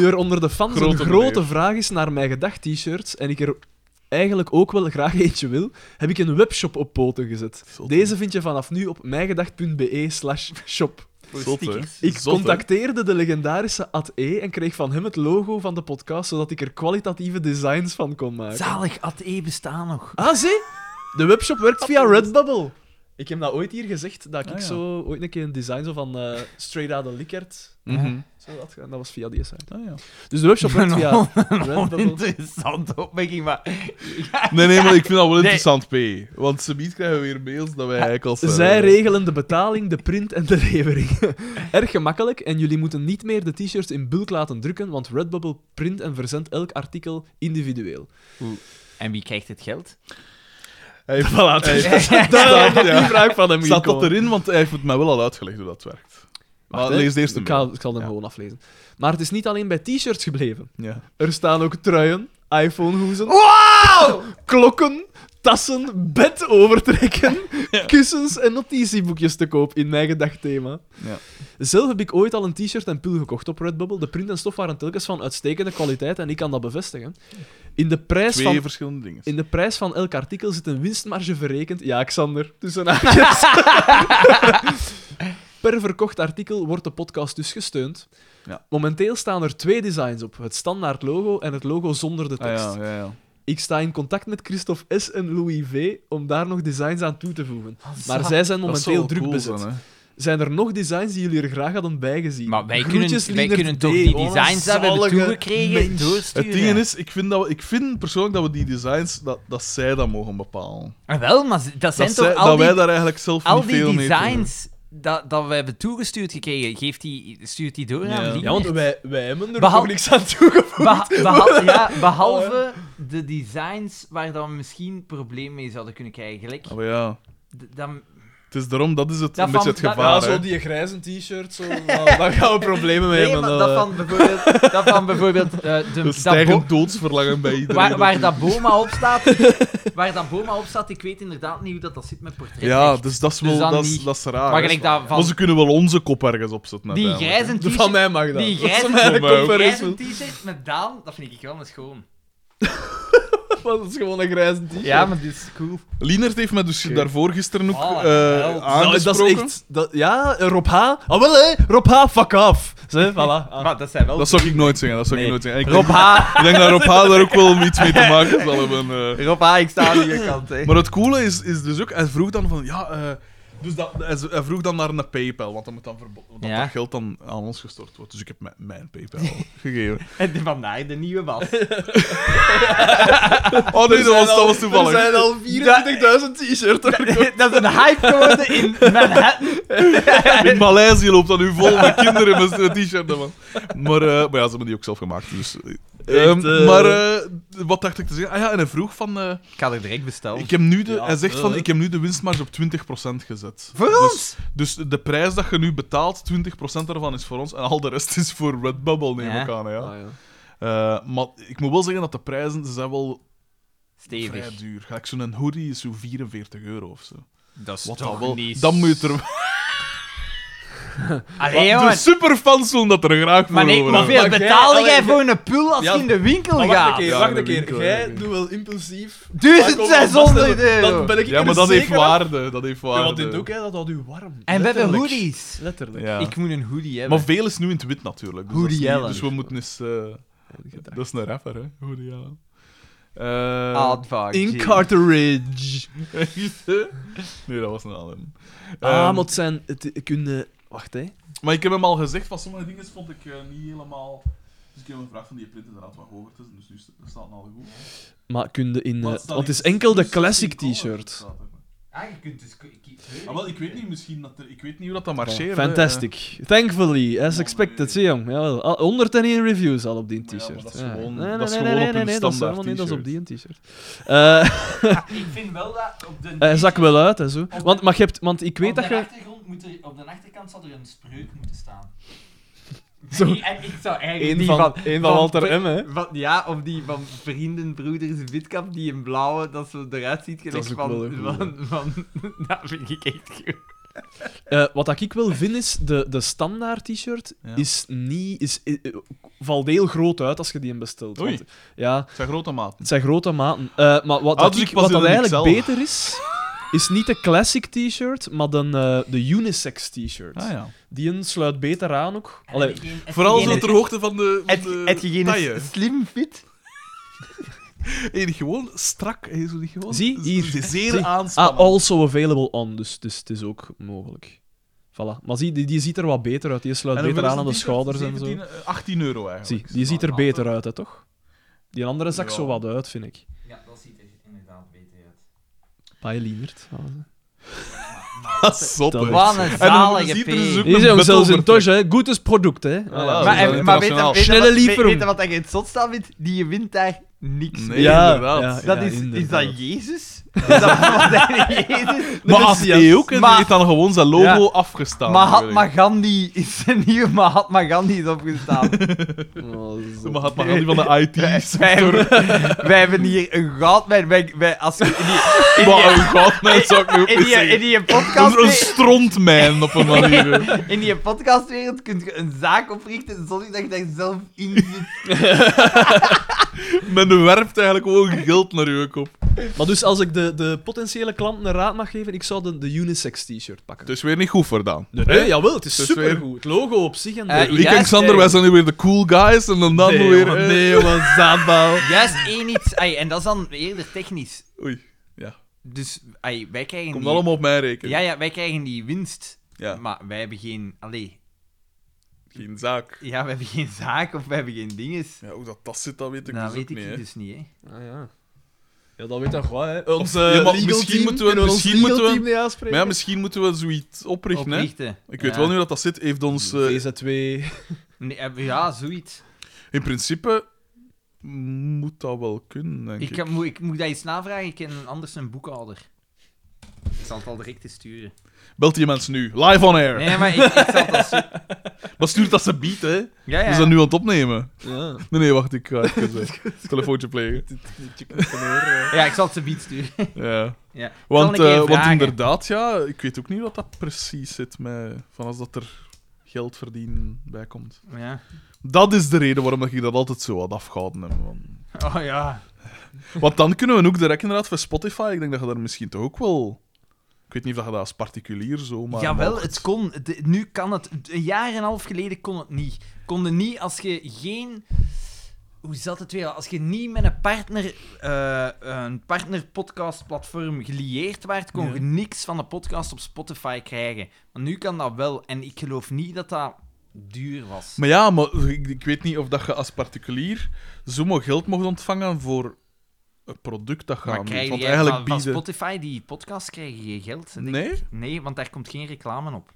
S2: nu er onder de fans
S3: Grote
S2: een grote
S3: meneer.
S2: vraag is naar mijn gedacht t-shirts en ik er eigenlijk ook wel graag eentje wil, heb ik een webshop op poten gezet.
S3: Zot, hè?
S2: Deze vind je vanaf nu op mijgedacht.be slash shop.
S1: Voor
S3: Zot, hè?
S1: stickers.
S2: Ik
S3: Zot, hè?
S2: contacteerde de legendarische AT-E en kreeg van hem het logo van de podcast, zodat ik er kwalitatieve designs van kon maken.
S1: Zalig, ATE E bestaan nog.
S2: Ah, zie? De webshop werkt via Redbubble. Ik heb dat ooit hier gezegd, dat ik
S3: Ah, ja.
S2: zo ooit een keer een design zo van eh Straight Outta Likert zo had gedaan. Dat was via die site.
S3: Mhm. Ah, ja.
S2: Dus de webshop werkt via Redbubble.
S1: Oninteressante opmerking, maar...
S3: Nee, nee, maar ik vind dat wel
S1: Nee.
S3: interessant, P. Want ze biedt krijgen we weer mails dat wij eigenlijk als... eh,
S2: Zij regelen de betaling, de print en de levering. Erg gemakkelijk en jullie moeten niet meer de t-shirts in bulk laten drukken, want Redbubble print en verzendt elk artikel individueel.
S1: En wie krijgt het geld?
S3: hij heeft-
S2: Voilà,
S3: hij heeft-
S2: Daar had ik
S3: ja.
S2: die vraag van hem
S3: Staat dat
S2: gekomen.
S3: erin? Want hij heeft het mij wel al uitgelegd hoe dat werkt. Maar
S2: Wacht, hè.
S3: lees de eerste
S2: Ik, ga,
S3: mail.
S2: ik zal hem
S3: Ja.
S2: gewoon aflezen. Maar het is niet alleen bij t-shirts gebleven.
S3: Ja.
S2: Er staan ook truien, iPhone-hoezen,
S1: Wow!
S2: klokken, tassen, bedovertrekken, kussens en notitieboekjes te koop in mijn gedachtthema.
S3: Ja.
S2: Zelf heb ik ooit al een t-shirt en pil gekocht op Redbubble. De print en stof waren telkens van uitstekende kwaliteit en ik kan dat bevestigen. In de prijs,
S3: Twee
S2: van,
S3: verschillende dingen.
S2: in de prijs van elk artikel zit een winstmarge verrekend. Ja, Xander, tussen haakjes. Per verkocht artikel wordt de podcast dus gesteund.
S3: Ja.
S2: Momenteel staan er twee designs op: het standaard logo en het logo zonder de
S3: Ah,
S2: tekst.
S3: ja, ja, ja.
S2: Ik sta in contact met Christophe S. en Louis V. om daar nog designs aan toe te voegen. Maar
S1: zat.
S2: zij zijn
S3: Dat
S2: momenteel
S3: zou wel
S2: druk
S3: cool
S2: bezet.
S3: zijn, hè.
S2: zijn er nog designs die jullie er graag hadden bijgezien?
S1: Maar wij
S2: Groetjes,
S1: kunnen, wij kunnen
S2: Lienert
S1: toch
S2: D.
S1: die
S2: Oh, een
S1: designs dat we hebben
S2: zalige
S1: toegekregen
S2: mens.
S1: doorsturen?
S3: Het ding is, ik vind, dat we, ik vind persoonlijk dat we die designs, dat, dat zij dat mogen bepalen.
S1: Ah, wel, maar z- dat zijn
S3: Dat,
S1: toch
S3: zij-
S1: al
S3: dat
S1: die,
S3: wij daar eigenlijk zelf
S1: al
S3: niet
S1: die
S3: veel mee kunnen.
S1: designs dat, dat we hebben toegestuurd gekregen, geeft die, stuurt die door
S3: Ja.
S1: aan Lienert?
S2: Ja, want wij, wij hebben er
S1: Behal-
S2: nog niks aan toegevoegd.
S1: Beha- behal- ja, behalve de designs waar dan we misschien probleem mee zouden kunnen krijgen. Gelijk,
S3: Ah, maar ja,
S1: d- dan,
S3: het is daarom, dat is het,
S1: Dat
S3: een beetje
S1: van-
S3: het
S1: dat-
S3: gevaar.
S1: Ja,
S3: hè.
S2: zo die grijze t-shirt, zo, nou, daar gaan we problemen mee
S1: nee,
S2: hebben.
S1: maar
S2: eh.
S1: dat van bijvoorbeeld, dat van bijvoorbeeld eh, de,
S3: Een
S1: dat
S3: stijgend
S1: bo-
S3: doodsverlangen bij iedereen.
S1: waar, waar dat Boma op staat, waar dat Boma op staat, ik weet inderdaad niet hoe dat, dat zit met portretten.
S3: ja, dus dat is wel
S1: Dus dan
S3: dat is,
S1: niet.
S3: dat is raar.
S1: maar
S3: hè.
S1: gelijk dat
S3: Maar ze
S1: van
S3: kunnen wel onze kop ergens opzetten.
S1: die
S3: uiteindelijk,
S1: grijze
S2: De van
S1: t-shirt,
S2: mij mag dat.
S1: die
S2: Dat is
S1: grijze-
S2: mijn
S3: Van mij ook.
S1: die grijze
S2: comparison.
S1: t-shirt met Daan, dat vind ik wel eens schoon.
S2: Dat is gewoon een grijze t-shirt.
S1: maar dit is cool.
S3: hè. Lienert heeft me dus
S2: Oké.
S3: daarvoor gisteren ook
S1: Oh,
S3: eh,
S1: wel.
S2: Nou, dat
S3: aangesproken.
S2: is echt... Dat, ja, eh, Rob H. Ah, wel hè, Rob H, fuck off. Zeg, voilà. Ah.
S1: Maar dat zijn wel...
S3: Dat zou ik nooit zeggen. Dat zou ik
S1: Nee.
S3: nooit zeggen. En Ik,
S1: Rob H,
S3: denk, ik denk dat Rob H. daar ook wel iets mee te maken zal hebben. eh.
S1: Rob H, ik sta aan je kant, hè.
S3: Maar het coole is, is dus ook, hij vroeg dan van ja. eh, dus dat, hij z- hij vroeg dan naar een PayPal, want dat, moet dan verbo- want dat,
S1: Ja.
S3: dat geld dan aan ons gestort wordt. Dus ik heb mijn, mijn PayPal gegeven.
S1: En de- vandaar de nieuwe was.
S3: Oh nee, dat was, dat was
S2: Er zijn
S3: toevallig.
S2: al 24.000 t-shirts.
S1: dat is een hype geworden in Manhattan.
S3: In Maleisië loopt dat nu vol met kinderen met zo'n t-shirt. man. Maar, eh, maar ja, ze hebben die ook zelf gemaakt. Dus, eh. Ehm,
S2: eh.
S3: Maar eh, wat dacht ik te zeggen? Ah ja, en hij vroeg van. eh,
S1: Ik ga er direct bestellen.
S3: ik heb nu de,
S2: Ja,
S3: hij zegt van:
S2: eh.
S3: Ik heb nu de winstmarge op 20% gezet.
S1: Voor
S3: Dus-
S1: ons?
S3: Dus de prijs dat je nu betaalt, 20% daarvan is voor ons en al de rest is voor Redbubble, neem
S1: Ja.
S3: ik aan. hè, Ah, Ja.
S2: ja.
S3: Eh, maar ik moet wel zeggen dat de prijzen ze zijn wel vrij
S1: Stevig.
S3: duur. Gelijk zo'n hoodie is zo'n 44 euro of zo.
S1: Dat is
S3: Wat
S1: toch
S3: dan wel.
S1: niet...
S3: Dan moet je er...
S1: Allee,
S3: de
S1: jongen.
S3: superfans zullen dat er graag voor
S1: Maar nee,
S3: horen.
S1: hoeveel
S2: Maar jij-
S1: betaalde jij
S2: allee,
S1: voor een pul als
S2: Ja,
S1: je in de winkel
S2: Maar wacht een
S1: gaat?
S2: keer,
S3: Ja,
S2: wacht
S3: dat
S2: een keer.
S3: winkel,
S2: Jij
S3: eigenlijk.
S2: doet wel impulsief. Maar
S1: 1600
S2: kom,
S1: euro!
S2: Dan ben ik
S3: Ja, maar
S2: er
S3: dat heeft
S2: zeker af.
S3: waarde. Dat heeft waarde.
S2: Ja, want dit ook, hè, dat houdt u warm.
S1: En we hebben
S2: Letterlijk.
S1: hoodies.
S2: Letterlijk.
S3: Ja.
S1: Ik moet een hoodie
S2: Eh,
S1: hebben.
S3: Maar veel is nu in het wit natuurlijk. Dus,
S1: Hoodie
S3: dat is niet-
S1: Allen.
S3: dus we moeten eens... eh, dat is een rapper, hè. Hoodie Allen. Eh,
S1: Advag,
S2: In
S1: jee.
S2: cartridge.
S3: nee, dat was een Allen.
S2: Ah,
S3: Ehm,
S2: maar het zijn... Het, kunnen... Wacht, hè.
S3: Maar ik heb hem al gezegd, van sommige dingen vond ik eh, niet helemaal. Dus ik heb hem gevraagd van die print inderdaad wat hoger te zetten, dus nu st- dat staat het al goed.
S2: Maar kunnen in... eh,
S3: Maar
S2: want
S3: staat
S2: het
S3: in-
S2: is enkel de
S3: dus staat
S2: classic
S3: in color,
S2: t-shirt.
S3: staat er.
S1: Ah, je kunt dus... ik- ik-
S3: Ah, wel, ik weet niet, misschien dat er, ik weet niet hoe dat, dat marcheert. hè.
S2: Fantastic. Thankfully, as
S3: nee.
S2: expected. Zie je hem. Jawel. Al- 101 reviews al op die
S3: Maar ja, maar
S2: t-shirt.
S3: dat is gewoon-
S2: Nee, nee,
S3: dat is
S2: nee,
S3: gewoon
S2: nee,
S3: op
S2: nee,
S3: een
S2: nee, dat is helemaal
S3: standaard
S2: niet, Dat is op die een t-shirt. Eh,
S1: Ik vind wel dat op de...
S2: Hij zak wel uit en zo. Want, maar je hebt, want ik weet
S1: op
S2: dat
S1: de
S2: je.
S1: Achtergrond moet er, op de achterkant zal er een spreuk moeten staan.
S2: Zo.
S1: En, en ik zou eigenlijk die
S2: één
S1: van-
S2: M, hè?
S1: van- ja, of die van vrienden, broeders, witkap, die in blauwe, dat zo eruit ziet gelijk
S2: is ook
S1: van,
S2: wel een goeie.
S1: van, van... Dat vind ik echt goed.
S2: Eh, wat dat ik wel vind is, de, de standaard t-shirt
S3: Ja.
S2: is niet. Is, eh, eh, valt heel groot uit als je die hem bestelt.
S3: Oei.
S2: Want, ja,
S3: Het zijn eh, grote maten.
S2: het zijn grote maten. Eh, maar wat,
S3: Ah,
S2: dat
S3: dus
S2: ik,
S3: ik pas
S2: wat
S3: in
S2: dat
S3: een
S2: eigenlijk
S3: XL.
S2: beter is, is niet de classic t-shirt, maar dan, eh, de unisex t-shirt.
S3: Ah, ja.
S2: Die een sluit beter aan ook. Allee,
S1: En hetgeen-
S3: Vooral zo
S1: hetgeen-
S3: ter hoogte van de, van
S1: Het,
S3: de
S1: hetgeen is
S3: taille.
S1: slim fit.
S3: Hey, die gewoon strak. Hey, zo die gewoon,
S2: Zie,
S3: die
S2: hier.
S3: is zeer
S2: Zie. Ah,
S3: aanspannend.
S2: also available on, dus het is, het is ook mogelijk. Voilà. Maar zie, die, die ziet er wat beter uit. Die sluit
S3: En hoeveel
S2: beter
S3: is
S2: aan aan de
S3: het hier?
S2: schouders en zo.
S3: 17, eh, 18 euro eigenlijk.
S2: Zie, die ziet er
S3: Ah,
S2: beter uit, hè, toch? Die andere zak
S3: Ja.
S2: zo wat uit, vind ik.
S1: Ja, dat ziet er inderdaad beter uit.
S2: Paai lieverd.
S3: ah, zot,
S2: Dat
S3: hè.
S2: is-
S1: Wat een
S3: En dan
S1: zalige
S3: ziet er dus ook-
S1: P.
S2: Hier zijn we zelfs in
S3: Battle
S2: Tosh, hè. Goed is product, hè. Ja,
S3: voilà,
S1: Maar,
S3: Oh, dat is
S1: en- maar weet, je-
S3: internationaal.
S1: weet, je
S2: Snelle
S1: wat- weet,
S2: lieverum.
S1: weet je wat ik in het zot staan vindt? Die wint daar niks
S3: Nee,
S1: mee.
S2: Ja,
S3: inderdaad.
S2: ja.
S1: Dat is, is
S2: inderdaad.
S1: dat Jezus? Is dat moderne Jezus?
S3: Maar
S2: De
S3: als
S2: Messias.
S3: die ook, hè, die
S1: Maar-
S3: heeft dan gewoon zijn logo
S2: Ja.
S3: afgestaan.
S1: Mahatma Gandhi is een nieuwe Mahatma Gandhi is opgestaan.
S3: De Mahatma Gandhi van de IT-sector.
S1: Wij hebben hier een goudmijn. Wij, wij, als je in die,
S3: Wat een godman zou ik nu ook
S1: in
S3: niet
S1: die, in
S3: zeggen.
S1: die
S3: Dat is een
S1: podcast...
S3: strontmijn op een manier. hè.
S1: In die podcastwereld kun je een zaak oprichten zonder dat je daar zelf in zit.
S3: Men werpt eigenlijk gewoon geld naar je kop.
S2: Maar dus als ik de, de potentiële klanten een raad mag geven, ik zou de, de unisex t-shirt pakken.
S3: Het is weer niet goed gedaan.
S2: Nee, nee, jawel, het is
S3: Dus- Het is weer-
S2: supergoed. Het logo op zich en de...
S1: Eh,
S3: Ik
S1: Juist,
S3: en Xander,
S1: eh,
S3: wij zijn nu weer de cool guys en dan dan
S2: nee,
S3: weer...
S2: jongen,
S3: eh,
S2: nee, jongen, zaadbouw.
S1: Juist één iets. ai, en dat is dan eerder technisch.
S3: Oei, ja.
S1: Dus ai, wij krijgen
S3: Komt
S1: die...
S3: allemaal op mijn rekening.
S1: Ja, ja, wij krijgen die winst.
S3: Ja.
S1: Maar wij hebben geen... Allee.
S3: Geen zaak.
S1: Ja, wij hebben geen zaak of wij hebben geen dinges.
S3: Ja, hoe dat tas zit, dat weet ik
S1: nou,
S3: dus
S1: weet
S3: ook
S1: ik
S3: niet. hè.
S1: dus niet, hè.
S2: Ah, ja. ja, dat weet toch wel, hè. Ons eh,
S3: Of- ja, maar
S2: legal
S3: misschien
S2: team,
S3: moeten we-
S2: kunnen ons
S3: misschien
S2: legal
S3: moeten we-
S2: team niet aanspreken.
S3: Maar ja, misschien moeten we zoiets oprichten, hè.
S1: Oprichten.
S3: Ik weet
S1: Ja.
S3: wel nu dat dat zit. Heeft ons... eh,
S2: VZ2...
S1: Nee, eh, ja, zoiets.
S3: in principe moet dat wel kunnen, denk
S1: Ik,
S3: ik.
S1: kan- moet, ik moet dat iets navragen. Ik ken anders een boekhouder. Ik zal het al direct eens sturen.
S3: Belt die mensen nu. Live on air.
S1: Nee, maar ik, ik zal het al sturen.
S3: Maar stuurt dat ze beat, hè.
S1: Ja, ja.
S3: We zijn nu aan het opnemen.
S2: Ja.
S3: Nee, nee, wacht. Ik ga even eh, telefoontje plegen.
S1: ja, ik zal het ze bied sturen.
S3: Ja.
S1: Ja. Zal
S3: Want,
S1: ik een keer
S3: eh, want
S1: vragen?
S3: inderdaad, ja, ik weet ook niet wat dat precies zit met... Van als dat er geld verdienen bij komt.
S1: Ja.
S3: Dat is de reden waarom ik dat altijd zo had afgehouden heb. Want,
S1: Oh ja.
S3: want dan kunnen we ook direct inderdaad voor Spotify... Ik denk dat je daar misschien toch ook wel... Ik weet niet of dat je dat als particulier zo... Maar
S1: Jawel, het kon. De- nu kan het. Een jaar en een half geleden kon het niet. Konden niet als je geen. Hoe zat het weer? Als je niet met een partner, eh een partnerpodcastplatform gelieerd werd, kon je niks van de podcast op Spotify krijgen. Maar nu kan dat wel. En ik geloof niet dat dat duur was.
S3: Maar ja, maar ik, ik weet niet of dat je als particulier zomaar geld mocht ontvangen voor een product dat
S1: Maar
S3: gaat.
S1: krijg
S3: Want
S1: je
S3: eigenlijk
S1: van, van
S3: bieden...
S1: Spotify die podcast krijgen je geld? denk ik.
S3: Nee?
S1: Nee, want daar komt geen reclame op.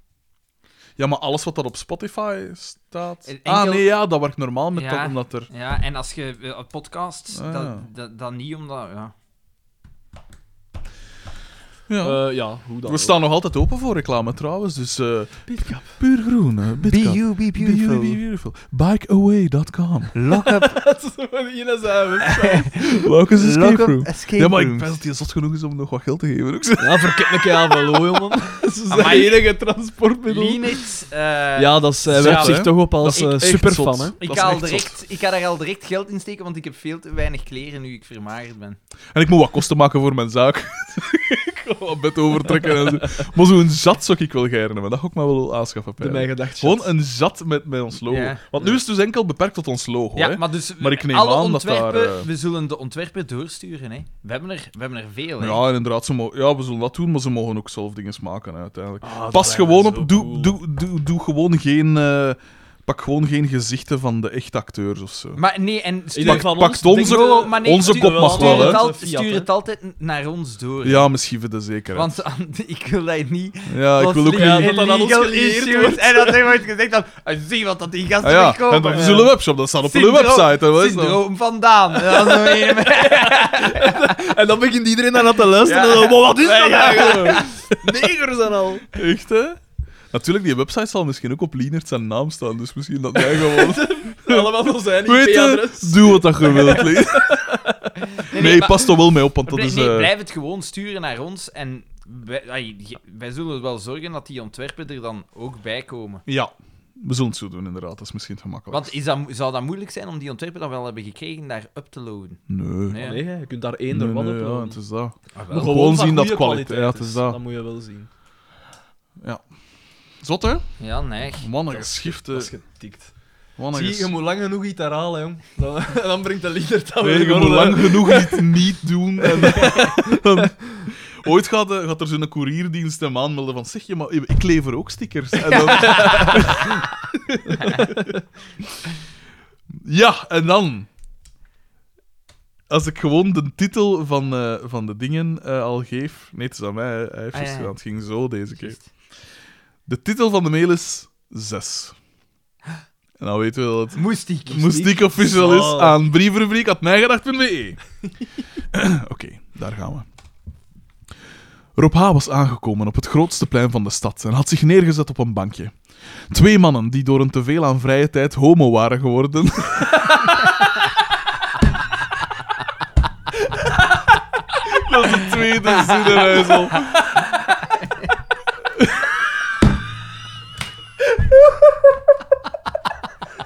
S3: Ja, maar alles wat dat op Spotify staat...
S1: En-
S3: Ah,
S1: enkel-
S3: nee, ja, dat werkt normaal met
S1: Ja.
S3: dat, omdat er...
S1: Ja, en als je eh, podcast,
S3: Ah,
S1: dan
S3: ja.
S1: dan- dan niet omdat. Ja.
S3: Ja.
S2: Eh, ja, hoe dan
S3: We staan nog altijd open voor reclame trouwens, dus eh,
S2: Beatcap.
S3: puur groen. eh, Bitcap.
S1: you, be
S3: Be you, be beautiful. Bikeaway.com.
S1: Lock up,
S2: Hier zijn we.
S3: Locus Escape Room.
S1: escape
S3: Ja, maar ik ben dat die zot genoeg is om nog wat geld te geven. ook.
S2: Ja, verkijk een keer aan van Loo, jongen. Ze zijn
S1: Amai.
S2: enige transportmiddel.
S1: Linux, eh,
S2: Ja, dat is, hij
S3: Zot,
S2: werpt zich
S3: hè?
S2: toch op als
S3: Dat is
S2: eh,
S3: echt zot.
S2: superfan, hè.
S1: ik,
S3: dat is
S1: ga al
S3: echt
S1: direct, ik ga daar al direct geld in steken, want ik heb veel te weinig kleren nu ik vermagerd ben.
S3: En ik moet wat kosten maken voor mijn zaak. ik wil wat bed overtrekken en zo. Maar zo'n zat zou ik wel gerne maar dat ga ik me wel aanschaffen.
S2: De
S3: pijlen.
S2: mijn gedacht.
S3: Gewoon eh, een zat met, met ons logo.
S1: Ja.
S3: Want nu is het dus enkel beperkt tot ons logo. hè?
S1: Ja, maar, dus,
S3: Maar ik neem
S1: alle
S3: aan dat
S1: ontwerpen,
S3: daar, eh,
S1: We zullen de ontwerpen doorsturen, hè. We hebben er, we hebben er veel, hè.
S3: Ja, en inderdaad, ze mo- ja, we zullen dat doen, maar ze mogen ook zelf dingen maken hè, uiteindelijk.
S2: Ah,
S1: Oh,
S2: dat
S3: Pas
S2: lijkt me
S3: gewoon
S2: zo
S3: op, doe,
S2: cool.
S3: doe, doe, doe gewoon geen, eh, pak gewoon geen gezichten van de echte acteurs of zo.
S1: Maar nee, en stuur,
S3: denk- van pakt ons- onze-
S1: Oh, maar nee,
S3: onze
S1: stuur-
S3: kop mag
S1: stuur
S3: wel, hè.
S1: het al-
S2: Fiat, hè.
S1: stuur het altijd naar ons door. hè.
S3: Ja, misschien voor de zekerheid.
S1: Want eh, ik wil dat niet.
S3: ja, ik
S1: Want
S3: wil ook niet.
S2: Ja,
S3: Ja,
S2: dat dat aan ons
S1: illegal
S2: geleerd
S1: issues.
S2: wordt.
S1: En dat er wordt gezegd dan, "Ah, zie wat dat die gasten
S3: ah, ja.
S1: wegkomen.
S3: En dat is een webshop, dat staat op hun
S1: Syndroom-
S3: website. Hè, wat is dat?
S1: Syndroom vandaan. Dat is nog een-
S2: En dan begint iedereen aan dat te luisteren.
S1: Ja.
S2: en dan, maar wat is
S1: Ja,
S2: dat
S1: ja.
S2: eigenlijk? Negers en al.
S3: Echt, hè? Natuurlijk, die website zal misschien ook op Lienert zijn naam staan, dus misschien dat jij gewoon...
S2: Allemaal van zijn
S3: Weet je,
S2: IP-adres.
S3: doe wat dat je wilt. Lee.
S1: Nee,
S3: Nee,
S1: maar-
S3: pas toch wel mee op, want dat
S1: Blij-
S3: is...
S1: nee,
S3: eh,
S1: blijf het gewoon sturen naar ons. En wij, ai, je- wij zullen er wel zorgen dat die ontwerpen er dan ook bij komen.
S3: Ja, we zullen het zo doen, inderdaad. Dat is misschien gemakkelijk.
S1: Want is dat, mo- zou dat moeilijk zijn om die ontwerpen dan wel hebben gekregen daar up te loaden?
S3: Nee.
S1: Nee. Ah,
S2: Nee, hè, je kunt daar één
S3: Nee,
S2: door wat
S3: nee,
S2: op
S3: ja, het is dat.
S2: Maar
S3: Gewoon
S2: van
S3: zien dat
S2: goede
S3: kwaliteit
S2: kwaliteit
S3: is,
S2: is,
S3: dat.
S2: Dat moet je wel zien.
S3: Zot, hè?
S1: Ja, nee.
S3: Mannen,
S2: Dat is-
S3: geschifte.
S2: Dat is getikt.
S3: Wat een
S2: Zie, je
S3: ges-
S2: moet lang genoeg iets herhalen, jong. Dan, dan brengt de lieder het
S3: Nee, je moet lang genoeg niet, niet doen. En, dan- ooit gaat, eh, gaat er zo'n courierdienst hem aanmelden van zeg je, maar ik lever ook stickers. En dan... ja, en dan... Als ik gewoon de titel van, eh, van de dingen eh, al geef... Nee, het is aan mij. hè. Hij
S1: Ah,
S3: heeft
S1: ja,
S3: eerst
S1: ja.
S3: gedaan. Het ging zo deze keer.
S1: Juist.
S3: De titel van de mail is 6. En dan weten we dat het
S1: Moest ik.
S3: Moestiek official is
S2: Zo.
S3: aan brievenrubriek.mijgedacht.be. E. Oké, daar gaan we. Rob H. was aangekomen op het grootste plein van de stad en had zich neergezet op een bankje. Twee mannen die door een teveel aan vrije tijd homo waren geworden. Dat is de tweede zinnenwijzel.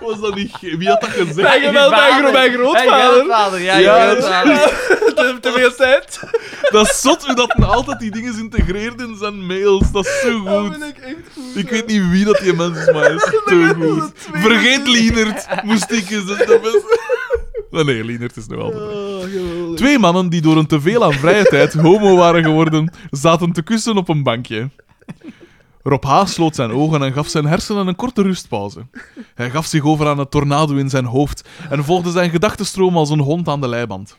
S3: Was dat niet... ge- Wie had dat gezegd?
S2: Mijn, mijn, mijn, mijn grootvader.
S1: ja,
S3: Ja,
S1: je
S3: dat is-
S1: grootvader.
S2: Te, te veel tijd.
S3: Dat is zot hoe dat men altijd die dingen integreert in zijn mails. Dat is zo
S2: Dat
S3: goed.
S2: vind ik echt goed.
S3: Ik weet niet wie dat die mens is, maar hij is te goed. Vergeet Lienert, moest ik eens dat is de beste. Maar nee, Lienert is nog altijd.
S2: Oh, geweldig.
S3: Twee mannen die door een teveel aan vrije tijd homo waren geworden, zaten te kussen op een bankje. Rob H. sloot zijn ogen en gaf zijn hersenen een korte rustpauze. Hij gaf zich over aan een tornado in zijn hoofd en volgde zijn gedachtenstroom als een hond aan de leiband.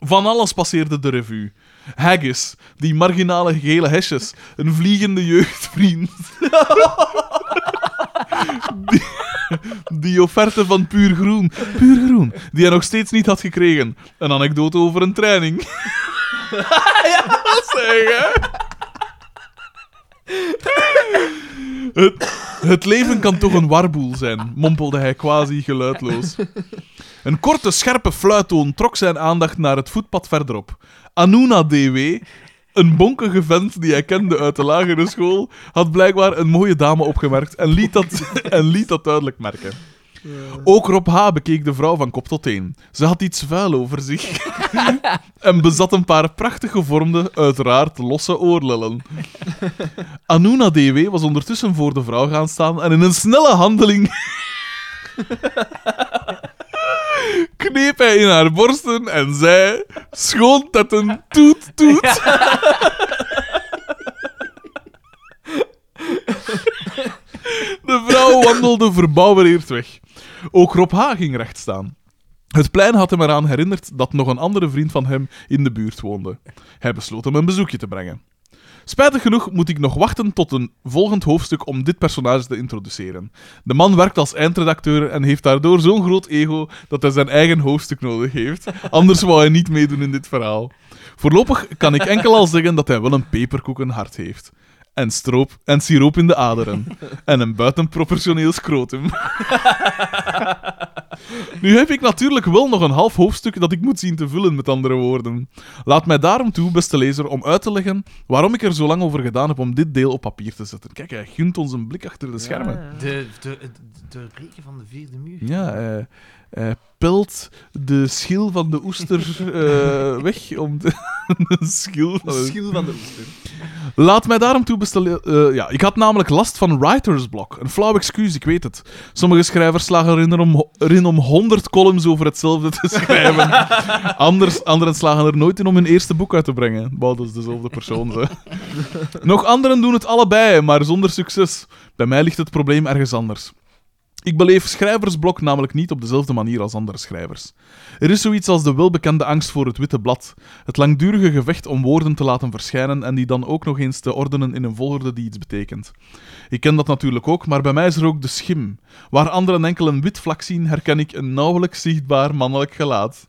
S3: Van alles passeerde de revue. Haggis, die marginale gele hesjes, een vliegende jeugdvriend. Die offerte van puur groen, puur groen, die hij nog steeds niet had gekregen. Een anekdote over een training. ja, zeg hè. Het, het leven kan toch een warboel zijn, mompelde hij quasi geluidloos. Een korte, scherpe fluittoon trok zijn aandacht naar het voetpad verderop. Anuna DW, een bonkige vent die hij kende uit de lagere school, had blijkbaar een mooie dame opgemerkt en liet dat, en liet dat duidelijk merken. Ook Rob H. bekeek de vrouw van kop tot teen. Ze had iets vuil over zich en bezat een paar prachtig gevormde, uiteraard losse oorlellen. Anuna DW was ondertussen voor de vrouw gaan staan en in een snelle handeling kneep hij in haar borsten en zei: Schoon dat een toet toet. De vrouw wandelde verbouwereerd weg. Ook Rob H. ging recht staan. Het plein had hem eraan herinnerd dat nog een andere vriend van hem in de buurt woonde. Hij besloot hem een bezoekje te brengen. Spijtig genoeg moet ik nog wachten tot een volgend hoofdstuk om dit personage te introduceren. De man werkt als eindredacteur en heeft daardoor zo'n groot ego dat hij zijn eigen hoofdstuk nodig heeft. Anders wou hij niet meedoen in dit verhaal. Voorlopig kan ik enkel al zeggen dat hij wel een peperkoekenhart heeft. En stroop en siroop in de aderen. En een buitenproportioneel scrotum. Nu heb ik natuurlijk wel nog een half hoofdstuk dat ik moet zien te vullen, met andere woorden. Laat mij daarom toe, beste lezer, om uit te leggen waarom ik er zo lang over gedaan heb om dit deel op papier te zetten. Kijk, hij gunt ons een blik achter de schermen.
S1: De, de, de, doorbreken van de vierde muur.
S3: Ja, hij, hij pelt de schil van de oester eh, weg om de, de schil van de
S2: Schil van de oester.
S3: Laat mij daarom toe bestellen. eh, ja, ik had namelijk last van writer's block. Een flauw excuus, ik weet het. Sommige schrijvers slagen erin om, erin om 100 columns over hetzelfde te schrijven. Anders, anderen slagen er nooit in om hun eerste boek uit te brengen. Wow, dat is dezelfde persoon, zeg. Nog anderen doen het allebei, maar zonder succes. Bij mij ligt het probleem ergens anders. Ik beleef schrijversblok namelijk niet op dezelfde manier als andere schrijvers. Er is zoiets als de welbekende angst voor het witte blad. Het langdurige gevecht om woorden te laten verschijnen en die dan ook nog eens te ordenen in een volgorde die iets betekent. Ik ken dat natuurlijk ook, maar bij mij is er ook de schim. Waar anderen enkel een wit vlak zien, herken ik een nauwelijks zichtbaar mannelijk gelaat.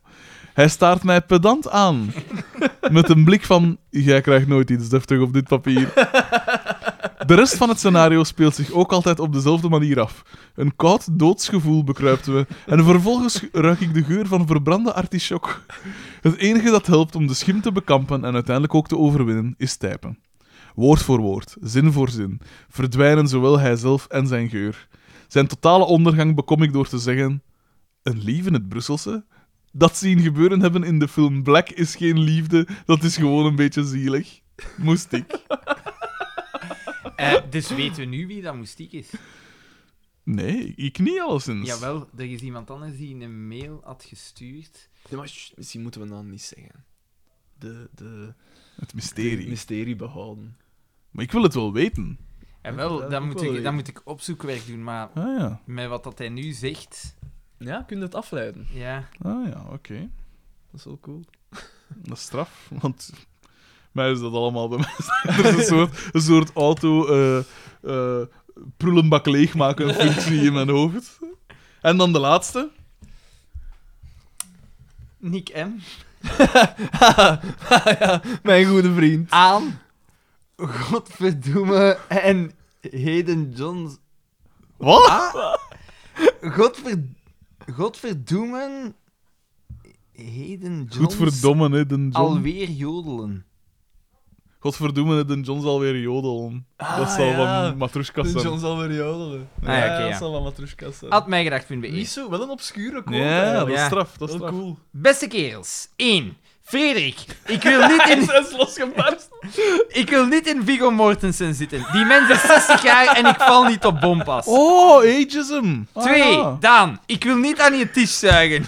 S3: Hij staart mij pedant aan. Met een blik van: Jij krijgt nooit iets deftig op dit papier. De rest van het scenario speelt zich ook altijd op dezelfde manier af. Een koud doodsgevoel bekruipt me en vervolgens ruik ik de geur van verbrande artichok. Het enige dat helpt om de schim te bekampen en uiteindelijk ook te overwinnen, is typen. Woord voor woord, zin voor zin, verdwijnen zowel hijzelf en zijn geur. Zijn totale ondergang bekom ik door te zeggen: Een lief in het Brusselse? Dat zien gebeuren hebben in de film Black is geen liefde, dat is gewoon een beetje zielig. Moest ik.
S1: Eh, dus weten we nu wie dat Moestiek is?
S3: Nee, ik niet alleszins.
S1: Jawel, er is iemand anders die een mail had gestuurd.
S2: Nee, maar sst, misschien moeten we dan niet zeggen. De, de
S3: Het
S2: het
S3: mysterie.
S2: mysterie behouden.
S3: Maar ik wil het wel weten.
S1: En wel,
S2: dat
S1: dan
S2: ook
S1: moet,
S2: wel
S1: ik, dan
S2: weten.
S1: moet ik opzoekwerk doen, maar
S3: Ah ja,
S1: met wat dat hij nu zegt,
S2: Ja, kun je het afleiden.
S1: ja.
S3: ah ja, oké.
S2: Dat is wel cool.
S3: Dat is straf, want mij is dat allemaal bij mij. Er is een soort, een soort auto eh, eh, prullenbak leegmaken functie in mijn hoofd. En dan de laatste.
S1: Nick M.
S2: Ah, ja, mijn goede vriend.
S1: Aan. Godverdomme. En Heden Johns.
S3: Wat?
S1: Godver... Godverdoemen. Heden Johns.
S3: Godverdomme, hè, Den John.
S1: Ah, Alweer jodelen.
S3: Godverdomme, hè, Den John zal weer jodelen. dat zal
S2: ja.
S3: van Matrushka
S2: De
S3: zijn.
S2: John zal weer jodelen.
S1: ja, oké, ja.
S2: dat zal wel Matrushka zijn. Niet
S1: Atmijgedacht.be.
S2: zo, wel een obscure quote.
S3: Ja, dat
S2: eigenlijk.
S3: is
S1: Ja.
S3: straf. Dat is
S2: Wel
S3: straf.
S2: cool.
S1: Beste kerels. 1. Frederik, ik wil niet in...
S2: Hij is losgebarsten.
S1: Ik wil niet in Viggo Mortensen zitten. Die mens is 60 jaar en ik val niet op bompas.
S3: Oh, ageism. Ah,
S1: Twee,
S3: ja.
S1: Daan, ik wil niet aan je tisch zuigen.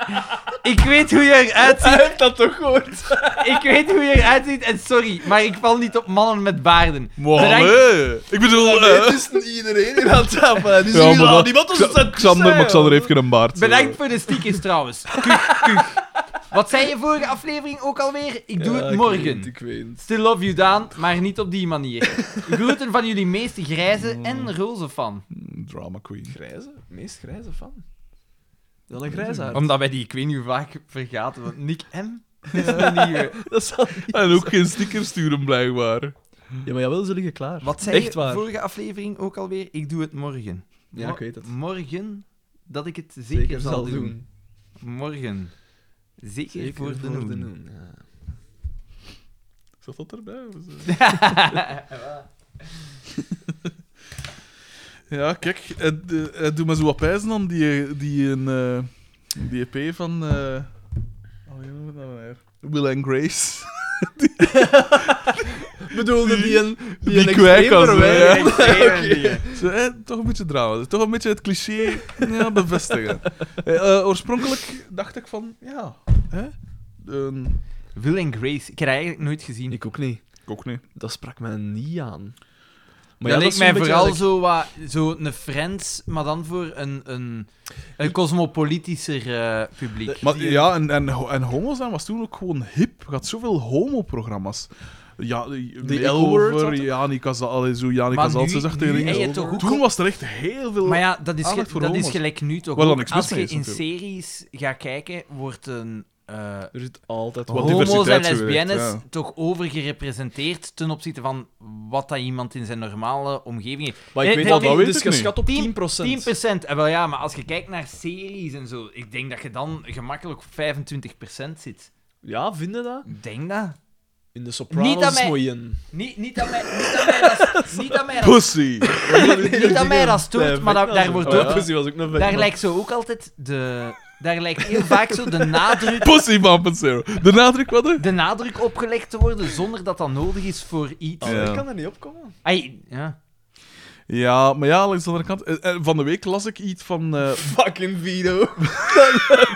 S1: ik weet hoe je eruit ziet.
S2: Hij heeft dat toch gehoord?
S1: Ik weet hoe je eruit ziet en sorry, maar ik val niet op mannen met baarden.
S3: Maar
S1: Bedankt-
S3: allee. Ik bedoel... eh,
S2: Het is iedereen in aan tafel. Die
S3: ja,
S2: zien
S3: maar
S2: al
S3: dat-
S2: niemand als
S3: Xa-
S2: het zijn
S3: Xander, maar Xander heeft geen baard.
S1: Bedankt voor de stickers trouwens. Kuch, kuch. Wat zei je vorige aflevering ook alweer? Ik doe het
S2: Ik weet,
S1: morgen.
S2: ik weet.
S1: Still love you, Daan, maar niet op die manier. Groeten van jullie meeste grijze en roze fan.
S3: eh, Drama queen.
S2: Grijze? Meest grijze fan. Dan een grijzaard.
S1: Omdat wij die, ik weet niet hoe vaak, vergaten. Want Nick M. is een nieuwe.
S2: Dat zal
S3: En ook geen sticker sturen, blijkbaar.
S2: Ja, maar jawel, ze liggen klaar.
S1: Wat zei
S2: Echt
S1: je
S2: waar.
S1: vorige aflevering ook alweer? Ik doe het morgen.
S2: Ja,
S1: Mo-
S2: ik weet het.
S1: Morgen dat ik het zeker,
S2: Zeker
S1: zal doen.
S2: doen.
S1: Morgen. Zeker,
S2: Zeker
S1: voor de noen.
S2: noen, ja.
S3: Zat dat erbij? Of zo? Ja, kijk, het, eh, het doet me zo wat pijzen aan die, die, een, eh, die EP van. eh oh, ja, wat nou weer? Will and Grace.
S2: Bedoelde die een...
S3: Die
S2: een
S3: kwijk
S2: extreem
S3: als,
S2: verwijder?
S3: hè?
S2: Oké.
S3: Zo, eh, toch een beetje drama, toch een beetje het cliché ja, bevestigen. Eh, eh, oorspronkelijk dacht ik van, ja, hè? Een-
S1: Will en Grace. Ik heb dat eigenlijk nooit gezien.
S2: Ik ook niet.
S3: ik ook niet.
S2: Dat sprak mij niet aan.
S1: Maar dat leek
S2: is
S1: mij
S2: zo'n beetje
S1: vooral
S2: eigenlijk-
S1: zo, wat, zo een Friends, maar dan voor een, een, een cosmopolitischer eh, publiek.
S3: Maar ja, en, en, ho- en homo's dan was toen ook gewoon hip. Je had zoveel homo-programma's. Ja,
S2: The
S3: de
S2: L-word had
S3: Elwer,
S2: het.
S3: Janik Casal, allee, zo Janik
S1: Maar
S3: Casal,
S1: nu-
S3: ze zegt tegen
S1: nu
S3: dingen.
S1: heb je toch ook-
S3: Toen was er echt heel veel.
S1: Maar ja, dat is,
S3: aandacht
S1: ge-
S3: voor
S1: dat is
S3: homo's.
S1: gelijk nu toch
S3: Wat dan
S1: ook.
S3: niks mis
S1: Als je
S3: mee
S1: in
S3: is, natuurlijk.
S1: series gaat kijken, wordt een... eh,
S2: Er zit altijd
S3: Wat
S2: wel...
S3: die-
S1: homo's en
S3: diversiteit zo werkt,
S1: lesbiennes
S3: ja.
S1: toch overgerepresenteerd ten opzichte van wat dat iemand in zijn normale omgeving heeft.
S2: Maar ik
S1: Eh,
S2: weet
S1: dat
S2: dat
S1: weet
S2: wel. Dus
S3: ik niet.
S2: geschat op 10%.
S1: 10%. En Eh, wel ja, maar als je kijkt naar series en zo, ik denk dat je dan gemakkelijk op 25% zit.
S2: Ja, vinden dat?
S1: Ik Denk dat?
S2: In de Sopranos
S1: Niet dat
S2: is
S1: mij-
S2: mooi in.
S1: Niet, niet dat mij, niet dat mij dat, niet dat, mij dat,
S3: Pussy!
S1: niet dat, mij dat stoort, maar dat, daar wordt
S2: Oh, ja.
S1: ook...
S2: Pussy was ook een
S1: Daar
S2: vent.
S1: lijkt zo ook altijd de... Daar lijkt heel vaak zo de nadruk,
S3: Pussy Bumpet Zero. De nadruk wat er?
S1: de nadruk opgelegd te worden zonder dat dat nodig is voor iets.
S2: Oh,
S3: Ja.
S2: Ik kan er niet op komen.
S1: Ai, ja.
S3: Ja, maar ja, langs de andere kant. eh, eh, Van de week las ik iets van. eh
S2: Fucking Vito.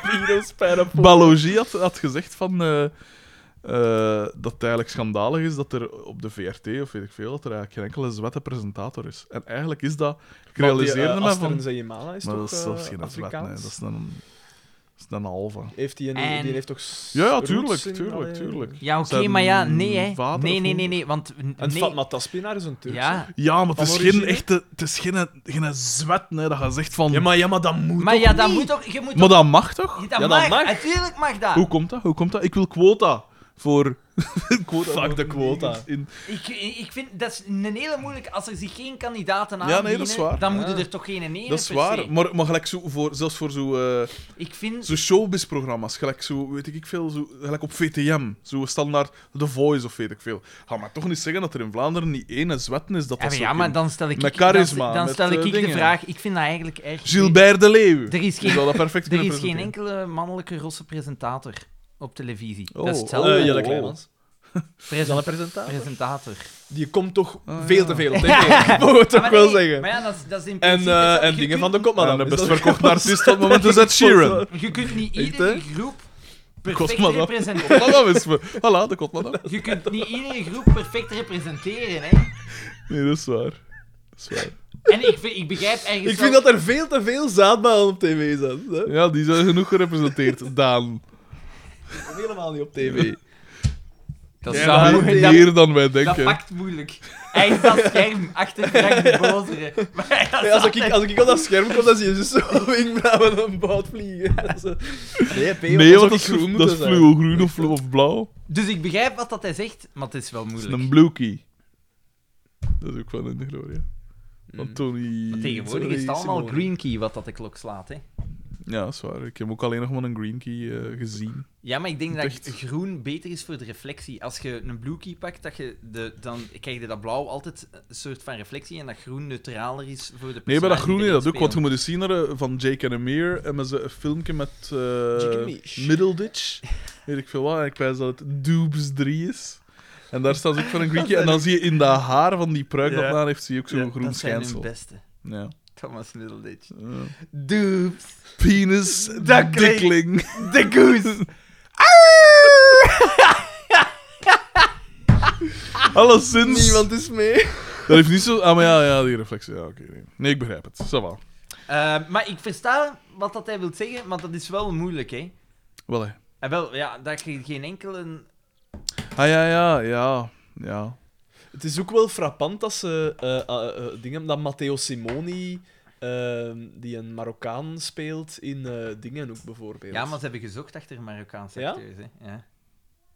S2: Vito spijt
S3: Balogie had, had gezegd van. eh, eh, dat het eigenlijk schandalig is dat er op de VRT of weet ik veel, dat er eigenlijk geen enkele zwette presentator is. En eigenlijk is dat. Ik realiseerde me
S2: van...
S3: van.
S2: Zayemala is
S3: Maar
S2: toch
S3: dat is zelfs
S2: eh,
S3: geen zwet, nee.
S2: Afrikaans?
S3: Dat is een, dat is een halve.
S2: Heeft die, een,
S1: En-
S2: die heeft toch...
S3: Ja, ja,
S2: roots
S3: tuurlijk,
S2: in-
S3: tuurlijk,
S2: Allee.
S3: tuurlijk.
S1: Ja, oké,
S3: Zijn
S1: maar ja, nee, hè.
S3: vader
S1: Nee,
S3: of
S1: nee, nee,
S3: moeder?
S1: nee, want...
S2: En
S1: nee.
S2: Fatma Taspinaar is een Turk.
S1: Ja,
S3: Ja, maar het is
S2: Van
S3: geen
S2: origine?
S3: echte... Het is geen, geen zwet, nee, dat je zegt van...
S2: Ja,
S3: maar,
S2: maar, ja, maar dat moet
S1: maar
S2: toch
S1: ja, dat
S2: niet?
S1: moet toch... Je moet
S3: dat mag toch?
S1: toch- Dat,
S2: Ja, dat
S1: mag,
S2: mag.
S1: natuurlijk mag dat.
S3: Hoe komt dat? Hoe komt dat? Ik wil quota voor... quota
S2: Fuck
S3: voor
S2: de quota.
S3: negers In...
S1: Ik, ik vind, dat is een hele moeilijke... Als er zich geen kandidaten
S3: nee, dat
S1: aanbieden,
S3: is waar.
S1: dan
S2: Ja.
S1: moeten er toch geen ene
S3: Dat is waar, maar, maar gelijk zo voor, zelfs voor zo, eh,
S1: Ik vind...
S3: zo showbiz-programma's, gelijk zo, weet ik veel, zo, gelijk op VTM, zo standaard The Voice of weet ik veel. Ga maar toch niet zeggen dat er in Vlaanderen niet één zwet is dat
S1: Ja,
S3: dat
S1: maar,
S3: zo
S1: ja, maar
S3: ging.
S1: dan stel ik...
S3: Met
S1: ik- dan-
S3: charisma,
S1: Dan
S3: met,
S1: stel ik,
S3: eh,
S1: ik de
S3: dingen.
S1: vraag... Ik vind dat eigenlijk erg...
S3: Gilbert de Leeuw.
S1: Er is
S3: Die
S1: geen,
S3: zou dat perfect
S1: er
S3: kunnen
S1: is geen
S3: presenteren.
S1: enkele mannelijke rosse presentator op televisie.
S3: Oh,
S1: dat is
S3: oh,
S1: hetzelfde.
S2: Eh, Jelle
S3: Oh.
S2: Kleimans. Is dat een presentator?
S1: presentator.
S2: Die komt toch
S3: Ah, ja.
S2: veel te veel op tv, mogen we toch
S1: Ah, maar
S2: wel
S1: nee,
S2: zeggen.
S1: Maar ja, dat is, dat is in
S2: En,
S1: principe...
S2: eh,
S1: is dat-
S2: en
S1: je
S2: dingen
S1: kunt-
S2: van de kop,
S3: En de best verkochte artiest op het moment Dus is Ed Sheeran.
S1: Je kunt niet
S3: Echt,
S1: iedere
S3: hè?
S1: groep
S3: Kost
S1: perfect
S3: maar dat.
S1: representeren.
S3: Voilà, is me. Voilà, dat komt maar dan.
S1: Je kunt niet iedere groep perfect representeren, hè.
S3: Nee, dat is waar. Dat is waar.
S1: En ik, vind- ik begrijp ergens
S2: Ik vind
S1: wel-
S2: dat er veel te veel zaadbalen op tv zijn. hè.
S3: Ja, die zijn genoeg gerepresenteerd. Daan.
S2: Helemaal niet op tv.
S1: Dat,
S3: Jij
S1: is
S3: bent
S1: dat, dat,
S3: meer dan wij
S1: dat
S3: denken.
S1: pakt moeilijk. Hij is dat scherm achter Frank de Bozere. Maar dat is
S2: Nee, als, ik,
S1: altijd-
S2: als ik op dat scherm kom, dan zie je dus zo wenkbrauwen en een bout vliegen. Dat is, eh, Nee, P,
S3: Nee, want
S2: ook
S3: dat is,
S2: groen
S3: dat
S2: moeten
S3: is
S2: zijn.
S3: fluo groen of, fluo of blauw.
S1: Dus ik begrijp wat dat hij zegt, maar het is wel
S3: Dat is
S1: moeilijk.
S3: een bluekey. Dat is ook van in de gloria.
S2: Hm. Mm.
S3: Van Tony...
S1: Maar tegenwoordig is het
S2: Sorry,
S1: allemaal
S2: Simone.
S1: green key wat dat de klok slaat, hè.
S3: Ja, dat is waar. Ik heb ook alleen nog maar een green key eh, gezien.
S1: Ja, maar ik denk dat
S3: Echt.
S1: groen beter is voor de reflectie. Als je een blue key pakt, dat je de, dan krijg je dat blauw altijd een soort van reflectie en dat groen neutraler is voor de
S3: Nee, bij dat
S1: personage
S3: groene
S1: die
S3: dat
S1: erin
S3: ook. Want je
S1: spelen.
S3: moet eens zien naar, eh, van Jake and Amir en met ze een filmpje met eh
S2: Jake and Mish.
S3: Middleditch. Weet ik veel wat. En ik wijs dat het Doobs 3 is. En daar staan ze ook van een Greekje. En dan zie je in dat haar van die pruik dat
S2: Ja.
S3: daar heeft, zie je ook zo'n
S2: Ja,
S3: groen
S1: Dat zijn hun
S3: schijnsel.
S1: beste.
S3: Ja.
S1: Thomas Middleditch.
S3: Eh,
S1: Doops.
S3: penis,
S1: Dat klinkt-
S3: dickling.
S1: De goose.
S3: Alleszins.
S2: Niemand is mee.
S3: Dat heeft niet zo. Ah, maar ja, ja die reflectie. Ja, oké. nee. nee, ik begrijp het. Ça va.
S1: Eh, maar ik versta wat dat hij wil zeggen, maar dat is wel moeilijk, hè.
S3: Wel hè.
S1: En wel, ja, dat je geen enkele...
S3: Ah ja, ja, ja. Ja.
S2: Het is ook wel frappant dat ze eh, eh, eh, dingen dat Matteo Simoni, eh, die een Marokkaan speelt in eh dingen ook bijvoorbeeld.
S1: Ja, maar ze hebben gezocht achter Marokkaanse
S2: Ja?
S1: acteurs, hè. Ja.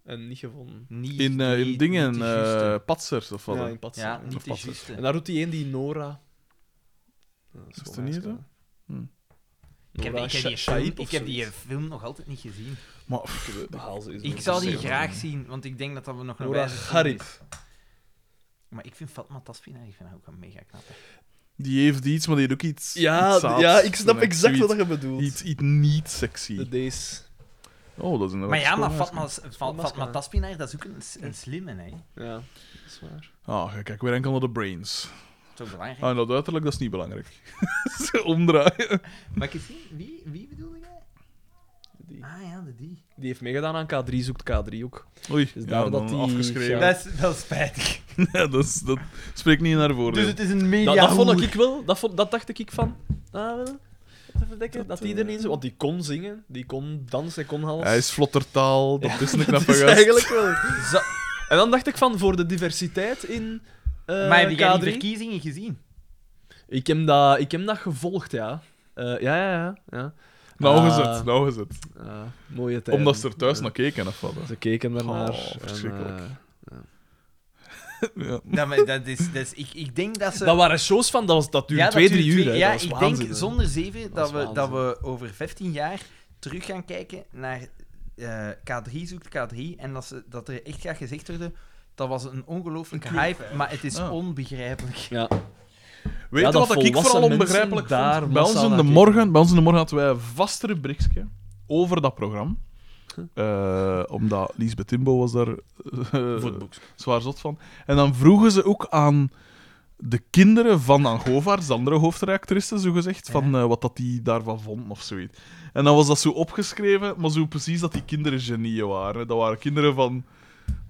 S2: En niet gevonden.
S1: Niet,
S3: In, eh, in
S1: niet-
S3: dingen,
S1: niet de juiste.
S3: eh, patsers of wat.
S2: Ja,
S3: dan?
S2: in Patsen.
S1: ja, niet
S3: Of
S1: de
S3: wat is-
S1: juiste.
S2: En daar doet die een die Nora. Dat
S3: Is
S2: wel
S3: dat niet
S2: nice,
S3: zo?
S2: ja.
S3: Hm.
S1: Ik heb,
S2: Nora
S1: ik heb die
S2: Sha-
S1: film,
S2: Shaib of
S1: ik heb die
S2: zoiets.
S1: film nog altijd niet gezien.
S3: Maar pff,
S2: Behaal ze eens
S1: Ik
S2: door.
S1: zou die
S2: Zeker.
S1: graag zien, want ik denk dat dat we nog een
S2: Nora
S1: wijze film
S2: Gharib.
S1: is. Maar ik vind Fatma Taspina, ik vind haar ook een mega knap. hè.
S3: die heeft iets, maar die heeft ook iets.
S2: Ja,
S3: iets
S2: d-
S3: zaads.
S2: ja, ik snap
S3: Zo'n
S2: exact
S3: iets-
S2: wat je bedoelt.
S3: Iets, iets niet sexy.
S2: De Days.
S3: Oh, dat is inderdaad.
S1: Maar ja, maar
S3: schoon,
S1: Fatma, Fatma,
S2: Mascara.
S1: Fatma Taspina, dat is ook een, s- een slimme, hè.
S2: Ja, dat is waar.
S3: Ah, ja, kijk weer enkel naar de brains.
S1: Dat is ook belangrijk.
S3: Ah, en dat uiterlijk, dat is niet belangrijk. Ze omdraaien.
S1: Maar ik eens zien, wie, wie bedoelde jij?
S2: Die,
S1: Ah ja, de die.
S2: die heeft meegedaan aan K3, zoekt K3 ook.
S3: Oei,
S2: Dus
S3: ja,
S2: daar dat
S3: dan
S2: die- ja.
S3: afgeschreven. Ja.
S1: is wel spijtig.
S3: dat, is, dat spreekt niet naar voren.
S1: Dus het is een media
S2: Dat, dat vond ik wel, dat, vond, dat dacht ik van. Ah, wel. Te verdekken, dat,
S3: Dat,
S2: die
S3: eh,
S2: er niet zo. Want die kon zingen, die kon dansen, hij kon alles.
S3: Hij is vlottertaal, dat is een knappe
S2: Dat is
S3: gast.
S2: eigenlijk wel.
S1: Zo,
S2: En dan dacht ik van, voor de diversiteit in eh,
S1: maar heb jij
S2: K3?
S1: die verkiezingen gezien?
S2: ik, heb dat, ik heb dat gevolgd, ja. Eh, ja, ja, ja. ja.
S3: Nou
S2: Ah,
S3: gezet, nou gezet.
S2: ah, mooie tijd.
S3: Omdat ze er thuis naar keken of wat. hè.
S2: Ze keken daarnaar.
S3: Oh,
S2: en,
S3: verschrikkelijk.
S2: eh,
S3: Ja.
S1: Dat, maar dat is, dat is, ik, ik denk dat ze...
S2: dat waren shows van, dat, was, dat duurde twee,
S1: duurt
S2: drie uur.
S1: twee-
S2: hè.
S1: eh, Ja,
S2: dat was
S1: ik
S2: waanzin,
S1: denk
S2: hè.
S1: zonder zeven
S2: Dat
S1: dat,
S2: is
S1: we, dat
S2: waanzin.
S1: we over 15 jaar terug gaan kijken naar eh, K3 zoekt K3 en dat, ze, dat er echt gaat gezegd worden dat was een ongelooflijke hype, maar het is
S3: Ah.
S1: onbegrijpelijk.
S2: Ja.
S3: Weet
S2: Ja,
S3: je
S2: dat
S3: wat ik
S2: volwassen
S3: vooral
S2: mensen
S3: onbegrijpelijk
S2: daar
S3: vond? Bij
S2: massaal
S3: ons, in
S2: naar
S3: de
S2: kijken.
S3: morgen, bij ons in de morgen hadden wij een vast rubriekje over dat programma. Eh, omdat Lisbeth Timbo was daar eh, zwaar zot van. En dan vroegen ze ook aan de kinderen van Angovaars, de andere hoofdreactrice, zogezegd, van eh, wat dat die daarvan vonden of zoiets. En dan was dat zo opgeschreven, maar zo precies dat die kinderen genieën waren. Dat waren kinderen van,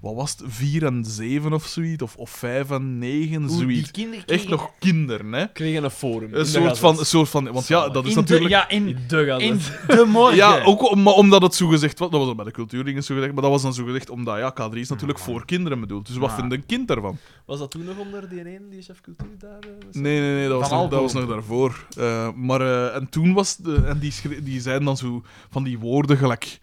S3: wat was het, vier en zeven of zoiets, of, of vijf en negen,
S1: Hoe die
S3: zoiets.
S1: kinderen
S3: Echt
S1: kregen-
S3: nog kinderen, hè?
S2: kregen een forum. in
S3: Een
S2: de
S3: soort
S2: Gazet.
S3: van, een soort van. Want ja, dat
S1: in
S3: is
S1: de,
S3: natuurlijk.
S1: ja, oh, in,
S2: In de Gazet.
S1: in de morgen.
S3: Ja, ook om, maar omdat het zo gezegd was. Dat was dan bij de cultuurdingen zo gezegd. Maar dat was dan zo gezegd omdat. Ja, K3 is natuurlijk
S1: Ah.
S3: voor kinderen bedoeld. Dus wat
S1: Ja.
S3: vindt een kind daarvan?
S2: Was dat toen nog onder die ene, die chef cultuur daar? eh, was dat?
S3: Nee, nee, nee, dat was,
S1: Van
S3: nog, dat was
S1: Alboom.
S3: nog daarvoor. Eh, maar eh, en toen was. De, en die, schre- die zeiden dan zo van die woorden gelijk.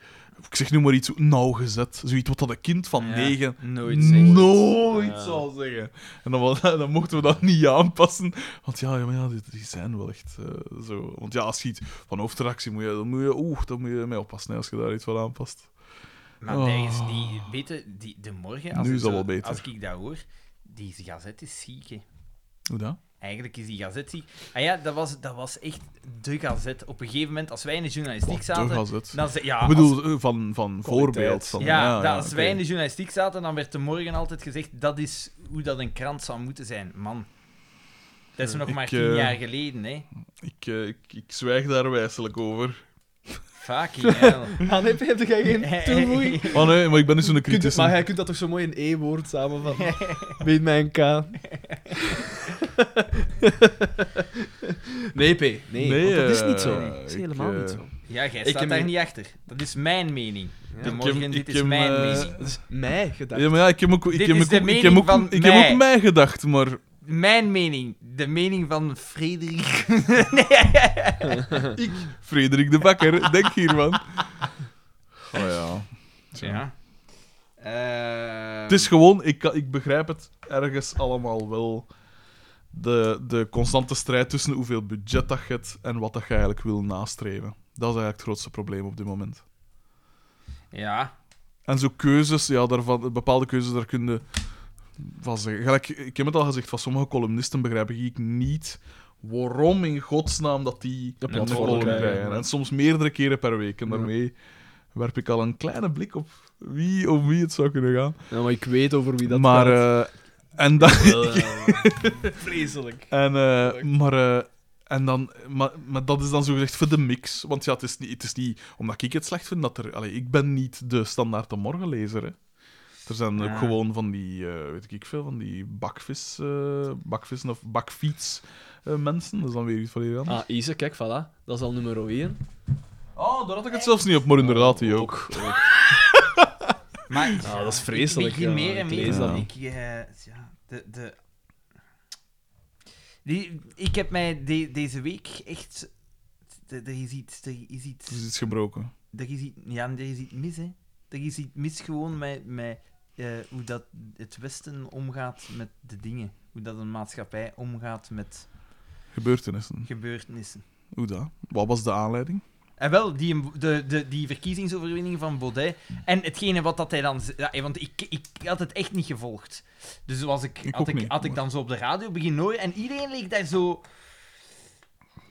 S3: Ik zeg nu maar iets zo nauwgezet. Zoiets wat dat een kind van
S1: Ja,
S3: negen
S1: Nooit zeggen.
S3: nooit
S2: Ja.
S3: zal zeggen. En dan, was- dan mochten we dat niet aanpassen. Want ja, ja, maar ja die, die zijn wel echt eh, zo. Want ja, als je iets van hoofdreactie moet je, dan moet je, oeh, dan moet je mee oppassen hè, als je daar iets van aanpast.
S1: Maar
S3: Oh.
S1: nergens die, weet je, die, de morgen, als,
S3: Nu
S1: ik
S3: is dat
S1: zo-
S3: wel beter.
S1: als ik dat hoor, die gazet is ziek. hè.
S3: Hoe dan?
S1: Eigenlijk is die gazet ziek. En ja, dat was, dat was echt de gazet. Op een gegeven moment, als wij in de journalistiek
S3: Toch
S1: zaten...
S3: was het.
S1: Dan ze, nou, ja,
S3: Ik
S1: als-
S3: bedoel, eh, van, van voorbeeld. Van,
S1: ja,
S3: ja,
S1: dat als
S3: oké.
S1: wij in de journalistiek zaten, dan werd de morgen altijd gezegd dat is hoe dat een krant zou moeten zijn. Man, dat is nog
S3: Ik,
S1: maar tien
S3: eh,
S1: jaar geleden, hè.
S3: Ik, eh, ik, ik zwijg daar wijselijk over.
S1: Fucking hell.
S2: Aan heb, Ah, heb jij geen toevoeging?
S3: Oh nee, maar ik ben niet zo'n
S2: Kunt het-
S3: kritische.
S2: maar jij kunt dat toch zo mooi in één woord samenvatten? Weet mijn K. nee, P. Nee, want dat is
S3: eh,
S2: niet zo.
S3: nee.
S2: Dat is helemaal
S3: Ik, eh,
S2: niet zo.
S1: Ja, jij
S2: Ik
S1: staat
S2: heb
S1: daar
S2: me-
S1: niet achter. Dat is mijn mening.
S2: Ja.
S1: De
S3: Ik
S1: morgen,
S3: heb-
S1: dit
S3: ik
S1: is
S3: heb,
S1: mijn
S3: eh,
S1: mening.
S2: Dat is mij gedacht.
S3: Ja, maar ja, ik heb ook, ik
S1: Dit
S3: heb
S1: is
S3: ook,
S1: de
S3: ik heb
S1: mening
S3: ook,
S1: van
S3: ik heb
S1: mij.
S3: ook mij gedacht, maar
S1: Mijn mening. De mening van Frederik.
S3: ik, Frederik de Bakker, denk hiervan. Oh ja. Tja.
S1: Ja. Ehm,
S3: Het is gewoon, ik, kan- ik begrijp het ergens allemaal wel. De, de constante strijd tussen hoeveel budget dat je hebt en wat dat je eigenlijk wil nastreven. Dat is eigenlijk het grootste probleem op dit moment.
S1: Ja.
S3: En zo keuzes, ja, daarvan, bepaalde keuzes, daar kun je van zeggen. Gelijk, ik heb het al gezegd, van sommige columnisten begrijp ik niet waarom in godsnaam dat die
S2: Een
S3: een
S2: platform
S3: column
S2: krijgen,
S3: krijgen.
S2: ja.
S3: En soms meerdere keren per week. En
S2: Ja.
S3: daarmee werp ik al een kleine blik op wie of wie het zou kunnen gaan.
S2: Ja, maar eh, ik weet over wie dat
S3: maar,
S2: gaat.
S3: eh, en dan,
S2: Vreselijk.
S3: en, eh, maar, eh, en dan, maar, maar dat is dan zo gezegd voor de mix. Want ja, het is niet, het is niet omdat ik het slecht vind dat er. Allee, ik ben niet de standaard de morgenlezer. Hè. Er zijn ook
S1: Ah.
S3: gewoon van die, eh, weet ik veel, van die bakvis, eh, bakvissen of bakfiets eh, mensen. Dat is dan weer iets van hier aan.
S2: Ah, Isa, kijk, voilà. Dat is al nummer 1.
S3: Oh, daar had ik het zelfs niet op, maar inderdaad, die ook.
S1: Maar,
S2: Ah, dat is
S1: ik
S2: vreselijk,
S1: begin
S2: ja,
S1: meer en
S2: ik
S1: meer.
S2: lees
S3: dat
S1: Ik, eh, ja, de, de... Die, ik heb mij de- deze week echt... de- Er is iets... Er is iets...
S3: Er is iets gebroken.
S1: er is, iets, ja, er is iets mis, hè. Er is iets mis gewoon met, met eh, hoe dat het Westen omgaat met de dingen. Hoe dat een maatschappij omgaat met
S3: Gebeurtenissen.
S1: gebeurtenissen.
S3: Hoe dat? Wat was de aanleiding?
S1: En wel, die, de, de, die verkiezingsoverwinning van Baudet. En hetgene wat dat hij dan... z- Ja, want ik, ik had het echt niet gevolgd. Dus was ik,
S3: Ik
S1: had,
S3: ook
S1: ik,
S3: niet,
S1: had ik
S3: maar-
S1: dan zo op de radio beginnen horen. En iedereen leek daar zo...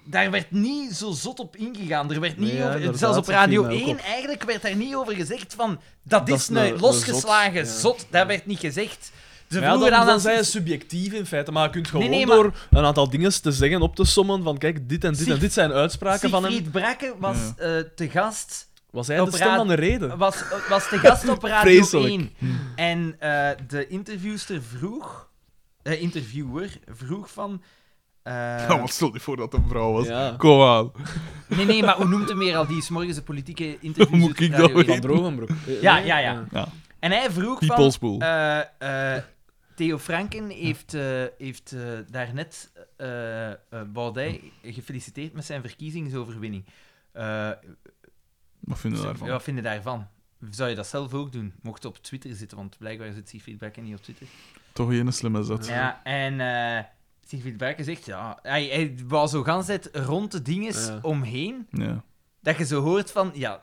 S1: Daar werd niet zo zot op ingegaan. Er werd
S2: Nee,
S1: niet
S2: ja,
S1: over,
S2: inderdaad,
S1: zelfs op
S2: dat viel
S1: Radio
S2: mij ook
S1: 1
S2: op.
S1: eigenlijk werd daar niet over gezegd van... Dat,
S2: Dat
S1: is
S2: is
S1: nou
S2: een- een
S1: losgeslagen,
S2: zot, ja.
S1: zot. Dat werd niet gezegd. Ze
S2: Ja,
S1: vroegen
S2: dan,
S1: aan
S2: dan
S1: ons-
S2: zijn ze subjectief in feite, maar je kunt gewoon
S1: Nee, nee,
S2: door een aantal dingen te zeggen, op te sommen, van kijk, dit en dit en
S1: Sieg-
S2: dit zijn uitspraken van hem.
S1: Siegfried Brakke was eh, te gast...
S2: Was hij de
S1: op
S2: stem
S1: raad-
S2: aan de reden?
S1: was, was de gast op Radio
S2: Vreselijk.
S1: 1. En eh, de interviewster vroeg... De interviewer vroeg van... eh,
S3: Ja, maar stel je voor dat het een vrouw was.
S2: Ja.
S3: Kom aan.
S1: nee, nee, maar hoe noemt hem meer al die smorgens de politieke
S3: Hoe
S1: interviews?
S3: moet
S1: op
S3: ik
S1: Radio 1?
S3: dat
S2: Van Brogenbroek.
S1: Ja, ja, ja.
S3: Ja.
S1: En hij vroeg van...
S3: Peoplespool.
S1: eh, eh, Theo Franken heeft, eh, heeft eh, daarnet eh, eh, Baudet gefeliciteerd met zijn verkiezingsoverwinning. Eh,
S3: Wat vinden we daarvan?
S1: Wat vind je daarvan? Zou je dat zelf ook doen? Mocht je op Twitter zitten, want blijkbaar zit Siegfried Brakke niet op Twitter.
S3: Toch geen slimme zet.
S1: Ja, en eh Siegfried Brakke zegt, ja, hij, hij was zo gans tijd rond de dinges
S2: Ja.
S1: omheen,
S3: Ja.
S1: dat je zo hoort van, ja,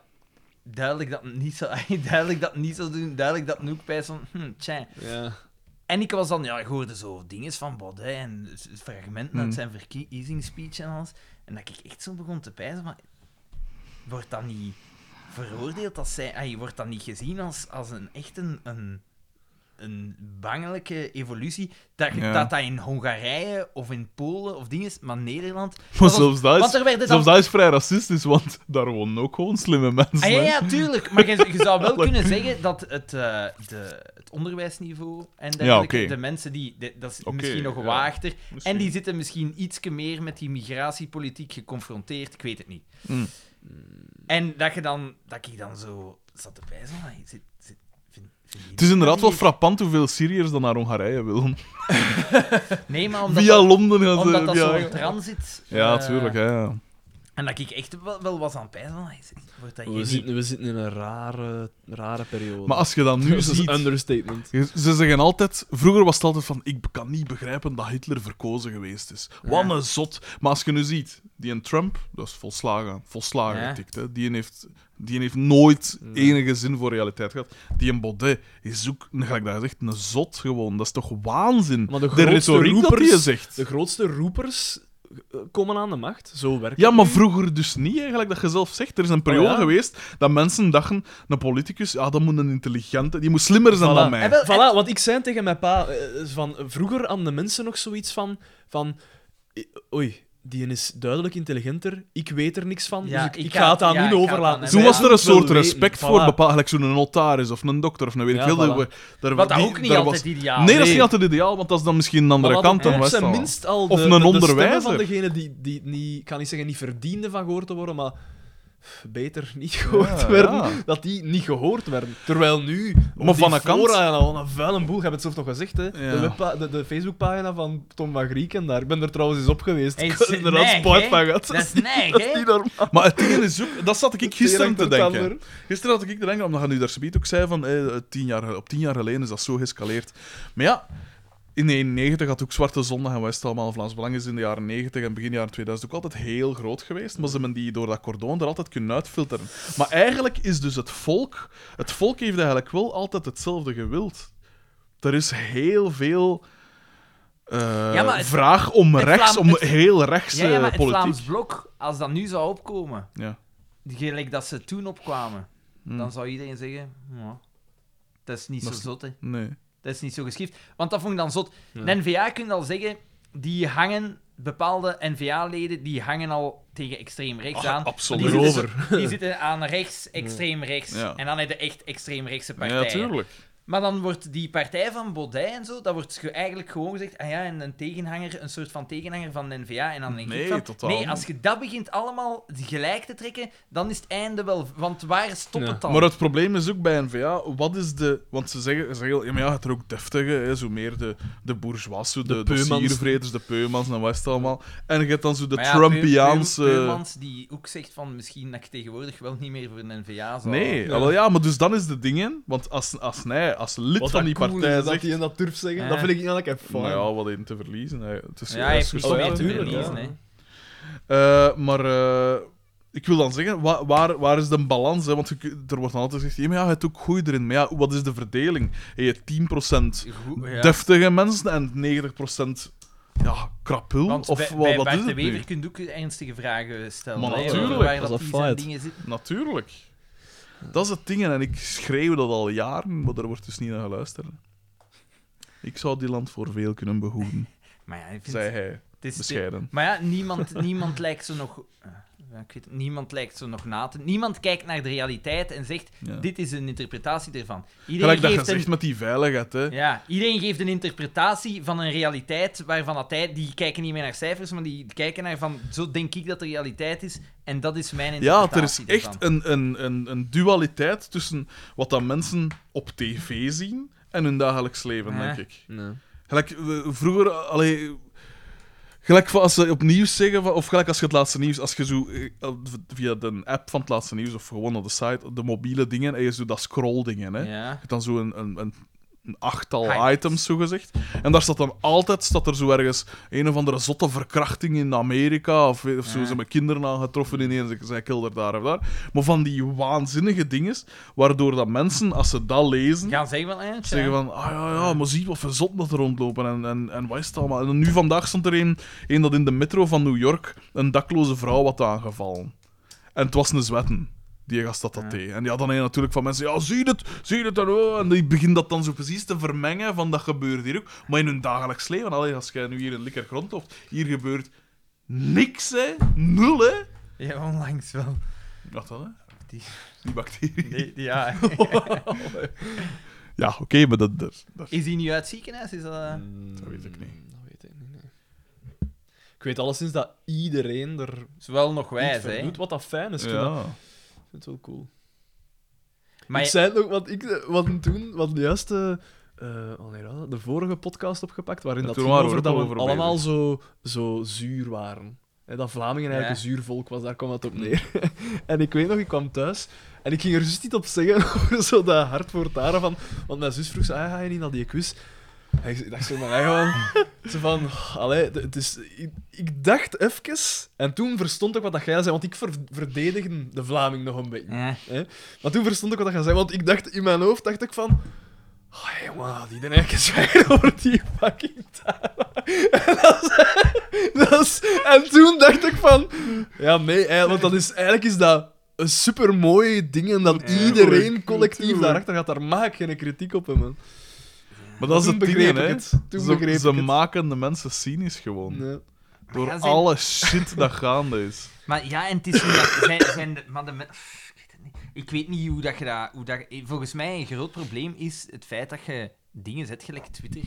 S1: duidelijk dat het niet zo, duidelijk dat het niet zo doen, duidelijk dat Noek pijs van, hm, tja.
S2: Ja.
S1: En ik was dan, ja, ik hoorde zo dinges van Baudet en s- fragmenten uit
S3: Mm.
S1: zijn verkiezingsspeech en alles. En dat ik echt zo begon te pijzen, maar wordt dat niet veroordeeld als zij... ai, wordt dat niet gezien als, als een echt een, een, een bangelijke evolutie? Dat, je-
S3: Ja.
S1: dat dat in Hongarije of in Polen of dinges, maar Nederland...
S3: Maar
S1: Want-
S3: zelfs dat
S1: Want
S3: is,
S1: er werden dan...
S3: zelfs dat is vrij racistisch, want daar wonen ook gewoon slimme mensen.
S1: Ah, ja,
S3: hè.
S1: ja, tuurlijk. Maar je, je zou wel kunnen zeggen dat het, eh, de, het onderwijsniveau en dergelijke,
S3: oké.
S1: de mensen die... de- dat is
S3: Oké,
S1: misschien nog
S3: ja.
S1: gewaagder.
S3: Misschien.
S1: En die zitten misschien ietske meer met die migratiepolitiek geconfronteerd, ik weet het niet.
S3: Mm.
S1: En dat, je dan, dat ik dan zo zat te wijzen, van, zit, zit, vind, vind je
S3: Het is
S1: niet
S3: inderdaad wel
S1: dat die-
S3: frappant hoeveel Syriërs dan naar Hongarije willen.
S1: Nee, maar omdat
S3: Via
S1: dat,
S3: Londen gaan ze...
S1: omdat dat
S3: via...
S1: zo'n transit...
S3: Ja,
S1: eh,
S3: tuurlijk. Ja, ja.
S1: En dat ik echt wel, wel was aan het pijzen van, "Hey, wordt dat hier
S2: We
S1: niet...
S2: zitten, we zitten in een rare, rare periode.
S3: Maar als je dan nu
S2: dat is
S3: ziet...
S2: een understatement.
S3: Ze zeggen altijd, vroeger was het altijd van: ik kan niet begrijpen dat Hitler verkozen geweest is. Wat een zot. Maar als je nu ziet, die een Trump, dat is volslagen, volslagen
S1: Ja.
S3: getikt. Hè. Die, een heeft, die een heeft nooit
S2: Nee.
S3: enige zin voor realiteit gehad. Die een Baudet is ook, gelijk dat je zegt, een zot gewoon. Dat is toch waanzin?
S2: Maar de
S3: de
S2: grootste
S3: retoriek dat
S2: roepers,
S3: die zegt.
S2: De grootste roepers eh, komen aan de macht. Zo werkt
S3: Ja,
S2: het
S3: maar
S2: nu.
S3: vroeger dus niet, eigenlijk, dat je zelf zegt. Er is een periode
S2: Oh, ja.
S3: geweest dat mensen dachten, een politicus, ja, dat moet een intelligente, die moet slimmer zijn
S2: Voilà.
S3: dan
S1: En
S3: mij.
S1: wel, en-
S2: Voilà, want ik zei tegen mijn pa eh, eh, van eh, vroeger aan de mensen nog zoiets van, van eh, oei, die is duidelijk intelligenter, ik weet er niks van,
S1: Ja,
S2: dus ik,
S1: ik
S2: ik
S1: ga-
S2: ga het aan
S1: ja, ik
S2: hun
S1: ga het aan
S2: overlaten.
S1: hem
S3: Toen
S1: Ja,
S3: was er een soort
S2: Wel
S3: respect
S2: weten,
S3: voor,
S2: voilà.
S3: bepaald, gelijk zo'n notaris of een dokter of een weet ik
S2: Ja,
S3: veel.
S2: voilà.
S3: daar-
S1: Wat dat
S3: die-
S1: ook niet
S3: daar
S1: altijd ideaal
S3: Nee, dat is
S2: Nee.
S3: niet altijd ideaal, want dat is dan misschien een
S2: Maar
S3: andere
S2: hadden
S3: kant dan
S2: op
S3: West.
S2: zijn minst al de,
S3: Of een
S2: de- de stemmen
S3: onderwijzer.
S2: van degene die, die het niet, ik kan niet zeggen, niet verdiende van gehoord te worden, maar beter niet gehoord
S3: Ja,
S2: werden.
S3: ja.
S2: Dat die niet gehoord werden. Terwijl nu, op
S3: Maar
S2: die
S3: van een kant-
S2: fora en al een vuile boel, ik heb het zelf nog gezegd, hè. De,
S3: Ja.
S2: webpa- de, de Facebookpagina van Tom van Grieken daar. Ik ben er trouwens eens op geweest.
S1: Hey,
S2: ik
S1: is
S2: heb inderdaad
S1: neig,
S2: spijt
S1: hè?
S2: van gehad.
S1: Dat is neig, hè?
S2: niet normaal.
S3: Maar het ding is ook, dat zat ik gisteren te
S2: Tering tot
S3: denken.
S2: ander.
S3: Gisteren had ik te denken, omdat je nu daar zoiets ook zei van eh, tien jaar, op tien jaar geleden is dat zo geëscaleerd. Maar ja, in 91 had ook Zwarte Zondag en West allemaal Vlaams Belang is in de jaren 90 en begin jaren 2000 ook altijd heel groot geweest. Maar ze hebben die door dat cordon er altijd kunnen uitfilteren. Maar eigenlijk is dus het volk, het volk heeft eigenlijk wel altijd hetzelfde gewild. Er is heel veel eh,
S1: Ja, maar het-
S3: vraag om
S1: het
S3: rechts,
S1: Vlaam-
S3: om
S1: het-
S3: heel rechts
S1: Ja, ja,
S3: eh,
S1: maar het
S3: politiek.
S1: Vlaams Blok, als dat nu zou opkomen,
S3: Ja.
S1: gelijk dat ze toen opkwamen,
S3: Hm.
S1: dan zou iedereen zeggen, "Ja, dat is niet
S3: Dat
S1: zo
S3: is-
S1: zot, hè.
S3: Nee.
S1: Dat is niet zo geschikt. Want dat vond ik dan zot. De N-VA kun je al zeggen, die hangen, bepaalde N-VA-leden, die hangen al tegen extreem rechts
S3: Ah,
S1: aan.
S3: absoluut.
S1: Die zitten, die zitten aan rechts, extreem rechts.
S3: Ja.
S1: En dan heb je echt extreemrechtse
S3: Ja,
S1: partijen.
S3: natuurlijk.
S1: maar dan wordt die partij van Baudet en zo, dat wordt ge- eigenlijk gewoon gezegd, ah ja, een, een tegenhanger, een soort van tegenhanger van de N-VA. En dan denk
S3: Nee,
S1: ik van,
S3: totaal
S1: nee,
S3: niet.
S1: als je dat begint allemaal gelijk te trekken, dan is het einde wel... Want waar stopt
S2: Ja.
S1: het dan?
S3: Maar het probleem is ook bij NVA, wat is de... Want ze zeggen, ze zeggen ja, maar ja, het er ook deftige, hè, zo meer de, de bourgeois, zo de,
S2: De
S3: de,
S2: peumans.
S3: siervreters, de peumans en wat is het allemaal. En je hebt dan zo de
S1: Maar ja,
S3: Trumpiaanse...
S1: Peu- Peu- Peumans die ook zegt van misschien dat ik tegenwoordig wel niet meer voor een NVA zou.
S3: nee, ja. ja, maar dus dan is de dingen... Want als, als, hij als lid
S2: Wat
S3: van
S2: dat
S3: die
S2: cool
S3: partij
S2: is, dat
S3: zegt...
S2: die en dat durf zeggen,
S1: Ja.
S2: dat vind ik niet lekker fijn.
S3: Nou ja, wat in te verliezen. Hè. Het is,
S1: Ja, hij
S3: hij is
S1: heeft niks
S2: oh,
S3: gesloten.
S2: ja,
S1: meer te
S2: tuurlijk,
S1: verliezen.
S2: ja.
S1: hè.
S3: Eh, maar eh, ik wil dan zeggen, wa- waar, waar is de balans? Hè? Want je kun- er wordt dan altijd gezegd, ja, maar ja, het ook goed erin. Maar ja, wat is de verdeling? Je hebt 10%
S1: Goed, ja.
S3: deftige mensen en 90% ja, krapul.
S1: Want
S3: of
S1: bij,
S3: wa-
S1: bij
S3: wat
S1: Bart
S3: is
S1: de
S3: het
S1: Wever
S3: nu?
S1: kun je ook ernstige vragen stellen.
S3: Maar
S1: hè, over
S3: natuurlijk,
S1: waar
S2: dat
S1: dat
S2: is
S1: die
S2: een
S1: zijn
S2: feit.
S1: dingen zitten.
S3: Natuurlijk. Dat is het ding, en ik schreeuw dat al jaren, maar daar wordt dus niet naar geluisterd. Ik zou die land voor veel kunnen behoeden,
S1: Maar ja, ik vind
S3: zei hij,
S1: het is-
S3: bescheiden.
S1: Maar ja, niemand, niemand lijkt zo nog... eh, Ik weet, het, niemand lijkt zo nog na te... Niemand kijkt naar de realiteit en zegt,
S3: Ja.
S1: dit is een interpretatie ervan.
S3: Gelijk
S1: Iedereen
S3: dat je
S1: geeft een
S3: zegt met die veiligheid, hè.
S1: Ja, iedereen geeft een interpretatie van een realiteit waarvan dat hij... Die kijken niet meer naar cijfers, maar die kijken naar van... Zo denk ik dat de realiteit is en dat is mijn
S3: Ja,
S1: interpretatie
S3: er is echt
S1: ervan.
S3: een, een, een, een dualiteit tussen wat dat mensen op tv zien en hun dagelijks leven,
S1: Ja.
S3: denk ik.
S2: Nee.
S3: Gelijk, eh, vroeger, allee, gelijk van als ze op nieuws zeggen, van- of gelijk als je het laatste nieuws, als je zo eh, via de app van het laatste nieuws of gewoon op de site, de mobiele dingen, en je zo dat scrolldingen, hè. Je
S1: Ja.
S3: hebt dan zo een, een, een een achttal
S1: Highlights.
S3: items, zogezegd. En daar staat dan altijd staat er zo ergens een of andere zotte verkrachting in Amerika. Of, of zo
S1: Ja.
S3: zijn mijn kinderen aangetroffen ineens. Ik zei kilder daar of daar. Maar van die waanzinnige dingen, waardoor dat mensen, als ze dat lezen,
S1: Gaan zeggen van... Eh, tja.
S3: zeggen van, ah ja, ja, maar zie wat voor zotten dat er rondlopen en, en, en wat is het allemaal. En nu vandaag stond er een, een dat in de metro van New York een dakloze vrouw had aangevallen. En het was een zwetten. Die gast dat dat
S1: Ja.
S3: deed. En ja, dan heb je natuurlijk van mensen, ja, zie je het, zie je het. En, oh, en die begint dat dan zo precies te vermengen van dat gebeurt hier ook. Maar in hun dagelijks leven, allee, als jij nu hier in Likker grondtocht, hier gebeurt niks, hè. Nul, hè.
S1: Ja, onlangs wel.
S3: Wat dan, hè?
S1: Die-
S3: Die bacterie.
S1: Die- die- ja.
S2: Oh,
S3: Ja, oké, maar dat, dat, dat,
S1: Is die nu uit het ziekenhuis? Is dat... eh?
S3: dat weet ik niet.
S2: Dat weet ik niet, nee. Ik weet alleszins dat iedereen er
S1: Is wel nog
S2: iets
S1: wijs,
S2: voor
S1: hè.
S2: doet wat dat fijn is. Ik vind dat-
S3: Ja.
S2: ik vind het wel cool.
S1: Maar
S2: ik
S1: je-
S2: zei het ook, want ik wat toen, wat juist eh, eh, wanneer was dat? de vorige podcast opgepakt, waarin
S3: Ja,
S2: dat
S3: toen
S2: ging
S3: waren we
S2: over
S3: er
S2: dat
S3: ook
S2: we
S3: over
S2: allemaal zo, zo zuur waren. Hè, dat Vlamingen eigenlijk
S1: Ja.
S2: een zuur volk was, daar kwam dat op neer. en ik weet nog, ik kwam thuis en ik ging er zus niet op zeggen over zo dat hart voor taren van... Want mijn zus vroeg zo, ah, ga je niet naar die quiz? En ik dacht zo, maar gewoon... Ze van, allee, d- het is, ik, ik dacht even, en toen verstond ik wat dat jij zei, want ik ver- verdedigde de Vlaming nog een beetje.
S1: Ja.
S2: Maar toen verstond ik wat dat jij zei, want ik dacht, in mijn hoofd dacht ik van... Oh, jongen, had iedereen eigenlijk zwijgen over die fucking taal. dat is, en toen dacht ik van... Ja, nee, hè, want dat is, eigenlijk is dat een supermooie ding en dat
S3: Ja,
S2: iedereen
S3: goed,
S2: collectief
S3: goed.
S2: daarachter gaat. Daar maak ik geen kritiek op, hè, man.
S3: Maar dat is
S2: Toen
S3: het ding,
S2: begreep ik
S3: hè.
S2: het. Toen
S3: ze
S2: begreep
S3: ze
S2: ik het.
S3: maken de mensen cynisch gewoon.
S2: Nee.
S3: Door
S1: Ja, zijn-
S3: alle shit dat gaande is.
S1: Maar ja, en het is niet dat... Zijn, zijn de, maar de, men- pff, ik weet het niet. Ik weet niet hoe dat je dat, hoe dat... Volgens mij een groot probleem is het feit dat je dingen zet, gelijk Twitter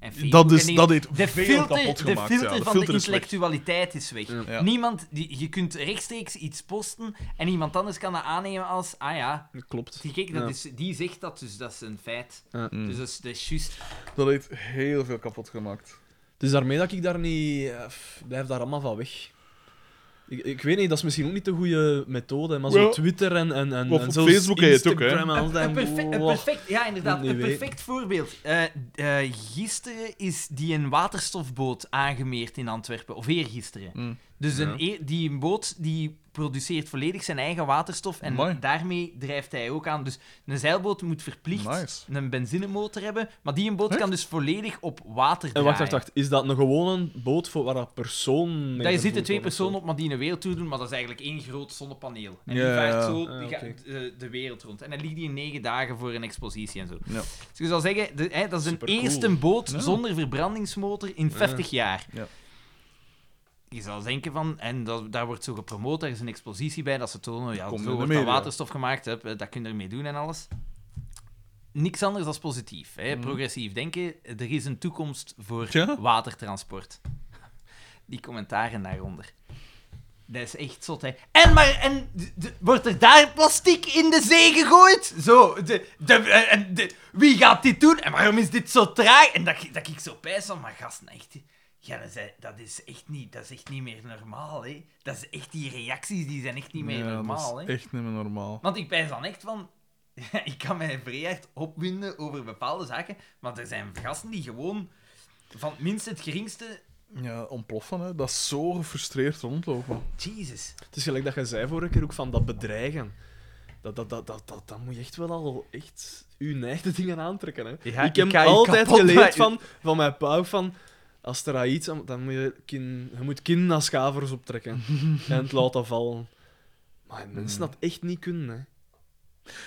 S1: en Facebook.
S3: Dat, is,
S1: en dingen.
S3: dat heeft
S1: de
S3: veel
S1: filter,
S3: kapot
S1: de
S3: gemaakt.
S1: filter
S3: ja.
S1: van de
S3: filter is weg.
S1: intellectualiteit is weg.
S2: Ja.
S3: Ja.
S1: Niemand, die, je kunt rechtstreeks iets posten en iemand anders kan dat aannemen als, ah ja,
S2: Dat klopt.
S1: die, kijk, dat
S2: Ja.
S1: is, die zegt dat, dus dat is een feit.
S3: Mm.
S1: Dus dat is, dat is juist.
S3: Dat heeft heel veel kapot gemaakt.
S2: Dus daarmee dat ik daar niet... eh, pff, blijf daar allemaal van weg. Ik, ik weet niet, dat is misschien ook niet de goede methode, maar zo
S3: Wel,
S2: Twitter en, en, en,
S3: op
S2: en
S3: Facebook heb je het ook, hè.
S2: Instagram en al
S1: Een,
S2: dat,
S1: een perfe- een
S2: wow.
S1: perfect, ja, inderdaad,
S2: Moet niet
S1: een perfect voorbeeld. Eh, eh, gisteren is die een waterstofboot aangemeerd in Antwerpen, of eergisteren.
S3: Mm.
S1: Dus een
S3: Ja.
S1: e- die boot die produceert volledig zijn eigen waterstof en
S3: Amai.
S1: daarmee drijft hij ook aan. Dus een zeilboot moet verplicht
S3: Nice.
S1: een benzinemotor hebben, maar die een boot
S3: Echt?
S1: kan dus volledig op water
S2: En
S1: draaien.
S2: wacht, wacht, wacht. Is dat een gewone boot voor waar dat persoon mee
S1: Daar zitten
S2: vervoerd
S1: twee
S2: wordt of
S1: personen op, maar die een wereldtour doen, maar dat is eigenlijk één groot zonnepaneel. En
S3: Ja,
S1: die vaart
S3: ja.
S1: zo
S2: Ah,
S1: die
S2: oké.
S1: gaat, eh, de wereld rond. En dan ligt die in negen dagen voor een expositie en zo.
S3: Ja.
S1: Dus ik zou zeggen, de, hè, dat is een
S2: Supercool.
S1: eerste boot
S3: Ja.
S1: zonder verbrandingsmotor in 50 jaar.
S3: Ja.
S1: Je zou denken van, en dat, daar wordt zo gepromoot, daar is een expositie bij, dat ze tonen, ja,
S3: Komt in
S1: zo
S3: de
S1: wordt dat
S3: media.
S1: waterstof gemaakt, hè, dat kun je ermee doen en alles. Niks anders dan positief. Hè.
S3: Mm.
S1: Progressief denken, er is een toekomst voor
S3: Ja.
S1: watertransport. Die commentaren daaronder. Dat is echt zot, hè. En maar, en d- d- wordt er daar plastic in de zee gegooid? Zo, de, de, eh, en de- wie gaat dit doen? En waarom is dit zo traag? En dat, dat ik zo pijs van, maar gasten, echt... Ja, dat is, eh, dat is echt niet, dat is echt niet meer normaal, hè. Dat is echt, die reacties, die zijn echt niet meer
S3: Ja,
S1: normaal,
S3: dat
S1: hè.
S3: is echt niet meer normaal.
S1: Want ik ben dan echt van... ik kan mij vrij hard opwinden over bepaalde zaken, maar er zijn gasten die gewoon van het minst het geringste...
S3: Ja, ontploffen, hè. Dat is zo gefrustreerd rondlopen.
S1: Jesus.
S2: zo? Het is gelijk dat je zei vorige keer ook van dat bedreigen. Dat, dat, dat, dat, dat, dat moet je echt wel al echt je eigen dingen aantrekken. Hè.
S1: Ja,
S2: ik
S1: ik
S2: heb
S1: ga je
S2: altijd
S1: kapot
S2: geleerd
S1: maken.
S2: van, van mijn pa ook van... Als er aan iets... aan- Dan moet je, kin, je moet kin naar schavers optrekken. en het laat dat vallen. Maar
S1: Hmm.
S2: mensen dat echt niet kunnen, hè.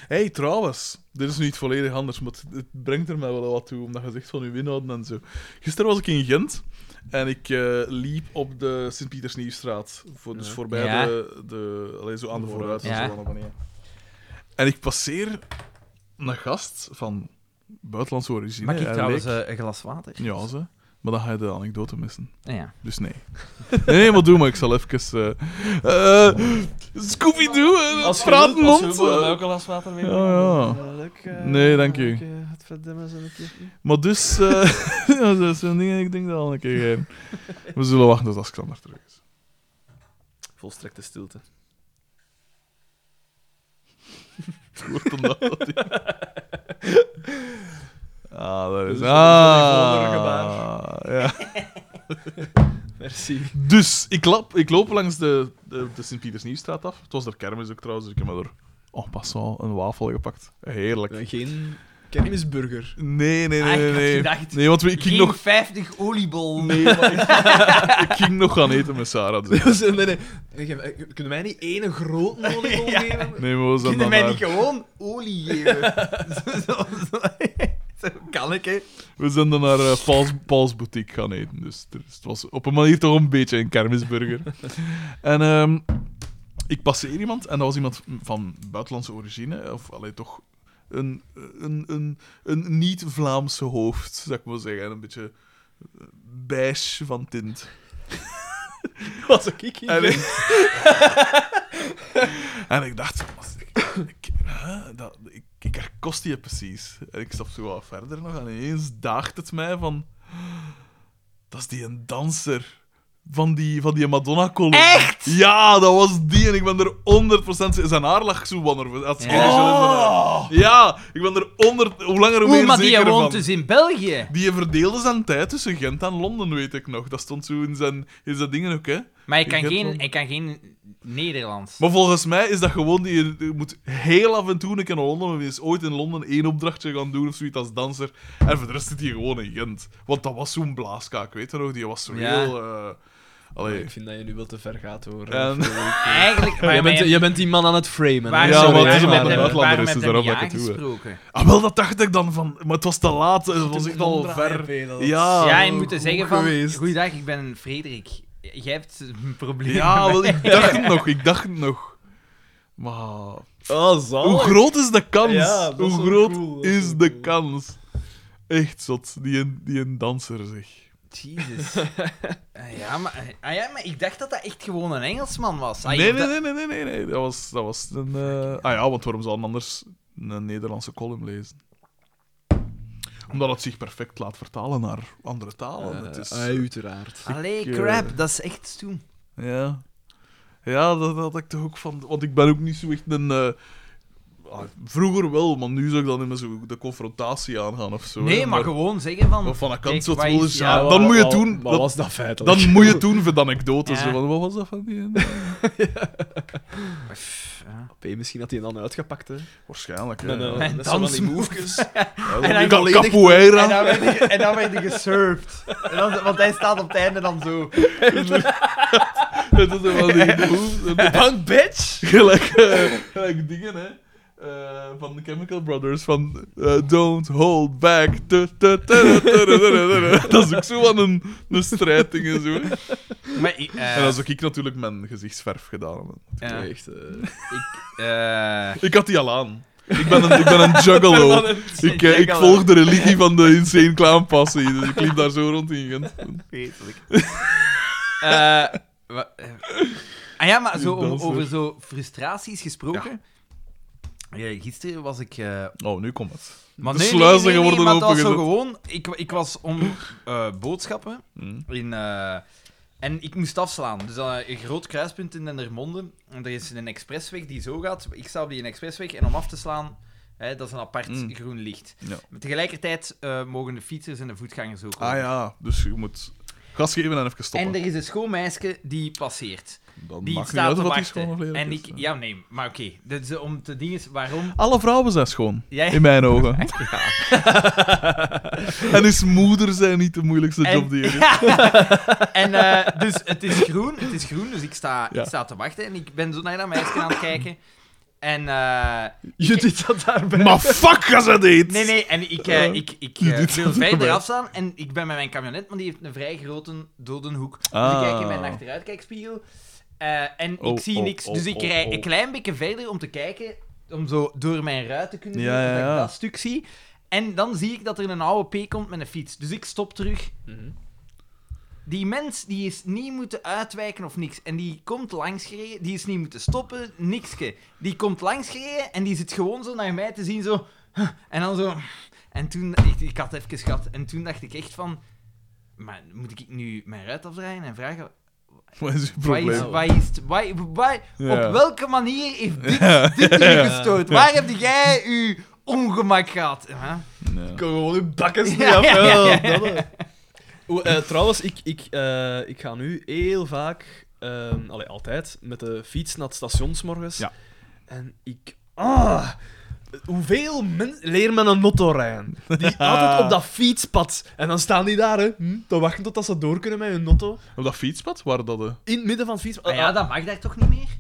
S3: Hé, hey, trouwens, dit is nu iets volledig anders, maar het, het brengt er mij wel wat toe, omdat je zegt van uw inhouden en zo. Gisteren was ik in Gent en ik eh, liep op de Sint-Pietersnieuwstraat, voor, dus
S2: Ja.
S3: voorbij
S1: Ja.
S3: de, de allee, zo aan de vooruit en
S1: Ja.
S3: zo aan de beneden. En ik passeer een gast van buitenlandse origine.
S1: Mag ik
S3: hij
S1: trouwens
S3: leek-
S1: eh, een glas water?
S3: Ja, ze. Maar dan ga je de anekdote missen.
S1: Ja.
S3: Dus nee. Nee, nee, maar doe maar. Ik zal even... eh eh, Scooby-Doo, eh,
S2: Als je
S3: praat
S2: wilt, als je
S3: mond,
S2: wilt,
S3: eh.
S2: dan ook al eens water mee.
S3: Ja,
S1: Oh,
S3: ja. Nee, dank u.
S2: Het verdomme zijn het
S3: Maar dus, eh, ja, dat is zo'n ding, ik denk dat al een keer geven. We zullen wachten tot Askander terug is.
S2: Volstrekte stilte.
S3: Wordt dan dat dat die- Ah, dat
S2: Dus is
S3: is...
S2: een bijzonder
S3: Ah, ja.
S2: Merci.
S3: Dus, ik, lap, ik loop langs de, de, de Sint-Pietersnieuwstraat af. Het was er kermis ook trouwens, dus ik heb me er... Oh, pas al, een wafel gepakt. Heerlijk. Nee,
S2: Geen kermisburger.
S3: nee, nee,
S1: Ah, ik
S3: nee.
S1: had
S3: Nee,
S1: gedacht,
S3: nee want we- ik ging
S1: Geen
S3: nog...
S1: 50 oliebol.
S3: Nee, maar ik, ik ging nog gaan eten met Sarah. dus.
S2: Nee, nee, nee. Nee, ge- eh, Kunnen wij niet één grote oliebol
S1: Ja.
S2: nemen?
S3: Nee, maar we zijn
S1: Kunnen
S3: dan
S1: mij
S3: naar-
S1: niet gewoon olie geven? zo, zo, zo, zo kan ik, hè.
S3: We zijn dan naar eh, Paul's, Paul's Boutique gaan eten. Dus er- het was op een manier toch een beetje een kermisburger. en ehm, ik passeer iemand, en dat was iemand van buitenlandse origine. Of allee, toch een, een, een, een niet-Vlaamse hoofd, zou ik maar zeggen. Een beetje eh, beige van tint.
S2: Was ook ik hier?
S3: En ik, en ik dacht, was ik, ik, hè, dat, ik, ik herkost die precies. En ik stap zo wat verder nog en ineens daagt het mij van... Dat is die een danser van die, van die Madonna-column.
S1: Echt?
S3: Ja, dat was die en ik ben er 100% zeker- Zijn haar lag zo wanneer had
S1: Ja.
S3: scheertje in zijn haar. Ja, ik ben er 100... Hoe langer hoe
S1: Oeh,
S3: meer
S1: maar die
S3: zeker
S1: woont
S3: van.
S1: dus in België.
S3: Die verdeelde zijn tijd tussen Gent en Londen, weet ik nog. Dat stond zo in zijn, in zijn dingen ook, hè.
S1: Maar ik kan,
S3: Ik heb
S1: geen,
S3: wel-
S1: ik kan geen Nederlands.
S3: Maar volgens mij is dat gewoon... Die, je moet heel af en toe een keer naar Londen. Of je is ooit in Londen één opdrachtje gaan doen of zoiets als danser. En voor de rest zit hij gewoon in Gent. Want dat was zo'n blaaskaak, weet je nog? Die was zo
S1: Ja.
S3: heel... eh, allee.
S2: Ik vind dat je nu wel te ver gaat, hoor. eh.
S3: En-
S1: Eigenlijk, maar
S2: Jij bent,
S1: mijn-
S2: jij bent die man aan het framen.
S1: Waar
S3: Ja,
S1: zou-
S3: maar het is
S1: waarom
S3: omdat
S1: heb-
S3: een uitlander
S1: waarom
S3: is,
S1: heb
S3: dus daarom
S1: je
S3: dat ik
S1: niet
S3: het doe, hè.
S1: aangesproken?
S3: Ah, wel, dat dacht ik dan van... Maar het was te laat. Dat was echt al ver. Ja.
S1: ja, je
S3: wel
S1: moet
S3: goed
S1: zeggen van...
S3: Ah, geweest.
S1: Goeiedag, ik ben Frederik. Jij hebt een probleem.
S3: Ja, wel, ik dacht het nog. Ik dacht het nog. Maar...
S2: Ah,
S3: Hoe groot is de kans?
S2: Ja, dat is
S3: Hoe
S2: wel
S3: groot
S2: cool, dat is
S3: is
S2: wel
S3: de
S2: cool.
S3: kans? Echt zot, die een, die een danser zeg.
S1: Jezus. Ah, ja, maar, ah, ja, maar ik dacht dat dat echt gewoon een Engelsman was. Ah,
S3: Nee,
S1: ik-
S3: nee,
S1: dat-
S3: nee, nee, nee, nee, nee. Dat was, dat was een. eh, Ah ja, want waarom zou een anders een Nederlandse column lezen? Omdat het zich perfect laat vertalen naar andere talen.
S1: Eh,
S3: het is,
S2: Uiteraard.
S1: Allee,
S3: eh,
S1: crap, dat is echt stoem.
S3: Ja. Ja, dat had ik toch ook van. Want ik ben ook niet zo echt een. eh, ah, vroeger wel, maar nu zou ik dan immer zo de confrontatie aangaan of zo. hè.
S1: Nee, maar gewoon zeggen van...
S3: Of van een
S1: Kijk,
S3: kant zo het
S1: wat
S3: wel
S1: is-
S3: eens-
S1: ja,
S3: ja,
S1: wat-
S3: dan moet je
S2: Wat-
S3: het doen.
S2: Wat
S3: Dat-
S2: was dat feitelijk?
S3: Dan moet je het doen voor de anekdotes.
S1: Ja.
S3: zo van, Wat was dat van die? eh,
S1: Pff, ja.
S2: P, misschien had hij dan uitgepakt, hè?
S3: Waarschijnlijk. hè.
S2: Met, eh,
S1: En
S2: met zo van die
S1: dansmoves.
S2: moefjes.
S3: Ja,
S1: en
S3: ik
S1: hij
S3: had
S2: volledig-
S3: capoeira.
S1: En dan werd hij, en dan werd hij gesurfd. En dan- want hij staat op het einde dan zo.
S3: Dat is wel die moves. En
S2: Punk bitch!
S3: Gelijk, eh, gelijk dingen, hè. Eh, van de Chemical Brothers, van eh, Don't Hold Back. Tu, tu, tu, tu, tu, tu, tu, tu. Dat is ook zo van een, een strijdding en zo.
S1: Maar, ik- eh,
S3: En dan zou ik natuurlijk mijn gezichtsverf gedaan. hebben.
S1: ja,
S2: Echt, eh,
S1: ik, eh,
S3: Ik had die al aan. Ik ben een, ik ben een juggalo. Ik, eh, ik volg de religie van de Insane Clown Passie, dus ik liep daar zo rond in Gent.
S1: Vreselijk. Eh, wa- eh. ah ja, maar zo,
S3: Die
S1: om-
S3: danser.
S1: over zo frustraties gesproken. Ja, gisteren was ik. eh,
S3: Oh, nu komt het.
S1: maar
S3: De sluizen worden
S1: maar dat was zo
S3: opengezet.
S1: gewoon. Ik, ik was om eh, boodschappen
S3: Hm.
S1: in. eh, en ik moest afslaan. Dus dan een groot kruispunt in Dendermonde. En er is een expressweg die zo gaat. Ik sta op die expressweg. En om af te slaan, hè, dat is een apart
S3: Mm.
S1: groen licht.
S3: Ja.
S1: Maar tegelijkertijd eh, mogen de fietsers en de voetgangers ook.
S3: Ah
S1: over.
S3: ja, dus je moet gas geven en even stoppen.
S1: En er is een schoonmeisje die passeert.
S3: Dan
S1: Die
S3: maakt niet
S1: staat
S3: uit
S1: te
S3: wat die
S1: wachten.
S3: schoon of lelijk
S1: en
S3: is,
S1: ik,
S3: hè.
S1: ja, nee, maar oké. Dat is om te dingen is waarom.
S3: Alle vrouwen zijn schoon.
S1: Jij-
S3: In mijn ogen. en is moeder zijn niet de moeilijkste
S1: En-
S3: job die er is.
S1: En eh, dus het is groen, het is groen, dus ik sta,
S3: Ja.
S1: ik sta te wachten en ik ben zo naar dat meisje aan het kijken. En eh,
S2: Judith had daarbij.
S3: Maar fuck, ga ze dit!
S1: nee, nee, en ik, eh,
S3: Ja.
S1: ik, ik
S3: Je
S1: eh,
S3: doet
S1: wil
S3: dat
S1: verder
S3: erbij.
S1: afstaan en ik ben met mijn camionet, maar die heeft een vrij grote dode hoek. Dus
S3: Ah.
S1: ik kijk in mijn achteruitkijkspiegel eh, en
S3: Oh,
S1: ik zie
S3: oh,
S1: niks.
S3: oh,
S1: Dus ik
S3: oh,
S1: rij
S3: oh.
S1: een klein beetje verder om te kijken, om zo door mijn ruit te kunnen
S3: Ja,
S1: zien, zodat
S3: ja, ja.
S1: ik dat stuk zie. En dan zie ik dat er een oude P komt met een fiets. Dus ik stop terug.
S2: Mhm.
S1: Die mens die is niet moeten uitwijken of niks. En die komt langsgereden, die is niet moeten stoppen, nikske. Die komt langsgereden en die zit gewoon zo naar mij te zien, zo. huh, En dan zo. En toen, ik, ik had even gehad, en toen dacht ik echt van. Maar moet ik nu mijn ruit afdraaien en vragen.
S3: Wat is uw
S1: Wat is,
S3: probleem?
S1: wat is, wat, wat-
S3: Ja.
S1: Op welke manier heeft dit, dit u gestoord? Waar heb jij uw ongemak gehad? Huh?
S3: Nee.
S2: Ik kan gewoon uw bakkes niet
S1: Ja,
S2: af. hè.
S1: ja, ja.
S2: Dat, hè. Oeh, eh, trouwens, ik, ik, eh, ik ga nu heel vaak, ehm allee, altijd, met de fiets naar het station 's morgens.
S3: Ja.
S2: En ik... Ah, hoeveel mensen... Leer me een notto rijden. Die altijd op dat fietspad. En dan staan die daar, hè, hm, te wachten totdat ze door kunnen met hun notto.
S3: Op dat fietspad? Waar dat... eh,
S2: In het midden van het fietspad.
S1: Ah ja, dat mag daar toch niet meer?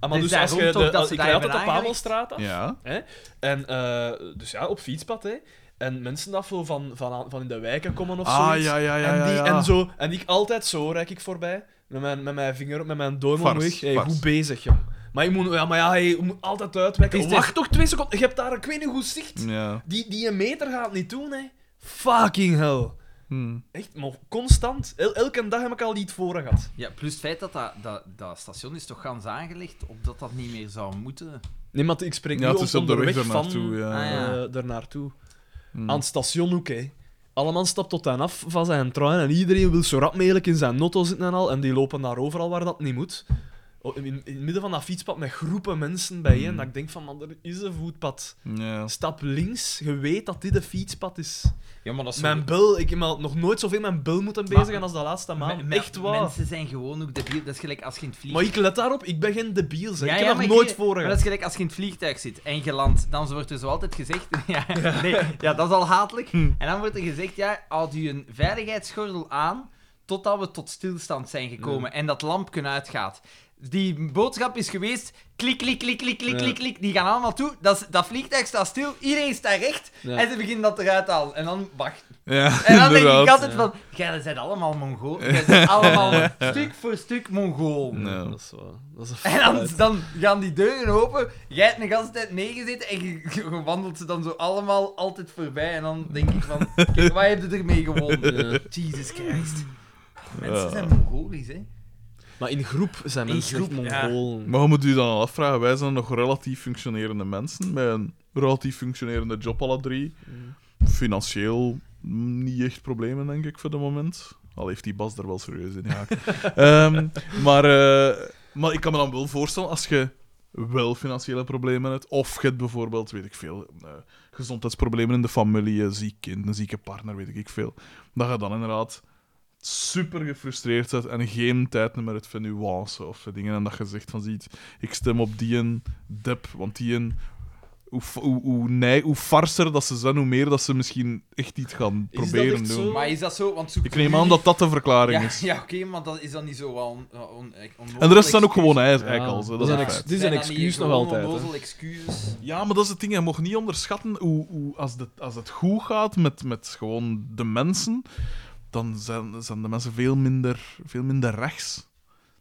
S2: Ah, maar
S1: Dus
S2: dus, als
S1: daarom
S2: je
S1: toch
S2: de-
S1: dat
S2: als-
S1: ze
S2: ik
S1: daar
S2: rijd
S1: hebben
S2: altijd de
S1: aangelegd?
S2: Pavelstraat af.
S3: Ja.
S2: En, eh, dus ja, op fietspad, hè. En mensen dat zo van, van, aan- van in de wijken komen of
S3: Ah,
S2: zoiets.
S3: ja, ja, ja,
S2: en, die,
S3: ja, ja.
S2: en zo. En ik altijd zo rijk ik voorbij. Met mijn, met mijn vinger op, met mijn duim
S3: Vars,
S2: omhoog. Hey,
S3: vars.
S2: goed bezig, jong. Maar je moet, ja, maar ja, hey, je moet altijd uitwijken.
S1: Is dit-
S2: Wacht toch twee seconden. Je hebt daar, ik weet niet hoe zicht.
S3: Ja.
S2: Die, die een meter gaat niet doen, hè. Fucking hell.
S3: Hm.
S2: Echt, maar constant. El- elke dag heb ik al die het voren gehad.
S1: Ja, plus het feit dat dat, dat, dat station is toch gans aangelegd, opdat dat niet meer zou moeten.
S2: Nee, maar ik spreek
S3: Ja,
S2: nu
S3: het is op de
S2: onderweg
S3: weg ernaartoe,
S2: van
S3: ja.
S1: Ah, ja.
S2: eh, daarnaartoe.
S3: Hm.
S2: Aan het station ook, hè. Allemaal stapt tot aan af van zijn trein en iedereen wil zo rap mogelijk in zijn notto zitten en al. En die lopen daar overal waar dat niet moet. Oh, In, in het midden van dat fietspad met groepen mensen
S1: Hmm.
S2: bijeen.
S3: Mm.
S2: Dat ik denk van, man, er is een voetpad.
S3: Ja.
S2: Stap links, je weet dat dit een fietspad is.
S1: Ja, maar dat is zo-
S2: Mijn bul, ik heb al nog nooit zoveel mijn bul moeten
S1: Maar-
S2: bezigen als de laatste maand.
S1: Me- me-
S2: Echt waar.
S1: Mensen zijn gewoon ook debiel. Dat is gelijk als je in het
S2: Maar
S1: vliegtuig...
S2: ik let daarop, ik ben geen debiel. Zeg.
S1: Ja,
S2: ik
S1: ja,
S2: heb
S1: maar
S2: nog nooit
S1: je-
S2: voor
S1: Maar dat is gelijk als je in het vliegtuig zit en je landt. Dan wordt er zo altijd gezegd... Ja, nee, ja dat is al hatelijk.
S2: Hm.
S1: En dan wordt er gezegd, ja, houd u een veiligheidsgordel aan totdat we tot stilstand zijn gekomen en dat lampje uitgaat. Die boodschap is geweest, klik, klik, klik, klik, klik,
S2: Ja.
S1: klik, klik, die gaan allemaal toe. Dat, is- dat vliegtuig staat stil, iedereen staat recht
S2: Ja.
S1: en ze beginnen dat eruit te halen. En dan, wacht,
S3: Ja,
S1: En dan denk
S3: inderdaad.
S1: ik altijd
S2: Ja.
S1: van, jij bent allemaal Mongool. Jij bent allemaal stuk voor stuk Mongool.
S3: Ja.
S2: Dat is waar. Dat is een
S1: En dan,
S2: feit.
S1: dan gaan die deuren open, jij hebt een hele tijd meegezeten en je, je wandelt ze dan zo allemaal altijd voorbij. En dan denk ik van, kijk, wat heb je ermee gewonnen?
S2: Ja.
S1: Jesus Christ. Mensen
S3: Ja.
S1: zijn Mongolisch, hè.
S2: Maar in groep zijn
S1: In
S2: mensen
S1: groep,
S2: echt
S1: ja.
S2: Mongolen.
S3: Maar je moet je dan al afvragen, wij zijn nog relatief functionerende mensen, met een relatief functionerende job alle drie. Financieel niet echt problemen, denk ik, voor de moment. Al heeft die Bas er wel serieus in gehaakt. Ehm, maar, eh, maar ik kan me dan wel voorstellen, als je wel financiële problemen hebt, of je hebt bijvoorbeeld, weet ik veel, eh, gezondheidsproblemen in de familie, een ziek kind, een zieke partner, weet ik veel, dat je dan inderdaad super gefrustreerd bent en geen tijd meer hebt voor nuance of voor dingen. En dat je zegt van, ziet, ik stem op die en dep, want die en... Hoe, f- hoe, hoe, nee, hoe farser dat ze zijn, hoe meer dat ze misschien echt iets gaan
S2: Is dat
S3: proberen
S2: echt
S3: doen.
S2: zo?
S1: Maar is dat zo? Want zoek
S3: Ik neem aan dat dat de verklaring
S1: Ja,
S3: is.
S1: ja oké, maar dat is dan niet zo wel on, on, onnozel
S3: En de rest zijn ook
S1: excuus.
S3: gewoon ei-
S2: Ja.
S3: eikels. hè,
S2: Dat
S3: Dat is
S2: zijn
S3: een
S2: ex-
S3: feit.
S2: Dit is
S1: Zijn
S2: een
S1: dat niet
S2: excuus nog
S1: gewoon
S2: altijd, hè?
S1: onnozel excuses.
S3: Ja, maar dat is het ding. Je mag niet onderschatten hoe, hoe als, het, als het goed gaat met, met gewoon de mensen, dan zijn, zijn de mensen veel minder, veel minder rechts.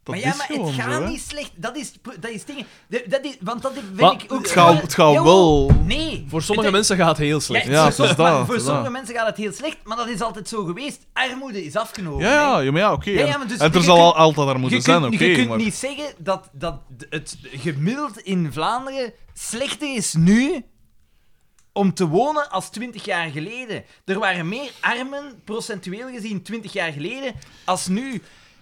S3: Dat
S1: maar ja,
S3: is
S1: maar
S3: gewoon
S1: het gaat
S3: zo, hè.
S1: niet slecht. Dat is, dat is dingen. Dat- Dat is, want dat vind
S2: Maar
S1: ik ook.
S3: het gaat- het gaat
S1: Jawel,
S3: wel.
S1: Nee.
S2: Voor sommige
S1: Het-
S2: mensen gaat het heel slecht.
S3: Ja,
S1: voor,
S3: het is
S1: sommige-
S3: dat,
S1: maar voor
S3: het is
S1: sommige
S3: dat.
S1: mensen gaat het heel slecht, maar dat is altijd zo geweest. Armoede is afgenomen.
S3: Ja, ja, ja, maar ja, oké.
S1: Ja, ja,
S3: en-
S1: maar dus
S3: en er
S1: je
S3: zal
S1: kunt-
S3: al altijd daar
S1: hè.
S3: moeten
S1: Je
S3: zijn,
S1: kunt,
S3: oké.
S1: je kunt
S3: maar...
S1: niet zeggen dat, dat het gemiddeld in Vlaanderen slechter is nu om te wonen als 20 jaar geleden. Er waren meer armen, procentueel gezien, 20 jaar geleden, als nu.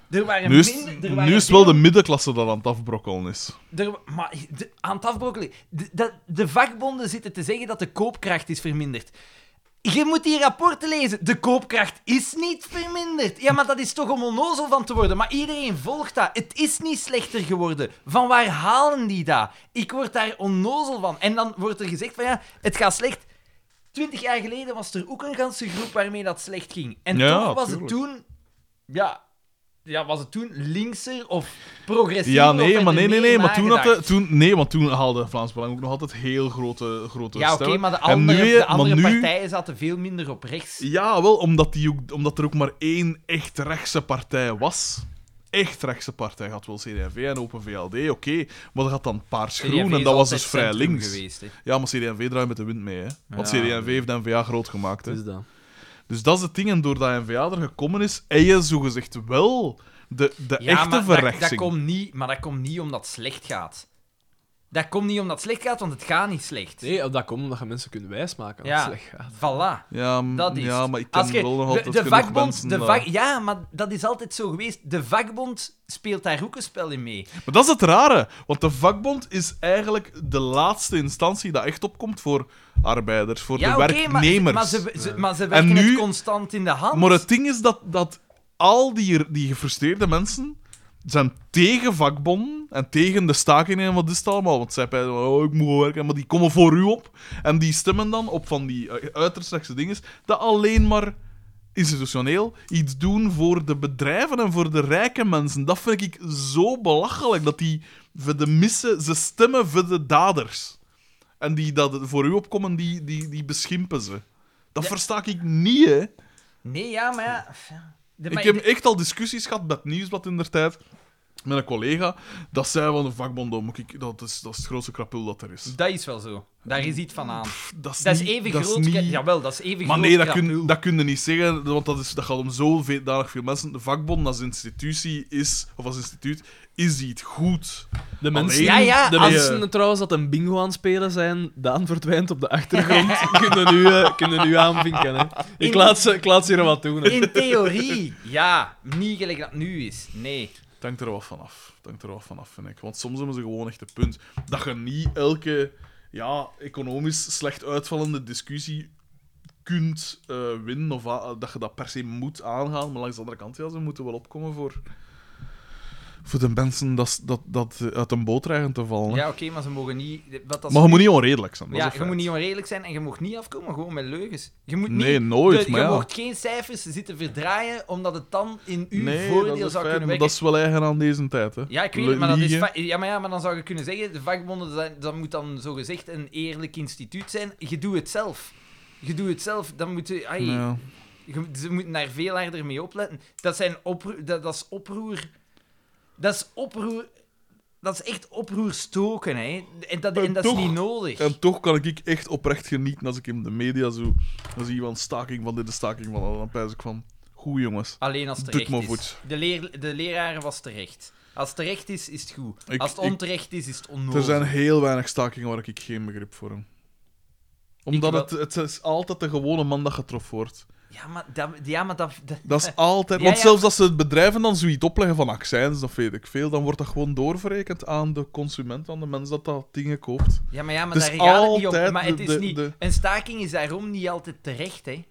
S1: Er waren
S3: Nu is,
S1: minder,
S3: het-
S1: er waren
S3: nu is het wel
S1: veel
S3: de middenklasse dat aan het afbrokkelen is.
S1: Er, maar de, aan het afbrokkelen. De, de, de vakbonden zitten te zeggen dat de koopkracht is verminderd. Je moet die rapporten lezen. De koopkracht is niet verminderd. Ja, maar dat is toch om onnozel van te worden. Maar iedereen volgt dat. Het is niet slechter geworden. Van waar halen die dat? Ik word daar onnozel van. En dan wordt er gezegd van ja, het gaat slecht. Twintig jaar geleden was er ook een ganse groep waarmee dat slecht ging. En
S3: Ja,
S1: toch was
S3: tuurlijk.
S1: het toen... Ja, ja, was het toen linkser of progressiever?
S3: Ja,
S1: of werd
S3: nee,
S1: er
S3: maar nee, nee,
S1: meer
S3: nee. Maar toen, had de,
S1: nagedacht?
S3: toen, nee, want toen haalde Vlaams Belang ook nog altijd heel grote, grote
S1: Ja, oké,
S3: stemmen.
S1: maar de
S3: En
S1: andere,
S3: nu-
S1: de andere
S3: maar nu-
S1: partijen zaten veel minder op rechts.
S3: Ja, wel, omdat, die ook, omdat er ook maar één echt rechtse partij was. Echt rechtse partij had wel CD&V en Open VLD, oké. maar dat had dan Paars Groen en dat was dus vrij links.
S1: Geweest, hè.
S3: Ja, maar CD&V draait met de wind mee, hè. Want
S1: Ja.
S3: CD&V heeft de N-VA groot gemaakt, hè.
S2: Dus dat.
S3: Dus dat is het ding. En doordat N-VA er gekomen is, heb je zogezegd wel de, de
S1: Ja,
S3: echte
S1: maar dat,
S3: verrechtsing.
S1: dat komt niet, maar dat komt niet omdat het slecht gaat. Dat komt niet omdat het slecht gaat, want het gaat niet slecht.
S2: Nee, dat komt omdat je mensen kunt wijsmaken als
S1: Ja.
S2: het slecht gaat.
S1: Voilà.
S3: Ja, m-
S1: Dat is.
S3: ja,
S1: het.
S3: maar ik ken
S1: Als je-
S3: wel nog
S1: de-
S3: altijd
S1: de
S3: genoeg
S1: vakbond,
S3: mensen eh,
S1: de
S3: dat-
S1: vak- Ja, maar dat is altijd zo geweest. De vakbond speelt daar ook een spel in mee.
S3: Maar dat is het rare, want de vakbond is eigenlijk de laatste instantie dat echt opkomt voor arbeiders, voor
S1: ja,
S3: de
S1: oké, maar,
S3: werknemers.
S1: maar, ze, ze, maar ze werken
S3: nu-
S1: het constant in de hand.
S3: Maar het ding is dat, dat al die, die gefrustreerde mensen zijn tegen vakbonden en tegen de stakingen en wat is het allemaal. Want zij pijzen, oh, ik moet wel werken, maar die komen voor u op. En die stemmen dan op van die eh, uiterst rechtse dingen dat alleen maar institutioneel iets doen voor de bedrijven en voor de rijke mensen. Dat vind ik zo belachelijk, dat die voor de missen, ze stemmen voor de daders. En die dat voor u opkomen, die, die, die beschimpen ze. Dat
S1: Ja.
S3: versta ik niet, hè.
S1: Nee, ja, maar ja... ja. De- maar
S3: Ik heb
S1: de-
S3: echt al discussies gehad met het Nieuwsblad in der tijd. Met een collega. Dat zei van de vakbond om. Ik, dat, is, dat is het grootste krapul dat er is.
S1: Dat is wel zo. Daar is iets van aan.
S3: Pff, dat is,
S1: Dat is
S3: niet-
S1: even
S3: dat is
S1: groot.
S3: niet-
S1: ja- Jawel, dat is even
S3: maar
S1: groot.
S3: nee, dat
S1: krap.
S3: kun, dat kun je niet zeggen. Want dat, is, dat gaat om zo veel mensen. De vakbond als institutie is, of als instituut, is iets goed.
S2: De mensen,
S1: Alleen- Ja, ja,
S2: de
S1: als-
S2: mensen trouwens dat een bingo aan het spelen zijn, Daan verdwijnt op de achtergrond, kunnen nu, eh, kunnen nu aanvinken. Hè. Ik,
S1: In-
S2: laat ze, ik laat ze hier wat doen. Hè.
S1: In theorie, ja. Niet gelijk dat het nu is. Nee.
S3: Het hangt er wat van af. Het hangt er wat van af, vind ik. Want soms hebben ze gewoon echt een punt. Dat je niet elke ja, economisch slecht uitvallende discussie kunt eh, winnen. Of a- dat je dat per se moet aangaan. Maar langs de andere kant, ja, ze moeten wel opkomen voor... Voor de mensen dat, dat, dat uit een boot dreigen te vallen. hè.
S1: Ja, oké, maar ze mogen niet... Wat als
S3: maar je moet niet onredelijk zijn. Dat
S1: ja,
S3: is een
S1: je moet
S3: feit.
S1: niet onredelijk zijn en je mag niet afkomen gewoon met leugens. Je moet niet,
S3: Nee, nooit,
S1: de-
S3: maar
S1: je
S3: ja.
S1: mocht geen cijfers zitten verdraaien, omdat het dan in uw
S3: nee,
S1: voordeel
S3: dat is
S1: zou
S3: feit,
S1: kunnen
S3: maar
S1: werken.
S3: dat is wel eigen aan deze tijd. Hè.
S1: Ja, ik weet het, maar, dat is
S3: Liegen.
S1: va- ja, maar ja, maar dan zou je kunnen zeggen, de vakbonden, dat, dat moet dan zogezegd een eerlijk instituut zijn. Je doet het zelf. Je doet het zelf, dan moet je... ai,
S3: Ja.
S1: je- ze moeten daar veel harder mee opletten. Dat, zijn oproer, dat, dat is oproer... Dat is oproer... Dat is echt oproer stoken, hè. En dat, en dat is
S3: toch-
S1: niet nodig.
S3: En toch kan ik echt oprecht genieten als ik in de media zo... Dan zie je van staking van dit, de staking van dat. Dan pijs ik van... Goed, jongens.
S1: Alleen als het
S3: Doet
S1: terecht
S3: maar
S1: is.
S3: goed.
S1: De, leer, de leraar was terecht. Als het terecht is, is het goed.
S3: Ik-
S1: Als het
S3: ik-
S1: onterecht is, is het onnodig.
S3: Er zijn heel weinig stakingen waar ik geen begrip voor heb. Omdat
S1: wel.
S3: het, het is altijd de gewone man dat getroffen wordt.
S1: Ja, maar dat... Ja, maar dat, dat-
S3: Dat is altijd...
S1: Ja,
S3: want
S1: ja.
S3: zelfs als ze het bedrijven dan zoiets opleggen van accijns, of weet ik veel, dan wordt dat gewoon doorverrekend aan de consument, aan de mens dat dat dingen koopt.
S1: Ja, maar, ja, maar
S3: Het is
S1: daar gaat het niet
S3: Dus altijd
S1: om. Maar het
S3: de-
S1: is
S3: de-
S1: niet...
S3: de-
S1: Een staking is daarom niet altijd terecht, hè.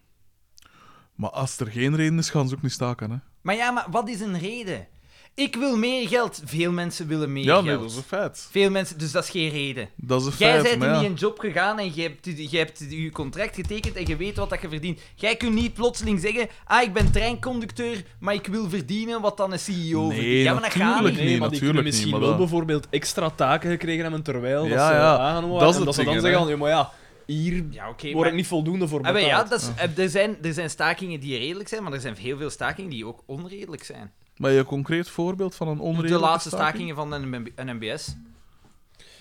S3: Maar als er geen reden is, gaan ze ook niet staken, hè.
S1: Maar ja, maar wat is een reden? Ik wil meer geld. Veel mensen willen meer
S3: Ja,
S1: geld.
S3: nee, dat is een feit.
S1: Veel mensen, dus dat is geen reden.
S3: Dat is een
S1: Jij
S3: feit,
S1: bent
S3: maar
S1: in
S3: ja.
S1: je job gegaan en je hebt, je hebt je contract getekend en je weet wat dat je verdient. Jij kunt niet plotseling zeggen, ah, ik ben treinconducteur, maar ik wil verdienen wat dan een CEO
S3: Nee,
S1: verdient. Ja, maar dat gaat
S3: natuurlijk
S1: niet.
S3: Nee,
S2: Nee, maar die kunnen
S3: natuurlijk niet,
S2: misschien
S3: maar
S2: wel
S3: dat-
S2: bijvoorbeeld extra taken gekregen hebben terwijl dat
S3: Ja,
S2: ze
S3: ja,
S2: aangenomen
S3: dat
S2: waren.
S3: is
S2: en
S3: het
S2: dat ze dan
S3: ding,
S2: zeggen
S3: hè.
S2: van, ja, maar ja, hier
S1: Ja, oké,
S2: word
S1: maar...
S2: ik niet voldoende voor
S1: Ah,
S2: betaald.
S1: wel, ja, dat is, eh, er, zijn, er zijn stakingen die redelijk zijn, maar er zijn heel veel stakingen die ook onredelijk zijn.
S3: Maar je concreet voorbeeld van een onredelijke
S1: De laatste
S3: staking?
S1: stakingen van een NB- een NBS.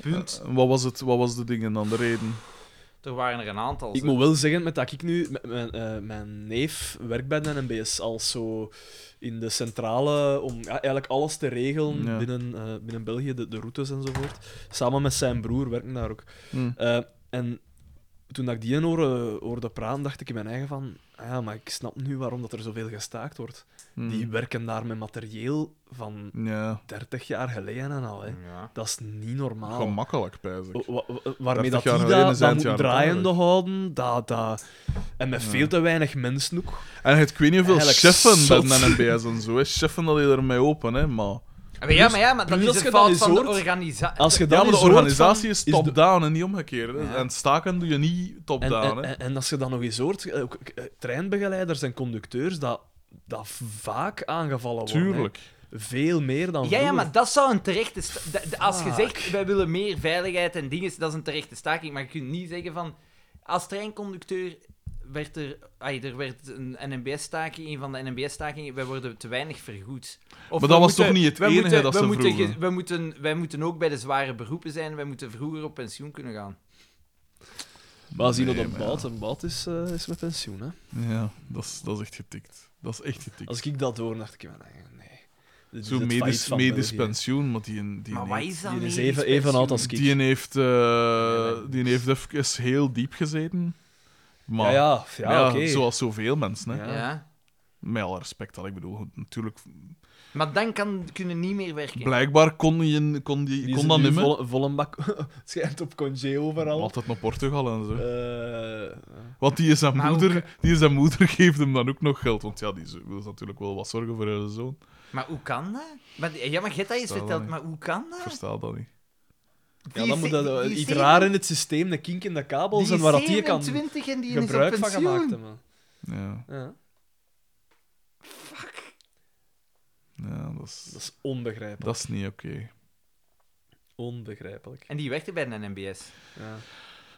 S1: Punt.
S3: Eh, Wat was, het, wat was de dingen dan, de reden?
S1: Er waren er een aantal.
S2: Ik
S1: zo.
S2: moet wel zeggen, met dat ik nu... met Mijn, eh, mijn neef werkt bij de NBS als zo in de centrale... om ja, eigenlijk alles te regelen
S3: Ja.
S2: binnen, eh, binnen België, de, de routes enzovoort. Samen met zijn broer werken daar ook.
S3: Hm.
S2: Eh, en toen dat ik die hoorde, hoorde praten, dacht ik in mijn eigen van... Ah ja, maar ik snap nu waarom dat er zoveel gestaakt wordt.
S3: Hm.
S2: Die werken daar met materieel van
S3: Ja,
S2: 30 jaar geleden en al. Hè.
S1: Ja.
S2: Dat is niet normaal. Oh.
S3: gemakkelijk, pijs ik.
S2: Wa- wa- wa- waarmee dat
S3: 30 jaar
S2: die
S3: geleden
S2: dat,
S3: zijn
S2: dat
S3: het
S2: moet
S3: jaren
S2: draaiende
S3: 80.
S2: houden. Dat, dat... En met veel te weinig mensen ook.
S3: En het, ik weet niet hoeveel
S2: Eigenlijk
S3: cheffen bij
S2: zot.
S3: de NBS en zo. Hè. Cheffen dat je ermee open, hè, maar...
S1: Ah, Maar ja, maar ja, maar dat
S2: plus
S1: is
S2: als
S1: een
S2: je dan
S1: fout
S2: eens
S1: van de
S2: hoort-
S1: organisatie.
S2: Als je
S3: Ja,
S2: dan
S3: maar de
S2: eens hoort van-
S3: organisatie is
S2: de-
S3: top-down en niet omgekeerd. hè.
S1: Ja.
S3: En staken doe je niet
S2: En,
S3: top-down.
S2: en,
S3: hè.
S2: en, en als je dan nog eens hoort, eh, ook, eh, treinbegeleiders en conducteurs, dat, dat vaak aangevallen worden. hè.
S3: Tuurlijk.
S2: Veel meer dan Ah,
S1: Ja, ja,
S2: vroeger.
S1: maar dat zou een terechte... sta- da- da- Als je
S2: Fuck.
S1: zegt, wij willen meer veiligheid en dingen, dat is een terechte staking. Maar je kunt niet zeggen van... Als treinconducteur werd er... Ay, er werd een NMBS-staking, een van de NMBS-stakingen, wij worden te weinig vergoed. Of we
S3: dat was toch niet het
S1: wij
S3: enige
S1: moeten,
S3: dat
S1: wij
S3: ze
S1: moeten,
S3: vroegen?
S1: ge- wij, moeten, wij moeten ook bij de zware beroepen zijn, wij moeten vroeger op pensioen kunnen gaan.
S2: Maar als iemand
S3: Nee,
S2: een
S3: maar ja.
S2: baat, een baat is, eh, is met pensioen. Hè.
S3: Ja, dat is, dat is echt getikt. Dat is echt getikt.
S2: Als ik dat hoor, dacht ik, in mijn eigen, nee. Dit is
S3: Zo'n
S2: het failliet
S3: medisch,
S2: van
S3: medisch
S2: België.
S3: pensioen, maar die, die,
S1: maar wat
S3: heeft,
S1: is dat
S2: Die is
S1: medisch
S2: even, even oud als
S1: pensioen?
S2: ik.
S3: die heeft, eh,
S1: nee.
S3: die heeft even heel diep gezeten. Maar
S2: ja, ja, ja,
S3: maar ja,
S2: oké.
S3: zoals zoveel mensen. Hè.
S2: Ja.
S1: Ja.
S3: Met alle respect, al. ik bedoel, natuurlijk...
S1: Maar dan kan, kunnen niet meer werken.
S3: Blijkbaar kon, je, kon, die,
S2: Die
S3: kon
S2: zit
S3: dat
S2: nu
S3: niet meer.
S2: Vol, vol een bak schijnt op congé overal.
S3: Altijd naar Portugal en zo.
S2: Eh,
S3: Want die is zijn
S1: Maar
S3: moeder, die is zijn moeder geeft hem dan ook nog geld. Want ja, die z- wil natuurlijk wel wat zorgen voor haar zoon.
S1: Maar hoe kan dat? Maar, die- ja, maar je hebt dat eens
S3: Stel
S1: verteld,
S3: dat
S1: maar hoe kan
S3: Ik
S1: dat?
S3: versta dat niet.
S2: ja,
S1: Die
S2: dan moet
S1: is-
S2: dat
S1: die is
S2: iets
S1: zeven-
S2: raar in het systeem, een kink in de kabel
S1: Die
S2: zijn
S1: is
S2: waar dat die kan
S1: 27 en die is op
S2: gebruik van
S1: pensioen.
S2: gemaakt hebben.
S3: Ja,
S2: Ja.
S3: ja dat, is,
S2: Dat is onbegrijpelijk.
S3: dat is niet oké.
S2: Onbegrijpelijk.
S1: En die werkte bij de NBS.
S2: Ja.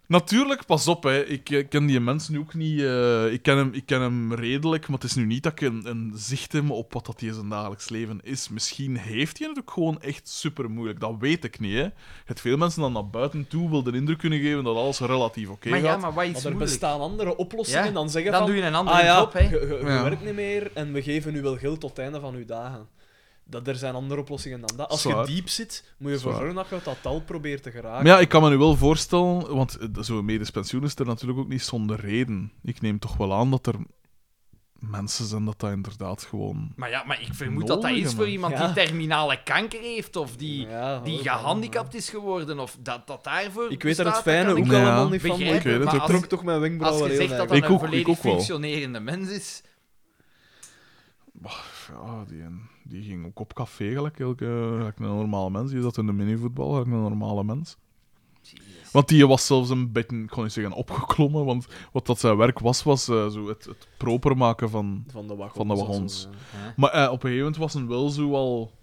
S3: Natuurlijk, pas op, hè. Ik eh, ken die mensen ook niet. eh, ik, ken hem, ik ken hem redelijk, maar het is nu niet dat ik een, een zicht heb op wat dat hij zijn dagelijks leven is. Misschien heeft hij het ook gewoon echt super moeilijk. Dat weet ik niet. Hè. Het veel mensen dan naar buiten toe wil de indruk kunnen geven dat alles relatief oké
S1: maar ja,
S3: gaat.
S1: maar wat is
S2: Maar er
S1: moeilijk?
S2: bestaan andere oplossingen
S1: Ja,
S2: dan zeggen
S1: Dan
S2: van...
S1: doe je een andere
S2: Ah ja,
S1: job, hè.
S2: je, je- je
S3: Ja.
S2: werkt niet meer en we geven u wel geld tot het einde van uw dagen. dat er zijn andere oplossingen dan dat. Als
S3: Zwaar.
S2: je diep zit, moet je
S3: Zwaar.
S2: zorgen dat je uit dat tal probeert te geraken.
S3: Maar ja, ik kan me nu wel voorstellen, want eh, zo'n medisch pensioen is er natuurlijk ook niet zonder reden. Ik neem toch wel aan dat er mensen zijn dat dat inderdaad gewoon...
S1: Maar ja, maar ik vermoed dat dat
S3: Nodig,
S1: is voor
S3: man.
S1: iemand
S2: Ja.
S1: die terminale kanker heeft of die,
S2: Ja,
S1: die
S2: ook,
S1: gehandicapt is geworden of dat dat daarvoor.
S2: Ik weet daar
S1: bestaat,
S2: het fijne
S1: kan ik
S2: ook
S3: Ja.
S2: allemaal niet van.
S1: begrijpen,
S2: maar
S3: Ik weet het
S1: maar
S3: ook
S2: Ik
S1: als-
S2: trok toch mijn
S1: Als
S2: wenkbrauwen
S1: je
S2: heel
S1: zegt dat
S2: erg.
S1: dat
S3: Ik
S1: een
S3: ook- ik
S1: volledig
S3: ook wel.
S1: functionerende mens is.
S3: Ja, die, die ging ook op café gelijk, elke, gelijk een normale mens. Die zat in de minivoetbal, gelijk een normale mens.
S1: Jezus.
S3: Want die was zelfs een beetje, ik kon niet zeggen opgeklommen, want wat dat zijn werk was, was eh, zo het, het proper maken van...
S2: Van de wagons.
S3: Van de wagons.
S2: en zo, ja.
S3: Maar eh, op een gegeven moment was hij wel zo al...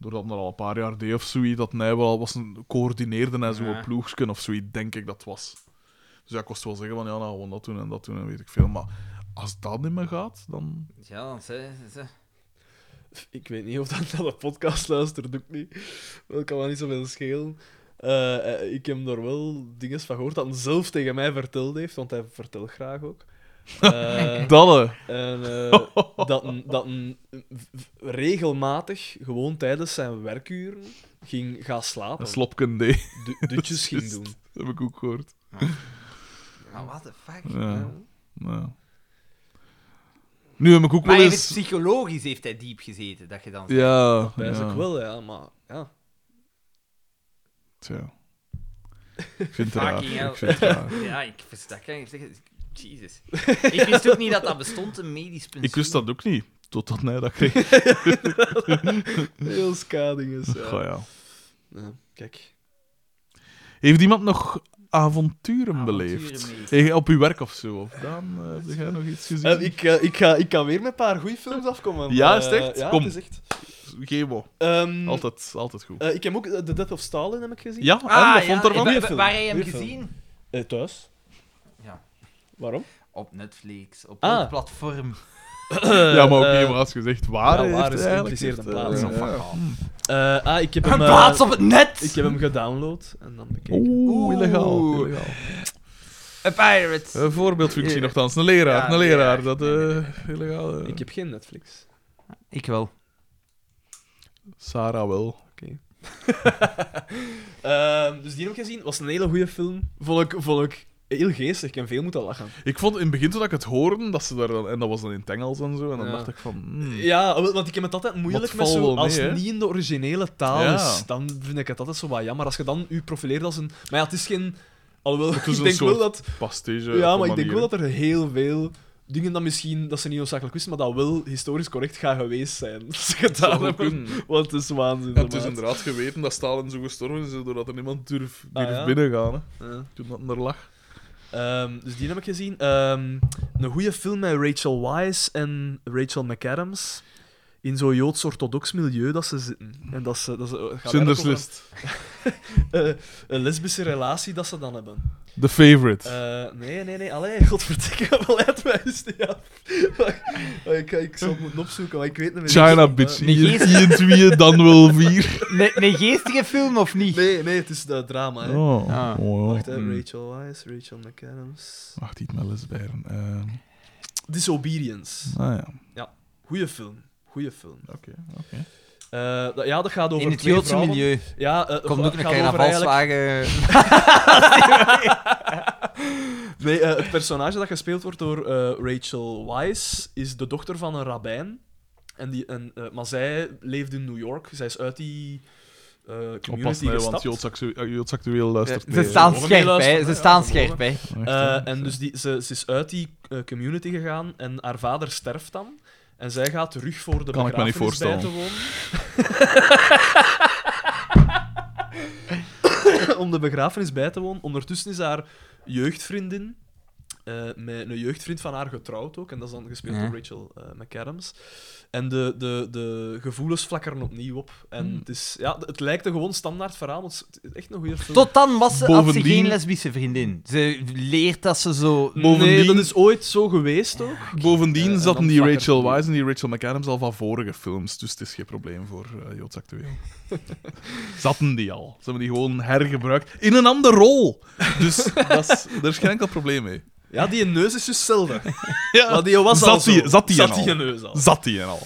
S3: Doordat hij dat al een paar jaar deed of zoiets, dat hij wel al was een, coördineerde hij zo'n
S1: Ja.
S3: ploegje of zoiets, denk ik dat was. Dus ja, ik was wel zeggen van, ja, nou, gewoon dat doen en dat doen en weet ik veel. Maar als dat niet meer gaat, dan...
S1: Ja, dan ze, ze.
S2: Ik weet niet of dat naar de podcast luistert, doe ik niet. Dat kan wel niet zoveel schelen. Eh, eh, ik heb daar wel dingen van gehoord dat hij zelf tegen mij verteld heeft, want hij vertelt graag ook. Eh,
S3: Dalle!
S2: en eh, dat een, dat een v- v- regelmatig, gewoon tijdens zijn werkuren, ging gaan slapen.
S3: Een slopken D, dat
S2: Du- dutjes ging doen.
S3: heb ik ook gehoord.
S1: Maar what the fuck?
S3: Ja. ja. Nu heb ik ook
S1: Maar
S3: wel
S1: hij heeft
S3: eens...
S1: psychologisch heeft hij diep gezeten, dat je dan...
S3: Ja,
S2: Dat wijs ik
S3: ja.
S2: wel, ja, maar ja.
S3: Tja. Ik vind het raar.
S1: Fucking hell.
S3: Ik vind het raar.
S1: Ja, ik wist dat kan ik zeggen. Jezus. Ik wist ook niet dat dat bestond, een medisch punt.
S3: Ik wist dat ook niet, totdat hij dat kreeg.
S2: Heel skading is. Ja.
S3: Goh, ja.
S2: Ja, kijk.
S3: Heeft iemand nog avonturen, beleefd?
S1: beleefd.
S3: Hey, op uw werk of zo? Of Daan, eh, heb jij nog iets gezien?
S2: Eh, ik, eh, ik, ga, ik kan weer met een paar goede films afkomen.
S3: Ja, is het
S2: Eh,
S3: echt?
S2: ja,
S3: Kom.
S2: het is echt.
S3: Gemo.
S2: Ehm,
S3: Altijd, altijd goed.
S2: eh, ik heb ook eh, The Death of Stalin heb ik gezien.
S3: Ja, en
S1: Ah,
S3: wat
S1: ja,
S3: vond ervan?
S1: wa-
S2: ik- Goeie
S1: wa-
S2: film.
S1: Waar heb je hem
S2: Goeie film.
S1: gezien?
S2: Eh, thuis.
S1: Ja.
S2: Waarom?
S1: Op Netflix, op
S2: Ah.
S1: het platform.
S3: Ja, maar ook
S2: Eh,
S3: niet maar als gezegd waar.
S2: ja, waar
S3: heeft
S2: is
S3: hij eigenlijk
S2: geïmpliceerd een
S3: het,
S2: plaats. Ja.
S3: eh, fuck.
S2: eh, ah, ik heb
S1: oh. Een
S2: hem... eh,
S1: plaats op het net!
S2: Ik heb hem gedownload en dan bekeken.
S3: Oeh,
S1: Oeh.
S3: illegaal. illegaal.
S1: A pirate.
S3: Een voorbeeldfunctie
S1: Ja.
S3: nogthans. Een leraar,
S1: Ja,
S3: een leraar.
S1: leraar.
S3: Dat
S1: Nee, nee,
S3: eh illegaal. eh.
S2: Ik heb geen Netflix.
S1: Ik wel.
S3: Sarah wel.
S2: Ehm, dus die heb ik gezien. Was een hele goede film. Vond ik, vond ik heel geestig. Ik heb veel moeten lachen.
S3: Ik vond in het begin toen ik het hoorde, dat ze daar dan, en dat was dan in het Engels en zo, en dan
S2: Ja.
S3: dacht ik van. hmm.
S2: Ja, wel, want ik heb het altijd moeilijk
S3: Wat
S2: met
S3: valt wel
S2: zo...
S3: mee,
S2: Als
S3: hè?
S2: het niet in de originele taal
S3: Ja.
S2: is, dan vind ik het altijd zo wat jammer. Als je dan u profileert als een... Maar ja, het is geen... Alhoewel,
S3: Het is
S2: ik
S3: een
S2: denk wel
S3: soort
S2: dat...
S3: Pastige.
S2: Ja,
S3: op
S2: maar ik
S3: een
S2: denk wel
S3: manier.
S2: dat er heel veel dingen dat misschien... Dat ze niet noodzakelijk wisten, maar dat wel historisch correct gaan geweest zijn. Dat ze
S3: Zou
S2: gedaan
S3: goed
S2: hebben.
S3: kunnen.
S2: Want het is waanzin.
S3: Ja, het is
S2: maat.
S3: inderdaad geweten dat Stalin zo gestorven is, doordat er niemand durf,
S2: Ah,
S3: durf
S2: ja?
S3: binnengaan. Hè.
S2: Ja.
S3: Toen dat er lag.
S2: Ehm, dus die heb ik gezien. Ehm, een goede film met Rachel Wise en Rachel McAdams. In zo'n joods-orthodox milieu dat ze zitten. En dat ze, dat ze, het gaat eigenlijk
S3: Schindler's
S2: over
S3: List.
S2: Een, eh, een lesbische relatie dat ze dan hebben.
S3: The Favorite.
S2: Eh, nee, nee, nee. Allee, godverdikke, maar leid mij eens niet af. Maar ik, ik zal het moeten opzoeken, maar ik weet niet meer.
S3: China
S2: Eh,
S3: Bitch.
S1: nee,
S3: Ian
S1: geest-
S3: Ian tweeën, dan wel vier.
S1: Een geestige film of niet?
S2: Nee, nee, het is de drama. Hè.
S3: Oh,
S1: Ah.
S3: oh,
S2: Eh, Wacht,
S3: ja.
S2: hè,
S3: Hmm.
S2: Rachel Wise, Rachel McAdams.
S3: Wacht, iets met lesbijren. Eh,
S2: Disobedience.
S3: nou ja,
S2: Goeie film. Goeie film.
S3: oké. oké.
S2: Eh, dat, ja, dat gaat over
S1: In het
S2: twee
S1: Joodse
S2: vrouwen.
S1: milieu.
S2: Ja, eh,
S1: Komt ook
S2: het
S1: een
S2: gaat over eigenlijk-
S1: carnavalswagen.
S2: Nee, eh, het personage dat gespeeld wordt door eh, Rachel Wise is de dochter van een rabbijn. En die, en, eh, maar zij leeft in New York. Zij is uit die eh
S3: Oppas,
S2: community
S3: nee, want
S2: gestapt.
S3: Joods actu- eh, Joods actueel luistert
S1: Ze
S3: mee.
S1: staan
S2: mogen
S1: scherp
S2: meeluisteren,
S1: bij. Ze
S2: hè?
S1: staan
S2: Ja, we mogen.
S1: scherp bij.
S3: Echt,
S2: Eh,
S3: hè?
S2: en dus die, ze, ze is uit die eh, community gegaan en haar vader sterft dan. En zij gaat terug voor de
S3: Kan ik me niet
S2: begrafenis bij te wonen. om de begrafenis bij te wonen. Ondertussen is haar jeugdvriendin, eh, met een jeugdvriend van haar getrouwd ook. En dat is dan gespeeld
S1: Ja.
S2: door Rachel eh, McAdams. En de, de, de gevoelens flakkeren opnieuw op. En
S3: Hmm.
S2: het, is, ja, het lijkt een gewoon standaard verhaal, want het is echt een goede film.
S1: Tot dan was ze, had ze
S3: Bovendien-
S1: geen lesbische vriendin. Ze leert dat ze zo...
S3: Bovendien-
S2: Nee, dat is ooit zo geweest ook.
S3: Bovendien
S2: eh, en
S3: zaten
S2: dan
S3: die
S2: vakker-
S3: Rachel Wise en die Rachel McAdams al van vorige films, dus het is geen probleem voor eh, Joods actueel. zaten die al. Ze hebben die gewoon hergebruikt in een andere rol. Dus dat is, daar is geen enkel probleem mee.
S2: Ja, die neus is dus zelden.
S3: Ja,
S2: Maar die was
S3: zat
S2: al zo.
S3: die, zat die
S2: zat
S3: en
S2: die
S3: al.
S2: neus al.
S3: Zat die en al.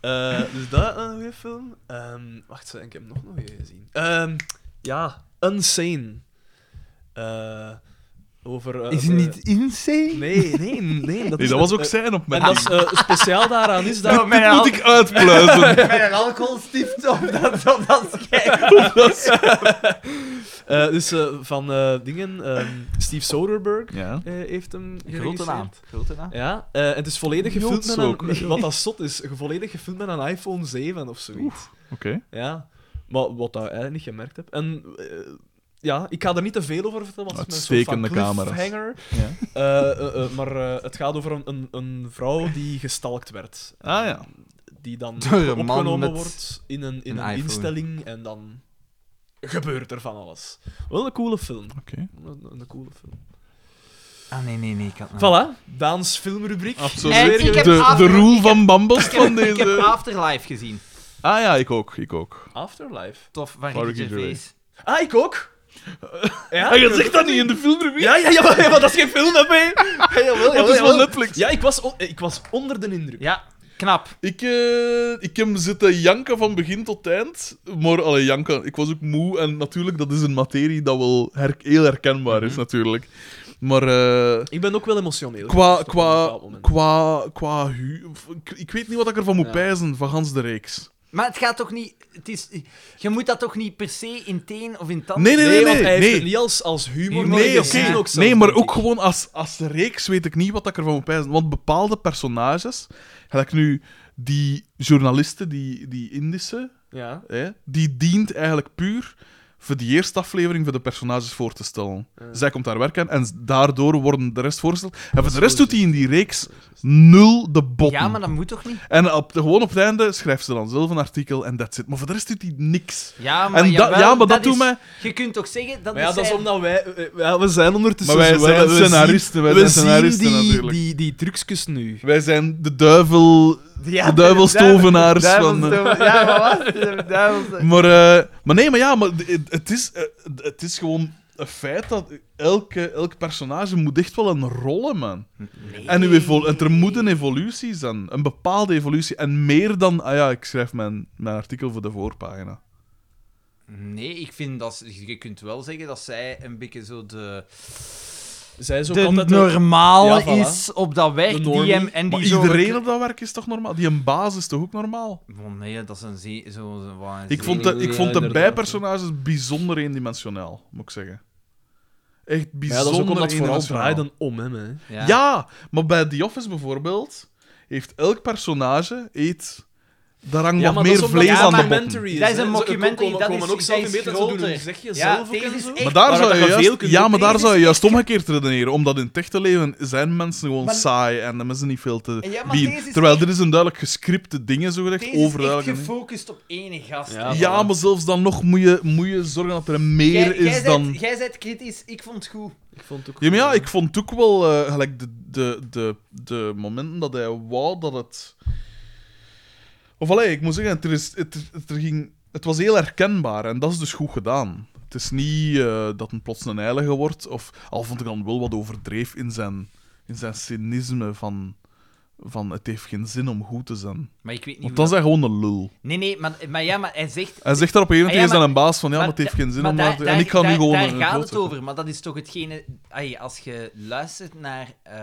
S2: Eh, dus dat een goede film. Ehm, wacht, ik heb nog nog een gezien. Ehm, ja, Unsane. Eh, over. eh,
S1: Is het
S2: eh,
S1: niet insane?
S2: Nee, nee, nee. Dat,
S3: Nee,
S2: is
S3: dat was ook
S2: eh,
S3: zijn
S2: En dat is,
S3: opmerking.
S2: eh, speciaal daaraan is dat.
S1: met, een
S3: Moet ik uitpluizen.
S1: al- met een alcoholstift op dat, op dat schijf.
S2: Eh, dus eh, van eh, dingen. ehm, Steve Soderbergh
S3: Ja.
S2: eh, heeft hem.
S1: Grote
S2: geregisseerd.
S1: naam. Grote naam.
S2: Ja, eh, en het is volledig gefilmd met
S3: Joodsloker.
S2: een, wat dat zot is, volledig gefilmd met een iPhone 7 of zoiets.
S3: Oké.
S2: Ja, maar wat dat eigenlijk niet gemerkt heb. En eh, ja, ik ga er niet te veel over vertellen, want het is een soort van
S3: Uitstekende camera's.
S2: cliffhanger.
S3: Ja.
S2: Eh, eh, eh, maar eh, het gaat over een, een, een vrouw die gestalkt werd.
S3: Ah, ja.
S2: Die dan
S1: Door een man
S2: opgenomen
S1: met
S2: wordt in een, in
S1: een
S2: een
S1: iPhone.
S2: instelling en dan gebeurt er van alles. Wel een coole film.
S3: Oké.
S2: Een, een coole film.
S1: Ah, nee, nee, nee. Ik had nog-
S2: Voilà, Daans filmrubriek.
S1: En ik
S3: Absoluut.
S1: heb
S3: De, de
S1: afge-
S3: roel
S1: ik heb-
S3: van Bambos van
S1: Ik heb
S3: deze.
S1: Afterlife gezien.
S3: Ah ja, ik ook. Ik ook.
S2: Afterlife.
S1: Tof, van
S3: Van
S1: Ricky
S3: Ricky
S1: Gervais.
S2: Ah, ik ook. Ja,
S3: Hij Ah, zegt dat niet in de filmreview.
S2: Ja, ja, ja, maar, ja, maar dat is geen film, hè, mee. Ja, jawel,
S3: Dat
S2: jawel,
S3: is van
S2: jawel.
S3: Netflix.
S2: Ja, ik was, on- ik was onder de indruk.
S1: Ja, knap.
S3: Ik, eh, ik heb zitten janken van begin tot eind. Maar allee, janken, ik was ook moe. En natuurlijk, dat is een materie dat wel her- heel herkenbaar
S2: Mhm.
S3: is, natuurlijk. Maar eh,
S2: Ik ben ook wel emotioneel.
S3: qua,
S2: geweest op een
S3: qua,
S2: bepaald moment.
S3: qua, qua hu... Ik, ik weet niet wat ik ervan moet
S2: Ja.
S3: pijzen, van gans de reeks.
S1: Maar het gaat toch niet... Het is, je moet dat toch niet per se in teen of in tand...
S3: Nee, nee,
S2: Nee,
S3: nee,
S2: want
S3: nee.
S2: hij heeft
S3: nee.
S2: het niet als, als humor.
S1: Humor,
S2: maar
S3: Nee,
S1: dat
S2: dat
S1: is
S3: oké.
S2: zien
S1: zin
S2: ook zelf,
S3: nee, maar
S2: denk
S3: ook
S2: ik.
S3: gewoon als, als reeks weet ik niet wat ik ervan moet pijzen. Want bepaalde personages, gelijk nu die journalisten, die, die Indische,
S2: Ja,
S3: hè, die dient eigenlijk puur voor die eerste aflevering voor de personages voor te stellen.
S2: Ja.
S3: Zij komt daar werken en daardoor worden de rest voorgesteld. En voor de
S2: is
S3: rest
S2: zo
S3: doet hij in die reeks nul de botten.
S1: Ja, maar dat moet toch niet?
S3: En op, gewoon op het einde schrijft ze dan zelf een artikel en that's it. Maar voor de rest doet hij niks.
S1: Ja, maar,
S3: en dat-
S1: jawel,
S3: ja, maar dat,
S1: is-
S3: doet mij...
S1: Je kunt toch zeggen... Dat
S2: maar ja,
S1: is
S2: dat is
S1: zijn-
S2: omdat wij... eh, Ja, we zijn ondertussen...
S3: Maar wij
S2: zo, hè,
S3: zijn
S2: we
S3: scenaristen, wij
S2: zien- we
S3: zijn scenaristen
S2: zien die,
S3: natuurlijk.
S2: Die, die trucjes nu.
S3: Wij zijn de duivel... de duivelstovenaars van... eh,
S1: Ja, maar wat? De duivels-
S3: Maar, eh, maar nee, maar ja, maar het- het is, eh, het is gewoon een feit dat elke, elk personage moet echt wel een rol hebben, man.
S1: Nee.
S3: En, uw evol- en er moet een evolutie zijn, een bepaalde evolutie. En meer dan, ah ja, ik schrijf mijn, mijn artikel voor de voorpagina.
S1: Nee, ik vind dat... ze- Je kunt wel zeggen dat zij een beetje zo de...
S2: Zij is ook
S1: De
S2: altijd...
S1: normale
S2: Ja, voilà.
S1: is op dat werk.
S2: De
S1: Die
S2: normie.
S1: hem, en die
S3: Maar
S1: zo-
S3: iedereen op dat werk is toch normaal? Die een baas is toch ook normaal?
S1: Oh, nee, dat is een zee... Zo, zo, wat een
S3: Ik vond de, ik
S2: Ja,
S3: vond de
S2: inderdaad.
S3: bijpersonages bijzonder eendimensionaal, moet ik zeggen. Echt
S2: Ja, dat
S3: bijzonder
S2: is ook omdat het vooral
S3: eendimensionaal.
S2: draaiden om hem, hè.
S1: zee.
S3: Ja. maar bij The Office bijvoorbeeld heeft elk personage eet daar hangt nog meer vlees
S1: dat
S3: aan de
S1: documentary
S3: botten.
S1: is, Dat is hè. een Ze- mockumentary, komen- dat komen is- ook
S2: ook
S1: zelf
S2: zelf
S1: dat
S2: in
S1: is in beeld
S2: beeld
S1: en ze doen groter.
S2: doen.
S1: hun-
S2: Zeg
S1: Ja, zelf
S2: je zelf
S1: ook deze en is zo. echt-
S3: Maar daar
S2: Maar
S3: zou
S2: dat
S3: je
S2: kan veel
S3: juist,
S2: kunnen
S3: ja,
S2: doen.
S3: maar
S1: Nee,
S3: daar
S1: dat
S3: zou je
S1: is
S3: juist
S1: echt-
S3: omgekeerd redeneren, omdat in het echte leven zijn mensen gewoon
S1: Maar-
S3: saai en hebben ze niet veel te
S1: Ja, maar
S3: bieden.
S1: deze is
S3: Terwijl
S1: echt-
S3: dit is een duidelijk gescripte dingen zo gezegd,
S1: Deze is echt
S3: overduidelijk. een-
S1: gefocust op ene gast.
S2: Ja,
S1: hè.
S3: Ja, maar zelfs dan nog moet je, moet je zorgen dat er meer
S1: Jij-
S3: is
S1: jij
S3: dan.
S1: zijt- Jij bent kritisch, ik vond het goed.
S2: Ik vond het ook
S3: Ja, maar ja,
S2: goed.
S3: ik vond ook wel eh, gelijk de, de, de, de momenten dat hij wou dat het. Of allee, ik moet zeggen, er is, het, het, er ging, het was heel herkenbaar en dat is dus goed gedaan. Het is niet eh, dat een plots een heilige wordt, of al vond ik dan wel wat overdreef in zijn, in zijn cynisme van, van het heeft geen zin om goed te zijn.
S1: Maar ik weet niet
S3: Want
S1: hoe
S3: dan zijn gewoon een lul.
S1: dat- Nee, nee, maar, maar ja, maar hij zegt...
S3: Hij zegt daar op een gegeven
S1: Ah,
S3: moment
S1: ja, maar-
S3: tegen zijn baas van ja, maar het heeft
S1: da-
S3: geen zin
S1: maar
S3: om
S1: daar-
S3: daar te... En ik ga
S1: daar-
S3: nu gewoon...
S1: Daar
S3: een
S1: gaat
S3: groot-
S1: het over, maar dat is toch hetgene... ai, als je luistert naar eh,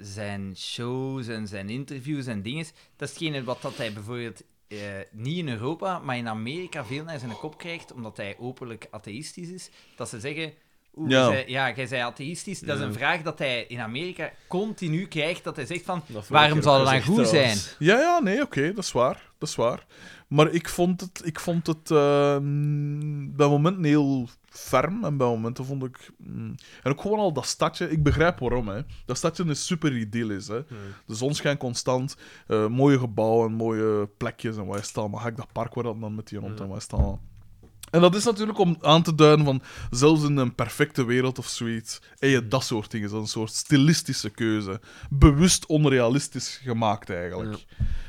S1: zijn shows en zijn interviews en dingen, dat is hetgene wat dat hij bijvoorbeeld eh, niet in Europa, maar in Amerika veel naar zijn kop krijgt, omdat hij openlijk atheïstisch is, dat ze zeggen... Oeh,
S3: Ja.
S1: jij zei- ja, jij zei atheïstisch. Dat is
S2: Ja.
S1: een vraag dat hij in Amerika continu krijgt, dat hij zegt van...
S2: Dat vond ik
S1: Waarom
S2: ook
S1: zou dat dan
S2: gezegd,
S1: goed zijn?
S2: trouwens.
S3: Ja, ja, nee, oké, dat is waar. Dat is waar. Maar ik vond het, ik vond het eh, mm, bij momenten heel ferm en bij momenten vond ik... mm, en ook gewoon al dat stadje, ik begrijp waarom, hè. Dat stadje is super idyllisch, hè. De zon schijnt constant, eh, mooie gebouwen, mooie plekjes en waar je staat. Maar ga ik dat park waar dat dan met die hond en waar je staat. En dat is natuurlijk om aan te duiden van, zelfs in een perfecte wereld of zoiets, heb je dat soort dingen. Dat is een soort stilistische keuze. Bewust onrealistisch gemaakt, eigenlijk.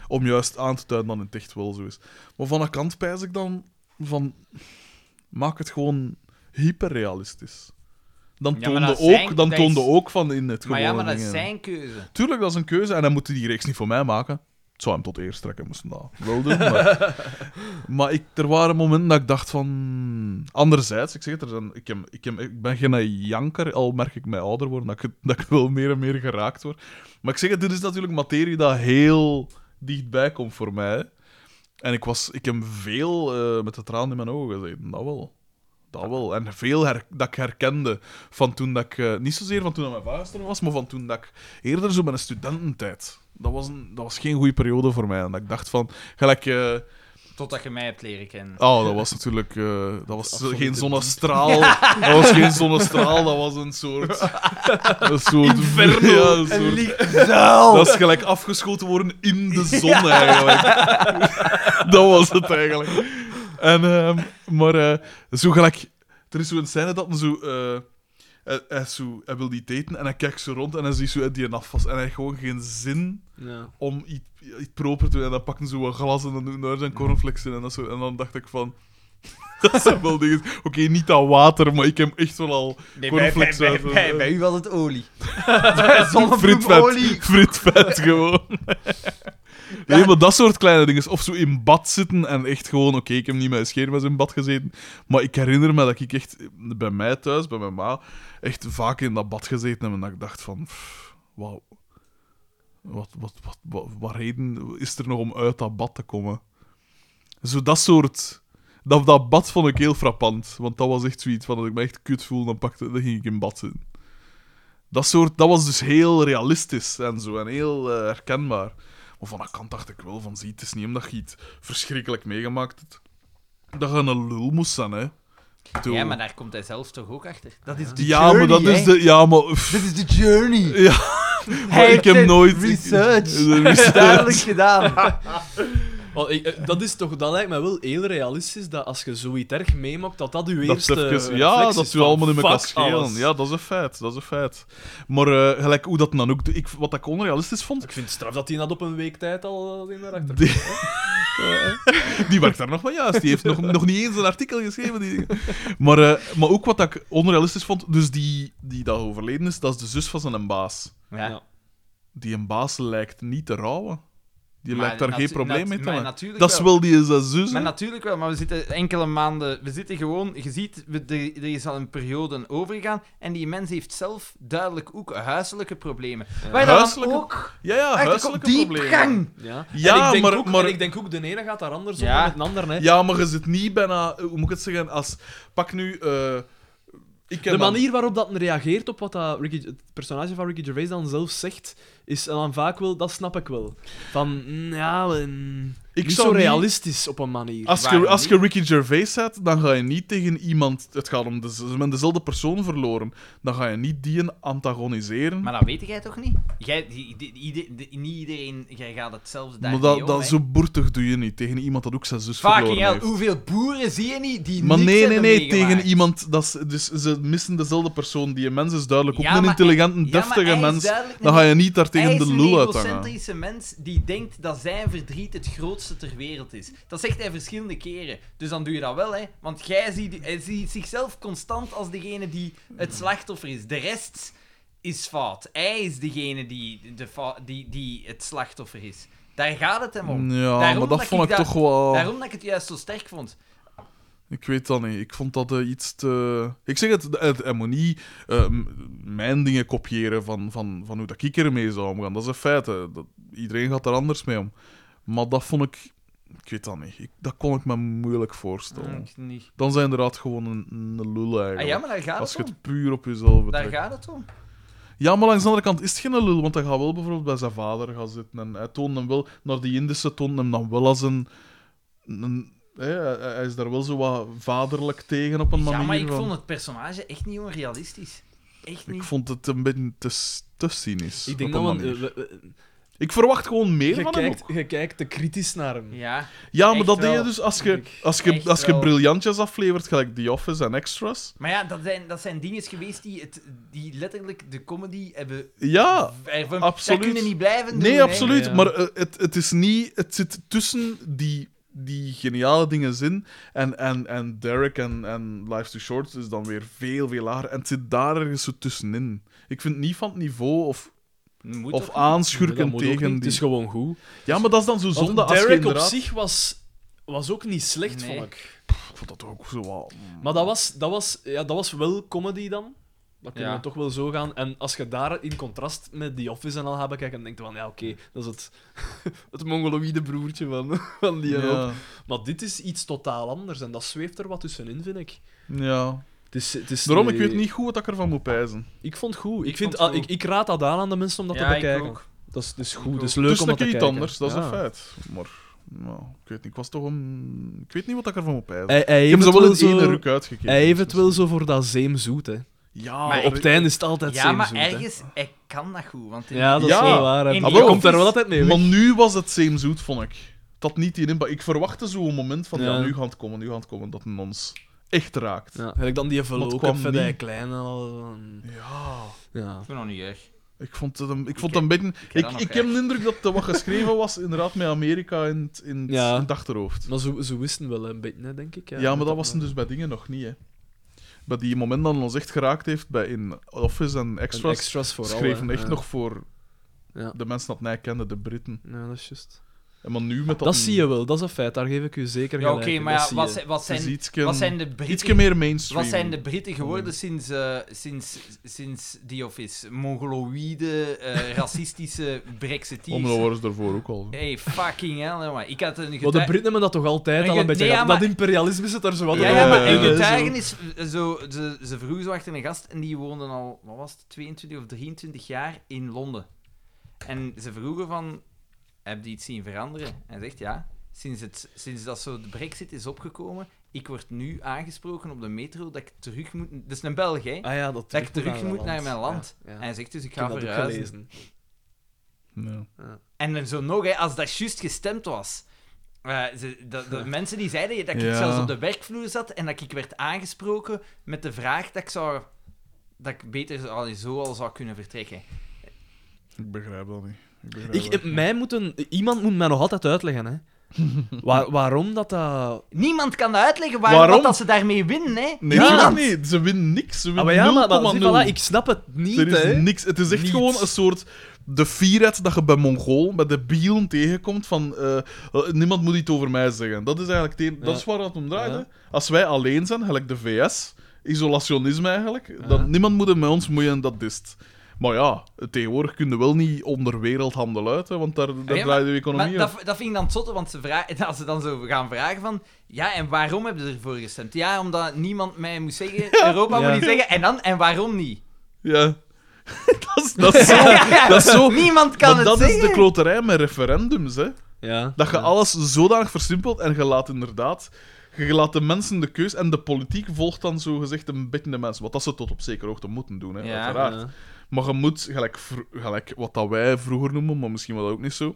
S3: Om juist aan te duiden dat het echt wel zo is. Maar van een kant pijs ik dan van, maak het gewoon hyperrealistisch. Dan
S1: Ja, maar
S3: toonde,
S1: dat zijn-
S3: ook, dan
S1: dat
S3: toonde
S1: is-
S3: ook van in het
S1: Maar
S3: gewone
S1: ja, maar dat is
S3: dingen.
S1: zijn keuze.
S3: Tuurlijk, dat is een keuze en dan moet hij die reeks niet voor mij maken. Het zou hem tot eer trekken, moesten dat wel doen. Maar, maar ik, er waren momenten dat ik dacht van... Anderzijds, ik zeg het, er zijn, ik, heb, ik, heb, ik ben geen janker, al merk ik mij ouder worden, dat ik, dat ik wel meer en meer geraakt word. Maar ik zeg het, dit is natuurlijk materie dat heel dichtbij komt voor mij. En ik, was, ik heb veel eh, met de tranen in mijn ogen gezeten, dat wel. Dat wel. En veel her- dat ik herkende van toen dat ik... eh, niet zozeer van toen dat mijn vader gestorven was, maar van toen dat ik eerder zo mijn studententijd... Dat was, een, dat was geen goede periode voor mij. En dat ik dacht van... Gelijk... eh,
S1: Totdat je mij hebt leren kennen.
S3: Oh, dat was natuurlijk... eh, dat was
S2: Absoluut
S3: geen
S2: niet.
S3: zonnestraal. Dat was geen zonnestraal. Dat was een soort... Een soort...
S2: Inferno.
S3: ja, een soort-
S2: Zaal!
S3: dat is gelijk afgeschoten worden in de zon, eigenlijk. dat was het eigenlijk. En, ehm, maar eh, zo gelijk... Er is zo'n scène dat hij zo... eh, hij, hij zo... hij wil die eten en hij kijkt zo rond en hij ziet zo uit die afwas. En hij heeft gewoon geen zin
S2: Ja.
S3: om iets, iets proper te doen. En dan pakken ze wat glas en dan doen daar zijn cornflakes in en dat soort. En dan dacht ik van... dat zijn wel dingen... Oké, niet dat water, maar ik heb echt wel al...
S1: Nee, bij, bij,
S3: cornflakes
S1: bij,
S3: uit- eh.
S1: bij- bij u was het olie. Zonnebloemolie.
S3: Fritvet. Fritvet gewoon. Nee, maar dat soort kleine dingen. Of zo in bad zitten en echt gewoon... Oké, ik heb niet met scheermes in bad gezeten. Maar ik herinner me dat ik echt bij mij thuis, bij mijn ma... echt vaak in dat bad gezeten heb. En dat ik dacht van... pff, Wauw. Wat, wat, wat, wat, wat reden is er nog om uit dat bad te komen? Zo dat soort... Dat, dat bad vond ik heel frappant. Want dat was echt zoiets van... Als ik me echt kut voel, dan, pakte, dan ging ik in bad zitten. Dat, soort, dat was dus heel realistisch en zo, en heel eh, herkenbaar. Maar van dat kant dacht ik wel van, zie, het is niet omdat je iets verschrikkelijk meegemaakt hebt, dat je een lul moest zijn, hè. Toen-
S1: Ja, maar daar komt hij zelf toch ook achter. Dat is de
S3: Ja, maar dat is de... Ja, maar... pff,
S1: Dit is de journey.
S3: Ja, maar ik heb nooit... ik-
S1: Research.
S3: de research.
S1: Duidelijk gedaan.
S2: Want ik, eh, dat is toch, dat lijkt mij wel heel realistisch dat als je zoiets erg meemaakt, dat dat uw
S3: Dat
S2: eerste.
S3: even-
S2: reflex
S3: ja, dat
S2: is
S3: we
S2: van,
S3: allemaal in elkaar
S2: fuck
S3: schelen.
S2: alles.
S3: Ja, dat is een feit. Dat is een feit. Maar eh, gelijk hoe dat dan ook... doet, Ik, wat ik onrealistisch vond,
S2: Ik vind het straf dat hij dat op een week tijd al eh, in de achter.
S3: Die, die werkt daar nog wel juist. Die heeft nog, nog niet eens een artikel geschreven. Die... Maar, eh, maar ook wat ik onrealistisch vond, dus die, die dat overleden is, dat is de zus van zijn baas.
S1: Ja.
S3: Die een baas lijkt niet te rouwen. Die
S1: Maar
S3: lijkt daar
S1: natu-
S3: geen probleem
S1: nat-
S3: mee te
S1: maar
S3: hebben.
S1: natuurlijk
S3: Dat is wel die zijn zus.
S1: Maar
S3: Dus, hè.
S1: natuurlijk wel, maar we zitten enkele maanden... We zitten gewoon... Je ziet, we, er, er is al een periode aan overgegaan en die mens heeft zelf duidelijk ook huiselijke problemen. Waar je dan
S3: Huiselijke-
S1: ook...
S3: Ja, ja,
S1: Echt, op
S3: huiselijke problemen.
S1: diepgang.
S2: Ja,
S3: Ja,
S2: en ik denk
S3: maar-
S2: ook,
S3: maar-
S2: en ik denk ook, de ene gaat daar anders
S1: Ja.
S2: om dan het ander. Hè.
S3: Ja, maar je zit niet bijna... eh, Hoe moet ik het zeggen? Als... Pak nu... eh, ik ken
S2: De
S3: dan-
S2: manier waarop dat reageert op wat dat Ricky, het personage van Ricky Gervais dan zelf zegt, is dan vaak wel, dat snap ik wel. Van, mm, ja, mm,
S3: Ik
S2: niet
S3: zou
S2: zo
S3: niet-
S2: realistisch op een manier.
S3: Als je,
S1: Waarom
S3: als je Ricky Gervais zet, dan ga je niet tegen iemand. Het gaat om de, ze hebben dezelfde persoon verloren. Dan ga je niet die antagoniseren.
S1: Maar dat weet jij toch niet? Jij, die- die- ieder- die- niet iedereen... Jij gaat hetzelfde daar
S3: Maar
S1: mee
S3: dat,
S1: om,
S3: dat
S1: hè.
S3: zo boertig doe je niet. Tegen iemand dat ook zijn zus
S1: Fucking
S3: verloren
S1: hell,
S3: heeft.
S1: hoeveel boeren zie je niet die
S3: Maar
S1: niks
S3: nee, nee,
S1: hebben
S3: nee.
S1: meegemaakt?
S3: Tegen iemand. Dat ze- dus ze missen dezelfde persoon. Die mens is duidelijk ook
S1: Ja,
S3: een
S1: maar-
S3: intelligente,
S1: ja, maar
S3: deftige
S1: hij is
S3: mens.
S1: duidelijk
S3: Dan
S1: een-
S3: ga je niet daar
S1: Hij
S3: tegen
S1: is
S3: de
S1: een
S3: lul uit hangen.
S1: egocentrische mens die denkt dat zijn verdriet het grootste ter wereld is. Dat zegt hij verschillende keren. Dus dan doe je dat wel, hè. Want jij ziet, hij ziet zichzelf constant als degene die het slachtoffer is. De rest is fout. Hij is degene die, de fa- die, die het slachtoffer is. Daar gaat het hem om.
S3: Ja,
S1: Daarom
S3: maar
S1: dat
S3: dat
S1: ik
S3: vond ik
S1: dat-
S3: toch wel.
S1: Daarom dat ik het juist zo sterk vond.
S3: Ik weet dat niet. Ik vond dat eh, iets te... Ik zeg het, het hij moet niet eh, m- mijn dingen kopiëren van, van, van hoe dat ik ermee zou omgaan. Dat is een feit. hè. Dat, iedereen gaat er anders mee om. Maar dat vond ik... Ik weet dat niet. Ik- dat kon ik me moeilijk voorstellen.
S1: Ik niet.
S3: Dan zijn inderdaad gewoon een, een lul eigenlijk.
S1: Ah, ja, maar daar gaat
S3: Als
S1: het
S3: je
S1: om.
S3: het puur op jezelf
S1: Daar
S3: betrekt.
S1: gaat het om.
S3: Ja, maar langs de andere kant is het geen lul, want hij gaat wel bijvoorbeeld bij zijn vader gaan zitten. En hij toont hem wel, naar die Indische toont hem dan wel als een... een hè, hij, hij is daar wel zo wat vaderlijk tegen op een manier.
S1: Ja, maar ik
S3: van-
S1: vond het personage echt niet onrealistisch. Echt
S3: ik
S1: niet.
S3: vond het een beetje te, s- te cynisch.
S2: ik denk
S3: op een
S2: dat we-
S3: manier.
S2: we- we-
S3: Ik verwacht gewoon meer
S2: je,
S3: van hem.
S2: kijkt,
S3: ook.
S2: je kijkt te kritisch naar hem.
S1: Ja.
S3: Ja, maar
S1: echt
S3: dat deed je
S1: wel.
S3: dus als je,
S2: Ik-
S3: als je,
S1: echt
S3: als je
S1: wel.
S3: briljantjes aflevert, gelijk The Office en Extras.
S1: Maar ja, dat zijn, dat zijn dingen geweest die, het, die letterlijk de comedy hebben
S3: Ja,
S1: ervan.
S3: absoluut.
S1: Dat kunnen niet blijven doen.
S3: nee,
S1: hè.
S3: absoluut.
S2: Ja.
S3: Maar eh, het, het is niet... Het zit tussen die, die geniale dingen in en, en, en Derek en, en Life's Too Short is dan weer veel, veel lager. En het zit daar ergens zo tussenin. Ik vind niet van het niveau of...
S4: Moet
S3: Of
S4: dat?
S2: Dat
S3: aanschurken
S2: moet ook niet.
S3: tegen
S2: Het is
S3: die...
S2: gewoon goed.
S3: Ja, maar dat is dan zo zonde
S2: Want
S3: als je
S2: Derek op
S3: inderdaad-
S2: zich was, was ook niet slecht,
S4: Nee.
S2: vond ik.
S3: Ik vond dat ook zo wat...
S2: Maar dat was, dat, was, ja, dat was wel comedy dan. Dat kunnen
S1: Ja.
S2: we toch wel zo gaan. En als je daar in contrast met The Office en al gaat bekijken, dan denk je van, ja, oké, dat is het, het mongoloïde broertje van, van die en op.
S3: Ja.
S2: Maar dit is iets totaal anders en dat zweeft er wat tussenin, vind ik.
S3: ja.
S2: Het is, het is
S3: Daarom, ik
S2: eh,
S3: weet niet goed wat ik ervan moet pijzen.
S2: Ik vond het goed. Ik,
S1: Ik
S2: vind,
S1: vond het
S2: ah,
S1: goed.
S2: ik, ik raad dat aan aan de mensen om dat
S1: Ja,
S2: te
S1: ik
S2: bekijken.
S1: ook.
S2: Dat is, dat is
S1: Ik
S2: goed, dat is
S1: ook.
S2: leuk
S3: dus
S2: om
S3: een
S2: dat te
S3: keer iets
S2: kijken.
S3: anders, dat is
S2: Ja.
S3: een feit. Maar, nou, ik weet niet, ik was toch een... Ik weet niet wat ik ervan moet pijzen.
S2: Hij, hij heeft
S3: ik heb ze
S2: het
S3: wel
S2: wel
S3: eens één
S2: zo...
S3: ruk uitgekeken.
S1: dus-
S2: Hij heeft het wel zo voor dat zeemzoet, hè.
S3: Ja,
S1: Maar
S2: Op het einde is het altijd
S1: Ja,
S2: zeemzoet,
S1: maar
S2: hè.
S1: ergens, hij kan dat goed. Want in-
S2: Ja, dat is
S3: Ja.
S2: wel waar. hè.
S1: In
S2: Maar
S1: die
S2: hij komt daar wel
S1: office-
S2: altijd mee weg.
S3: Maar nu was het zeemzoet, vond ik. Dat niet die inba- Ik verwachtte zo'n moment van, ja.
S2: Ja.
S3: nu gaat het komen, nu gaat het komen, dat het ons echt raakt.
S2: Ja, gelijk dan die verloken
S3: kwam
S2: van die
S3: niet.
S2: kleine al.
S3: Ja.
S2: Ja.
S1: Ik ben nog niet erg.
S3: Ik vond het een, ik vond
S1: heb-
S3: het een beetje...
S1: heb
S3: Ik,
S1: dat
S3: ik,
S1: nog
S3: heb
S1: graag.
S3: de indruk dat er wat geschreven was, inderdaad, met Amerika in het, in het,
S2: Ja.
S3: in het achterhoofd.
S2: Maar ze, ze wisten wel een beetje, hè, eh, denk ik.
S3: Ja, maar dat was hem dus bij dingen nog niet, hè. Bij die moment dat hij ons echt geraakt heeft, bij in Office en
S2: een
S3: dus Extras,
S2: extras vooral.
S3: schreef
S2: hè.
S3: hij echt
S2: Ja.
S3: nog voor
S2: Ja.
S3: de mensen dat mij kenden, de Britten.
S2: Ja, dat is juist.
S3: En maar nu met dat...
S2: Dat zie je wel, dat is een feit, daar geef ik u zeker
S1: Ja,
S2: gelijk
S1: oké,
S2: in,
S1: maar
S2: dat
S1: ja,
S2: zie
S1: wat,
S2: je.
S1: zijn- wat,
S3: Het is
S1: zijn,
S3: ietsken-
S1: wat zijn de
S3: ietsken
S1: Britten...
S3: meer mainstream.
S1: Wat zijn de Britten geworden sinds, eh, sinds, sinds The Office? Mongoloïde, eh, racistische
S3: Omdat
S1: brexiteers.
S3: waren ze daarvoor ook al.
S1: Hey, fucking hell, hè, man. Ik had een
S2: Maar de
S1: getuige...
S2: Britten hebben dat toch altijd
S1: Maar
S2: al een
S1: je-
S2: beetje
S1: nee,
S2: gehad?
S1: ja,
S2: Dat imperialisme zit daar zo wat
S1: Ja,
S3: Ja,
S1: ja, maar
S3: ja,
S1: een
S3: ja.
S1: getuigenis... eh, Zo, ze, ze vroegen zo achter een gast en die woonden al, wat was het, 22 of 23 jaar in Londen. En ze vroegen van, heb je iets zien veranderen? En hij zegt, ja, sinds, het, sinds dat zo de brexit is opgekomen, ik word nu aangesproken op de metro dat ik terug moet... Dat is een Belg, hè?
S2: Ah ja, dat
S1: Dat ik
S2: terug
S1: terug
S2: mijn
S1: moet naar mijn land.
S2: Ja, ja.
S1: En hij zegt dus, ik
S2: Ik heb
S1: ga
S2: dat ook
S1: verhuizen.
S2: gelezen.
S3: Ja.
S1: En dan zo nog, hè, als dat juist gestemd was. Eh, ze, dat- dat mensen die zeiden dat ik
S3: Ja.
S1: zelfs op de werkvloer zat en dat ik werd aangesproken met de vraag dat ik, zou, dat ik beter zo- allee, zo al zou kunnen vertrekken.
S3: Ik begrijp dat niet. Ik begrijp
S2: Ik,
S3: dat
S2: eh, mij moeten, iemand moet mij nog altijd uitleggen, hè. Waar- waarom dat dat...
S1: Niemand kan dat uitleggen waarom,
S3: Waarom?
S1: wat dat ze daarmee winnen. Hè?
S3: Nee,
S2: Ja.
S3: nee, nee, ze winnen niks. Ze
S2: Ah,
S3: winnen
S2: maar ja, maar, maar,
S3: 0,0.
S2: zie, voilà, ik snap het niet,
S3: er is
S2: hè.
S3: niks. Het is echt
S2: Niets.
S3: gewoon een soort de fieret dat je bij Mongool, bij de Bielen tegenkomt van eh, eh, niemand moet iets over mij zeggen. Dat is eigenlijk het een- dat
S2: Ja.
S3: is waar het om draait.
S2: Ja.
S3: hè. Als wij alleen zijn, gelijk de VS, isolationisme eigenlijk,
S2: Ja.
S3: dan niemand moet er met ons moeien en dat is het. Maar ja, tegenwoordig kunnen we wel niet onder wereldhandel uit, hè, want daar, daar
S1: ja,
S3: draait de economie
S1: Maar
S3: op.
S1: dat, dat vind ik dan zotte, want ze vragen, als ze dan zo gaan vragen van... Ja, en waarom hebben ze ervoor gestemd? Ja, omdat niemand mij moest zeggen, Europa
S2: Ja.
S1: moet niet zeggen, en dan, en waarom niet?
S3: Ja. dat, is, dat is zo. Dat is zo.
S1: Niemand kan
S3: maar
S1: het
S3: dat
S1: zeggen.
S3: is de kloterij met referendums, hè.
S2: Ja.
S3: Dat je
S2: Ja.
S3: alles zodanig versimpelt en je laat inderdaad... Je laat de mensen de keus en de politiek volgt dan zogezegd een beetje de mensen. Wat dat ze tot op zekere hoogte moeten doen, hè,
S1: Ja,
S3: uiteraard.
S2: Ja.
S3: Maar je moet, gelijk, vro- gelijk wat dat wij vroeger noemen, maar misschien was dat ook niet zo...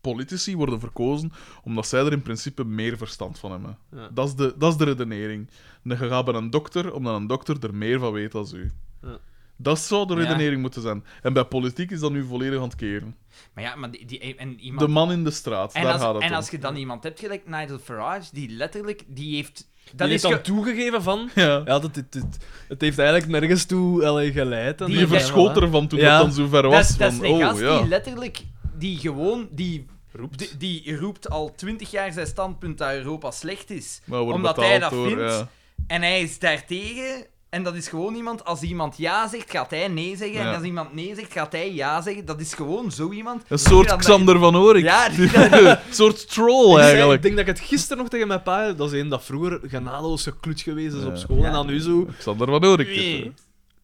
S3: Politici worden verkozen omdat zij er in principe meer verstand van hebben.
S2: Ja.
S3: Dat, is de, dat is de redenering. En je gaat bij een dokter omdat een dokter er meer van weet dan u.
S2: Ja.
S3: Dat zou de
S1: Ja.
S3: redenering moeten zijn. En bij politiek is dat nu volledig aan het keren.
S1: Maar ja, maar die, die, en iemand...
S3: De man in de straat,
S1: En,
S3: daar
S1: als,
S3: gaat het
S1: en
S3: om.
S1: als je dan iemand hebt, gelijk Nigel Farage, die letterlijk, die heeft...
S2: Dat
S1: Dat
S2: die
S1: is
S2: is dan
S1: ge-
S2: toegegeven van...
S3: Ja.
S2: Ja, dat, dit, dit- het heeft eigenlijk nergens toe allee, geleid. En
S1: Die
S3: Die
S2: Ja,
S3: verschoot
S2: voilà.
S3: ervan toen
S2: Ja.
S3: dat dan zo ver
S1: dat,
S3: was.
S1: is- dat is
S3: van,
S1: een
S3: oh,
S1: gast
S3: ja.
S1: die letterlijk, die gewoon, die
S3: Roept.
S1: die, die roept al twintig jaar zijn standpunt dat Europa slecht is.
S3: Maar wordt
S1: Omdat
S3: betaald
S1: hij dat
S3: door,
S1: vindt.
S3: ja.
S1: En hij is daartegen. En dat is gewoon iemand, als iemand ja zegt, gaat hij nee zeggen.
S3: Ja.
S1: En als iemand nee zegt, gaat hij ja zeggen. Dat is gewoon zo iemand.
S3: Een soort
S1: Dan-
S3: Xander van Orik.
S1: Ja, die-
S3: Een soort troll,
S2: Ik zei- Ik
S3: eigenlijk.
S2: denk dat ik het gisteren nog tegen mijn pa... Dat is een dat vroeger genadeloos geklut geweest is op
S3: Ja.
S2: school. En dan nu zo...
S3: Xander van Orik. dit,
S1: Nee.
S3: hè.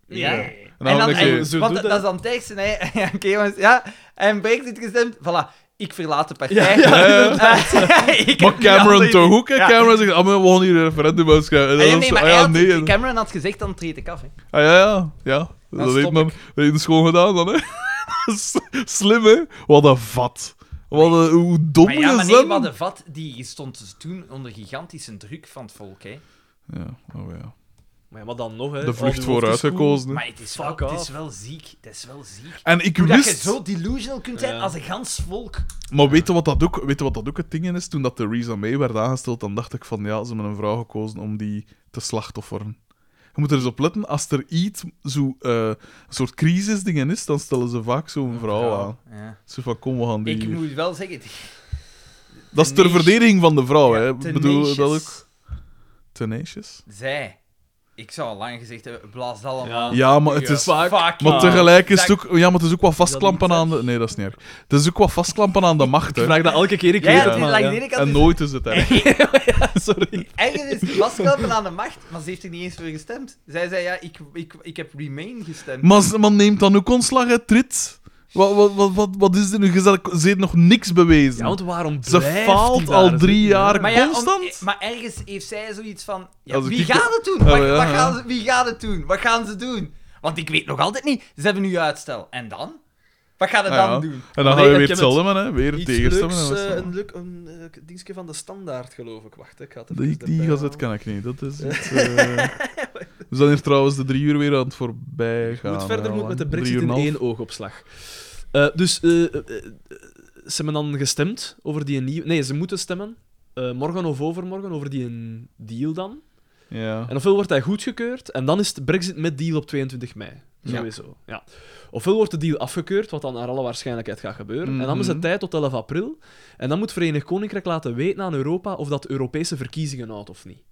S1: Ja.
S3: En dan
S1: en dan,
S3: denk je-
S1: en-
S2: zo
S1: want
S2: doet
S1: dat,
S2: hij.
S1: is dan het teksten, hè. Ja, Oké, jongens, ja. En Brexit gestemd, voilà. Ik verlaat de partij.
S3: Ja, ja.
S1: Eh, ik
S3: Maar
S1: heb die andere
S3: Cameron toch
S1: idee.
S3: ook, hè?
S1: Ja.
S3: Cameron zegt, ah, maar we gaan hier een referendum uitschrijven. En
S1: Ah, ja,
S3: dan
S1: nee,
S3: zo,
S1: maar
S3: ah,
S1: hij
S3: ja,
S1: had-
S3: nee. en-
S1: Cameron had gezegd, dan treed ik af. Hè.
S3: Ah, ja, ja. ja. Dat
S1: stop
S3: heeft
S1: ik.
S3: men dat heeft schoon gedaan dan, hè. S- Slim, hè? Wat een vat. Wat een, hoe dom
S1: Maar ja,
S3: je
S1: maar nee,
S3: zijn.
S1: wat de vat, die stond dus toen onder gigantische druk van het volk. Hè.
S3: Ja, oh ja.
S2: Maar, ja, maar dan nog, hè.
S3: De vlucht
S2: Al-
S3: vooruit gekozen. hè.
S1: Maar Eh, oh, het is,
S2: Fuck
S1: wel, het is
S2: off.
S1: wel ziek. Het is wel ziek.
S3: En ik
S1: Hoe dat je
S3: wist...
S1: zo delusional kunt zijn
S2: Ja.
S1: als een gans volk.
S3: Maar weet je wat dat ook, weet je wat dat ook het ding is? Toen dat Theresa May werd aangesteld, dan dacht ik van ja, ze hebben een vrouw gekozen om die te slachtofferen. Je moet er eens op letten, als er iets, zo, eh, een soort crisisdingen is, dan stellen ze vaak zo'n vrouw aan.
S1: Ja.
S3: Zo van, kom, we gaan die...
S1: Ik moet wel zeggen...
S3: dat is ter
S1: Tenacious-
S3: verdediging van de vrouw, hè.
S1: ja,
S3: Ik Bedoel je dat ook?
S1: Tenacious
S3: Tenacious?
S1: Zij. Ik zou al lang gezegd hebben, blaas dat allemaal.
S2: Ja.
S3: Ja, maar het
S1: Ja. Ah,
S3: is...
S1: Fuck.
S3: Maar
S1: ja.
S3: tegelijk is het
S1: Dat-
S3: ook... Ja, maar het is ook wat vastklampen aan de... Nee, dat is niet erg. Het is ook wat vastklampen aan de macht,
S2: Ik
S3: hè.
S2: vraag dat elke keer, ik
S1: Ja,
S2: weet
S1: dat
S2: het,
S1: is
S2: maar...
S1: lang
S2: ja.
S1: geleden. ik had
S3: En
S1: dus-
S3: nooit is het erg.
S2: Sorry.
S1: Ergens is de vastklampen aan de macht, maar ze heeft er niet eens voor gestemd. Zij zei, ja, ik, ik, ik heb Remain gestemd.
S3: Maar, ze- maar neemt dan ook ontslag, hè, Trit? Wat, wat, wat, wat, wat is er nu? Je zet- Ze heeft nog niks bewezen.
S2: Ja, want waarom
S3: Ze
S2: blijft die
S3: faalt
S2: daar
S3: al
S2: zitten,
S3: drie
S2: hè?
S3: jaar.
S1: Maar ja, om-
S3: constant?
S1: maar ergens heeft zij zoiets van... ja,
S3: Als ik
S1: wie
S3: die-
S1: gaat het doen?
S3: Ja,
S1: Wat-
S3: ja,
S1: wat
S3: ja.
S1: gaan ze- wie gaat het doen? Wat gaan ze doen? Want ik weet nog altijd niet. Ze hebben nu uitstel. En dan? Wat gaan ze
S3: Ja,
S1: dan
S3: ja.
S1: doen?
S3: En dan
S2: Nee,
S3: ga je
S2: ik
S3: weer
S2: heb
S3: hetzelfde doen, hè? Weer
S2: Iets
S3: tegenstemmen.
S2: leuks,
S3: en dat is
S2: eh,
S3: dan-
S2: een leuk een, eh, dingetje van de standaard, geloof ik. Wacht, ik had het
S3: die
S2: even
S3: die
S2: erbij
S3: gazet
S2: halen.
S3: kan ik niet. Dat is iets, eh. We zijn hier trouwens de drie uur weer aan het voorbij gaan.
S2: Hoe het verder
S3: hè,
S2: moet
S3: al,
S2: met
S3: hè.
S2: de
S3: Drie
S2: brexit
S3: uur en
S2: in
S3: een half.
S2: één oogopslag. Eh, dus eh, eh, eh, ze hebben dan gestemd over die nieuwe... Nee, ze moeten stemmen. eh, morgen of overmorgen over die een deal dan.
S3: Ja.
S2: En ofwel wordt hij goedgekeurd en dan is de Brexit met deal op 22 mei.
S1: Ja.
S2: Sowieso. Ja. Ofwel wordt de deal afgekeurd, wat dan naar alle waarschijnlijkheid gaat gebeuren. En dan is het
S3: Mhm.
S2: tijd tot 11 april. En dan moet Verenigd Koninkrijk laten weten aan Europa of dat Europese verkiezingen houdt of niet.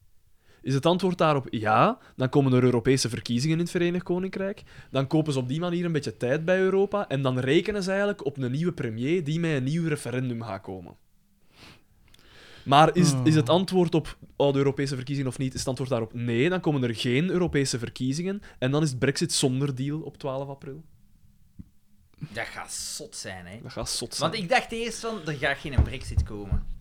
S2: Is het antwoord daarop ja, dan komen er Europese verkiezingen in het Verenigd Koninkrijk. Dan kopen ze op die manier een beetje tijd bij Europa. En dan rekenen ze eigenlijk op een nieuwe premier die met een nieuw referendum gaat komen. Maar is, is het antwoord op oh, de Europese verkiezingen of niet? Is het antwoord daarop nee? Dan komen er geen Europese verkiezingen. En dan is Brexit zonder deal op 12 april.
S1: Dat gaat zot zijn, hè.
S2: Dat gaat zot zijn.
S1: Want ik dacht eerst van, er gaat geen brexit komen.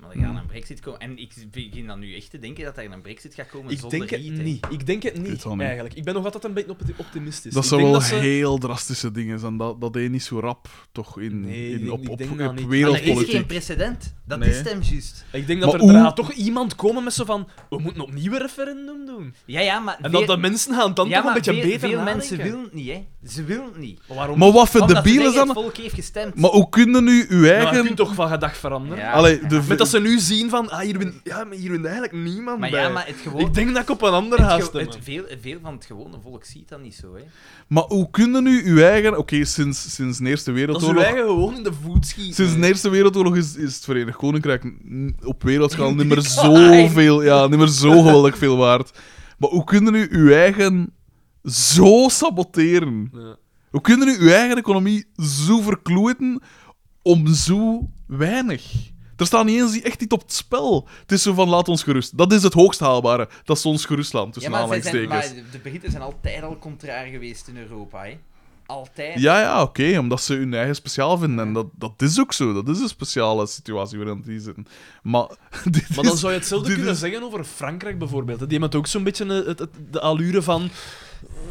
S1: Maar er gaat een brexit komen. En ik begin dan nu echt te denken dat er een brexit gaat komen
S2: Ik
S1: zonder
S2: denk het
S1: Riet, hè.
S2: niet. Ik denk het
S3: weet
S2: niet,
S3: het al niet.
S2: eigenlijk. Ik ben nog altijd een beetje opti- optimistisch.
S3: Dat
S2: Ik
S3: zijn
S2: denk
S3: wel
S2: dat ze-
S3: heel drastische dingen zijn. Dat, dat deed niet zo rap, toch, in,
S2: Nee, ik
S3: in,
S2: denk-
S3: op,
S2: ik
S3: op,
S2: denk
S3: op
S2: dat niet.
S1: Maar er is geen
S3: wereldpolitiek.
S1: precedent. Dat
S3: Nee.
S1: is hem juist.
S2: Ik denk dat
S3: Maar
S2: er
S3: hoe-
S2: daar gaat toch iemand komen met zo van... We moeten opnieuw een referendum doen.
S1: Ja, ja, maar...
S2: En
S1: veel-
S2: dat de mensen gaan dan
S1: ja,
S2: toch
S1: maar
S2: een beetje
S1: veel,
S2: beter
S1: Veel
S2: nadenken.
S1: mensen willen het niet, hè. Ze willen het niet.
S2: Maar waarom?
S3: Maar wat voor
S1: Omdat ze
S3: debielen
S1: zeggen,
S3: zijn...
S1: Het volk heeft gestemd.
S3: Maar hoe kunnen nu uw
S2: Ja, maar je
S3: eigen...
S2: Nou, kunt toch van gedag veranderen?
S1: Ja.
S3: Allee, de...
S2: Met dat ze nu zien van... Ah, hier wint, ja, maar hier wint eigenlijk niemand
S1: Maar
S2: bij.
S1: ja, maar het gewoon...
S2: Ik denk dat ik op een ander
S1: het
S2: ga
S1: ge-
S2: stemmen.
S1: het veel, veel van het gewone volk ziet dat niet zo, hè.
S3: Maar hoe kunnen nu uw eigen... Oké, sinds, sinds de Eerste
S2: Dat ze
S3: Wereldoorlog...
S2: eigen gewoon in de voet schieten.
S3: Sinds de Eerste Wereldoorlog is, is het Verenigd Koninkrijk n- op wereldschaal niet meer
S1: Decline.
S3: zoveel... Ja, niet meer zo geweldig veel waard. Maar hoe kunnen nu uw eigen zo saboteren?
S2: Ja.
S3: Hoe kunnen nu uw eigen economie zo verkloeten om zo weinig? Er staat niet eens echt iets op het spel. Het is zo van, laat ons gerust. Dat is het hoogst haalbare. Dat is ons gerustland, tussen
S1: maar, zij zijn,
S3: aanhalingstekens.
S1: maar de Britten zijn altijd al contrair geweest in Europa, hè. Altijd.
S3: Ja, ja, oké, omdat ze hun eigen speciaal vinden. En dat, dat is ook zo. Dat is een speciale situatie waarin die zitten. Maar, dit
S2: Maar dan
S3: is-
S2: zou je hetzelfde
S3: dit
S2: kunnen
S3: is-
S2: zeggen over Frankrijk bijvoorbeeld. hè. Die heeft ook zo'n beetje eh, het, het- de allure van...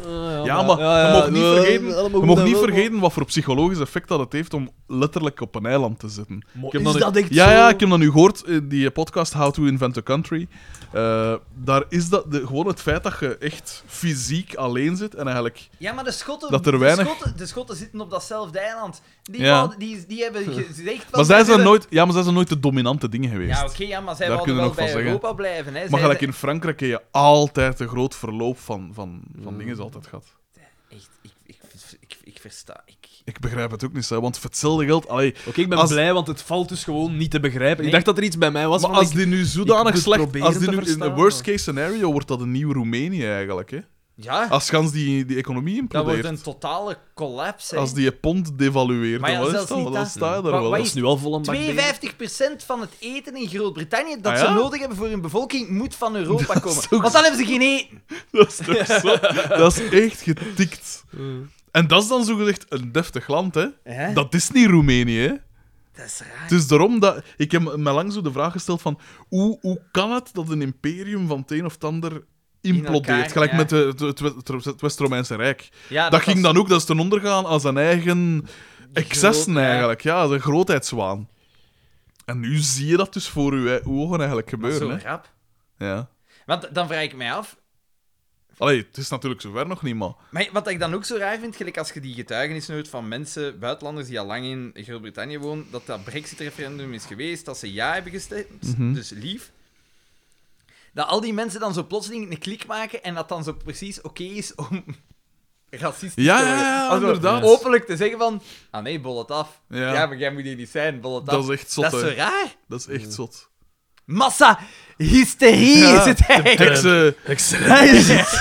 S2: eh,
S3: Ja, maar
S2: ja,
S3: je
S2: ja,
S3: mag niet
S2: eh,
S3: vergeten,
S2: allemaal goed
S3: je mag
S2: en
S3: niet
S2: wel, maar-
S3: vergeten wat voor psychologisch effect dat het heeft om letterlijk op een eiland te zitten.
S2: Maar
S3: Ik heb
S2: is
S3: nu-
S2: dat echt
S3: ja,
S2: zo?
S3: ja, ik heb dat nu gehoord in die podcast How to Invent a Country. Eh, daar is dat de, gewoon het feit dat je echt fysiek alleen zit en eigenlijk...
S1: Ja, maar de Schotten,
S3: Dat er
S1: de,
S3: weinig-
S1: Schotten, de Schotten zitten op datzelfde eiland. Die,
S3: Ja.
S1: wouden- die, die hebben gezegd... van, wij
S3: Maar zij zijn
S1: willen-
S3: nooit, ja, maar zij zijn nooit de dominante dingen geweest.
S1: Ja, oké, ja, maar zij
S3: Daar
S1: wilden
S3: kunnen
S1: wel
S3: we nog
S1: bij
S3: van zeggen.
S1: Europa blijven. Hè. Zij
S3: Maar gelijk
S1: zijn-
S3: in Frankrijk heb je altijd een groot verloop van, van,
S1: Mm.
S3: van dingen altijd gehad.
S1: Echt, ik, ik, ik, ik versta... Ik...
S3: Ik begrijp het ook niet, hè, want voor hetzelfde geld... Allee,
S2: Oké, ik ben
S3: Als-
S2: blij, want het valt dus gewoon niet te begrijpen.
S1: Nee.
S2: Ik dacht dat er iets bij mij was.
S3: maar
S2: van
S3: als
S2: ik-
S3: die nu zodanig
S2: moet
S3: slecht...
S2: proberen
S3: Als die
S2: te
S3: nu in de
S2: verstaan,
S3: worst
S2: maar-
S3: case scenario wordt dat een nieuw Roemenië eigenlijk, hè.
S1: Ja,
S3: Als gans die, die economie
S1: dat wordt
S3: implodeert.
S1: een totale collapse. hè.
S3: Als die je pond devalueert,
S1: Maar ja,
S3: dan, wat is
S1: zelfs
S3: dat?
S1: niet
S3: dan
S1: dat.
S3: sta je daar
S1: Wa-
S3: wel.
S1: wat
S2: Dat is nu al vol een bak dingen.
S1: 52% van het eten in Groot-Brittannië dat
S3: Ah, ja?
S1: ze nodig hebben voor hun bevolking moet van Europa komen.
S3: is ook
S1: Want dan hebben ze geen e- eten.
S3: Dat is toch zo? Dat is echt getikt.
S1: Mm.
S3: En dat is dan zogezegd een deftig land, hè?
S1: Hè?
S3: Dat is niet Roemenië, hè?
S1: Dat is raar.
S3: Het is daarom dat... Ik heb me lang zo de vraag gesteld van... Hoe, hoe kan het dat een imperium van het een of het ander implodeert?
S1: elkaar,
S3: Gelijk
S1: ja.
S3: met de- het, het, het- het West-Romeinse Rijk.
S1: Ja,
S3: dat ging dan ook, dat is ten ondergaan aan zijn eigen excessen
S1: ja.
S3: eigenlijk. Ja, zijn grootheidswaan. En nu zie je dat dus voor je ogen eigenlijk
S1: was
S3: gebeuren,
S1: zo
S3: hè?
S1: rap.
S3: Ja.
S1: Want dan vraag ik mij af...
S3: Allee, het is natuurlijk zover nog niet, maar...
S1: Maar wat ik dan ook zo raar vind, gelijk als je die getuigenissen hoort van mensen, buitenlanders die al lang in Groot-Brittannië wonen,
S3: Mhm.
S1: dat dat brexit-referendum is geweest, dat ze ja hebben gestemd, dus lief. Dat al die mensen dan zo plotseling een klik maken en dat dan zo precies oké is om racistisch
S3: Ja,
S1: te
S3: ja,
S1: worden.
S3: ja,
S1: Om zo
S3: inderdaad.
S1: Openlijk te zeggen van, ah nee, bol het af.
S3: Ja.
S1: Ja, maar jij moet hier niet zijn, bol het af.
S3: Dat is echt zot,
S1: Dat is
S3: hè.
S1: zo raar.
S3: Dat is echt zot.
S1: Massa hysterie
S3: Ja.
S1: is het eigenlijk.
S3: Heksen.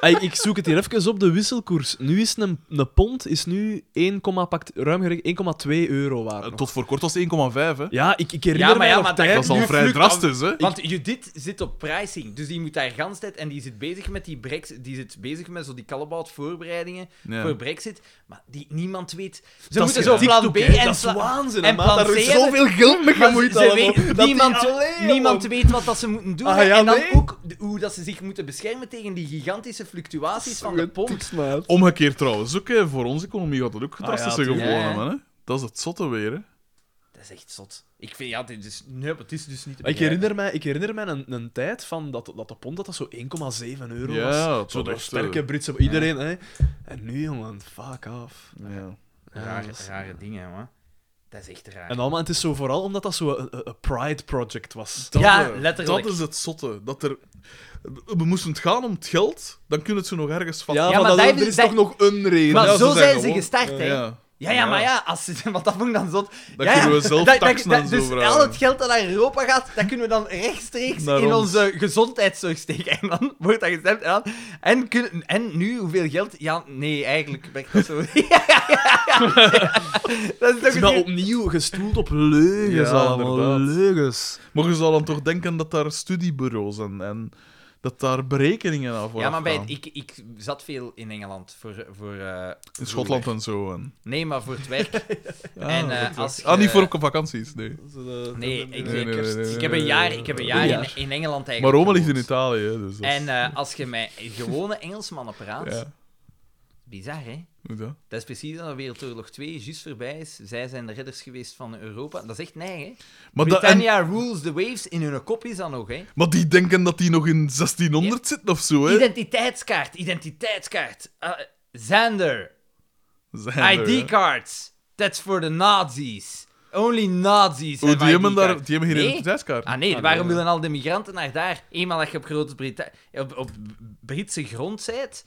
S2: Ah, ik, ik zoek het hier even op, de wisselkoers. Nu is een, een pond is nu 1, pakt, ruim gerekend 1,2 euro waard. nog.
S3: Eh, Tot voor kort was het 1,5, hè?
S2: Ja, ik, ik herinner
S1: Ja, maar
S2: mij
S1: ja,
S2: nog
S1: maar dat-
S2: tijden-
S3: Dat is al
S1: nu
S3: vrij
S1: vlucht
S3: drastisch, hè?
S1: Want Judith zit op pricing, dus die moet daar gans tijd en die zit bezig met die brexit, die zit bezig met zo die kallebaut voorbereidingen
S3: Ja.
S1: voor brexit, maar die niemand weet. Ze
S2: Dat
S1: moeten
S2: is
S1: zo
S2: TikTok,
S1: plan B
S2: hè.
S1: en
S2: Dat is
S1: pla-
S2: waanzin,
S1: en
S2: hè, maat.
S1: plan
S2: Daar
S1: C
S2: wordt
S1: hebben.
S2: zoveel geld mee
S1: maar
S2: gemoeid
S1: ze
S2: allemaal.
S1: weet-
S2: Dat die
S1: niemand,
S2: alleen,
S1: niemand
S2: man.
S1: weet wat dat ze moeten doen
S2: Ah, ja,
S1: en dan
S2: nee.
S1: ook de- hoe dat ze zich moeten beschermen tegen die gigantische fluctuaties van de pond.
S2: Tiks, maat.
S3: Omgekeerd trouwens, ook hè, voor onze economie gaat dat ook drastische
S2: ja, tuurlijk.
S3: gevolgen
S1: Ja, ja.
S3: hebben. Hè? Dat is het zotte weer. Hè?
S1: Dat is echt zot. Ik vind ja, dit is nee, maar het is dus niet. te
S2: Maar Ik
S1: begrijpen.
S2: herinner mij, ik herinner mij een, een tijd van dat, dat de pond dat, dat zo 1,7 euro
S3: Ja, dat
S2: was. Zo
S3: was
S2: de
S3: echt,
S2: sterke
S3: eh,
S2: Britse... Iedereen, hè. En nu, jongen, fuck off.
S3: Ja.
S2: Ja,
S1: Rare,
S2: dat is-
S1: rare dingen, man. Dat is echt raar.
S2: En allemaal, het is zo vooral omdat dat zo een, een- een pride project was.
S1: Ja,
S3: eh,
S1: letterlijk.
S3: Dat is het zotte. Dat er... We moesten het gaan om het geld, dan kunnen het ze nog ergens vatten.
S2: Ja,
S1: Ja,
S2: van
S1: maar
S2: dat,
S1: daar
S2: er
S1: hebben-
S2: is
S1: daar-
S2: toch nog een reden.
S1: maar
S3: ja, ze
S1: zo
S3: zijn
S1: zijn ze
S3: gewoon-
S1: gestart, hè?
S3: ja.
S1: Ja, ja, maar ja, als ze, want dat vond ik dan zot.
S3: Dan
S1: ja,
S3: kunnen we
S1: ja,
S3: zelf
S1: dat-
S3: taxen
S1: dat-
S3: en zo
S1: Dus
S3: vragen.
S1: al het geld dat naar Europa gaat, dat kunnen we dan rechtstreeks
S3: Naar
S1: in
S3: ons.
S1: onze gezondheidszorg steken. En dan wordt dat gestemd. En, dan- en, kun- en nu, hoeveel geld? Ja, nee, eigenlijk werkt dat zo. Ja, ja, ja, ja. Dat is toch
S2: Het is wel
S1: een-
S2: opnieuw gestoeld op leugens
S3: Ja,
S2: allemaal.
S3: inderdaad.
S2: Leugens.
S3: Mogen ze dan toch denken dat daar studiebureaus en, en dat daar berekeningen aan voor
S1: Ja, maar bij,
S3: afgaan?
S1: ik, ik zat veel in Engeland voor... voor eh,
S3: In Schotland en zo. En...
S1: Nee, maar voor het werk.
S3: Ah,
S1: En, eh,
S3: dat is-
S1: als
S3: ah,
S1: je-
S3: niet voor op vakanties, nee.
S2: eh,
S1: Nee, ik,
S3: nee, nee, nee, nee.
S1: ik heb een jaar, ik heb een jaar in,
S2: Ja.
S1: in Engeland eigenlijk
S3: Maar Rome ligt in
S1: gewoond.
S3: Italië, hè, dus dat is-
S1: En eh, als je met gewone Engelsmannen praat...
S3: Ja,
S1: Bizar, hè?
S3: hoe dat?
S1: Dat is precies dat Wereldoorlog 2 juist voorbij is. Zij zijn de redders geweest van Europa. Dat is echt nee, hè?
S3: Maar, dat- en-
S1: Britannia rules the waves in hun kop is dan nog, hè?
S3: maar die denken dat die nog in 1600 zitten of zo, hè?
S1: Identiteitskaart, identiteitskaart. Eh, Zander, Ah,
S3: Zijn er, hè.
S1: ID-cards. That's for the Nazis. Only Nazis
S3: Oh,
S1: hebben
S3: die hebben, daar,
S1: ID-cards.
S3: die hebben geen
S1: Nee.
S3: identiteitskaart.
S1: Ah nee, waarom willen al de migranten naar daar? Eenmaal dat je op, Groot-Brita- op, op Britse grond bent,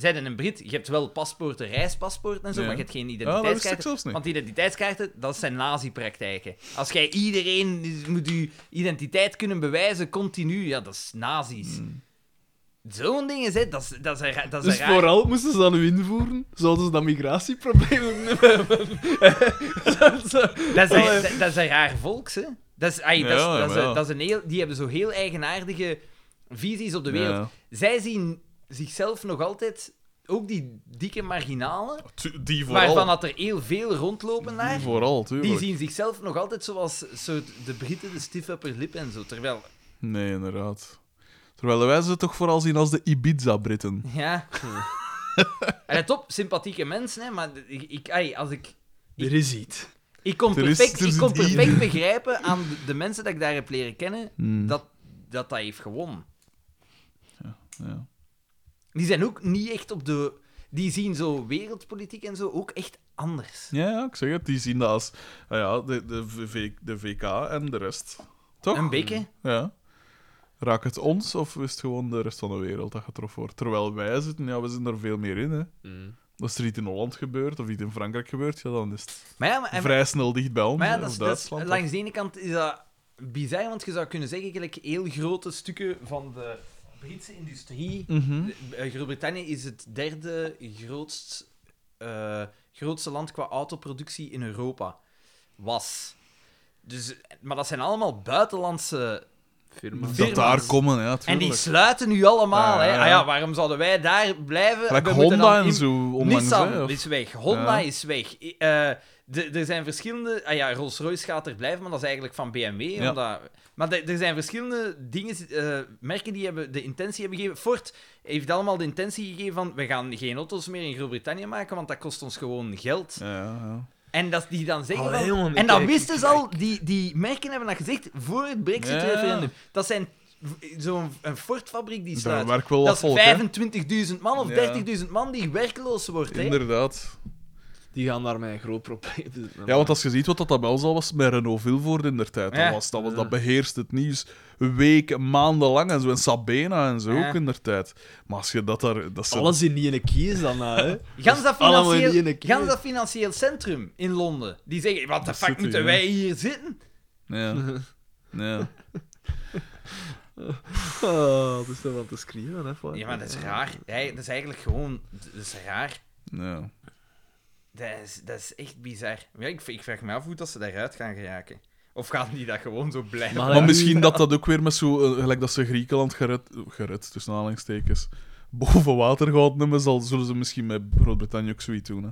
S1: zijn een Brit, je hebt wel paspoorten, reispaspoorten en zo,
S3: Ja.
S1: maar je hebt geen
S3: Ah, dat wist ik
S1: identiteitskaart.
S3: zelfs niet.
S1: want identiteitskaarten, dat zijn nazi-praktijken. Als jij iedereen moet je identiteit kunnen bewijzen, continu, ja, dat is nazi's.
S3: Hmm.
S1: Zo'n ding is het, dat is, dat is, een ra- dat is
S2: Dus
S1: een raar-
S2: vooral moesten ze dat nu invoeren? Zouden ze dat migratieprobleem ook niet hebben? Zouden ze-
S1: Dat is, een- dat- dat is een raar volks, hè? Dat is, ai, dat is,
S3: Ja,
S1: dat is, een-
S3: ja.
S1: dat is een heel, die hebben zo heel eigenaardige visies op de
S3: Ja.
S1: wereld. Zij zien zichzelf nog altijd, ook die dikke marginalen,
S3: Tu- Die
S1: waarvan
S3: vooral.
S1: dat er heel veel rondlopen daar,
S3: Die vooral,
S1: die
S3: tuurlijk.
S1: zien zichzelf nog altijd zoals soort de Britten, de stiff upper lip en zo. Terwijl,
S3: Nee, inderdaad. Terwijl wij ze toch vooral zien als de Ibiza-Britten.
S1: ja... En let op, sympathieke mensen, hè, maar ik, ik, ai, als ik,
S2: Er is iets.
S1: ik kon
S3: Er is-
S1: perfect,
S3: er
S1: ik
S3: zit
S1: kon
S3: hier-
S1: perfect begrijpen aan de, de mensen dat ik daar heb leren kennen,
S3: Hmm,
S1: dat dat, dat heeft gewonnen.
S3: ja.
S1: Die zijn ook niet echt op de. Die zien zo wereldpolitiek en zo ook echt anders.
S3: Ja, ja, ik zeg het. Die zien dat als ah ja, de, de, v, de VK en de rest. Toch?
S1: Een beetje.
S3: Ja. Raakt het ons of is het gewoon de rest van de wereld dat getroffen wordt? Terwijl wij zitten, ja, we zitten er veel meer in. Hè.
S2: Mm.
S3: Als er iets in Holland gebeurt of iets in Frankrijk gebeurt, ja, dan is het
S1: Maar ja, maar, en-
S3: vrij snel dicht bij ons.
S1: maar ja
S3: hè,
S1: dat is,
S3: of
S1: dat is-
S3: Duitsland.
S1: langs de ene kant is dat bizar, want je zou kunnen zeggen, gelijk heel grote stukken van de Britse industrie.
S3: of- Mhm.
S1: De- eh, Groot-Brittannië is het derde grootst, eh, grootste land qua autoproductie in Europa. Was. Dus, maar dat zijn allemaal buitenlandse
S2: Firma.
S3: Dat daar komen, ja,
S1: En die
S3: tuurlijk.
S1: sluiten nu allemaal.
S3: Ja,
S1: hè.
S3: ja,
S1: Ah
S3: ja,
S1: ja, waarom zouden wij daar blijven?
S3: Like
S1: We moeten
S3: Honda
S1: dan
S3: en
S1: im-
S3: zo onlangs,
S1: Nissan
S3: hè, of-
S1: is weg, Honda
S3: Ja.
S1: is weg. I- eh, de- er zijn verschillende... Ah ja, Rolls-Royce gaat er blijven, maar dat is eigenlijk van BMW.
S3: Ja.
S1: Omdat, maar de- er zijn verschillende dingen, eh, merken die hebben de intentie hebben gegeven. Ford heeft allemaal de intentie gegeven van we gaan geen auto's meer in Groot-Brittannië maken, want dat kost ons gewoon geld.
S3: Ja, ja.
S1: En dat die dan zeggen...
S2: Allee,
S1: van-
S2: jongen,
S1: en dan
S2: kijk,
S1: wisten ze
S2: kijk.
S1: al, die, die merken hebben dat gezegd voor het Brexit-referendum. Dat zijn v- zo'n een Ford-fabriek die
S3: Daar
S1: sluit.
S3: werkt wel
S1: Dat
S3: wat
S1: is
S3: volk, hè.
S1: 25.000 man of
S3: Ja.
S1: 30.000 man die werkloos wordt. Hè?
S3: Inderdaad.
S2: die gaan daarmee een groot probleem zitten.
S3: Ja, want als je ziet wat dat bij ons al was met Renault Vilvoorde in der tijd,
S1: Ja.
S3: dat, was, dat, was,
S2: Ja.
S3: dat beheerst het nieuws weken, maanden lang en zo. En Sabena en zo
S1: Ja.
S3: ook in der tijd. Maar als je dat daar... Dat ze-
S2: Alles in die ene kies dan, hè.
S3: Dus
S1: Gans dat,
S2: Allemaal in
S1: financieel,
S2: één keer.
S1: gans dat financieel centrum in Londen. Die zeggen, wat de
S3: Dat
S1: fuck
S3: zit
S1: moeten
S3: hier,
S1: wij hier zitten?
S3: Ja. ja.
S2: Oh, dat is toch wel te schreeuwen, hè. voor-
S1: Ja, maar dat is raar. Hij- dat is eigenlijk gewoon... Dat is raar.
S3: ja.
S1: Dat is, dat is echt bizar. Ja, ik, ik vraag me af hoe dat ze daaruit gaan geraken. Of gaan die dat gewoon zo blijven?
S2: Maar-
S3: Maar misschien dat dat ook weer met zo... eh, gelijk dat ze Griekenland gered... Gered, tussen aanhalingstekens. Boven water gehouden hebben, zal, zullen ze misschien met Groot-Brittannië ook zoiets doen. Hè.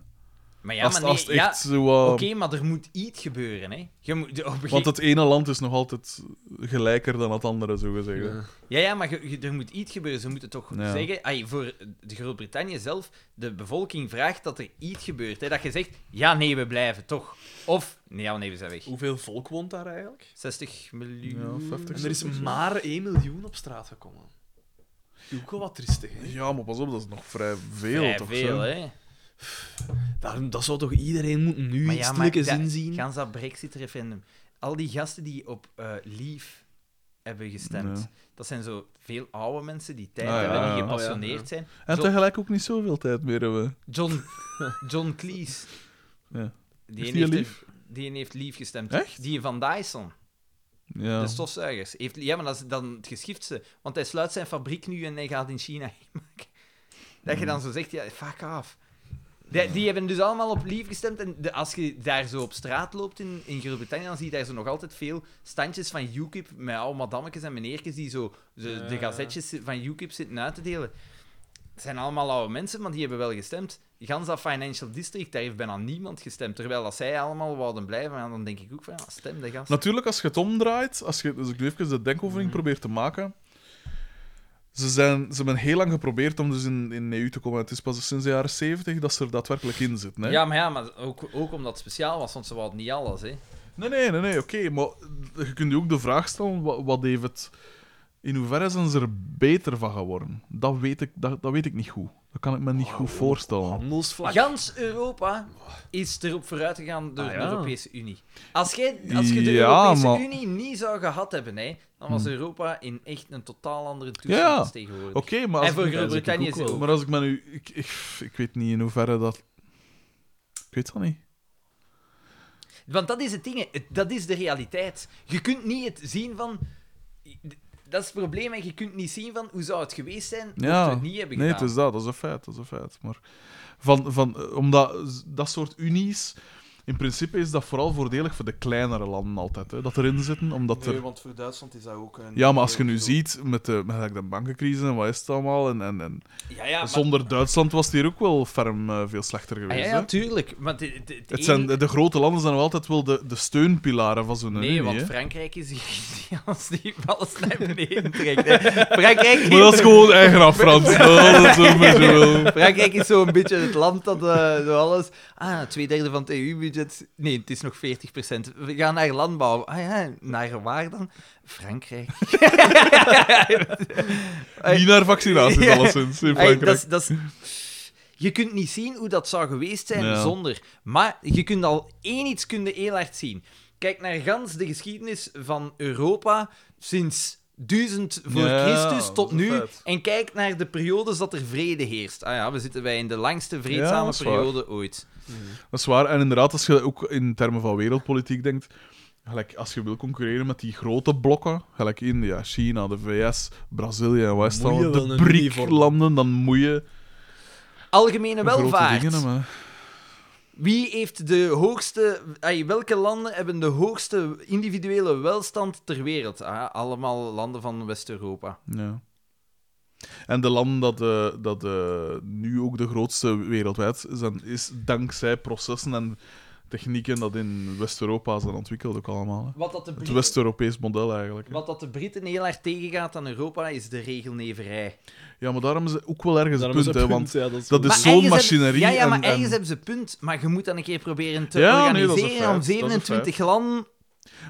S1: Maar ja,
S3: als,
S1: maar
S3: als het
S1: nee, ja,
S3: echt zo... eh,
S1: Oké, maar er moet iets gebeuren, hè. Je moet, op een gege-
S3: Want het ene land is nog altijd gelijker dan het andere, zo gezegd. hè.
S2: Ja.
S1: Ja, ja, maar je- je- er moet iets gebeuren. Ze moeten toch
S3: Ja.
S1: zeggen... ai, voor de Groot-Brittannië zelf, de bevolking vraagt dat er iets gebeurt. Hè? Dat je zegt, ja, nee, we blijven, toch. Of, nee, ja, nee, we zijn weg.
S2: Hoeveel volk woont daar eigenlijk?
S1: 60 miljoen.
S3: Ja, 50
S2: En er is maar 1 miljoen op straat gekomen. Ook wel wat triestig, hè.
S3: Ja, maar pas op, dat is nog vrij veel,
S1: Vrij
S3: toch?
S1: veel,
S3: zo?
S1: hè.
S2: Daarom, dat zou toch iedereen moeten nu
S1: Maar
S2: maar
S1: ja, maar
S2: stilletjes
S1: dat-
S2: inzien?
S1: Gans dat Brexit-referendum. Al die gasten die op eh Leave hebben gestemd,
S3: Ja.
S1: dat zijn zo veel oude mensen die tijd
S3: Ah, ja,
S1: hebben,
S3: ja,
S1: die
S3: ja.
S1: gepassioneerd
S2: Oh, ja, ja.
S1: zijn.
S3: En
S1: Zo-
S3: tegelijk ook niet zoveel tijd meer hebben.
S1: John, John Cleese.
S3: Ja.
S1: Die
S3: Is
S1: een
S3: die
S1: heeft,
S3: lief?
S1: die een heeft lief gestemd.
S3: Echt?
S1: Die van Dyson,
S3: Ja.
S1: de stofzuigers. Heeft, ja, maar dat is dan het geschiftste. Want hij sluit zijn fabriek nu en hij gaat in China maken. Dat je dan zo zegt, ja, fuck af. Die, die hebben dus allemaal op lief gestemd. En de, als je daar zo op straat loopt in, in Groot-Brittannië, dan zie je daar zo nog altijd veel standjes van UKIP met oude madammetjes en meneertjes die zo de, de
S2: Ja.
S1: gazetjes van UKIP zitten uit te delen. Het zijn allemaal oude mensen, maar die hebben wel gestemd. Gans dat Financial District, daar heeft bijna niemand gestemd. Terwijl als zij allemaal wouden blijven, ja, dan denk ik ook van, ja, stem de gast.
S3: Natuurlijk, als je het omdraait, als, je, als ik nu even de denkoefening probeer te maken. Ze, zijn, ze hebben heel lang geprobeerd om dus in, in de EU te komen. Het is pas sinds de jaren 70 dat ze er daadwerkelijk in zit. Nee?
S1: Ja, maar, ja, maar ook, ook omdat het speciaal was, want ze wouden niet alles, hè.
S3: Nee, nee, nee, nee oké. maar je kunt je ook de vraag stellen: wat, wat heeft het. In hoeverre zijn ze er beter van geworden? Dat weet ik, dat, dat weet ik niet goed. Dat kan ik me niet goed voorstellen.
S2: Handelsvlak.
S1: Gans Europa is erop vooruit gegaan door
S2: Ah,
S1: de
S2: ja.
S1: Europese Unie. Als, jij, als je de
S3: Ja,
S1: Europese
S3: maar- Hm.
S1: Unie niet zou gehad hebben, hè, dan was Europa in echt een totaal andere toestand
S3: Ja.
S1: als tegenwoordig.
S3: Oké, maar als
S1: en voor
S3: ik-
S1: Groot-Brittannië is
S3: Ook
S1: het
S3: wel,
S1: ook.
S3: Maar als ik me nu... Ik, ik, ik weet niet in hoeverre dat... Ik weet dat niet.
S1: Want dat is het ding, hè. Het- dat is de realiteit. Je kunt niet het zien van... Dat is het probleem, en je kunt niet zien van hoe zou het geweest zijn mocht
S3: Ja.
S1: we het niet hebben
S3: Nee,
S1: gedaan.
S3: het is dat. Dat is een feit. Dat is een feit. Maar van, van, eh, omdat z- dat soort unies... In principe is dat vooral voordelig voor de kleinere landen altijd. Hè, dat erin zitten, omdat
S4: Nee,
S3: er...
S4: want voor Duitsland is dat ook een...
S3: Ja, maar als je nu
S4: heel-
S3: ziet met de, met de bankencrisis en wat is het allemaal... En, en, en
S1: Ja, ja, maar-
S3: zonder Duitsland was het hier ook wel ferm eh, veel slechter
S1: Ah,
S3: geweest.
S1: ja,
S3: hè.
S1: ja, tuurlijk. Want het, het- het
S3: het zijn,
S1: enige-
S3: de grote landen zijn nog altijd wel de, de steunpilaren van zo'n unie.
S1: Nee, want
S3: hè.
S1: Frankrijk is die als die alles naar beneden trekt. hè. Frankrijk
S3: Maar dat is gewoon eigen af, Frans. Dat is ook maar zo.
S1: Frankrijk is zo'n beetje het land dat eh, zo alles. Ah, twee derde van het EU-budget. Nee, het is nog 40%. We gaan naar landbouw. Ah ja, naar waar dan? Frankrijk. Hey.
S3: Niet naar vaccinaties,
S1: Ja.
S3: alleszins. In
S1: Hey,
S3: Frankrijk.
S1: dat is- dat is- je kunt niet zien hoe dat zou geweest zijn
S3: Ja.
S1: zonder. Maar je kunt al één iets kun je heel hard zien. Kijk naar gans de geschiedenis van Europa sinds 1000 voor
S3: Ja,
S1: Christus
S3: dat
S1: tot
S3: is een
S1: nu.
S3: feit.
S1: En kijk naar de periodes dat er vrede heerst. Ah ja, we zitten wij in de langste
S3: Ja,
S1: vreedzame
S3: dat is waar.
S1: periode ooit.
S3: Dat is waar. En inderdaad, als je ook in termen van wereldpolitiek denkt, gelijk als je wil concurreren met die grote blokken, gelijk India, China, de VS, Brazilië en
S2: Moet je
S3: West-Landen,
S2: wel
S3: de
S2: een unie vormen.
S3: BRIC-landen, dan moet je
S1: Algemene
S3: grote
S1: welvaart.
S3: dingen hebben. hè.
S1: Wie heeft de hoogste... ai, welke landen hebben de hoogste individuele welstand ter wereld? Ah, allemaal landen van West-Europa.
S3: Ja. En de landen dat, eh, dat eh, nu ook de grootste wereldwijd zijn, is dankzij processen en technieken dat in West-Europa zijn ontwikkeld ook allemaal. hè.
S1: Wat dat de
S3: Het
S1: Britten-
S3: West-Europees model eigenlijk. hè.
S1: Wat dat de Britten heel hard tegengaat aan Europa is de regelneverij.
S3: Ja, maar daarom is het ook wel ergens
S2: Daarom
S3: een
S2: is
S3: punt,
S2: dat
S3: hè,
S2: punt,
S3: want
S2: ja, dat is
S3: dat
S2: wel-
S3: is-
S1: Maar
S3: zo'n
S1: ergens heb-
S3: machinerie
S1: Ja, ja maar
S3: en-
S1: ergens
S3: en-
S1: hebben ze punt, maar je moet dan een keer proberen te
S3: Ja, nee, dat is een
S1: organiseren om
S3: feit, dat is een
S1: 27 landen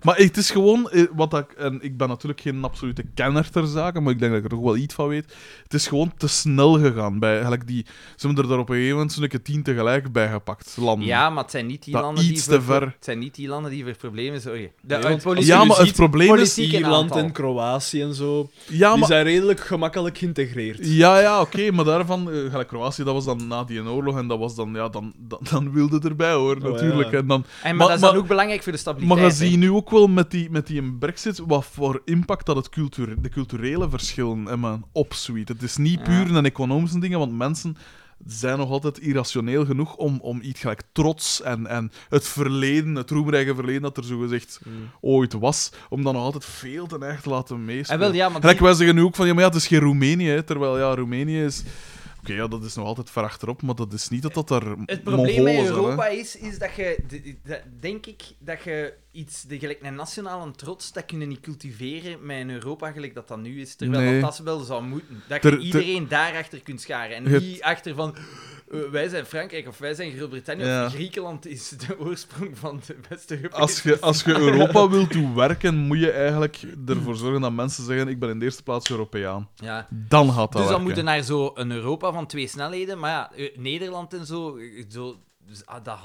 S3: Maar het is gewoon, eh, wat ik, en ik ben natuurlijk geen absolute kenner ter zake, maar ik denk dat ik er toch wel iets van weet. Het is gewoon te snel gegaan. Bij, gelijk die, ze hebben er daar op een gegeven moment zo'n keer tien tegelijk bij gepakt. Landen.
S1: Ja, maar het zijn niet die
S3: Dat
S1: landen die
S3: iets
S1: voor,
S3: te ver.
S1: Het zijn niet die landen die voor problemen zorgen.
S2: Nee,
S1: uit-
S2: want-
S1: politie-
S3: Ja,
S2: je
S3: maar
S2: ziet,
S3: het probleem is.
S1: politiek een
S2: Ierland
S1: aantal.
S2: en Kroatië en zo,
S3: Ja,
S2: die
S3: maar,
S2: zijn redelijk gemakkelijk geïntegreerd.
S3: ja, ja oké, maar daarvan, eh, gelijk Kroatië, dat was dan na die oorlog en dat was dan, ja, dan, dan, dan wilde erbij hoor,
S2: Oh, ja.
S3: natuurlijk. En dan,
S1: En, maar,
S3: Maar-
S1: dat is dan
S3: maar-
S1: ook belangrijk voor de stabiliteit.
S3: Maar je
S1: hè.
S3: ziet nu ook wel met die, met die een brexit wat voor impact dat het cultuur, de culturele verschillen hebben opzweet. Het is niet
S1: Ja.
S3: puur een economische ding, want mensen zijn nog altijd irrationeel genoeg om, om iets gelijk trots en, en het verleden, het roemrijke verleden dat er zogezegd
S1: Mm.
S3: ooit was, om dat nog altijd veel te erg te laten
S1: En
S3: meespelen.
S1: Ah, wel, ja, maar
S3: Gelijk
S1: die-
S3: wij zeggen nu ook van, ja, maar ja, het is geen Roemenië, hè, terwijl ja, Roemenië is... Oké, ja, dat is nog altijd ver achterop, maar dat is niet dat dat daar
S1: het probleem
S3: Mongolen
S1: met
S3: zijn, hè.
S1: Europa is, is dat je, de- de- dat- denk ik, dat je iets, de, gelijk een nationale trots, dat kunnen niet cultiveren met een Europa gelijk dat dat nu is. Terwijl
S3: Nee.
S1: dat dat wel zou moeten. Dat
S3: Ter-
S1: je
S3: ter-
S1: iedereen daarachter kunt scharen. En
S3: Het-
S1: niet achter van, eh, wij zijn Frankrijk of wij zijn Groot-Brittannië
S3: Ja.
S1: of Griekenland is de oorsprong van de beste Europese...
S3: Als je, als je Europa wilt doen werken, moet je eigenlijk ervoor zorgen dat mensen zeggen: Ik ben in de eerste plaats Europeaan.
S1: Ja.
S3: Dan gaat dat.
S1: Dus dan
S3: werken.
S1: moeten naar zo'n Europa van twee snelheden. Maar ja, eh, Nederland en zo, eh, zo dus, ah, dat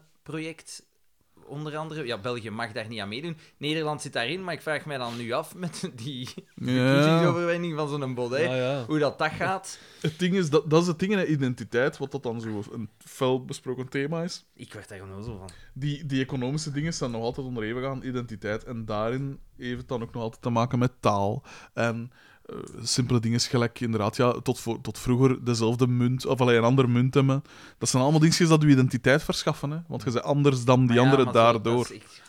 S1: Hanze-project onder andere. Ja, België mag daar niet aan meedoen. Nederland zit daarin, maar ik vraag mij dan nu af met die
S3: ja.
S1: verkiezingsoverwinning van zo'n Baudet,
S2: Ja, ja.
S1: hoe dat, dat gaat.
S3: Het ding is, dat, dat is het ding in de identiteit, wat dat dan zo een fel besproken thema is.
S1: Ik werd daar onnozel van.
S3: Die, die economische dingen zijn nog altijd onderhevig aan identiteit. En daarin heeft het dan ook nog altijd te maken met taal. En eh, simpele dingen is gelijk, inderdaad, ja, tot, voor, tot vroeger dezelfde munt, of alleen een ander munt hebben. Dat zijn allemaal dingetjes dat je identiteit verschaffen. Hè? Want je bent anders dan die
S1: Maar ja,
S3: anderen
S1: maar zo, dat
S3: daardoor.
S1: is echt-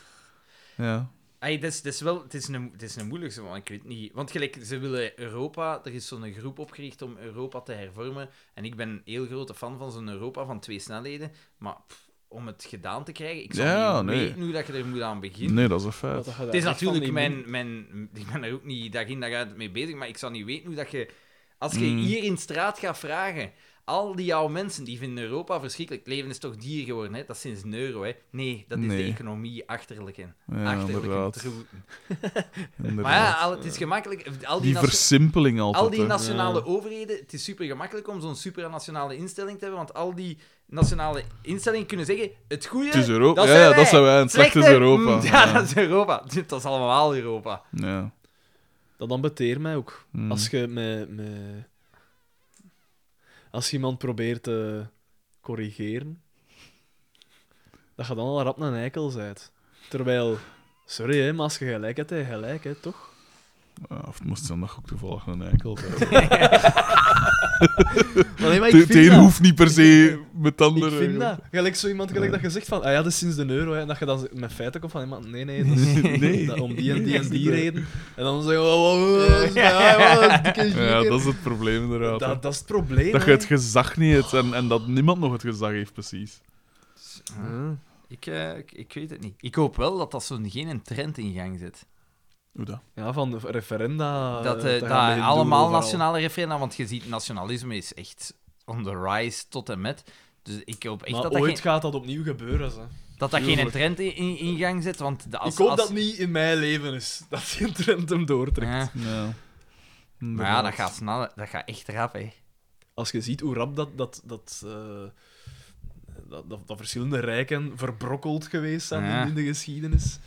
S3: Ja.
S1: Ai, dat is, dat is wel, het, is een, het is een moeilijkste, want ik weet niet. Want gelijk, ze willen Europa, er is zo'n groep opgericht om Europa te hervormen. En ik ben een heel grote fan van zo'n Europa van twee snelheden. Maar pff, om het gedaan te krijgen, ik zou
S3: Ja,
S1: niet
S3: nee.
S1: weten hoe dat je er moet aan beginnen.
S3: Nee, dat is een
S2: Wat dat
S3: feit.
S2: je daar
S1: Het is
S2: echt van
S1: natuurlijk
S2: niet
S1: mijn, mijn. Ik ben er ook niet dag in dag uit mee bezig, maar ik zou niet weten hoe dat je. Als je
S3: Mm.
S1: hier in straat gaat vragen. Al die oude mensen die vinden Europa verschrikkelijk. Het leven is toch dier geworden, hè? Dat is sinds een euro, hè? Nee, dat is de
S3: Nee.
S1: economie achterlijk in.
S3: Ja,
S1: achterlijk in.
S3: inderdaad.
S1: troe-
S3: Inderdaad.
S1: Maar ja, al- het is gemakkelijk. eh, Al die,
S3: die
S1: nation-
S3: versimpeling altijd.
S1: al die
S3: hè.
S1: nationale overheden, het is super gemakkelijk om zo'n supranationale instelling te hebben, want al die nationale instellingen kunnen zeggen: het goede.
S3: Het is Europa.
S1: Dat
S3: ja,
S1: zijn
S3: ja,
S1: wij.
S3: dat zijn wij. En het slechte is Europa.
S1: mm, ja, dat is Europa. Dat is allemaal Europa.
S3: Ja.
S2: doen. Dat ambeteert mij ook.
S3: Mm.
S2: Als je met, met... Als je iemand probeert te corrigeren, dat je dan al rap een eikel bent. Terwijl, sorry hè, maar als je gelijk hebt, heb je gelijk hè, toch?
S3: Ja, Of het moest dan nog ook toevallig een eikel zijn.
S2: Maar nee, maar ik
S3: Het
S2: vind
S3: een
S2: dat.
S3: hoeft niet per se met het
S2: Ik
S3: andere.
S2: vind dat. Gelijk zo iemand gelijk
S3: Ja.
S2: dat je zegt van, ah ja, dat is sinds de euro. Hè, en dat je dan met feiten komt van, nee, maar nee, nee, dat is-
S3: Nee.
S2: dat- om die en die
S3: Dat is
S2: en die
S3: niet waar.
S2: reden. En dan zeggen we, oh, oh, oh, dat is bij mij, oh, dat is dikke
S3: Ja,
S2: zeker.
S3: dat is het probleem inderdaad. hè.
S2: dat, dat is het probleem.
S3: Dat je
S2: hè.
S3: het gezag niet hebt en, en dat niemand nog het gezag heeft, precies.
S2: Ja.
S1: Ik, eh, ik, ik weet het niet. Ik hoop wel dat dat zo'n geen een trend in gang zit.
S3: Hoe dat?
S2: Ja, van de referenda. eh,
S1: dat
S2: te
S1: eh,
S2: gaan
S1: dat
S2: beïnvloeden
S1: allemaal
S2: overal.
S1: nationale referenda, want je ziet, nationalisme is echt on the rise tot en met. Dus ik hoop echt
S2: Maar
S1: dat dat,
S2: ooit
S1: geen,
S2: gaat dat opnieuw gebeuren. Ze.
S1: dat, dat geen
S2: tuurlijk.
S1: trend in, in, in gang zit. Want de- als,
S2: ik hoop
S1: als-
S2: dat niet in mijn leven is. Dat die trend hem doortrekt.
S1: Ja.
S3: Ja.
S1: Maar ja, dat gaat snel. hè. Dat gaat echt rap, hè.
S2: Als je ziet hoe rap dat, dat, dat, eh, dat, dat, dat verschillende rijken verbrokkeld geweest zijn
S1: Ja.
S2: in, in de geschiedenis.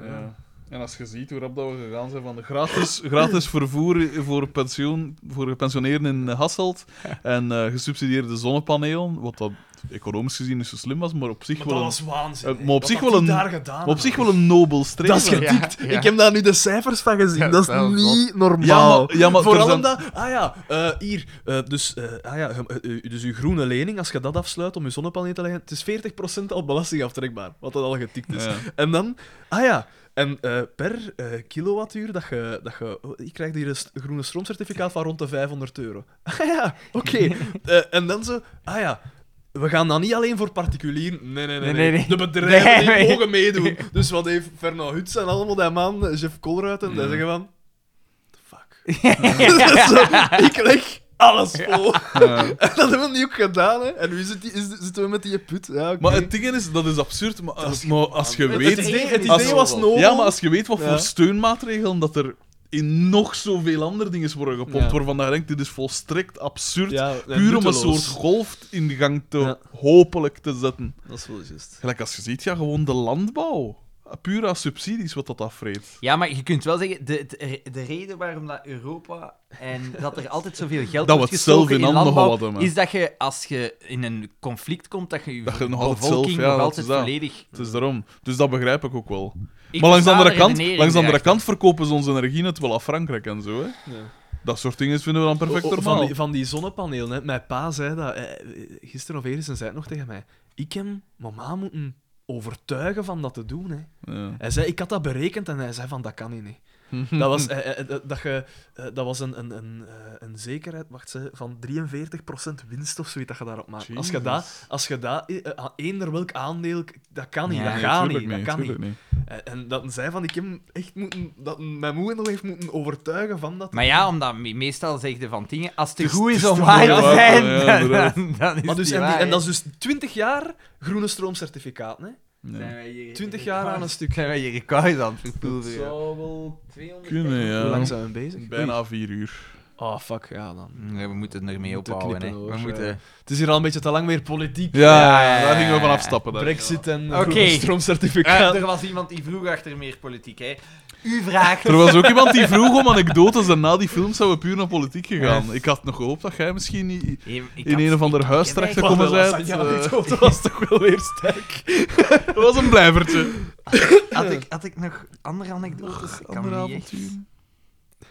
S3: Ja. En als je ziet hoe rap dat we gegaan zijn van de gratis, gratis vervoer voor, pensioen, voor gepensioneerden in Hasselt en eh, gesubsidieerde zonnepanelen, wat dat economisch gezien niet zo slim was, maar op zich
S2: Maar
S3: wel
S2: dat
S3: een-
S2: was waanzin.
S3: eh,
S2: hè.
S3: maar op
S2: Wat
S3: zich
S2: dat
S3: wel
S2: die
S3: een-
S2: daar gedaan
S3: Maar op zich
S2: hebben.
S3: wel een nobel streven.
S2: Dat is getikt.
S1: Ja, ja.
S2: Ik heb daar nu de cijfers van gezien.
S1: Ja,
S2: dat is
S1: wel,
S2: niet
S3: Ja,
S2: normaal.
S3: maar- ja, maar
S2: Vooral
S3: er zijn-
S2: omdat... Ah ja, eh, hier. eh, dus, eh, ah ja, je- eh, eh, dus uw groene lening, als je dat afsluit om je zonnepanelen te leggen, het is 40% al belastingaftrekbaar, wat dat al getikt is.
S3: Ja.
S2: En dan... Ah ja... En eh, per eh, kilowattuur dat je... Dat je oh, je krijgt hier een st- groene stroomcertificaat van rond de 500 euro. Ah ja, oké. Eh, en dan zo... Ah ja... We gaan dat niet alleen voor particulieren. Nee, nee,
S1: Nee,
S2: nee.
S1: nee,
S2: nee.
S1: nee.
S2: De bedrijven die
S1: Nee, nee.
S2: mogen meedoen. Dus wat heeft Fernand Huts en allemaal die man, Jeff Colruiten, en die zeggen van... "The Fuck. Zo, ik leg alles vol.
S3: Ja.
S2: En dat hebben we nu ook gedaan, hè. En nu zit die, is, zitten we met die put. Ja, oké.
S3: Maar het ding is, dat is absurd, maar als, maar als je
S1: Het
S2: het
S3: weet...
S1: is-
S2: idee, het
S3: als-
S2: idee was nobel.
S3: Ja, maar als je weet wat
S2: Ja.
S3: voor steunmaatregelen dat er in nog zoveel andere dingen worden gepompt,
S2: Ja.
S3: waarvan je denkt, dit is volstrekt absurd,
S2: Ja, en
S3: puur om een
S2: nutteloos.
S3: soort golf in de gang te
S2: Ja.
S3: hopelijk te zetten.
S2: Dat is wel juist.
S3: Gelijk als je ziet, ja, gewoon de landbouw. Puur aan subsidies wat dat afvreet.
S1: Ja, maar je kunt wel zeggen, de, de, de reden waarom dat Europa en dat er altijd zoveel geld
S3: Dat we
S1: wordt
S3: het zelf
S1: gestoken
S3: in handen
S1: landbouw,
S3: hadden, man.
S1: is dat je als je in een conflict komt, dat je je
S3: Dat je nog altijd
S1: bevolking
S3: zelf- ja,
S1: nog
S3: dat
S1: altijd
S3: is dat.
S1: volledig...
S3: Het is daarom. Dus dat begrijp ik ook wel.
S1: Ik
S3: maar langs
S1: versta
S3: de andere
S1: de
S3: kant,
S1: redenering
S3: langs de andere
S1: erachter.
S3: kant verkopen ze onze energie net wel aan Frankrijk en zo. Hè. Dat soort dingen vinden we dan perfect
S2: O- o-
S3: normaal.
S2: van, die, van die zonnepaneel, hè. mijn pa zei dat. eh, eh, gisteren of eergisteren zei het nog tegen mij. Ik heb mama moeten overtuigen van dat te doen. Hè.
S3: Ja.
S2: Hij zei, ik had dat berekend en hij zei van, dat kan niet. hè. Dat was, eh, eh, eh, dat- dat je, eh, dat was een, een, een, eh, een zekerheid wacht, ze, van 43% winst of zoiets dat je daarop maakt. Als je
S3: Jezus.
S2: dat, als je dat eh, eh, aan eender welk aandeel, dat kan niet,
S1: Nee,
S2: dat
S1: nee,
S2: gaat
S3: tuurlijk
S2: niet, dat kan niet.
S3: tuurlijk
S2: En, en dat zei van, ik heb hem echt moeten, dat mijn moeder nog heeft moeten overtuigen van dat.
S1: Maar ja, omdat me- meestal zeg je van dingen, als het te
S3: Het is-
S1: goed is
S3: het is
S1: om
S3: te
S1: waar
S3: goed,
S1: te
S3: ja,
S1: zijn,
S3: ja,
S1: dan,
S3: inderdaad.
S1: dan- dan is
S2: Maar dus,
S1: die
S2: en, die-
S1: waar,
S2: en dat
S1: hè.
S2: is dus 20 jaar groene stroomcertificaat. Hè?
S3: Nee.
S1: Zijn wij hier-
S2: 20 jaar aan een stuk.
S1: Zijn wij hier records aan het verpulveren?
S3: wel kunnen,
S2: Hoe lang
S3: ja.
S2: zijn we bezig?
S3: Bijna vier uur.
S2: Oh, fuck, ja dan.
S1: Nee, we moeten ermee
S2: Moeten
S1: ophouden.
S2: knippen,
S1: hè.
S2: hoor.
S1: We moeten...
S2: Het is hier al een beetje te lang weer politiek.
S3: Ja,
S1: Ja, ja,
S3: daar gingen we
S1: ja,
S3: van
S1: ja.
S3: afstappen. Daar.
S2: Brexit en
S1: Oké.
S2: groene stroomcertificaat.
S1: Eh, er was iemand die vroeg achter meer politiek, hè. U vraagt...
S3: Er was ook iemand die vroeg om anekdotes en na die film zijn we puur naar politiek gegaan. Ik had nog gehoopt dat jij misschien i- i-
S1: Ik- ik
S3: in
S1: had-
S3: een of ander huis terecht
S1: ik-
S3: gekomen
S2: Wat een
S3: bent.
S2: lasagne,
S3: Eh,
S2: dat was toch wel weer sterk.
S3: Dat was een blijvertje.
S1: Had ik, had ik nog andere anekdotes? Ik kan
S3: Ander
S1: niet echt.
S3: avontuur.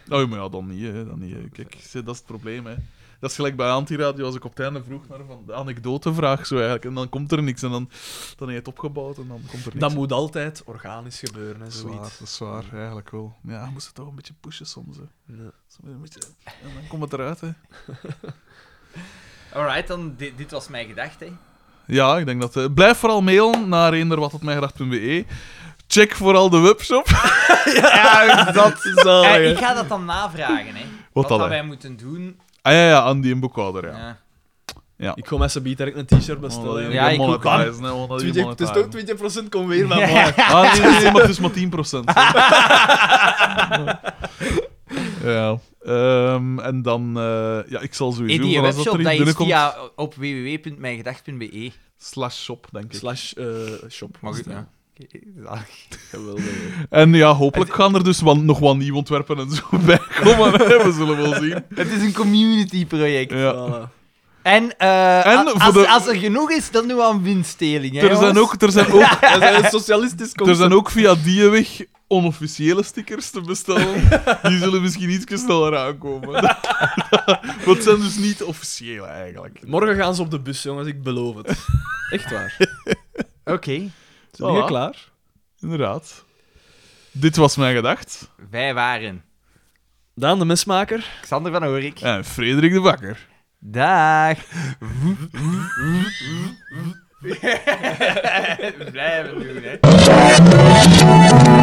S3: Oh, maar ja, dan niet, hè. Dan niet hè. Kijk, zie, dat is het probleem, hè. Dat is gelijk bij Antiradio, als ik op het einde vroeg naar van de anekdotevraag zo eigenlijk, en dan komt er niks, en dan, dan heb je het opgebouwd, en dan komt er niks.
S2: Dat moet altijd organisch gebeuren en
S3: dat is waar,
S2: zoiets.
S3: dat is waar, eigenlijk wel. Maar ja, je moest het toch een beetje pushen soms, hè.
S2: Ja.
S3: Soms een beetje- En dan komt het eruit, hè.
S1: Alright, dan dit, dit was mijn gedachte.
S3: Oh, Ja, ik denk dat... eh, blijf vooral mailen naar eenderwatatmijgedacht.be. Check vooral de webshop. ja, dat is al.
S1: Eh, ik ga dat dan navragen, hè. Wat,
S3: dan,
S1: dat
S3: hè?
S1: wij moeten doen. eh.
S3: Ah ja, ja, aan die een boekhouder, ja.
S1: Ja.
S2: Ik ga met z'n beat direct een t-shirt bestellen.
S1: Ja, ik ook.
S3: monetizen, hè, want dat die
S2: 20 het is
S3: monetizen.
S2: ook 20% kom weer naar mij.
S3: Ah, nee, nee, nee, maar het is maar 10 hè. ja. Ehm, en dan... eh, ja, ik zal
S1: Hey,
S3: sowieso...
S1: die
S3: van als
S1: webshop
S3: er
S1: dat
S3: iets
S1: is
S3: binnenkomt...
S1: via op www.mijngedacht.be.
S3: Slash shop, denk ik.
S2: Slash eh, shop.
S1: Mag ik?
S2: Ja.
S1: Ja. Oké.
S2: Geweldig.
S3: En ja, hopelijk gaan er dus wel nog wat nieuw ontwerpen en zo bij komen. hè. We zullen wel zien.
S1: Het is een community project.
S3: Ja.
S2: Voilà.
S1: En, eh,
S3: En
S1: a-
S3: voor
S1: als,
S3: de-
S1: als er genoeg is, dan doen we aan winstdeling. hè,
S3: Er zijn,
S1: jongens?
S3: ook, er, zijn ook,
S2: Dat is een socialistisch
S3: er
S2: concept.
S3: zijn ook via die weg onofficiële stickers te bestellen. Die zullen misschien ietsje sneller aankomen. Want het zijn dus niet officiële eigenlijk.
S2: Morgen gaan ze op de bus, jongens, ik beloof het. Echt waar.
S1: Oké.
S2: Zijn jullie
S3: Voilà.
S2: klaar?
S3: Inderdaad. Dit was mijn gedacht.
S1: Wij waren
S2: Daan de mesmaker.
S1: Xander van Oorik.
S3: En Frederik de Bakker.
S1: Dag. Blijven doen, hè.